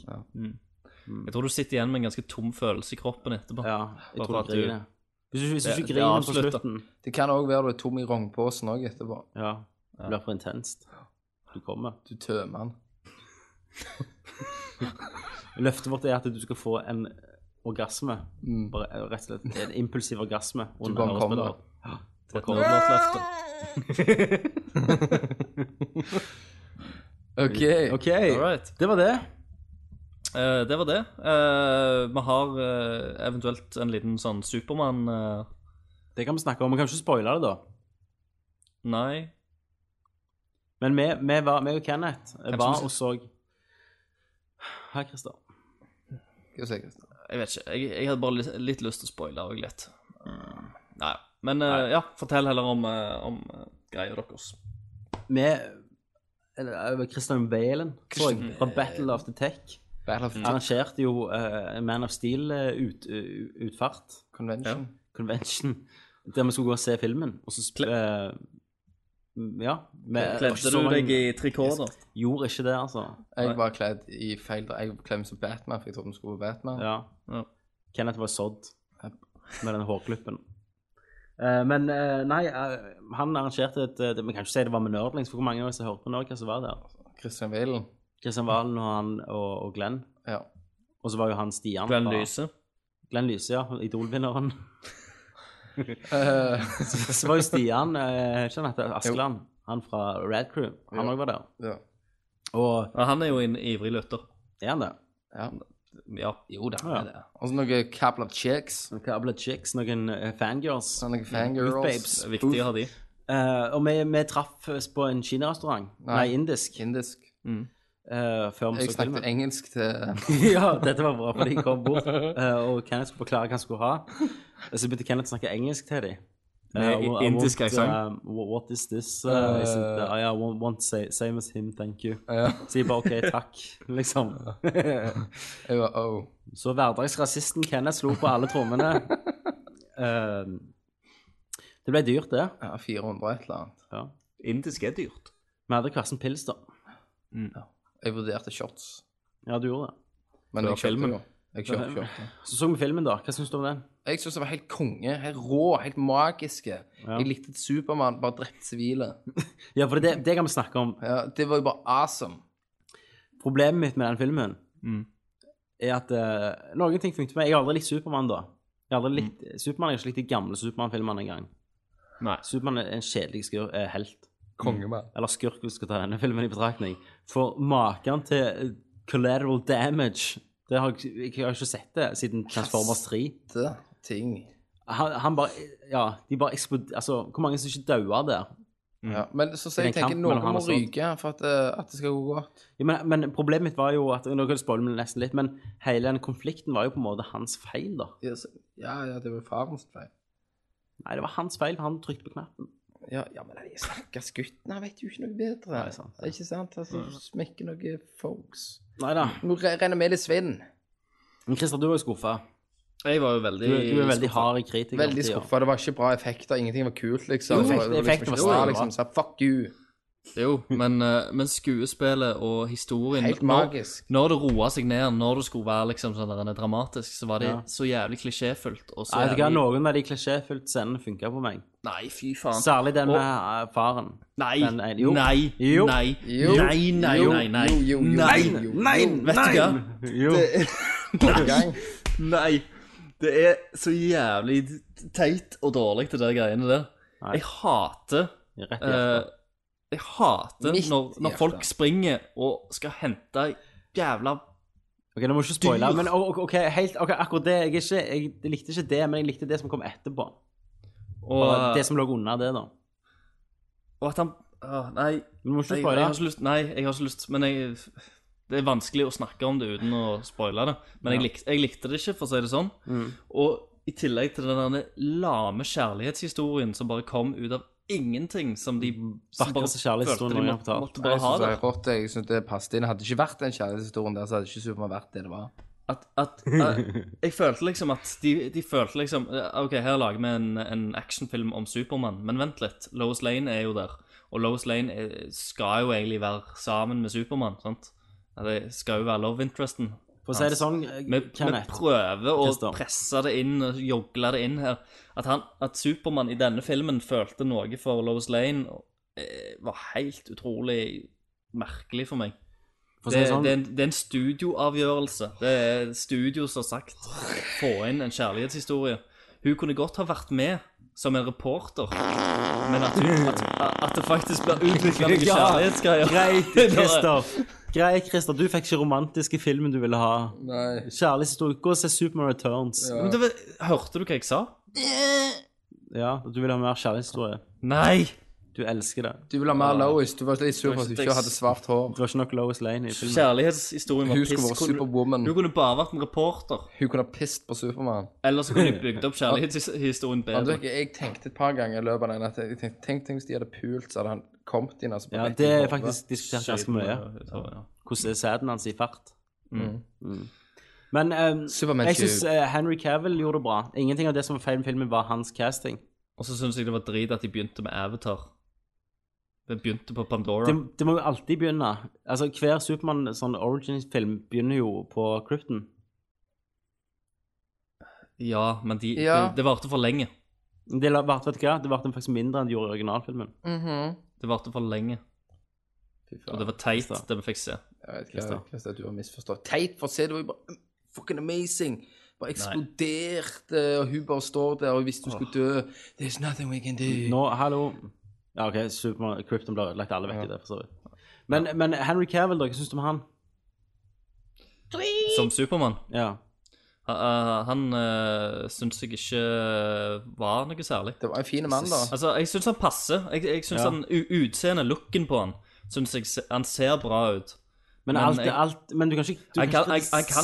Speaker 6: Jeg tror du sitter igjen med en ganske tom følelse i kroppen etterpå.
Speaker 2: Ja, jeg tror
Speaker 6: Bare for at
Speaker 2: du
Speaker 6: du-
Speaker 2: griner. Hvis du, hvis du
Speaker 6: Det-
Speaker 2: ikke
Speaker 6: det
Speaker 2: griner på
Speaker 6: avslutter.
Speaker 2: slutten,
Speaker 7: Det kan òg være du er tom i rognposen òg etterpå.
Speaker 2: ja, det blir for intenst. Du kommer.
Speaker 7: Du tømmer den.
Speaker 2: Løftet vårt er at du skal få en orgasme. Bare, eh, rett og slett en impulsiv orgasme. under
Speaker 7: bare kommer.
Speaker 2: hørespillet.
Speaker 6: Det er et nerdlåtløfte.
Speaker 7: OK.
Speaker 2: OK,
Speaker 6: Alright.
Speaker 2: det var det.
Speaker 6: Eh, det var det. Eh, vi har eh, eventuelt en liten sånn Supermann eh,
Speaker 2: Det kan vi snakke om. Vi kan ikke spoile det, da.
Speaker 6: Nei.
Speaker 2: Men vi, vi var, meg og Kenneth var og så Her, Christer.
Speaker 7: Hva sier Kristian?
Speaker 6: Jeg vet ikke. Jeg, jeg hadde bare litt, litt lyst til å spoile òg litt. Nei. Men eh, ja, fortell heller om, eh, om eh, greia deres.
Speaker 2: Vi eller, eh, Christian Valen, tror jeg, fra Battle of the Tech.
Speaker 7: Battle of
Speaker 2: Mm.
Speaker 7: the
Speaker 2: Arrangerte jo eh, Man of eh, Steel-utfart,
Speaker 7: Convention.
Speaker 2: convention, der vi skulle gå og se filmen. Og så sp- eh, Ja. vi-
Speaker 6: Kledde du
Speaker 2: så mange-
Speaker 6: deg i trikot, da?
Speaker 2: Gjorde ikke det, altså.
Speaker 7: Jeg var kledd i feil dra- Jeg var kledd som Batman, for jeg trodde vi skulle være Batman.
Speaker 2: Ja.
Speaker 6: Ja.
Speaker 2: Kenneth var sådd med den hårklippen. Eh, men eh, nei, eh, han arrangerte et eh, det- Vi kan ikke si det var med nerdlings, for hvor mange av oss som hørte på nå, hva som var der?
Speaker 7: Christian Willen.
Speaker 2: Kristian Valen og han og, og Glenn.
Speaker 7: Ja.
Speaker 2: Og så var jo han Stian.
Speaker 6: Glenn
Speaker 2: fra-
Speaker 6: Lyse?
Speaker 2: Glenn Lyse, ja. Idol-vinneren.
Speaker 7: Eh,
Speaker 2: Så, så var jo Stian eh, ikke han heter Askeland, han fra Rad Crew, han
Speaker 7: Jo.
Speaker 2: òg var der.
Speaker 7: ja.
Speaker 2: Og
Speaker 6: Ja, han er jo en ivrig lytter.
Speaker 2: er han det?
Speaker 7: Ja.
Speaker 6: Ja.
Speaker 7: Jo, det
Speaker 2: Ja.
Speaker 7: er det. Og så noe couple of chicks.
Speaker 2: Noen Abla chicks, noen eh, fangirls.
Speaker 7: Så noen fangirls.
Speaker 2: Youth babes.
Speaker 6: Det er viktig å ha de.
Speaker 2: Eh, og vi, vi traff oss på en kinarestaurant. Nei,
Speaker 7: Nei.
Speaker 2: indisk.
Speaker 7: Indisk.
Speaker 2: eh, før vi
Speaker 7: Jeg
Speaker 2: så
Speaker 7: snakket
Speaker 2: filmen.
Speaker 7: engelsk til
Speaker 2: ja, dette var bra, for de kom bort, eh, og Kenneth skulle forklare hva han skulle ha. Så begynte Kenneth å snakke engelsk til dem. Eh,
Speaker 6: Med i- indisk aksent? Eh.
Speaker 2: what is this? Uh, is it, uh, I want, want say, same as him, thank you.
Speaker 7: Ja.
Speaker 2: Så jeg bare OK, takk, liksom.
Speaker 7: Jeg var oh.
Speaker 2: Så hverdagsrasisten Kenneth slo på alle trommene. Eh, det ble dyrt, det.
Speaker 7: Ja, 400 et eller annet.
Speaker 2: Ja.
Speaker 6: Indisk er dyrt.
Speaker 2: Vi hadde hver sin pils, da. Mm.
Speaker 7: Jeg vurderte shots.
Speaker 2: Ja, du gjorde det.
Speaker 7: Men
Speaker 6: Før
Speaker 7: jeg kjøpte
Speaker 6: filmen.
Speaker 7: jo. Jeg kjøpte shotene.
Speaker 2: Så så vi filmen, da. Hva syns du om den?
Speaker 7: Jeg syns det var helt konge. Helt rå, helt magiske. Jeg likte at Supermann bare drepte sivile.
Speaker 2: Ja, for det, det kan vi snakke om.
Speaker 7: Ja, det var jo bare awesome.
Speaker 2: Problemet mitt med den filmen er at eh, noen ting funket for meg. Jeg har aldri likt Supermann, da. Jeg har aldri likt Supermann, jeg har ikke likt de gamle Supermann-filmene engang.
Speaker 6: Nei.
Speaker 2: Supermann er en kjedelig skur, eh, helt. Mm.
Speaker 7: Kongemann.
Speaker 2: Eller skurk, hvis vi skal ta denne filmen i betraktning. For maken til eh, collateral damage det har jeg, jeg har ikke sett det siden Transformers 3.
Speaker 7: Det ting.
Speaker 2: Han, han bare Ja, de bare eksploderer Altså, hvor mange som ikke daua der?
Speaker 7: Ja. Men så, så jeg
Speaker 2: Mm. Det er en kamp
Speaker 7: tenker noe
Speaker 2: mellom han
Speaker 7: må
Speaker 2: og Zod.
Speaker 7: ryke for at, eh, at det skal gå godt.
Speaker 2: Ja, men, men problemet mitt var jo at Nå kan jeg spoile meg nesten litt, men hele den konflikten var jo på en måte hans feil, da.
Speaker 7: Ja, så- Ja, ja, det var farens feil.
Speaker 2: Nei, det var hans feil. Han trykte på knappen.
Speaker 7: Ja, ja, men jeg snakker skutten, han vet jo ikke noe bedre.
Speaker 2: Nei, sant. Mm.
Speaker 7: Det er ikke sant? Altså, du smekker noen folks.
Speaker 2: Nei da.
Speaker 7: Nå re- renner vi litt svinn.
Speaker 2: Men Christer, du var jo skuffa.
Speaker 6: Jeg var jo veldig
Speaker 2: Du, er- du er veldig hard kritiker.
Speaker 7: Veldig
Speaker 2: alltid, ja.
Speaker 7: skuffa. Det var ikke bra effekter. Ingenting var kult, liksom.
Speaker 2: Jo,
Speaker 7: Det var- det var
Speaker 2: effekter
Speaker 7: liksom
Speaker 2: var
Speaker 7: ikke bra,
Speaker 2: strålende.
Speaker 7: liksom. Så, fuck you.
Speaker 6: Jo, men, eh, men skuespillet og historien
Speaker 7: Helt
Speaker 6: når-
Speaker 7: magisk.
Speaker 6: Når det roa seg ned, når det skulle være liksom sånn der, dramatisk, så var det
Speaker 2: Ja.
Speaker 6: så jævlig klisjéfullt. Og så
Speaker 2: Nei, vet du hva,
Speaker 6: jævlig...
Speaker 2: Noen av de klisjéfylte scenene funka på meg.
Speaker 6: Nei, fy faen.
Speaker 2: Særlig den med
Speaker 6: Og-
Speaker 2: eh, faren.
Speaker 6: Nei,
Speaker 2: Den er- eh, jo.
Speaker 6: nei,
Speaker 2: Jo.
Speaker 6: nei,
Speaker 7: Jo.
Speaker 6: nei, nei,
Speaker 7: Jo.
Speaker 6: nei, nei,
Speaker 7: Jo, jo, jo,
Speaker 6: nei,
Speaker 7: jo, jo. Nei,
Speaker 6: vet du hva?
Speaker 2: Jo.
Speaker 7: Gang.
Speaker 6: Nei, det er så jævlig teit og dårlig det der greiene der.
Speaker 2: Nei.
Speaker 6: Jeg hater,
Speaker 2: Rett i
Speaker 6: eh,
Speaker 2: hjertet.
Speaker 6: jeg hater
Speaker 7: Midt i
Speaker 6: når, når
Speaker 7: hjertet.
Speaker 6: folk springer og skal hente jævla
Speaker 2: Ok, nå må du ikke spoile,
Speaker 6: dyr.
Speaker 2: men o- o- ok, helt, ok, akkurat det jeg, er ikke, jeg, jeg likte ikke det, men jeg likte det som kom etterpå.
Speaker 6: og,
Speaker 2: Og det som lå under det, da.
Speaker 6: og at han Åh, Nei,
Speaker 2: Du må ikke
Speaker 6: jeg, jeg
Speaker 2: spoile.
Speaker 6: har ikke lyst, nei, jeg har ikke lyst, men jeg, det er vanskelig å snakke om det uten å spoile det. Men jeg, likte, jeg likte det ikke, for å si det sånn.
Speaker 2: Mm.
Speaker 6: Og i tillegg til den derne lame kjærlighetshistorien som bare kom ut av ingenting, som de som bare
Speaker 2: Vakreste kjærlighetshistorien
Speaker 6: følte de
Speaker 2: noen
Speaker 6: måtte,
Speaker 2: gang har fortalt.
Speaker 6: måtte
Speaker 7: Jeg
Speaker 6: bare ha
Speaker 7: synes det
Speaker 6: det.
Speaker 7: er rått. Jeg synes det passet inn. Hadde det ikke vært den kjærlighetshistorien der, så hadde ikke Supermann vært det det var.
Speaker 6: At, at, jeg, jeg følte liksom at de, de følte liksom eh, OK, her lager vi en, en actionfilm om Supermann, men vent litt. Lois Lane er jo der. Og Lois Lane er, skal jo egentlig være sammen med Supermann, sant? Ja, Det skal jo være love interesten.
Speaker 2: For å si det sånn,
Speaker 6: Vi, vi
Speaker 2: Kenneth.
Speaker 6: prøver å
Speaker 2: Christer.
Speaker 6: presse det inn og jogle det inn her. At, han- at Supermann i denne filmen følte noe for Lois Lane, eh, var helt utrolig merkelig for meg.
Speaker 2: For å si
Speaker 6: Det,
Speaker 2: det sånn,
Speaker 6: det, er en, det er en studioavgjørelse. Det er studio som har sagt få inn en kjærlighetshistorie. Hun kunne godt ha vært med som en reporter, men at, hun, at, at det faktisk blir utvikla noen
Speaker 2: Ja,
Speaker 6: kjærlighetsgreier
Speaker 2: Greit,
Speaker 6: Det er-
Speaker 2: Christer. Greit, Christer. Du fikk ikke romantiske filmen du ville ha.
Speaker 7: Nei.
Speaker 2: Kjærlighetshistorie. Gå og se Superman Returns.
Speaker 6: Men det, var- hørte du hva jeg sa?
Speaker 2: Ja, og du vil ha mer kjærlighetshistorie.
Speaker 6: Nei!
Speaker 2: Du elsker det.
Speaker 7: Du ville ha mer Lois. Du var litt sur for at du
Speaker 6: Det
Speaker 7: ikke
Speaker 6: var ikke-
Speaker 7: hadde svart hår.
Speaker 2: Det var ikke nok Lois Lane i filmen.
Speaker 6: Kjærlighetshistorien var
Speaker 7: Hun
Speaker 6: piss.
Speaker 7: skulle vært
Speaker 6: Kunne-
Speaker 2: Mm.
Speaker 7: Superwoman.
Speaker 6: Hun kunne bare vært en reporter.
Speaker 7: Hun kunne ha pissed på Supermann.
Speaker 6: Eller så kunne de bygd opp kjærlighetshistorien
Speaker 7: Men du,
Speaker 6: bedre.
Speaker 7: jeg- Jeg tenkte et par ganger i løpet av den at jeg tenkte, tenk, tenk hvis de hadde pult, så hadde han kommet inn altså, på
Speaker 2: Ja,
Speaker 7: rett
Speaker 2: det er
Speaker 7: i hodet.
Speaker 2: faktisk diskutert ganske mye.
Speaker 6: Ja.
Speaker 2: Hvordan er sæden hans i fart? Mm. Men ehm,
Speaker 7: Superman
Speaker 2: jeg syns
Speaker 7: Cube.
Speaker 2: Henry Cavill gjorde det bra. Ingenting av det som var feil med filmen, var hans casting.
Speaker 6: Og så syns jeg det var drit at de begynte med Avatar. Det begynte på Pandora.
Speaker 2: Det, det må jo alltid begynne. Altså, Hver Supermann sånn origin-film begynner jo på Krypton.
Speaker 6: Ja, men de,
Speaker 7: Ja.
Speaker 6: det, det varte for lenge.
Speaker 2: Det la- varte vet du hva? Det varte faktisk mindre enn det gjorde i originalfilmen.
Speaker 7: Mhm.
Speaker 6: Det varte for lenge.
Speaker 7: Fy
Speaker 6: Og
Speaker 7: faen.
Speaker 6: det var teit, det vi fikk se.
Speaker 7: Jeg vet ikke hva- hva det er du har misforstått. Teit, for å se, det var jo bare mm, fucking amazing. Bare eksploderte, og hun bare står der, og hvis du skulle dø There's nothing we can do.
Speaker 2: Nå, hallo Ja, OK, Superman, Krypton blir ødelagt. Alle vet jo det, for så vidt. Men, men Henry Cavill, da, hva syns du om han?
Speaker 6: Som Supermann.
Speaker 2: Ja.
Speaker 6: Han uh, syns jeg ikke var noe særlig.
Speaker 7: Det var en fin mann, da.
Speaker 6: Altså, jeg syns han passer. Jeg, jeg synes
Speaker 2: Ja.
Speaker 6: han, u- Utseendet, looken på han, syns jeg se- han ser bra ut.
Speaker 2: Men,
Speaker 6: Men
Speaker 2: alt,
Speaker 6: jeg-
Speaker 2: alt Men du kan ikke du
Speaker 6: Jeg kan, jeg,
Speaker 2: ikke-
Speaker 6: jeg, kan,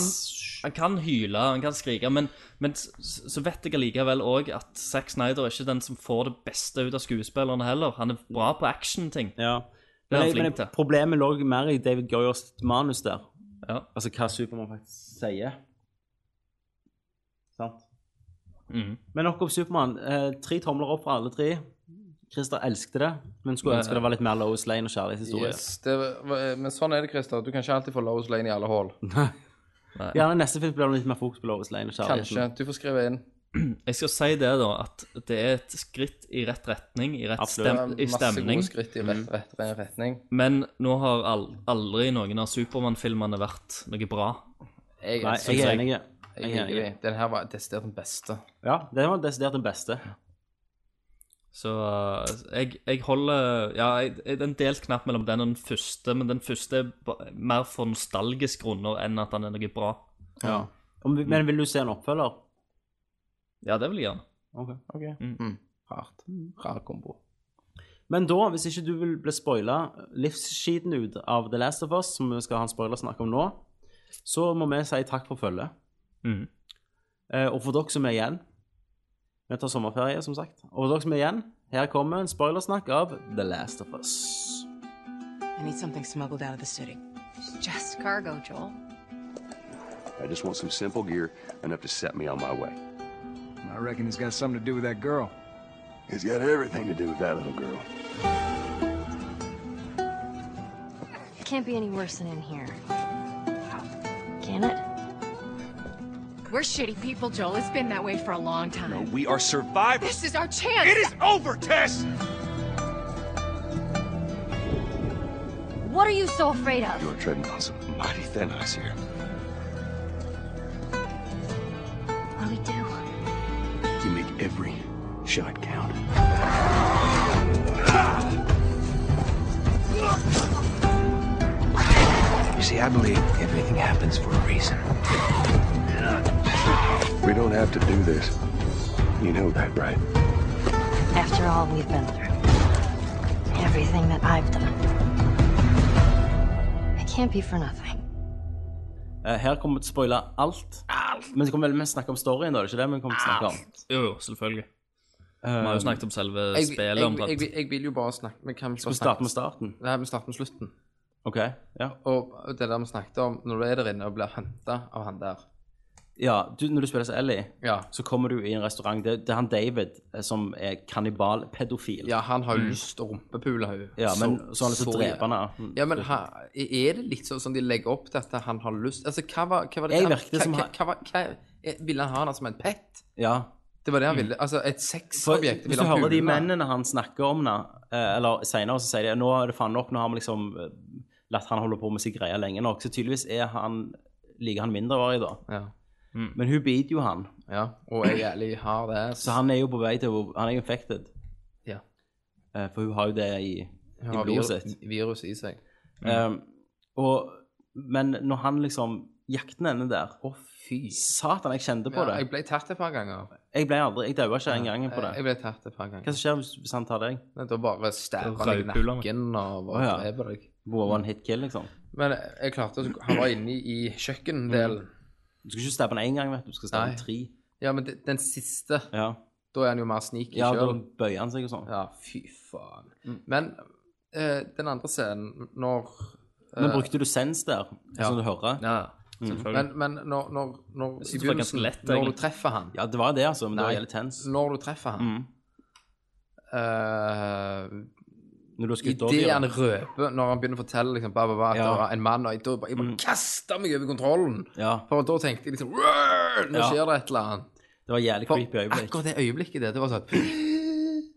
Speaker 6: han kan hyle, han kan skrike, men, men s- s- så vet jeg allikevel òg at Zack Snyder er ikke den som får det beste ut av skuespillerne heller. Han er bra på actionting.
Speaker 2: Ja.
Speaker 6: Det er
Speaker 2: Men,
Speaker 6: han
Speaker 2: jeg, men
Speaker 6: flink til.
Speaker 2: jeg- problemet lå mer i David Goyers manus der.
Speaker 6: Ja.
Speaker 2: Altså hva Supermann faktisk sier. Sant?
Speaker 6: Mhm.
Speaker 2: Men nok om Supermann. Eh, tre tomler opp fra alle tre. Christer elsket det, men skulle ønske det var litt mer Lois Lane og kjærlighetshistorie.
Speaker 7: Yes, det var, men sånn er det, Christer. Du kan ikke alltid få Lois Lane i alle hull.
Speaker 2: Gjerne neste film blir det litt mer fokus på Lois Lane og
Speaker 7: Kanskje.
Speaker 2: kjærligheten.
Speaker 7: Du får skrive inn.
Speaker 6: Jeg skal si det, da, at det er et skritt i rett retning, i rett
Speaker 2: Absolutt.
Speaker 6: stem, i
Speaker 7: Masse
Speaker 6: stemning.
Speaker 7: gode skritt i rett,
Speaker 2: Mm.
Speaker 7: rett, rett retning.
Speaker 6: Men nå har al aldri noen av Supermann-filmene vært noe bra.
Speaker 7: Jeg,
Speaker 2: Nei,
Speaker 7: jeg,
Speaker 2: jeg er
Speaker 6: jeg-
Speaker 2: enig.
Speaker 7: jeg,
Speaker 2: Jeg er
Speaker 7: liker de.
Speaker 2: enig.
Speaker 7: Den her var desidert den beste.
Speaker 2: Ja, det var desidert den beste.
Speaker 6: Så uh, jeg, jeg holder Ja, jeg, jeg- det er en delt knapp mellom den og den første, men den første er ba- mer for nostalgisk grunner enn at han er noe bra.
Speaker 2: Ja. Om, men vil du se en oppfølger?
Speaker 6: Ja, det vil jeg gjerne.
Speaker 2: Ok.
Speaker 7: Rart. Rar kombo.
Speaker 2: Men da, hvis ikke du vil bli spoila livsskiten ut av The Last of Us, som vi skal ha en spoilersnakk om nå, så må vi si takk for følget.
Speaker 7: Mm.
Speaker 6: Mhm.
Speaker 2: Eh, og for dere som er igjen Vi tar sommerferie, som sagt. Og for dere som er igjen, her kommer en spoilersnakk av The Last of Us.
Speaker 8: I need something smuggled out of the city. It's just cargo, Joel.
Speaker 10: I just want some simple gear enough to set me on my way.
Speaker 11: I reckon it's got something to do with that girl.
Speaker 10: It's got everything to do with that little girl.
Speaker 8: It can't be any worse than in here. Can it? We're shitty people, Joel. It's been that way for a long time. No, we are survivors. This is our chance. It is over, Tess! What are you so afraid of?
Speaker 10: You're treading on some mighty thin ice here.
Speaker 8: What do we do?
Speaker 10: You make every shot count. You see, I believe everything happens for a reason. We don't have to do this. You know that, right?
Speaker 8: After all we've been through, everything that I've done, it can't be for nothing.
Speaker 2: Eh, her kommer vi til å spoile alt. Men så kommer vi vel mest til å snakke om storyen, da? er det ikke det vi kommer til å snakke om?
Speaker 6: Jo, jo, selvfølgelig. Vi har jo snakket om selve
Speaker 7: Um, Jeg, jeg,
Speaker 6: spillet.
Speaker 7: jeg,
Speaker 6: omtrent.
Speaker 7: jeg, jeg vil jo bare snakke Vi kan
Speaker 2: Skal vi starte med starten?
Speaker 7: Nei, vi starter med slutten.
Speaker 2: OK. Ja,
Speaker 7: Og det der vi snakket om, når du er der inne og blir henta av han der
Speaker 2: ja du, når du spiller som Ellie,
Speaker 7: Ja,
Speaker 2: så kommer du i en restaurant. Det, det er han David eh, som er kannibal, pedofil.
Speaker 7: ja han har jo lyst til å rumpepule henne.
Speaker 2: Mm. Ja, men så, har han lyst til
Speaker 7: så
Speaker 2: å drepe henne.
Speaker 7: Ja, men ha, er det litt sånn som de legger opp til at han har lyst Altså, hva var, hva var det
Speaker 2: Jeg
Speaker 7: han-
Speaker 2: virket
Speaker 7: hva,
Speaker 2: som
Speaker 7: hva,
Speaker 2: han-
Speaker 7: hva, var- hva, eh, Ville han ha henne som en pet?
Speaker 2: Ja.
Speaker 7: Det var det han ville. Altså, et
Speaker 2: Mm. For,
Speaker 7: sexobjekt.
Speaker 2: hvis
Speaker 7: ville
Speaker 2: du
Speaker 7: han
Speaker 2: hører de
Speaker 7: pule med?
Speaker 2: mennene han snakker om, da, eh, eller senere, så sier de nå er det faen nok, nå har vi liksom eh, latt han holde på med sin greie lenge nok. Så tydeligvis er han, liker han mindreårig, da.
Speaker 7: Ja.
Speaker 2: Men hun biter jo han,
Speaker 7: ja. Og jeg er ærlig har det.
Speaker 2: så han er jo på vei til å Han er jo infected.
Speaker 7: Ja.
Speaker 2: Eh, for hun har jo det i, i
Speaker 7: har
Speaker 2: blodet
Speaker 7: viru-
Speaker 2: sitt.
Speaker 7: virus i seg.
Speaker 2: Eh, og, men når han liksom Jakten ender der.
Speaker 7: Å, fy
Speaker 2: Satan, jeg kjente på
Speaker 7: Ja, jeg
Speaker 2: det.
Speaker 7: ble tatt et par ganger.
Speaker 2: Jeg ble aldri, jeg daua ikke engang på det.
Speaker 7: Jeg ble tatt et par ganger.
Speaker 2: Hva som skjer hvis- hvis han tar deg?
Speaker 7: Nei, Da bare stabber
Speaker 6: Da
Speaker 7: han deg i
Speaker 6: rødpuler meg.
Speaker 7: nakken og
Speaker 2: Å,
Speaker 7: bare
Speaker 2: ja.
Speaker 7: dreper deg.
Speaker 2: Boa
Speaker 7: Mm.
Speaker 2: var en hit kill, liksom.
Speaker 7: Men jeg klarte å Han var inne i kjøkkendelen.
Speaker 2: Mm. Du skal ikke stabbe den én gang, vet du. Du skal stabbe den
Speaker 7: Nei.
Speaker 2: tre.
Speaker 7: Ja, men de- den siste
Speaker 2: Ja.
Speaker 7: Da er han jo mer sneaky
Speaker 2: ja, da Mm.
Speaker 7: sjøl.
Speaker 2: bøyer han seg og sånn.
Speaker 7: Ja, fy faen. Men eh, den andre scenen, når eh,
Speaker 2: Men brukte du sens der,
Speaker 7: ja.
Speaker 2: som du hører?
Speaker 6: Ja,
Speaker 2: Mm.
Speaker 6: selvfølgelig.
Speaker 7: Mm. Men, men når, når, når
Speaker 6: synes
Speaker 7: I
Speaker 6: det var ganske
Speaker 7: begynnelsen,
Speaker 6: lett,
Speaker 7: når
Speaker 6: egentlig.
Speaker 7: du treffer han
Speaker 2: Ja, det var det, altså. Men det
Speaker 7: Nei.
Speaker 2: var jævlig tens.
Speaker 7: Når du treffer han
Speaker 2: Mm.
Speaker 7: eh,
Speaker 2: Når du har skutt over
Speaker 7: Idet han
Speaker 2: dem.
Speaker 7: røper, når han begynner å fortelle liksom, ba, ba, ba, at
Speaker 2: Ja. Mm.
Speaker 7: det var en mann og Jeg, da bare- jeg bare kasta meg over kontrollen.
Speaker 2: Ja,
Speaker 7: For da tenkte jeg liksom «Rrr, Nå
Speaker 2: Ja.
Speaker 7: skjer det et eller annet.
Speaker 2: det var jævlig creepy
Speaker 7: For
Speaker 2: øyeblikk.
Speaker 7: akkurat det øyeblikket det, det var sånn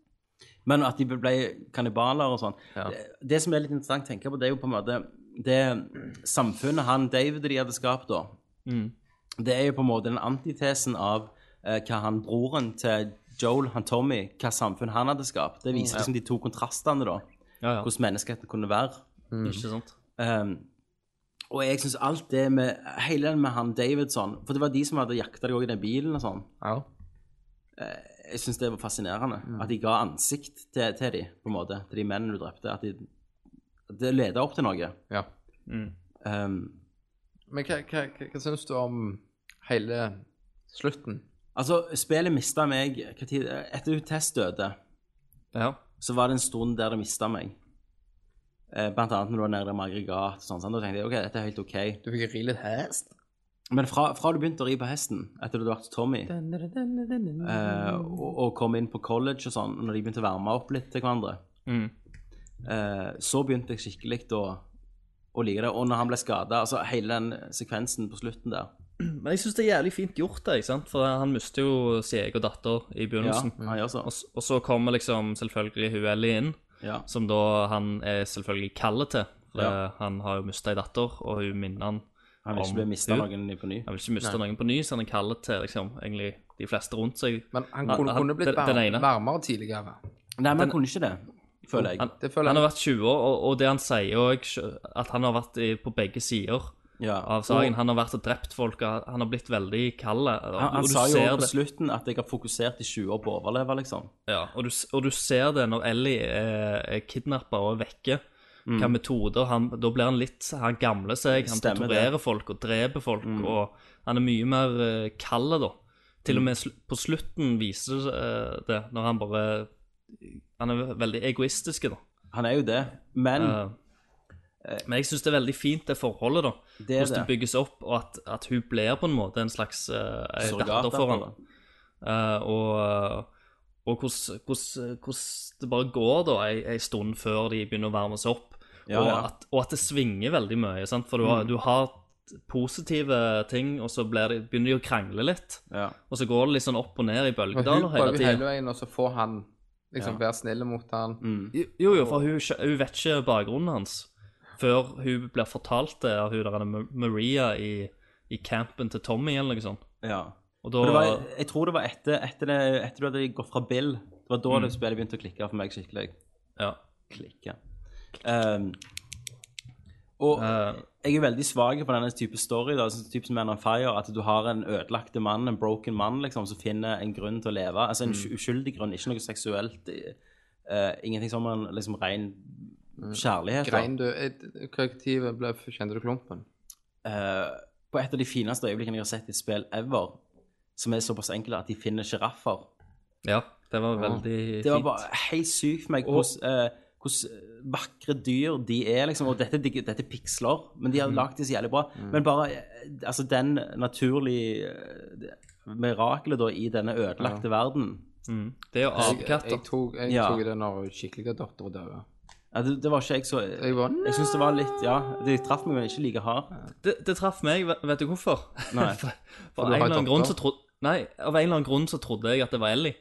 Speaker 2: Men at de ble kannibaler og sånn.
Speaker 7: Ja.
Speaker 2: Det, det som er litt interessant å tenke på, det er jo på en måte det samfunnet han David og de hadde skapt da. Det er jo på en måte den antitesen av eh, hva han broren til Joel, han Tommy, hva samfunn han hadde skapt. Det viser liksom de to kontrastene da,
Speaker 6: Ja, Mm. ja.
Speaker 7: Mm.
Speaker 2: hvordan menneskeheten kunne være.
Speaker 6: Ikke sant?
Speaker 2: Um, Og jeg syns alt det med Hele den med han Davidson For det var de som hadde jakta deg òg i den bilen og sånn. eh,
Speaker 7: Ja.
Speaker 2: Jeg syns det var fascinerende. At de ga ansikt til, til de, på en måte. Til de mennene du drepte. At de at Det leda opp til noe.
Speaker 7: ja.
Speaker 2: Um,
Speaker 7: Men hva, hva, hva, hva syns du om hele slutten?
Speaker 2: altså, spillet mista meg hva tid, Etter at Tess døde,
Speaker 6: Ja.
Speaker 2: så var det en stund der det mista meg. Eh, Blant annet når du var nede med aggregat. og Sånn, sånn, da tenkte jeg ok, dette er helt OK.
Speaker 7: Du fikk ri litt hest?
Speaker 2: Men fra, fra du begynte å ri på hesten, etter du hadde vært Tommy, eh, og, og kom inn på college og sånn, når de begynte å varme opp litt til hverandre,
Speaker 6: Mm.
Speaker 2: eh, så begynte jeg skikkelig å, å like det. Og når han ble skada, altså hele den sekvensen på slutten der
Speaker 6: Men jeg syns det er jævlig fint gjort, det, ikke sant? for han mister jo sin egen datter i
Speaker 2: Ja,
Speaker 6: begynnelsen.
Speaker 2: han gjør så.
Speaker 6: Og, s- og så kommer liksom selvfølgelig hun Ellie inn,
Speaker 2: Ja.
Speaker 6: som da han er selvfølgelig kallet til. For
Speaker 2: Ja.
Speaker 6: Han har jo mista ei datter, og hun minner han
Speaker 2: Han vil
Speaker 6: om
Speaker 2: ikke bli mista
Speaker 6: hun.
Speaker 2: noen på ny.
Speaker 6: Han vil ikke miste noen på ny, så han er kallet til liksom, egentlig de fleste rundt seg.
Speaker 7: Men han
Speaker 6: Han-
Speaker 7: kunne,
Speaker 6: han-
Speaker 7: kunne blitt
Speaker 6: den- den
Speaker 7: varm-
Speaker 6: ene.
Speaker 7: varmere tidligere.
Speaker 2: Nei, men han kunne ikke det, føler jeg.
Speaker 6: Han,
Speaker 7: Det føler
Speaker 6: han
Speaker 7: jeg.
Speaker 6: har vært 20 år, og, og det han sier òg, at han har vært i, på begge sider
Speaker 2: Ja.
Speaker 6: av saken. Han har vært og drept folk, og han har blitt veldig kald. og-
Speaker 2: Han,
Speaker 6: og
Speaker 2: han
Speaker 6: du
Speaker 2: sa jo
Speaker 6: ser
Speaker 2: på
Speaker 6: det.
Speaker 2: slutten at jeg har fokusert i 20 år på å overleve, liksom.
Speaker 6: Ja, og du, og du ser det når Ellie er, er kidnappa og er vekke.
Speaker 2: Mm.
Speaker 6: Hva metoder han, Da blir han litt Han gamler seg, han
Speaker 2: Stemmer det. Mm.
Speaker 6: torturerer folk og dreper folk. Og han er mye mer eh, kald, da. Til og med sl på slutten viser eh, det, når han bare Han er veldig egoistisk, da.
Speaker 2: Han er jo det. Men eh,
Speaker 6: Eh, men jeg syns det er veldig fint, det forholdet, da.
Speaker 2: det er
Speaker 6: Hvordan det
Speaker 2: det.
Speaker 6: bygges opp, og at, at hun blir på en måte en slags eh, ei datter for
Speaker 2: Surrogatdatter,
Speaker 6: ham. Eh, og og hvordan- hvordan hvordan det bare går da ei, ei stund før de begynner å varme seg opp.
Speaker 2: Ja,
Speaker 6: og,
Speaker 2: ja. Mm.
Speaker 6: At, og at det svinger veldig mye. sant? For du har, du har positive ting, og så blir det, begynner de å krangle litt.
Speaker 2: Ja.
Speaker 6: Og så går det litt sånn opp og ned i
Speaker 7: Og hun
Speaker 6: bølgedaler hele
Speaker 7: prøver hele
Speaker 6: tida.
Speaker 7: veien, og så får han liksom være snill mot han.
Speaker 6: Mm. Jo, jo, for hun, skj- hun vet ikke bakgrunnen hans før hun blir fortalt det av hun der Anna Maria i, i campen til Tommy, eller noe sånt.
Speaker 2: ja.
Speaker 6: Og
Speaker 2: For
Speaker 6: da,
Speaker 2: det var, jeg tror det var etter, etter, det, etter du hadde gått fra Bill. Det var da det spillet begynte å klikke for meg skikkelig.
Speaker 6: ja.
Speaker 2: Klikke. Ehm, og
Speaker 6: Eh,
Speaker 2: jeg er veldig svak på denne type story, da, sånn type som Man on Fire, at du har en ødelagte mann, en broken mann, liksom, som finner en grunn til å leve. Altså en uskyldig grunn, ikke noe seksuelt. eh, ingenting som en liksom ren Mm. kjærlighet. da.
Speaker 7: Grein du Kollektivet ble Kjente du klumpen?
Speaker 2: eh, på et av de fineste øyeblikkene jeg har sett i et spill ever, som er såpass enkelt at de finner sjiraffer.
Speaker 6: ja, det var veldig
Speaker 2: Det var
Speaker 6: fint.
Speaker 2: bare helt sykt for meg hvordan eh, hvordan vakre dyr de er, liksom. Og dette, dette er piksler, men de har lagd det så jævlig bra. Men bare eh, altså den naturlige eh, mirakelet da i denne ødelagte verden
Speaker 6: Mm. Det er jo
Speaker 7: Jeg,
Speaker 6: apekatter.
Speaker 7: jeg tok, jeg
Speaker 2: Ja.
Speaker 7: tok det når skikkelig datter døde.
Speaker 2: ja, det, det var ikke jeg så
Speaker 7: Jeg
Speaker 2: Jeg
Speaker 7: bare
Speaker 2: syns det var litt Ja, det traff meg, men ikke like hardt.
Speaker 6: Det, det traff meg, ve- vet du hvorfor?
Speaker 2: Nei.
Speaker 6: for,
Speaker 7: du
Speaker 6: for en
Speaker 7: har
Speaker 6: eller annen
Speaker 7: datter?
Speaker 6: grunn så trodde Nei, av en eller annen grunn så trodde jeg at det var Ellie.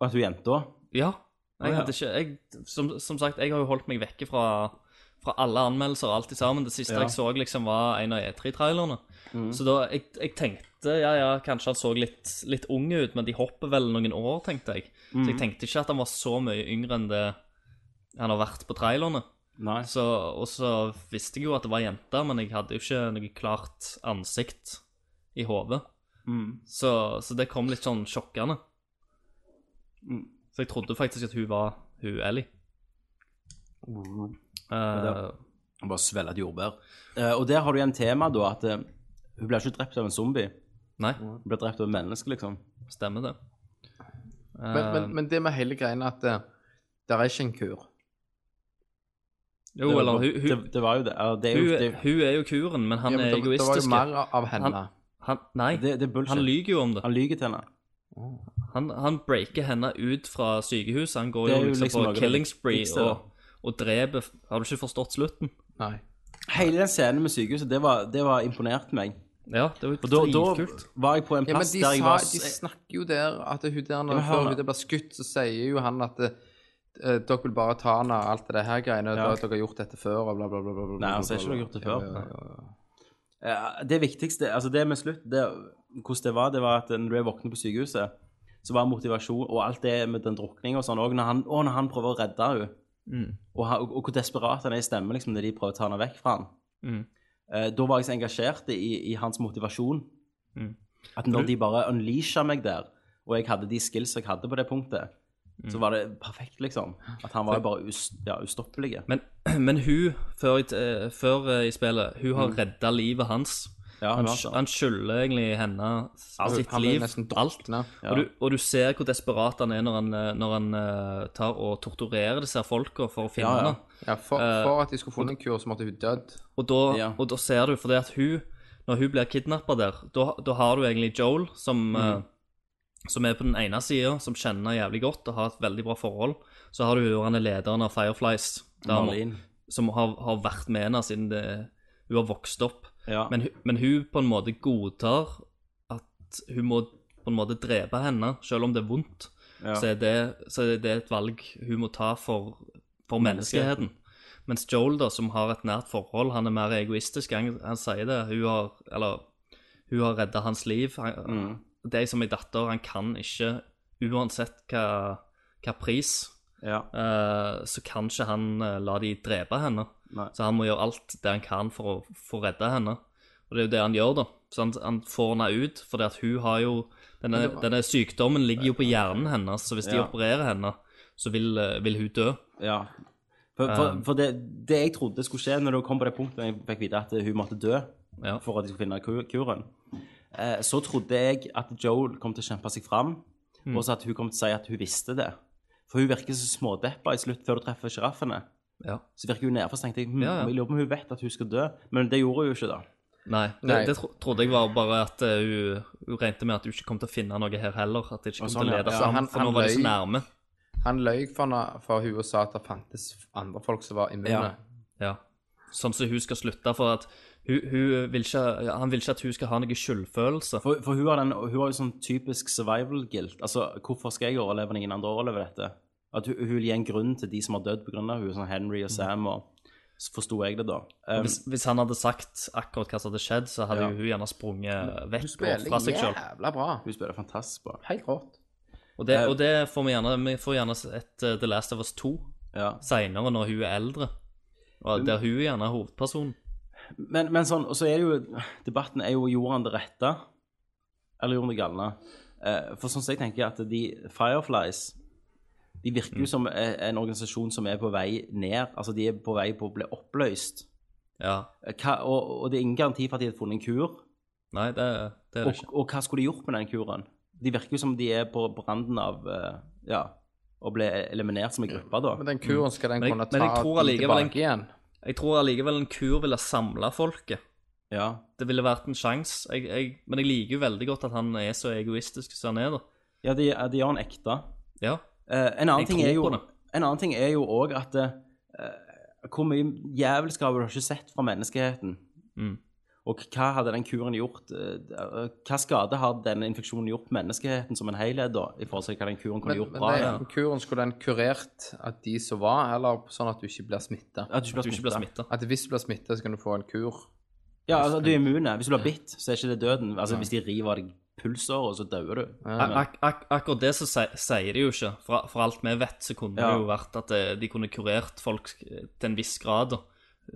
Speaker 2: Og at hun jenta
Speaker 6: Ja.
Speaker 2: Å,
Speaker 6: Jeg
Speaker 2: ja.
Speaker 6: hadde ikke jeg, som, som sagt, jeg har jo holdt meg vekke fra, fra alle anmeldelser og alt i sammen. Det siste
Speaker 2: Ja. Mm.
Speaker 6: jeg så, liksom, var en av E3-trailerne. Så da jeg, jeg tenkte ja, ja, kanskje han så litt, litt ung ut, men de hopper vel noen år, tenkte jeg. Så
Speaker 2: Mm.
Speaker 6: jeg tenkte ikke at han var så mye yngre enn det han har vært på trailerne.
Speaker 2: Nei.
Speaker 6: Så, og så visste jeg jo at det var jenter, men jeg hadde jo ikke noe klart ansikt i hodet. Så, så det kom litt sånn sjokkende. Så jeg trodde faktisk at hun var hun Ellie. Eh,
Speaker 2: Han bare svelget et jordbær. Eh, og der har du igjen tema da, at eh, hun ble ikke drept av en zombie.
Speaker 6: nei,
Speaker 2: Hun ble drept av et menneske, liksom.
Speaker 6: stemmer det. Eh,
Speaker 7: Men, men, men det med hele greien at det der er ikke en kur.
Speaker 6: Jo,
Speaker 2: det,
Speaker 6: eller hun,
Speaker 2: det,
Speaker 6: hun,
Speaker 2: det var jo det. Ja, det er jo,
Speaker 6: hun,
Speaker 2: det,
Speaker 6: hun er jo kuren, men han
Speaker 7: Ja, men det,
Speaker 6: er
Speaker 7: det var jo
Speaker 6: egoistisk.
Speaker 7: mer av henne.
Speaker 6: Han- Han, nei,
Speaker 2: det, det er bullshit.
Speaker 6: han lyver jo om det.
Speaker 2: Han lyver til henne.
Speaker 6: Han, han breaker henne ut fra sykehuset. Han går
Speaker 2: Det er
Speaker 6: jo
Speaker 2: jo
Speaker 6: liksom,
Speaker 2: liksom noe av
Speaker 6: på
Speaker 2: det
Speaker 6: killing spree
Speaker 2: viktigste,
Speaker 6: og, og dreper Har du ikke forstått slutten?
Speaker 7: Nei.
Speaker 2: Hele den scenen med sykehuset, det var, det var imponert meg.
Speaker 6: Ja, det var
Speaker 2: Og da, da
Speaker 6: jo dritkult.
Speaker 2: var jeg på en
Speaker 7: Ja, men
Speaker 2: plass
Speaker 7: de,
Speaker 2: der jeg
Speaker 7: sa,
Speaker 2: var
Speaker 7: de snakker jo der at hun der når
Speaker 2: men hør
Speaker 7: før
Speaker 2: nå.
Speaker 7: hun der blir skutt, så sier jo han at eh, dere vil bare ta henne og alt det her greiene.
Speaker 2: Ja.
Speaker 7: og Dere har gjort dette før, og bla, bla, bla. bla, bla
Speaker 2: Nei,
Speaker 7: bla,
Speaker 2: han sier
Speaker 7: bla, bla.
Speaker 2: ikke du har gjort det før.
Speaker 7: Ja, ja, ja.
Speaker 2: Eh, Det viktigste, altså det med slutt, det, hvordan det var, det var at eh, når jeg våknet på sykehuset, så var motivasjon og alt det med den drukningen og sånn, og når han, og
Speaker 6: Mm.
Speaker 2: når han prøver å redde henne, og, han- og, og hvor desperat han er i stemmen liksom, når de prøver å ta henne vekk fra han.
Speaker 6: Mm.
Speaker 2: Eh, da var jeg så engasjert i, i hans motivasjon
Speaker 6: Mm.
Speaker 2: at når de bare unleasha meg der, og jeg hadde de skills jeg hadde på det punktet,
Speaker 6: Mm.
Speaker 2: så var det perfekt, liksom. At han var jo bare us, ja, ustoppelig.
Speaker 6: Men, men hun, før, i t- eh, før eh, i spillet, hun har redda livet hans.
Speaker 2: Ja,
Speaker 6: han,
Speaker 2: hun har det.
Speaker 6: han skylder egentlig henne s-
Speaker 2: Altså,
Speaker 7: Han-
Speaker 6: sitt
Speaker 7: han ble
Speaker 6: liv.
Speaker 7: nesten
Speaker 6: alt.
Speaker 7: drukna.
Speaker 6: Og, du, og du ser hvor desperat han er når han, eh, når han eh, tar og torturerer disse folka for å finne
Speaker 2: Ja, ja.
Speaker 6: henne.
Speaker 7: Ja, for,
Speaker 2: Eh,
Speaker 7: for at de skulle funnet en kur, så måtte hun dødd.
Speaker 6: Og da,
Speaker 2: Ja.
Speaker 6: og da ser du, fordi at hun, når hun blir kidnappa der, da, da har du egentlig Joel, som, eh, som er på den ene sida, som kjenner henne jævlig godt og har et veldig bra forhold. Så har du jo han er lederen av Fireflies, der,
Speaker 2: Marlene.
Speaker 6: som har, har vært med henne siden det, hun har vokst opp.
Speaker 2: Ja.
Speaker 6: Men, hun- men hun på en måte godtar at hun må på en måte drepe henne, selv om det er vondt.
Speaker 2: Ja.
Speaker 6: Så, er det, så er det et valg hun må ta for, for menneskeheten. Mens Joel, da, som har et nært forhold, han er mer egoistisk. Han, han sier det. Hun har, eller, hun har redda hans liv. Han, Det er som en datter. Han kan ikke, uansett hva, hva pris,
Speaker 2: Ja.
Speaker 6: eh, så kan ikke han eh, la de drepe henne.
Speaker 2: Nei.
Speaker 6: Så han må gjøre alt det han kan for å få redde henne. Og det er jo det han gjør, da. Så han, han får henne ut, fordi at hun har jo denne, denne sykdommen ligger jo på hjernen hennes, så hvis de
Speaker 2: Ja.
Speaker 6: opererer henne, så vil, eh, vil hun dø.
Speaker 2: ja. For, for,
Speaker 6: Um.
Speaker 2: for det, det jeg trodde skulle skje når det kom på det punktet jeg fikk vite at hun måtte dø
Speaker 6: Ja.
Speaker 2: for at de skulle finne ku- kuren, eh, så trodde jeg at Joel kom til å kjempe seg fram,
Speaker 6: Mm.
Speaker 2: og så at hun kom til å si at hun visste det. For hun virker så smådeppa i slutt før du treffer sjiraffene.
Speaker 6: Ja.
Speaker 2: Så virker hun nedfor, så tenkte jeg hm,
Speaker 6: Ja, ja.
Speaker 2: jeg lurer på om hun vet at hun skal dø. Men det gjorde hun jo ikke, da.
Speaker 6: Nei, det,
Speaker 7: Nei.
Speaker 6: det tro, trodde jeg var bare at eh, hun, hun regnet med at hun ikke kom til å finne noe her heller. At det ikke kom
Speaker 2: sånn,
Speaker 6: til å
Speaker 2: ja.
Speaker 6: lede
Speaker 2: Ja,
Speaker 6: fram,
Speaker 7: han-
Speaker 6: for
Speaker 7: han
Speaker 6: nå var de så
Speaker 7: løy.
Speaker 6: nærme.
Speaker 7: Han løy for, henne- for hun og sa at det fantes andre folk som var immune.
Speaker 2: Ja.
Speaker 6: Ja. Sånn som hun skal slutte, for at hun, hun vil ikke, han vil ikke at hun skal ha noe skyldfølelse.
Speaker 2: For, for hun, har den, hun har jo sånn typisk survival guilt. Altså, hvorfor skal jeg overleve når ingen andre overlever dette? At hun, hun vil gi en grunn til de som har dødd pga. hun, sånn Henry og Sam og Så forsto jeg det, da. Um,
Speaker 6: Hvis, hvis han hadde sagt akkurat hva som hadde skjedd, så hadde
Speaker 2: Ja.
Speaker 6: jo hun gjerne sprunget vekk
Speaker 7: Hun
Speaker 6: og
Speaker 7: spiller
Speaker 6: fra seg sjøl.
Speaker 7: jævla bra.
Speaker 2: hun spiller fantastisk bra.
Speaker 7: Helt rått.
Speaker 6: Og, det- og det får vi gjerne Vi får gjerne et eh, The Last of Us 2
Speaker 2: Ja.
Speaker 6: seinere, når hun er eldre. Og der hun gjerne er hovedpersonen.
Speaker 2: Men, men sånn, og så er det jo Debatten er jo gjorde han det rette, eller gjorde han det galne? Eh, for sånn som jeg tenker at de Fireflies De virker jo som eh, en organisasjon som er på vei ned. Altså, de er på vei på å bli oppløst.
Speaker 6: Ja.
Speaker 2: Eh, Hva, og, og det er ingen garanti for at de har funnet en kur.
Speaker 6: Nei, det, det er det
Speaker 2: Og,
Speaker 6: ikke.
Speaker 2: og hva skulle de gjort med den kuren? De virker jo som de er på branden av eh, Ja, å bli eliminert som en gruppe, da.
Speaker 7: Men den kuren skal den
Speaker 6: Men jeg-
Speaker 7: kunne ta
Speaker 6: men jeg tror
Speaker 7: de
Speaker 6: allikevel en-
Speaker 7: tilbake igjen.
Speaker 6: Jeg tror allikevel en kur ville samla folket.
Speaker 2: Ja.
Speaker 6: Det ville vært en sjanse. Jeg, jeg, men jeg liker jo veldig godt at han er så egoistisk som han er, da.
Speaker 2: ja, de, de gjør den ekte.
Speaker 6: Ja.
Speaker 2: Eh, en, annen
Speaker 6: Jeg
Speaker 2: ting
Speaker 6: tror
Speaker 2: er jo,
Speaker 6: på det.
Speaker 2: en annen ting er jo òg at eh, Hvor mye jævelskap har du ikke sett fra menneskeheten?
Speaker 6: Mm.
Speaker 2: Og hva hadde den kuren gjort eh, Hva skade har denne infeksjonen gjort menneskeheten som en helhet, da, i forhold til hva den kuren kunne
Speaker 7: Men,
Speaker 2: gjort
Speaker 7: men
Speaker 2: bra?
Speaker 7: det,
Speaker 2: ja.
Speaker 7: kuren skulle den kurert at de som var, eller sånn at du ikke blir smitta?
Speaker 2: At du ikke
Speaker 6: Du
Speaker 2: blir
Speaker 6: ikke blir
Speaker 2: smittet.
Speaker 6: smitta.
Speaker 7: At hvis du blir smitta, så kan du få en kur?
Speaker 2: Ja, altså, du er immune. Hvis du blir bitt, så er ikke det døden. Altså, Hvis de river av deg pulsåret, så dauer du.
Speaker 6: Ak ak ak akkurat det så si- sier de jo ikke. For, for alt vi vet, så kunne
Speaker 2: Ja.
Speaker 6: det jo vært at eh, de kunne kurert folk eh, til en viss grad. da.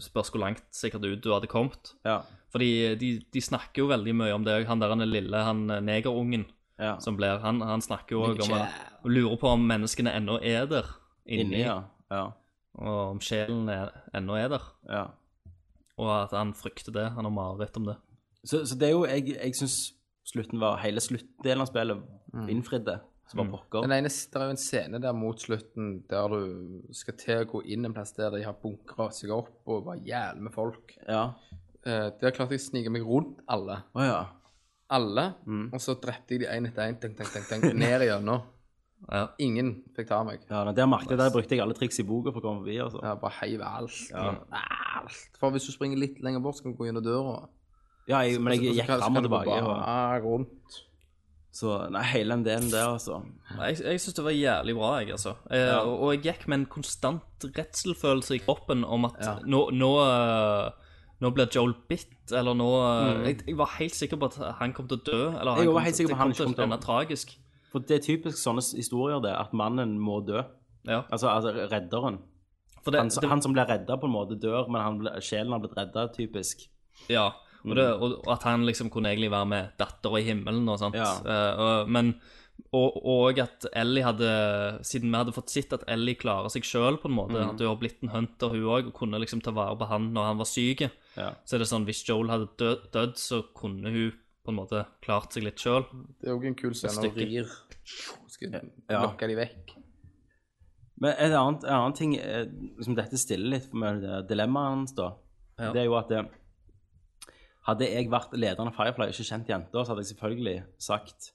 Speaker 6: Spørs hvor langt sikkert ut du hadde kommet.
Speaker 2: Ja.
Speaker 6: Fordi eh, de, de snakker jo veldig mye om det. Han der han er lille, han eh, negerungen
Speaker 2: Ja.
Speaker 6: som blir Han, han snakker jo også om Og lurer på om menneskene ennå er der inni,
Speaker 2: Inni, ja. ja.
Speaker 6: og om sjelen er, ennå er der.
Speaker 2: ja.
Speaker 6: Og at han frykter det. Han har mareritt om det.
Speaker 2: Så, så det er jo Jeg, jeg syns slutten var Hele sluttdelen av spillet
Speaker 6: Mm.
Speaker 2: innfridde. Som var pokker.
Speaker 7: Mm. Den ene, det er jo en scene der mot slutten der du skal til å gå inn en plass der de har bunkra seg opp og var jævlig med folk.
Speaker 2: Ja.
Speaker 7: Eh, der klarte jeg å snike meg rundt alle.
Speaker 2: Å ja. Mm.
Speaker 7: Alle. Og så drepte jeg de én etter én, ned igjennom.
Speaker 6: Ja.
Speaker 7: Ingen fikk ta meg.
Speaker 2: ja der markedet der brukte jeg alle triks i boka for å komme forbi. altså. Ja,
Speaker 7: Jeg bare heiv alt. Alt. For hvis du springer litt lenger bort, så kan du gå gjennom døra.
Speaker 2: jeg,
Speaker 7: Altså,
Speaker 2: Men jeg gikk fram og tilbake. Og,
Speaker 7: Bare, rundt.
Speaker 2: så nei, hele den delen der, altså.
Speaker 6: Nei, Jeg, jeg syns det var jævlig bra, jeg, altså. Eh, og, og jeg gikk med en konstant redselfølelse i kroppen om at nå, nå, eh, nå blir Joel bitt, eller nå eh, jeg, jeg var helt sikker på at han kom til å dø, eller
Speaker 2: Mm. Jeg
Speaker 6: han
Speaker 2: var
Speaker 6: kom
Speaker 2: helt
Speaker 6: til,
Speaker 2: sikker på
Speaker 6: det
Speaker 2: han
Speaker 6: kom
Speaker 2: ikke
Speaker 6: til
Speaker 2: kom til
Speaker 6: å
Speaker 2: å-
Speaker 6: ende tragisk.
Speaker 2: For det er typisk sånne s- historier, det. At mannen må dø.
Speaker 6: Ja.
Speaker 2: Altså, altså redderen.
Speaker 6: For det,
Speaker 2: han,
Speaker 6: det,
Speaker 2: han som blir redda, på en måte dør, men han ble, sjelen har blitt redda, typisk.
Speaker 6: ja, og, det, og, og at han liksom kunne egentlig være med dattera i himmelen og sånt.
Speaker 2: Ja.
Speaker 6: Eh, og, men og, og at Ellie hadde Siden vi hadde fått sett at Ellie klarer seg sjøl, på en måte, at hun har blitt en hunter, hun òg, og kunne liksom ta vare på han når han var syk,
Speaker 2: Ja.
Speaker 6: så er det sånn hvis Joel hadde dø- dødd, så kunne hun på en måte klart seg litt sjøl.
Speaker 7: Det er jo en kul scene når hun
Speaker 6: stykke.
Speaker 7: rir. Skal
Speaker 2: Ja.
Speaker 7: lokke de vekk.
Speaker 2: Men en annen, en annen ting eh, liksom Dette stiller litt med det dilemmaet hans, da.
Speaker 6: Ja.
Speaker 2: Det er jo at eh, hadde jeg vært lederen av Firefly og ikke kjent jenta, så hadde jeg selvfølgelig sagt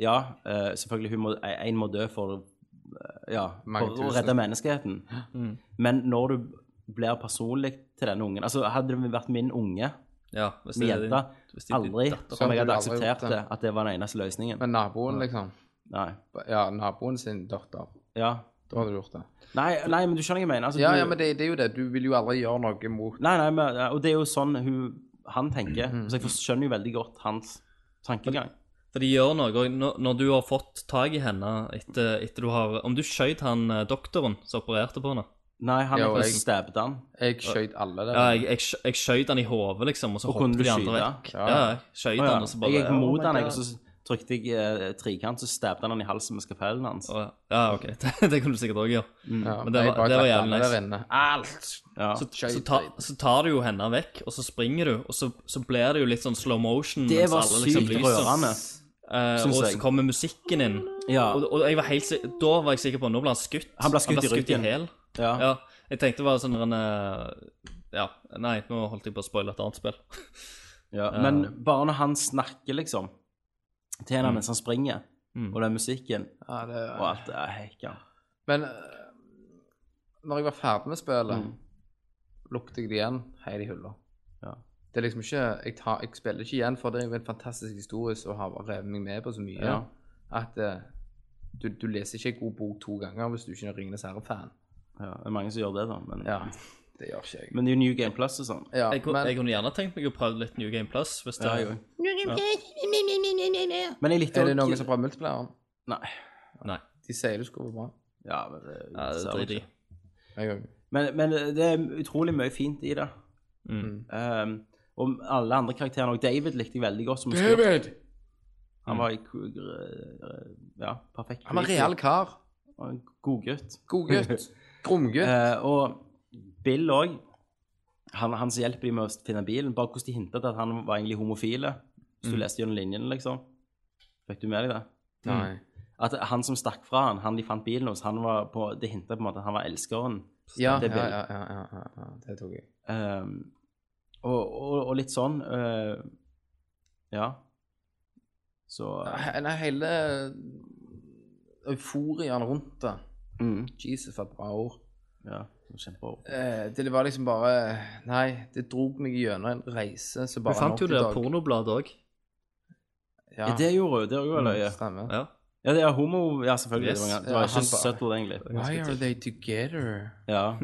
Speaker 2: ja, eh, selvfølgelig hun må, en må dø for, eh, ja,
Speaker 7: Mange
Speaker 2: for å
Speaker 7: tusen. Mm.
Speaker 2: redde menneskeheten. Men når du blir personlig til denne ungen altså Hadde det vært min unge
Speaker 6: Ja, hvis
Speaker 2: med jenta,
Speaker 6: hvis det er din
Speaker 2: aldri om jeg
Speaker 6: datter.
Speaker 2: hadde
Speaker 7: Så hadde du aldri gjort
Speaker 2: akseptert
Speaker 7: det.
Speaker 2: det, at det var den eneste løsningen.
Speaker 7: Men naboen, liksom.
Speaker 2: Nei.
Speaker 7: Ja, naboen sin datter.
Speaker 2: Ja.
Speaker 7: Da hadde du gjort det.
Speaker 2: Nei, nei, men du skjønner hva jeg mener. Altså,
Speaker 7: Ja,
Speaker 2: du-
Speaker 7: ja, men det, det er jo det. Du vil jo aldri gjøre noe mot
Speaker 2: Nei, nei, men, og det er jo sånn hun, han tenker. Så jeg skjønner jo veldig godt hans tankegang.
Speaker 6: For de gjør noe. og Når, når du har fått tak i henne etter, etter du har Om du skjøt han eh, doktoren som opererte på henne?
Speaker 2: Nei, han
Speaker 7: Ja, og
Speaker 2: jeg...
Speaker 7: jeg-
Speaker 2: stabbet han.
Speaker 7: Jeg skjøt alle der.
Speaker 6: Ja, jeg, jeg, skj- jeg skjøt han i hodet, liksom, og så
Speaker 2: Og kunne
Speaker 6: hoppet
Speaker 2: du
Speaker 6: de andre
Speaker 2: skyte?
Speaker 6: vekk. Ja, jeg skjøt
Speaker 2: Å, ja.
Speaker 6: han, og så bare
Speaker 2: jeg gikk
Speaker 6: ja,
Speaker 2: mot
Speaker 7: my
Speaker 2: han, jeg,
Speaker 7: God.
Speaker 2: og så trykte jeg eh, trekant, så stabbet han han i halsen med skapellen hans.
Speaker 6: å, Ja, OK. Det, det kunne du sikkert òg gjøre.
Speaker 2: Mm.
Speaker 7: ja,
Speaker 6: men det
Speaker 7: jeg
Speaker 6: var-
Speaker 7: bare
Speaker 6: det var
Speaker 7: drepte
Speaker 6: jævlig
Speaker 7: alle
Speaker 6: nice.
Speaker 7: der inne. Alt!
Speaker 2: Ja.
Speaker 6: Så,
Speaker 7: skjøt
Speaker 6: så, ta,
Speaker 7: jeg.
Speaker 6: så tar du jo henne vekk, og så springer du, og så, så blir det jo litt sånn slow motion.
Speaker 2: det
Speaker 6: mens
Speaker 2: var
Speaker 6: alle liksom
Speaker 2: sykt
Speaker 6: lyser.
Speaker 2: rørende.
Speaker 6: Eh,
Speaker 2: synes
Speaker 6: og
Speaker 2: jeg.
Speaker 6: så kommer musikken inn.
Speaker 2: Ja.
Speaker 6: Og, og jeg var helt, si- da var jeg sikker på Nå ble han skutt.
Speaker 2: Han ble skutt i ryggen.
Speaker 6: hæl.
Speaker 2: Ja.
Speaker 6: Ja, jeg tenkte bare sånn en, eh, Ja, nei, nå holdt jeg på å spoile et annet spill.
Speaker 2: Ja. Men bare når han snakker, liksom, til henne mens han springer,
Speaker 6: Mm.
Speaker 2: og den musikken
Speaker 7: Ja, det,
Speaker 2: og alt det er hekka.
Speaker 7: Men eh, når jeg var ferdig med spillet,
Speaker 6: Mm.
Speaker 7: lukter jeg det igjen helt i hylla.
Speaker 2: Ja.
Speaker 7: Det er liksom ikke jeg, tar, jeg spiller ikke igjen, for det er jo en fantastisk historie som har revet meg med på så mye
Speaker 2: Ja.
Speaker 7: at eh, du, du leser ikke en god bok to ganger hvis du ikke er Ringenes herre-fan.
Speaker 6: Mm.
Speaker 2: Ja, det er mange som gjør det, da. Men,
Speaker 7: Ja, det gjør ikke jeg.
Speaker 2: men det er jo New Game Plus og sånn.
Speaker 7: ja,
Speaker 6: Jeg, kunne-
Speaker 7: men,
Speaker 6: jeg kunne gjerne tenkt meg å prøve litt New Game Plus. Hvis det,
Speaker 2: Ja, jo. Men jeg likte
Speaker 7: er det
Speaker 2: også-
Speaker 7: noen som har prøvd multiplayer?
Speaker 2: Nei.
Speaker 6: Nei,
Speaker 7: De sier det skulle være bra.
Speaker 2: Ja, men det,
Speaker 6: ja, det
Speaker 2: ser
Speaker 6: driter
Speaker 2: vi
Speaker 6: jeg
Speaker 2: ikke.
Speaker 6: i.
Speaker 7: Jeg òg.
Speaker 2: Men, men det er utrolig mye fint i det.
Speaker 6: Mm.
Speaker 7: Mm.
Speaker 2: Um, og alle andre karakterene òg. David likte jeg veldig godt. Som skurk. Han var i Ja, perfekt.
Speaker 7: Han var en real kar.
Speaker 2: Og en God gutt.
Speaker 7: God gutt. Gromgutt.
Speaker 2: Eh, og Bill òg. Han, han som hjelper dem med å finne bilen. Bare hvordan de hintet til at han var egentlig homofile. Hvis du leste gjennom linjene, liksom. Fikk du med deg det?
Speaker 6: Mm.
Speaker 7: Nei.
Speaker 2: At han som stakk fra han, han de fant bilen hos, han var på, det hintet på en måte at han var elskeren.
Speaker 7: Ja,
Speaker 2: Det
Speaker 7: ja,
Speaker 2: er Bill.
Speaker 7: ja, ja, ja, ja, ja. Det tok jeg.
Speaker 2: Ehm, og, og, og litt sånn eh, Ja. Så
Speaker 7: He- Nei, hele euforiaen rundt det.
Speaker 2: mm,
Speaker 7: Jesus, for et bra ord.
Speaker 2: Ja. Kjempebra.
Speaker 7: Eh, det var liksom bare Nei, det drog meg gjennom en reise som
Speaker 6: Vi
Speaker 7: bare
Speaker 6: fant jo det
Speaker 7: nok i dag.
Speaker 6: pornobladet òg.
Speaker 7: Ja,
Speaker 2: Ja, det gjorde hun. Det gjorde hun løye.
Speaker 7: stemmer.
Speaker 6: Ja.
Speaker 2: Ja, det er homo Ja, selvfølgelig.
Speaker 6: Yes.
Speaker 2: Det var, det
Speaker 7: Ja,
Speaker 2: var
Speaker 7: han
Speaker 2: ikke
Speaker 7: bare-
Speaker 2: søtt ord, egentlig.
Speaker 7: Why are they together?
Speaker 2: Ja.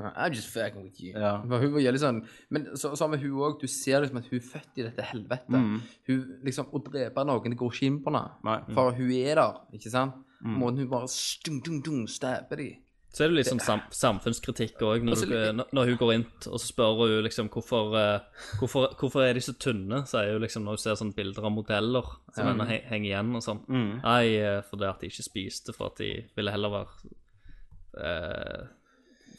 Speaker 7: I'm just fucking with you.
Speaker 2: Ja.
Speaker 7: Men Hun var jævlig sånn Men så, så med hun òg. Du ser liksom at hun er født i dette helvetet.
Speaker 2: Mm.
Speaker 7: Hun liksom Å drepe noen, det går ikke inn på henne.
Speaker 2: Nei.
Speaker 7: For hun er der, ikke sant?
Speaker 6: Mm.
Speaker 7: Måten hun bare stung, dung, dung, stabber de.
Speaker 6: Så er det litt sånn sam samfunnskritikk òg, når,
Speaker 7: Altså,
Speaker 6: du- når- når hun går inn t- og så spør hun liksom hvorfor, eh, hvorfor, hvorfor er de så tynne, sier hun liksom når hun ser sånne bilder av modeller som henne he henger igjen og sånn.
Speaker 7: Mm.
Speaker 6: Nei, eh, fordi at de ikke spiste, for at de ville heller være eh,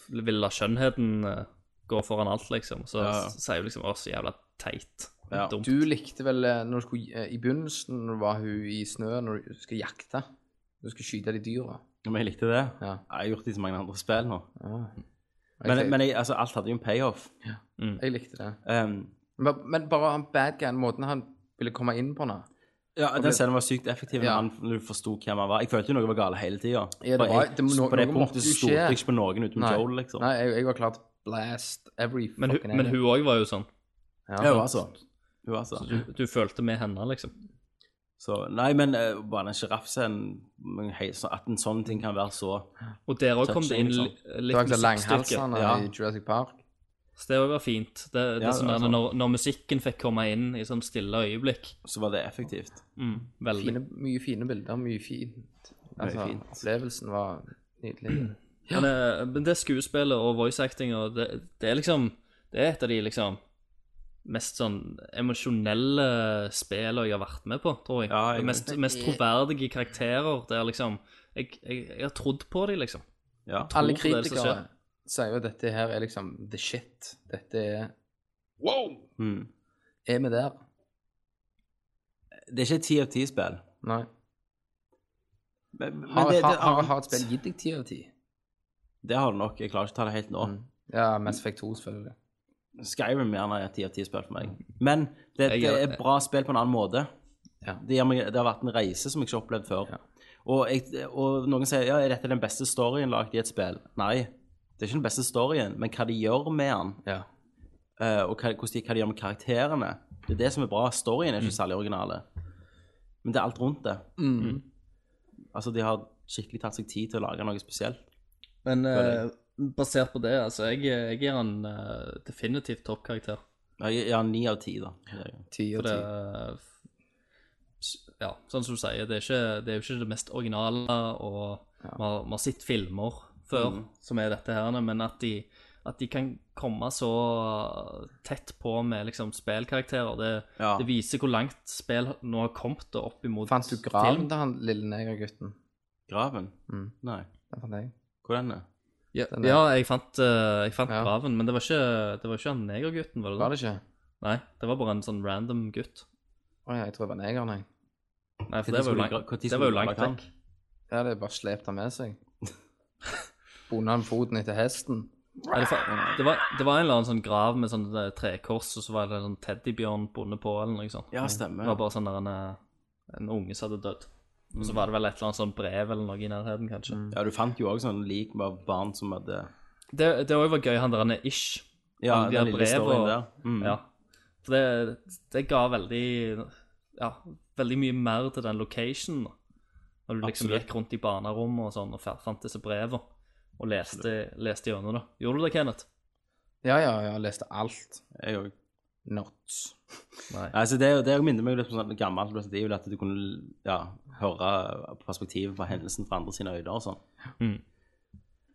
Speaker 6: Ville la skjønnheten eh, gå foran alt, liksom. Så
Speaker 2: Ja.
Speaker 6: s- sier hun liksom å, så jævla teit.
Speaker 2: Ja.
Speaker 6: Dumt.
Speaker 7: Du likte vel eh, når du skulle, eh, I begynnelsen når du var hun i snøen når du skal jakte. Når du skal skyte de dyra.
Speaker 2: Men jeg likte det.
Speaker 7: Ja. Ah.
Speaker 2: Jeg har gjort det i så mange andre spill nå.
Speaker 7: Jeg,
Speaker 2: Men,
Speaker 7: likte-
Speaker 2: men jeg, altså, alt hadde jo en payoff.
Speaker 7: jeg likte det.
Speaker 2: Ehm,
Speaker 7: Men, men bare han bad guyen, måten han ville komme inn på nå
Speaker 2: ja, den scenen var sykt effektiv når
Speaker 7: Ja.
Speaker 2: han- når du forsto hvem han var. Jeg følte jo noe var galt hele tida.
Speaker 7: Ja, det var- det må-
Speaker 2: på det
Speaker 7: noe måtte
Speaker 2: punktet
Speaker 7: jo
Speaker 2: så stolte
Speaker 7: skje.
Speaker 2: jeg ikke på noen utenom
Speaker 7: Nei,
Speaker 2: Joel, liksom.
Speaker 7: Nei jeg, jeg var klart blast every
Speaker 6: Men, hun-
Speaker 7: fucking
Speaker 6: men hun òg var jo sånn.
Speaker 7: ja.
Speaker 2: Ja, altså. hun var så. Hun var så.
Speaker 7: Mm.
Speaker 6: Du, du følte med henne, liksom.
Speaker 2: Så, nei, men eh, bare den sjiraffscenen men hei, så At en sånn ting kan være så
Speaker 6: Og der òg kom det inn li-
Speaker 7: Det
Speaker 6: litt
Speaker 7: var ikke
Speaker 6: musikkstykke.
Speaker 7: langhalsene
Speaker 2: Ja.
Speaker 7: i Jurassic Park.
Speaker 6: Så det var fint. Det, det
Speaker 2: Ja,
Speaker 6: er sånn
Speaker 2: det er
Speaker 6: der
Speaker 2: sant.
Speaker 6: når, når musikken fikk komme inn i sånn stille øyeblikk. Mm,
Speaker 2: Så var det effektivt.
Speaker 6: Veldig.
Speaker 7: Fine, mye fine bilder, mye fint. Altså,
Speaker 2: fint.
Speaker 7: Opplevelsen var nydelig.
Speaker 6: Men, eh, men det skuespillet og voice acting og det, det er liksom Det er et av de liksom mest sånn emosjonelle spillene jeg har vært med på, tror jeg.
Speaker 5: Ja, jeg-
Speaker 6: Det mest, mest troverdige karakterer der liksom jeg, jeg, jeg har trodd på dem, liksom.
Speaker 5: Ja.
Speaker 7: Alle
Speaker 6: Tror det er det som
Speaker 7: kritikere
Speaker 6: skjer.
Speaker 7: sier jo at dette her er liksom the shit. Dette er
Speaker 5: Mm.
Speaker 6: Hmm.
Speaker 7: Er vi der?
Speaker 5: Det er ikke et ti av ti-spill.
Speaker 7: Nei.
Speaker 5: Men, men
Speaker 7: Har,
Speaker 5: det, det,
Speaker 7: har, har, har et spill gitt deg ti av ti?
Speaker 5: det har det nok. Jeg klarer ikke å ta det helt nå.
Speaker 7: Ja, Mass Effect 2, selvfølgelig.
Speaker 5: Skyrim gjerne er et ti av ti-spill for meg. Men det,
Speaker 6: Jeg
Speaker 5: det
Speaker 6: gjør-
Speaker 5: er et bra spill på en annen måte.
Speaker 7: Ja.
Speaker 5: Det, gjør meg, det har vært en reise som jeg ikke har opplevd før. Og, jeg, og noen sier ja, er dette den beste storyen lagd i et spill? Nei, det er ikke den beste storyen, men hva de gjør med den,
Speaker 7: Ja.
Speaker 5: eh, og hva, hvordan de, hva de gjør med karakterene, det er det som er bra. Storyen er ikke
Speaker 7: Mm.
Speaker 5: særlig originale, men det er alt rundt det.
Speaker 6: Mm.
Speaker 5: Altså, de har skikkelig tatt seg tid til å lage noe spesielt.
Speaker 6: Men
Speaker 5: Føler
Speaker 6: eh, basert på det, altså, jeg, jeg gir han eh, definitivt toppkarakter.
Speaker 5: Ja, jeg- Ja, ni av ti, da.
Speaker 7: Ti
Speaker 6: For
Speaker 7: av ti.
Speaker 6: det eh, f- Ja, sånn som du sier, det er, ikke, det er jo ikke det mest originale, og vi har- vi har sett filmer før som er dette her, men at de, at de kan komme så tett på med liksom spillkarakterer, det,
Speaker 5: Ja.
Speaker 6: det viser hvor langt spill nå har kommet da, opp imot
Speaker 7: Fant du graven
Speaker 6: film.
Speaker 7: til han lille negergutten?
Speaker 5: Graven?
Speaker 7: Mm.
Speaker 5: Nei.
Speaker 7: Den fant jeg.
Speaker 5: Hvor er den? er?
Speaker 6: Ja,
Speaker 7: den der?
Speaker 6: ja jeg fant, eh, jeg fant
Speaker 7: Ja.
Speaker 6: graven, men det var ikke, det var ikke han negergutten, var det
Speaker 7: Var det ikke?
Speaker 6: Nei, det var bare en sånn random gutt.
Speaker 7: Å ja, jeg tror det var negeren, jeg.
Speaker 6: Nei,
Speaker 5: Hvor
Speaker 6: for det var jo
Speaker 5: skulle
Speaker 6: langt,
Speaker 5: gra- hvor tid
Speaker 6: det
Speaker 5: skulle
Speaker 6: var jo
Speaker 5: du
Speaker 6: langt
Speaker 5: lage han?
Speaker 6: vekk.
Speaker 7: Ja, det er bare slept han med seg. Bonde han foten etter hesten.
Speaker 6: Nei, det, fa- det, var, det var en eller annen sånn grav med sånn eh, trekors, og så var det en sånn teddybjørn bonde på, eller noe sånt.
Speaker 5: Ja,
Speaker 6: Det
Speaker 5: stemmer.
Speaker 6: var bare sånn der en, eh, en unge som hadde dødd. Og så var det vel et eller annet sånn brev eller noe i nærheten, kanskje.
Speaker 5: Ja, du fant jo òg sånn lik med barn som hadde
Speaker 6: Det Det òg var gøy, han der han er ish.
Speaker 5: Ja,
Speaker 6: Han- de
Speaker 5: den
Speaker 6: har
Speaker 5: lille
Speaker 6: brev
Speaker 5: storyen
Speaker 6: og-
Speaker 5: der. Mm.
Speaker 6: Ja. For det, det ga veldig Ja, veldig mye mer til den locationen. da. Når du liksom
Speaker 5: Absolutt.
Speaker 6: gikk rundt i barnerommet og sånn og fa- fant disse brevene og leste, leste gjennom det. Gjorde du det, Kenneth?
Speaker 7: Ja, ja, ja, leste alt.
Speaker 5: Jeg òg.
Speaker 7: Nots.
Speaker 6: Nei.
Speaker 5: Altså, det, er jo- det minner meg litt om sånn gammelt Resident Evil, at du kunne ja, høre perspektivet på hendelsen fra andre sine øyne og sånn.
Speaker 6: Mm.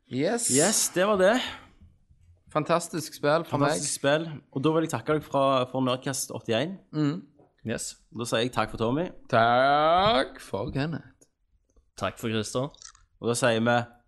Speaker 7: Yes.
Speaker 5: Yes, det var det.
Speaker 7: Fantastisk spill for meg.
Speaker 5: Fantastisk spill. Og da vil jeg takke deg fra, for Nerdcast 81.
Speaker 7: Mm.
Speaker 6: Yes.
Speaker 5: Da sier jeg takk for Tommy,
Speaker 7: Takk for Kenneth.
Speaker 6: Takk for Christer.
Speaker 5: og da sier vi